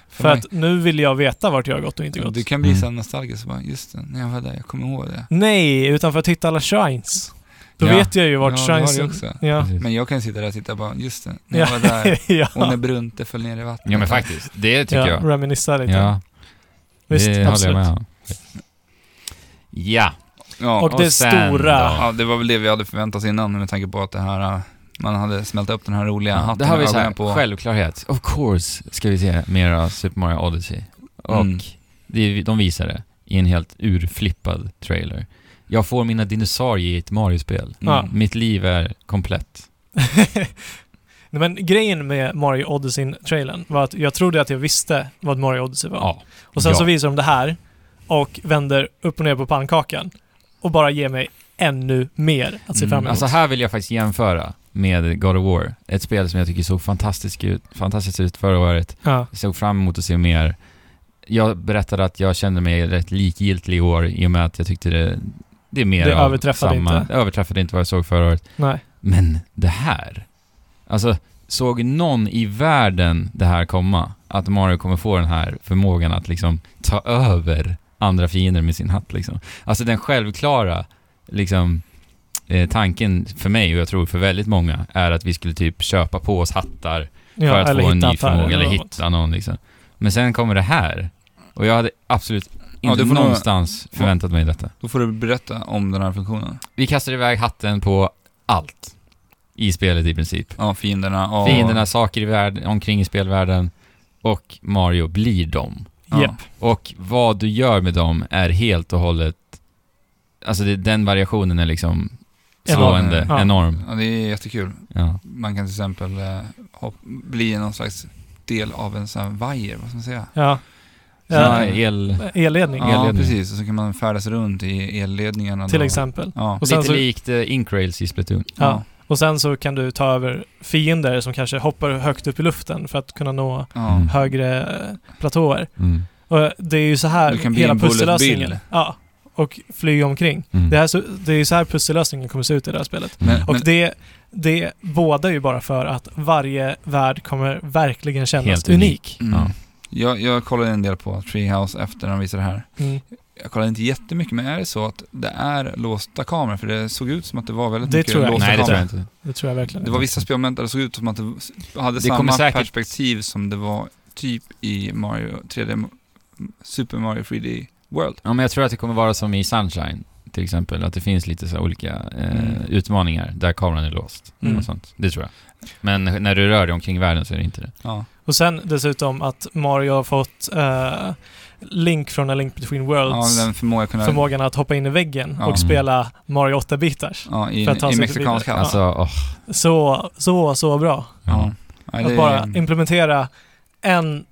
För,
mig-
att nu vill jag veta vart jag har gått och inte
Ja,
gått.
Du kan bli
Mm.
så här nostalgisk och bara, just det, när jag var där, jag kommer ihåg det.
Nej, utan för att hitta alla shrines. Då
Ja.
vet jag ju vart
Ja, det har
shrines...
du också.
Ja.
Precis.
Men jag kan sitta där och titta och bara, just det, när jag
Ja.
var där.
ja.
Och när Brunte föll ner i vattnet.
Ja men faktiskt, det tycker
ja,
jag.
Reminissa lite.
Ja,
Visst,
det
absolut.
håller jag med om. Ja,
Ja,
Och det
sen
stora.
då?
ja, det var väl det vi hade förväntat oss innan med tanke på att det här äh, Man hade smält upp den här roliga hatten
det här var ju
och
såhär,
ögonen på.
självklart. Of course ska vi se mera Super Mario Odyssey. Och
Mm.
det, de visar det i en helt urflippad trailer. Jag får mina dinosaurier i ett Mario-spel.
Mm.
Ja.
Mitt liv är komplett.
Nej, Men grejen med Mario Odyssey-trailern var att jag trodde att jag visste vad Mario Odyssey var.
Ja.
Och sen
ja.
så visar de det här och vänder upp och ner på pannkakan och bara ger mig ännu mer att se fram emot.
Alltså här vill jag faktiskt jämföra med God of War. Ett spel som jag tycker såg fantastiskt ut, fantastiskt ut förra året.
ja.
Jag såg fram emot att se mer. Jag berättade att jag kände mig rätt likgiltig i år i och med att jag tyckte det, det är mer
Det
av
överträffade
samma.
inte.
Det överträffade inte vad jag såg förra året.
Nej.
Men det här. Alltså, såg någon i världen det här komma? Att Mario kommer få den här förmågan att liksom ta över andra fiender med sin hatt liksom. Alltså den självklara liksom eh, tanken för mig och jag tror för väldigt många är att vi skulle typ köpa på oss hattar
Ja,
för att få en ny
affärer
förmåga eller
något.
hitta någon liksom. Men sen kommer det här. Och jag hade absolut
Ja,
inte
du får nog-
någonstans förväntat mig detta.
Då får du berätta om den här funktionen.
Vi kastar iväg hatten på allt i spelet i princip.
Ja, fienderna och...
Fienderna, saker i världen, omkring i spelvärlden och Mario blir dem.
Ja.
Japp.
Och vad du gör med dem är helt och hållet... Alltså det, den variationen är liksom slående,
Enorm. Ja.
enorm.
Ja, det är jättekul.
Ja.
Man kan till exempel eh, hop- bli någon slags del av en sån här vajer, vad ska man säga?
Ja.
Ja.
ja.
El,
Elledning,
Ja,
Elledning.
precis. Och så kan man färdas runt i elledningarna.
till
då.
exempel.
Ja.
Och sen
lite
så-
likt eh, Inkrails i Splatoon.
Ja. Och sen så kan du ta över fiender som kanske hoppar högt upp i luften för att kunna nå
ja.
Mm.
högre eh, platåer.
Mm.
Och det är ju så här
Du kan bli
hela
en Bullet
pussellösningen...
Bill.
Ja. Och flyga omkring.
Mm.
Det, här, så- det är ju så här pussellösningen kommer se ut i det här spelet.
Mm.
Och
Men-
det, det bådar ju bara för att varje värld kommer verkligen kännas
Helt
unik.
Mm.
Ja.
Jag, jag kollade en del på Treehouse efter de visade det här.
Mm.
Jag kollade inte jättemycket, men är det så att det är låsta kameror? För det såg ut som att det var väldigt
Det
mycket
tror jag
låsta
Nej, det
kameror.
tror jag inte.
Det tror jag verkligen.
Det var vissa spelmoment där det såg ut som att det s- hade
Det kommer
samma
säkert-
perspektiv som det var typ i Mario 3D, M- Super Mario 3D World.
Ja, men jag tror att det kommer vara som i Sunshine till exempel, att det finns lite så här olika eh,
Mm.
utmaningar där kameran är låst.
Mm.
Och sånt. Det tror jag. Men när du rör dig omkring världen så är det inte det.
Ja.
Och sen dessutom att Mario har fått eh, Link från A Link Between
ja,
Worlds
den förmågan att kunna...
förmågan att hoppa in i väggen
Ja. mm.
och spela Mario 8-bitars.
ja, i,
för att ta
i
sig
mexikansk
förbi.
hatt.
Alltså, åh.
Så, så, så bra.
Ja.
Ja. Nej,
Att
det-
bara implementera en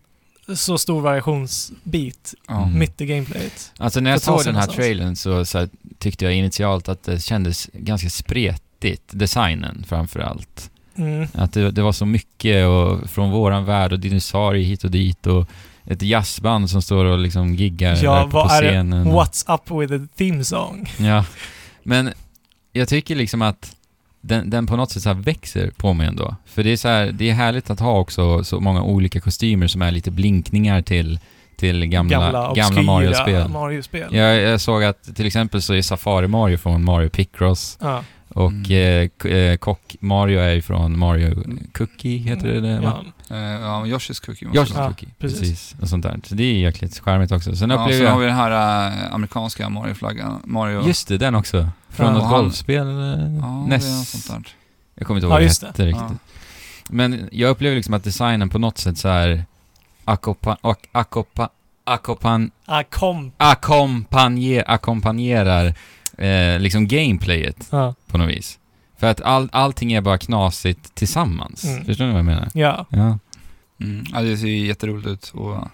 så stor variationsbit
ja.
Mm.
mitt i gameplayet.
Alltså när jag
För att
såg
ta sig
den här
någonstans.
trailern så, så här, tyckte jag initialt att det kändes ganska spretigt, designen framför allt.
Mm.
Att det, det var så mycket och, från våran värld och dinosaurier hit och dit och ett jazzband som står och liksom giggar
Ja,
där på, på
vad är det-
scenen. och-
What's up with the theme song?
Ja, men jag tycker liksom att den, den på något sätt så här växer på mig ändå. För det är, så här, det är härligt att ha också så många olika kostymer som är lite blinkningar till, till gamla, gamla,
obskyra
Mario-spel.
Mario-spel.
Jag, jag såg att till exempel så är Safari Mario från Mario Picross
Ja.
och
Mm.
eh, k- eh, Kock Mario är ju från Mario Cookie, heter det det? va?
Ja.
Eh, ja, Yoshi's Cookie. måste
Yoshi's
det vara.
Ja,
Cookie,
precis.
precis. Och sånt där. Så det är jäkligt charmigt också. Sen
Ja,
upplever
sen har
jag...
vi den här eh, amerikanska Mario-flaggan. Mario...
Just det, den också. Från
Ja,
något
och han-
golfspel? eh,
ja, det är något
NES
sånt där.
Jag kommer inte
Ja,
ihåg vad det
just
hette riktigt. Men jag upplever liksom att designen på något sätt så här akopa, ak, akopa, akopan,
Ah, kom.
akompanje, ackompanjerar eh, liksom gameplayet
Ja.
på något vis. För att all, allting är bara knasigt tillsammans.
Mm.
Förstår ni vad jag menar?
ja.
Ja.
Mm. Ja, det ser ju jätteroligt ut och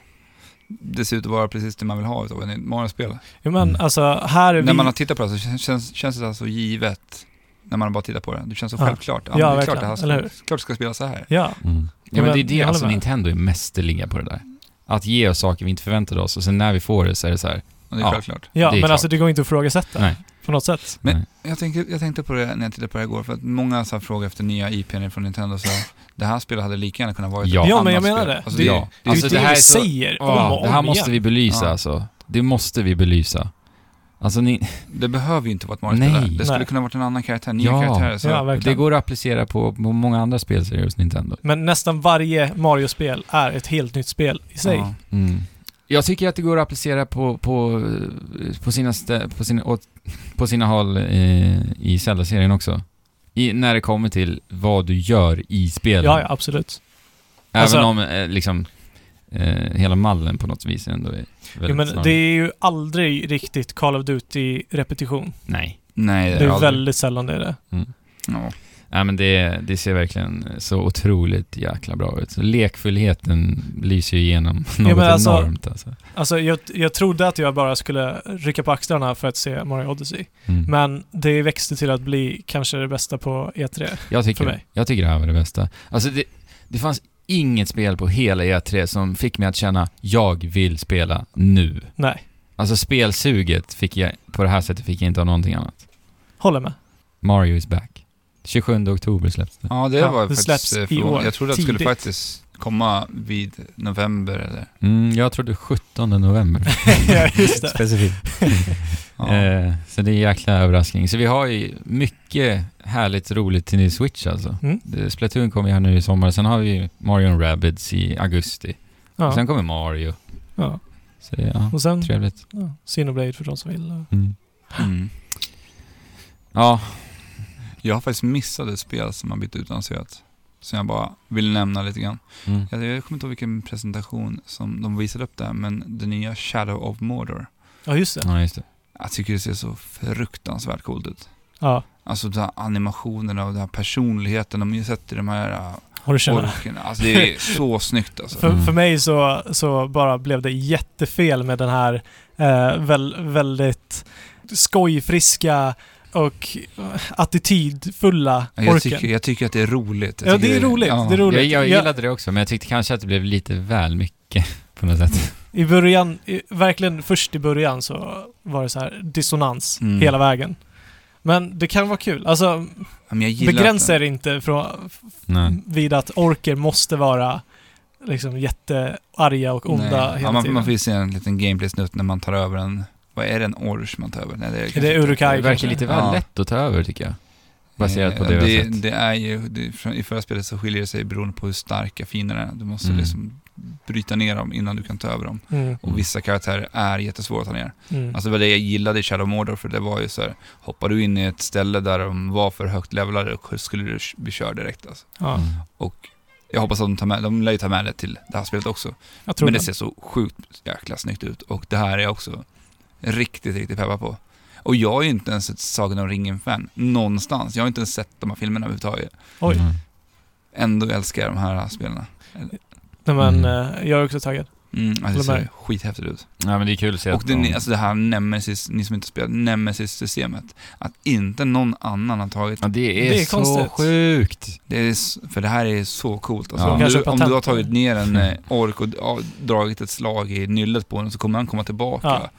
det ser ut att vara precis det man vill ha utav ett nytt Mario-spel.
Jo, men
Mm.
alltså här är vi...
När man har tittat på det så känns, känns det så givet när man bara tittar på det. Det känns så
Ja.
självklart.
Ja,
det är
verkligen.
klart det här
Eller hur?
ska, klart det ska spelas så här.
Ja.
Mm.
Ja,
ja men det är
men
det,
jag
alltså
håller med.
Nintendo är mästerliga på det där. Att ge oss saker vi inte förväntade oss och sen när vi får det så är det så här.
Och det är
Ja.
självklart.
Ja,
Det är
men
klart.
alltså det går inte att ifrågasätta
Nej.
på något sätt.
Men-
nej.
Jag tänkte, jag tänkte på det när jag tittade på det här igår, för att många så här frågor efter nya IPn från Nintendo så här, det här spelet hade lika gärna kunnat vara ett
Ja.
annat
Ja, men jag
spel.
menar det.
Alltså,
Det-
det,
ja.
Det är ju
Alltså,
det,
det här
vi
är så-
säger om
Åh,
och om
det här måste vi
igen.
belysa
Ja.
alltså. Det måste vi belysa. Alltså ni,
det behöver ju inte vara ett Mario-spel.
Nej.
där. Det skulle
Nej.
kunna ha varit en annan karaktär, nya
Ja.
karaktärer. Så
Ja, verkligen.
alltså, Det går att applicera på, på många andra spelserier hos Nintendo.
Men nästan varje Mario-spel är ett helt nytt spel i sig.
Ja.
Jag tycker att det går att applicera på, på, på, sina, stä- på, sina, åt, på sina håll eh, i Zelda-serien också. i, när det kommer till vad du gör i spelen.
Ja, ja, absolut.
Även
Alltså-
om eh, liksom eh, hela mallen på något vis ändå är väldigt
Jo, men
snabb.
det är ju aldrig riktigt Call of Duty-repetition.
Nej.
Nej,
Det
det
är
har jag aldrig.
väldigt sällan det är det.
Ja.
Nej, men det, det ser verkligen så otroligt jäkla bra ut. Så lekfullheten lyser ju igenom något
men alltså-
enormt alltså.
Alltså, jag, jag trodde att jag bara skulle rycka på axlarna för att se Mario Odyssey.
Mm.
Men det växte till att bli kanske det bästa på E E3.
jag,
för
tycker,
mig.
jag tycker det här var det bästa. Alltså det, det fanns inget spel på hela E3 som fick mig att känna jag vill spela nu.
Nej,
Alltså spelsuget fick jag, på det här sättet fick jag inte av någonting annat.
håller med.
Mario is back. 27 oktober släpps det.
ja, det
Ja,
var
det släpps
faktiskt
i
eh,
år.
förvånande. Jag trodde att det skulle
Tidigt.
faktiskt komma vid november eller...
Mm, jag trodde 17 november.
ja, just det.
Specifikt.
Ja.
Eh, så det är en jäkla överraskning. Så vi har ju mycket härligt roligt till ny Switch alltså.
Mm.
Det- Splatoon kommer ju här nu i sommar, sen har vi ju Mario and Rabbids i augusti. Och
Ja, Mm.
sen kommer Mario.
ja.
Så det är ja,
Och sen
trevligt.
ja, Xenoblade för de som vill.
Mm.
Mm.
Ja,
Jag har faktiskt missat ett spel som har blivit utannonserat. Som jag bara vill nämna lite grann.
mm.
Jag, jag kommer inte ihåg vilken presentation som de visade upp där, men det nya Shadow of Mordor.
Ja, just det.
ja just det.
Jag tycker det ser så fruktansvärt coolt ut.
Ja,
Alltså de här animationerna och den här personligheten de har ju sett i de här
har du
äh,
känt?
orkerna. Alltså det är så snyggt alltså.
För,
Mm.
för mig så, så bara blev det jättefel med den här eh, väl, väldigt skojfriska och eh, attitydfulla
Jag
orken.
tycker, jag tycker att det är roligt. Jag
Ja,
tycker
det är roligt.
ja.
Det är roligt.
Jag, jag
Jag-
gillade det också, men jag tyckte kanske att det blev lite väl mycket på något sätt.
I början, i, verkligen först i början så var det så här dissonans
Mm.
hela vägen. Men det kan vara kul. Alltså,
Ja, men jag gillar
begränsa
att
er inte från,
Nej.
vid att orker måste vara liksom jättearga och
den-
onda
Nej.
hela
ja, man,
tiden.
man får ju se en liten gameplay-snutt när man tar över en... Vad är det, en orch man tar över? Nej, det är,
det Uruk-hai
Det verkar
kanske?
lite väl
Ja.
lätt att ta över tycker jag. Baserat på
Eh,
det vi har
det,
sett.
det är ju, det, från- I förra spelet så skiljer det sig beroende på hur starka fienderna är. Du måste
Mm.
liksom bryta ner dem innan du kan ta över dem.
mm,
Mm.
Och vissa karaktärer är jättesvåra att ta ner.
mm.
Alltså det var det jag gillade i Shadow of Mordor, för det var ju så här, hoppar du in i ett ställe där de var för högt levlade och skulle du bli körd direkt alltså.
ja,
Mm.
Och jag hoppas att de tar med, de lär ju ta med det till det här spelet också.
jag tror
Men det
det.
ser så sjukt jäkla snyggt ut och det här är jag också riktigt, riktigt peppad på. Och jag är ju inte ens ett Sagan om ringen-fan någonstans. Jag har inte ens sett de här filmerna överhuvudtaget.
Oj.
Mm.
Ändå älskar jag de här spelarna.
Nej,
Mm.
men eh, jag är också taggad.
Mm, alltså det
Håller med.
ser skithäftigt ut.
Nej men det är kul att se
Och
att
det,
de-
ni- alltså det här Nemesis, ni som inte spelat Nemesis-systemet, att inte någon annan har tagit
ja, det är,
Det är
så
konstigt.
sjukt.
det, är, s- för det här är så coolt. Alltså
Ja. Mm.
om,
Kanske
du, om
patent.
du har tagit ner en eh, ork och ja, dragit ett slag i nyllet på den så kommer han komma tillbaka
Ja.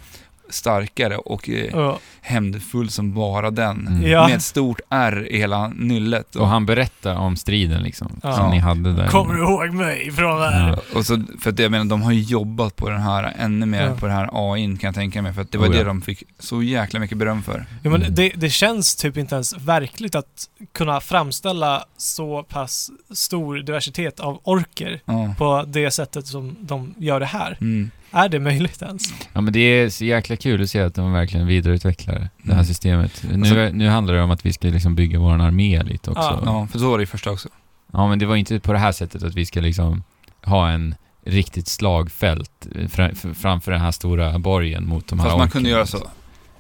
starkare och eh,
Och,
hämndfull som bara den.
Mm.
ja,
Med ett stort R i hela nyllet.
Och han berättar om striden liksom,
Ja.
som ni hade där.
kommer du ihåg mig från det här?
Ja.
Och så, för att jag menar, de har ju jobbat på den här, ännu mer
Ja.
på den här AIn kan jag tänka mig. För att det var
Oh, ja.
det de fick så jäkla mycket beröm för.
Ja, men
Mm.
det, det känns typ inte ens verkligt att kunna framställa så pass stor diversitet av orker
Ja.
på det sättet som de gör det här.
Mm.
Är det möjligt ens?
Ja men det är så jäkla kul att se att de verkligen vidareutvecklar det här
Mm.
systemet. Nu,
Alltså-
nu handlar det om att vi ska liksom bygga vår armé lite också.
Ja.
Ja.
ja, för så var det ju första också.
men det var inte på det här sättet att vi ska liksom ha en riktigt slagfält eh, fra- f- framför den här stora borgen mot de här
Fast man
orkerna.
kunde göra så.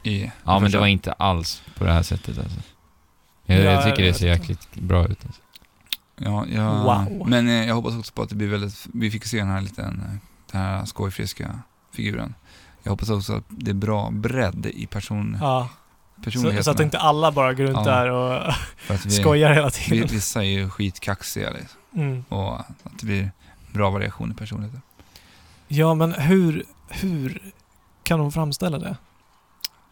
I
Ja men det
första.
var inte alls på det här sättet alltså. Jag,
Ja,
jag tycker
jag
det ser
vet
jäkligt bra ut. Alltså.
Ja, jag,
Wow.
Men eh, jag hoppas också på att det blir väldigt, vi fick se den här liten, eh, den här skojfriska figuren. Jag hoppas också att det är bra bredd i person,
Ja, så,
personligheterna.
så att inte alla bara går runt
Ja.
där och
för att vi,
skojar hela
vi,
tiden.
Vissa är ju skitkaxiga liksom,
Mm.
och att det blir bra variation i personligheter.
Ja, men hur, hur kan de framställa det?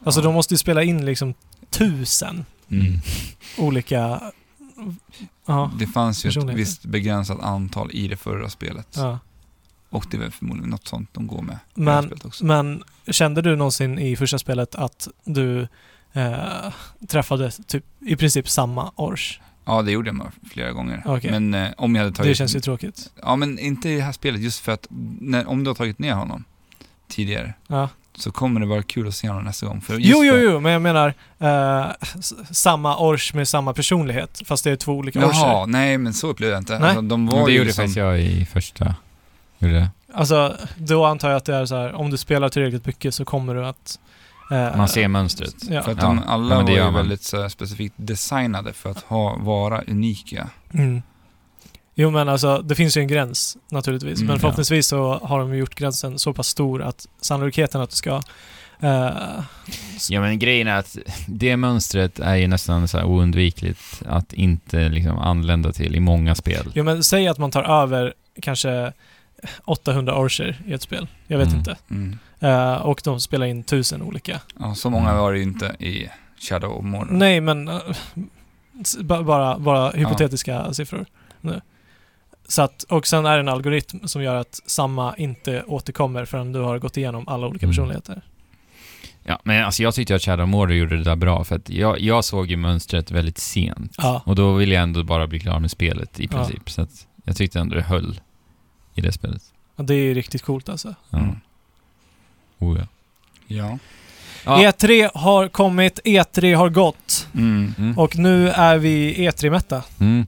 Alltså,
Ja.
de måste ju spela in liksom tusen
Mm.
Mm.
olika... Ja,
Det fanns ju ett
Personligheter.
visst begränsat antal i det förra spelet.
ja.
Och det är väl förmodligen något sånt de går med i det här
Men
spelet också.
Men kände du någonsin i första spelet att du eh, träffade typ, i princip samma ors?
Ja, det gjorde jag med flera gånger.
Okej.
Men eh, om jag hade tagit...
Det känns ju tråkigt.
Ja, men inte i det här spelet, just för att när, om du har tagit ner honom tidigare,
Ja,
så kommer det vara kul att se honom nästa gång. För just
Jo, jo,
det-
jo, men jag menar eh, s- samma Orch med samma personlighet, fast det är två olika Orcher.
Jaha, nej men så upplevde jag inte.
Nej.
Alltså, de
Men
var
det
ju
gjorde
liksom,
faktiskt jag i första. Gjorde det.
Alltså, då antar jag att det är så här, om du spelar tillräckligt mycket så kommer du att... eh,
Man ser mönstret.
Ja.
För att
Ja,
de
ja,
alla
men det
var ju
gör man.
väldigt så här, specifikt designade för att ha, vara unika.
Mm. Jo men alltså, det finns ju en gräns naturligtvis.
Mm,
men
ja.
förhoppningsvis så har de gjort gränsen så pass stor att sannolikheten att du ska... eh,
Ja men grejen är att det mönstret är ju nästan så här oundvikligt att inte liksom anlända till i många spel.
jo men säg att man tar över kanske 800 orcher i ett spel. Jag vet
Mm.
inte.
Mm.
Eh, och de spelar in tusen olika.
Ja, så många
Mm.
var det ju inte i Shadow of Mordor.
Nej men... eh, s- ba- bara, bara hypotetiska siffror. Nu. Så att, och sen är det en algoritm som gör att samma inte återkommer förrän du har gått igenom alla olika
Mm.
personligheter.
Ja, men alltså jag tyckte att Shadow of Mordor gjorde det där bra för att jag, jag såg ju mönstret väldigt sent
Ja.
och då ville jag ändå bara bli klar med spelet i
Ja.
princip. Så att jag tyckte ändå det höll i det spelet.
Och Det är ju riktigt coolt alltså.
Ja.
Mm.
Oh, ja.
Ja.
Ja.
E3 E har kommit, E3 har gått
Mm.
Mm.
och nu är vi E E3-mätta.
Mm.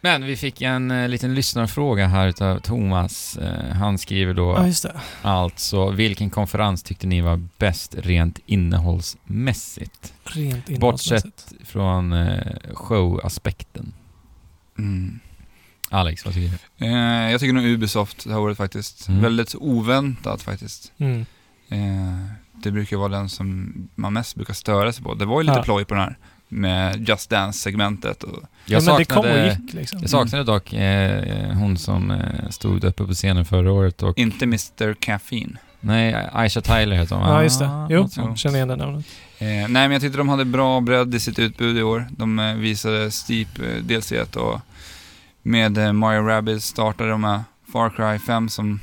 Men vi fick en eh, liten lyssnarfråga här utav Thomas. Eh, han skriver då
Ja, just det.
alltså, vilken konferens tyckte ni var bäst rent innehållsmässigt?
Rent
Bortsett-
innehållsmässigt.
från eh, showaspekten.
Mm.
Alex, vad tycker du?
Eh, jag tycker nog Ubisoft det här året faktiskt.
Mm.
Väldigt oväntat faktiskt.
Mm.
Eh, det brukar vara den som man mest brukar störa sig på. Det var ju lite
Ja.
ploj på den här med Just Dance-segmentet och
Ja,
Jag
men det kom och
saknade,
gick liksom.
jag saknade dock eh, hon som eh, stod uppe på scenen förra året och...
inte Mr. Caffeine.
Nej, Aisha Tyler heter hon va?
Ja, just det. Jo,
något sånt.
känner igen det namnet.
Eh, nej, men jag tyckte de hade bra bredd i sitt utbud i år. De eh, visade Steep eh, DLC och med eh, Mario Rabbids startade de med Far Cry 5 som,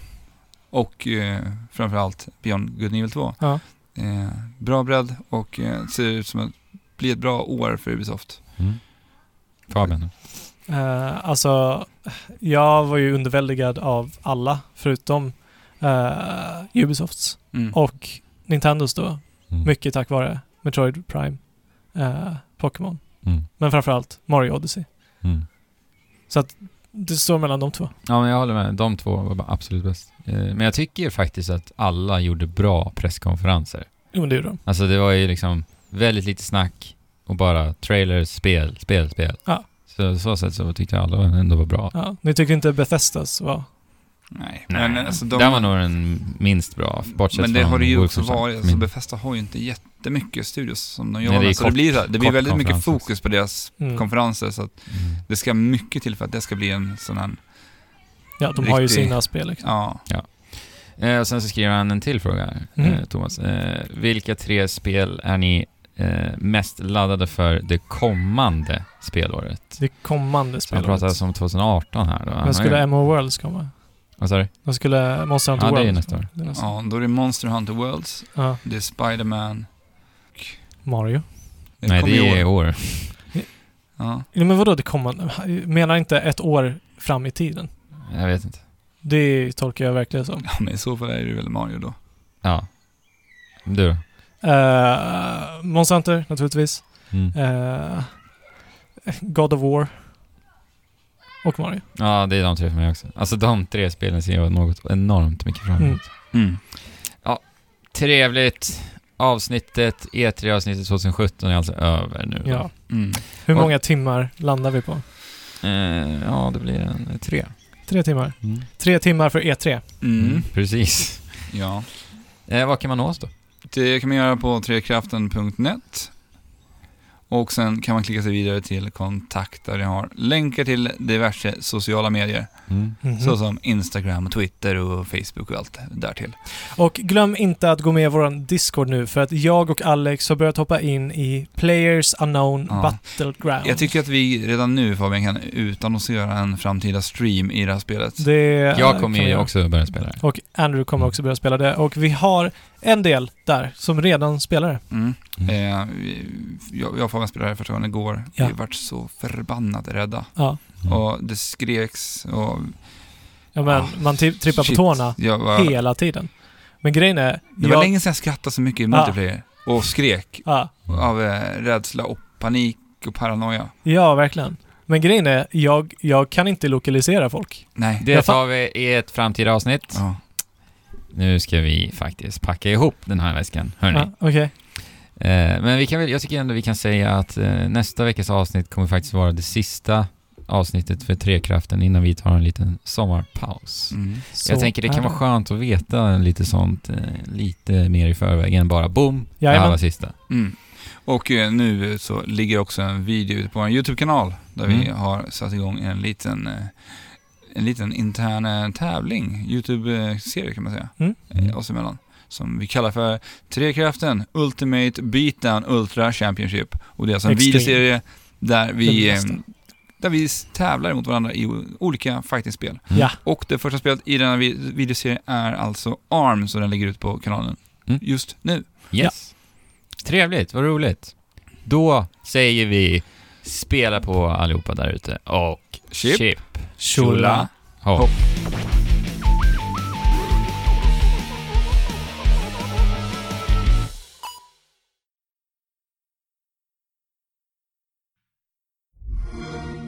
och eh, framförallt Beyond Good and Evil 2.
Ja.
Eh, bra bredd och eh, ser ut som att bli ett bra år för Ubisoft.
Mm. Fabian.
Eh, alltså, jag var ju underväldigad av alla förutom eh, Ubisofts
Mm.
och Nintendos då.
Mm.
Mycket tack vare Metroid Prime, eh, Pokémon,
Mm.
men framförallt Mario Odyssey.
Mm.
Så att det står mellan de två.
Ja, men jag håller med. De två var bara absolut bäst. Eh, men jag tycker faktiskt att alla gjorde bra presskonferenser.
Jo, men det gjorde de.
Alltså det var ju liksom väldigt lite snack och bara trailers, spel, spel, spel.
Ja.
Så så sätt så tyckte jag alla ändå var bra.
Ja, ni tyckte inte Bethesdas var...
Nej,
Nej,
men alltså de...
den var nog den minst bra, bortsett
men det
från
har det ju också
Wolfenstein.
varit, alltså
Min-
Bethesda har ju inte jättemycket studios som de
Nej,
jobbar
det är
med. Så
kort-
det blir, så här- det blir
kort
väldigt mycket
konferens.
fokus på deras
Mm.
konferenser så att
Mm.
det ska mycket till för att det ska bli en sån här,
Ja, de har ju
Riktig-
sina spel. Liksom.
ja,
Eh, och sen så skriver han en till fråga, här, eh,
Mm.
Thomas. Eh, vilka tre spel är ni eh, mest laddade för det kommande spelåret?
Det kommande
Han
spelet.
pratar alltså om 2018 här då. Han har
Men skulle
ju-
MO Worlds komma?
Vad sa du?
De skulle Monster Hunter
Ja, det är
World?
ju nästa år.
Det är nästa.
Ja, då är det Monster Hunter Worlds,
Ja.
det är Spider-Man.
Mario.
Det
Nej,
kommer
det
i
är i
år.
år.
Ja.
Ja, men vadå det kommande? Menar inte ett år fram i tiden?
Jag vet inte.
Det tolkar jag verkligen som.
ja, men i så fall är det väl Mario då.
Ja. Du då?
Uh, Monster Hunter, naturligtvis.
Mm.
Eh, God of War. Och Mario.
Ja, det är de tre för mig också. Alltså de tre spelen ser jag något enormt mycket fram emot.
Mm.
Trevligt. Avsnittet, E3-avsnittet 2017 är alltså över nu. då.
Ja.
Mm.
Hur
Och-
många timmar landar vi på?
Eh, ja, det blir en tre.
Tre timmar. Tre timmar för E3.
Mm.
Mm. Precis.
Ja.
Eh, vad kan man nå oss då?
Det kan man göra på trekraften.net. Och sen kan man klicka sig vidare till kontakt där jag har länkar till diverse sociala medier.
Mhm.
Såsom Instagram, och Twitter och Facebook och allt därtill.
Och glöm inte att gå med i vår Discord nu för att jag och Alex har börjat hoppa in i Players Unknown
Ja.
Battleground.
Jag tycker att vi redan nu Fabian kan utannonsera en framtida stream i det här spelet.
det
Jag kommer
kan vi
ju
göra.
också börja spela det.
Och Andrew kommer också börja spela det. Och vi har en del där som redan spelar det.
Mm. Eh, vi- jag, jag och Fabian spelade det här första gången igår.
Ja.
Vi vart så förbannat rädda.
Ja.
Mm.
Och det skreks och...
ja men
Ah,
man tri- trippar på
shit.
tårna
Jag var,
hela tiden. Men grejen är...
Det var länge sedan jag skrattade så mycket i multiplayer. Och skrek
ja,
av eh, rädsla och panik och paranoia.
ja, verkligen. Men grejen är, jag, jag kan inte lokalisera folk.
Nej.
Det
Jag fa-
tar vi i ett framtida avsnitt.
Ja.
Nu ska vi faktiskt packa ihop den här väskan, hörni.
Ja, Okej.
Eh, men vi kan väl, jag tycker ändå vi kan säga att eh, nästa veckas avsnitt kommer faktiskt vara det sista avsnittet för Trekraften innan vi tar en liten sommarpaus.
Mm.
Så
Jag tänker det
är
kan vara skönt att veta lite sånt eh, lite mer i förväg än bara boom, det här
Jajamän.
var sista.
Mm. Och eh, nu så ligger också en video ute på vår YouTube-kanal där vi
Mm.
har satt igång en liten, eh, en liten intern eh, tävling, YouTube-serie kan man säga,
Mm.
eh, oss emellan. Som vi kallar för Trekraften Ultimate Beatdown Ultra Championship. Och det är alltså en
Extreme.
videoserie där vi,
Den
eh,
bästa.
där vi s- tävlar mot varandra i o- olika fighting-spel.
Mm.
Ja.
Och det första spelet i den här vi- videoserien är alltså Arms och den ligger ute på kanalen
Mm.
just nu.
Yes. Trevligt, vad roligt. Då säger vi spela på allihopa där ute och
Chip.
chip.
Tjola.
Hopp.
Hopp.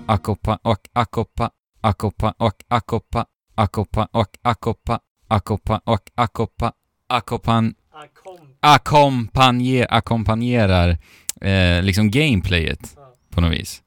Akopa och akopa, akopa och akopa, akopa och akopa, akopa och akopa, akopan, ackompanjer, ackompanjerar eh, liksom gameplayet på något vis.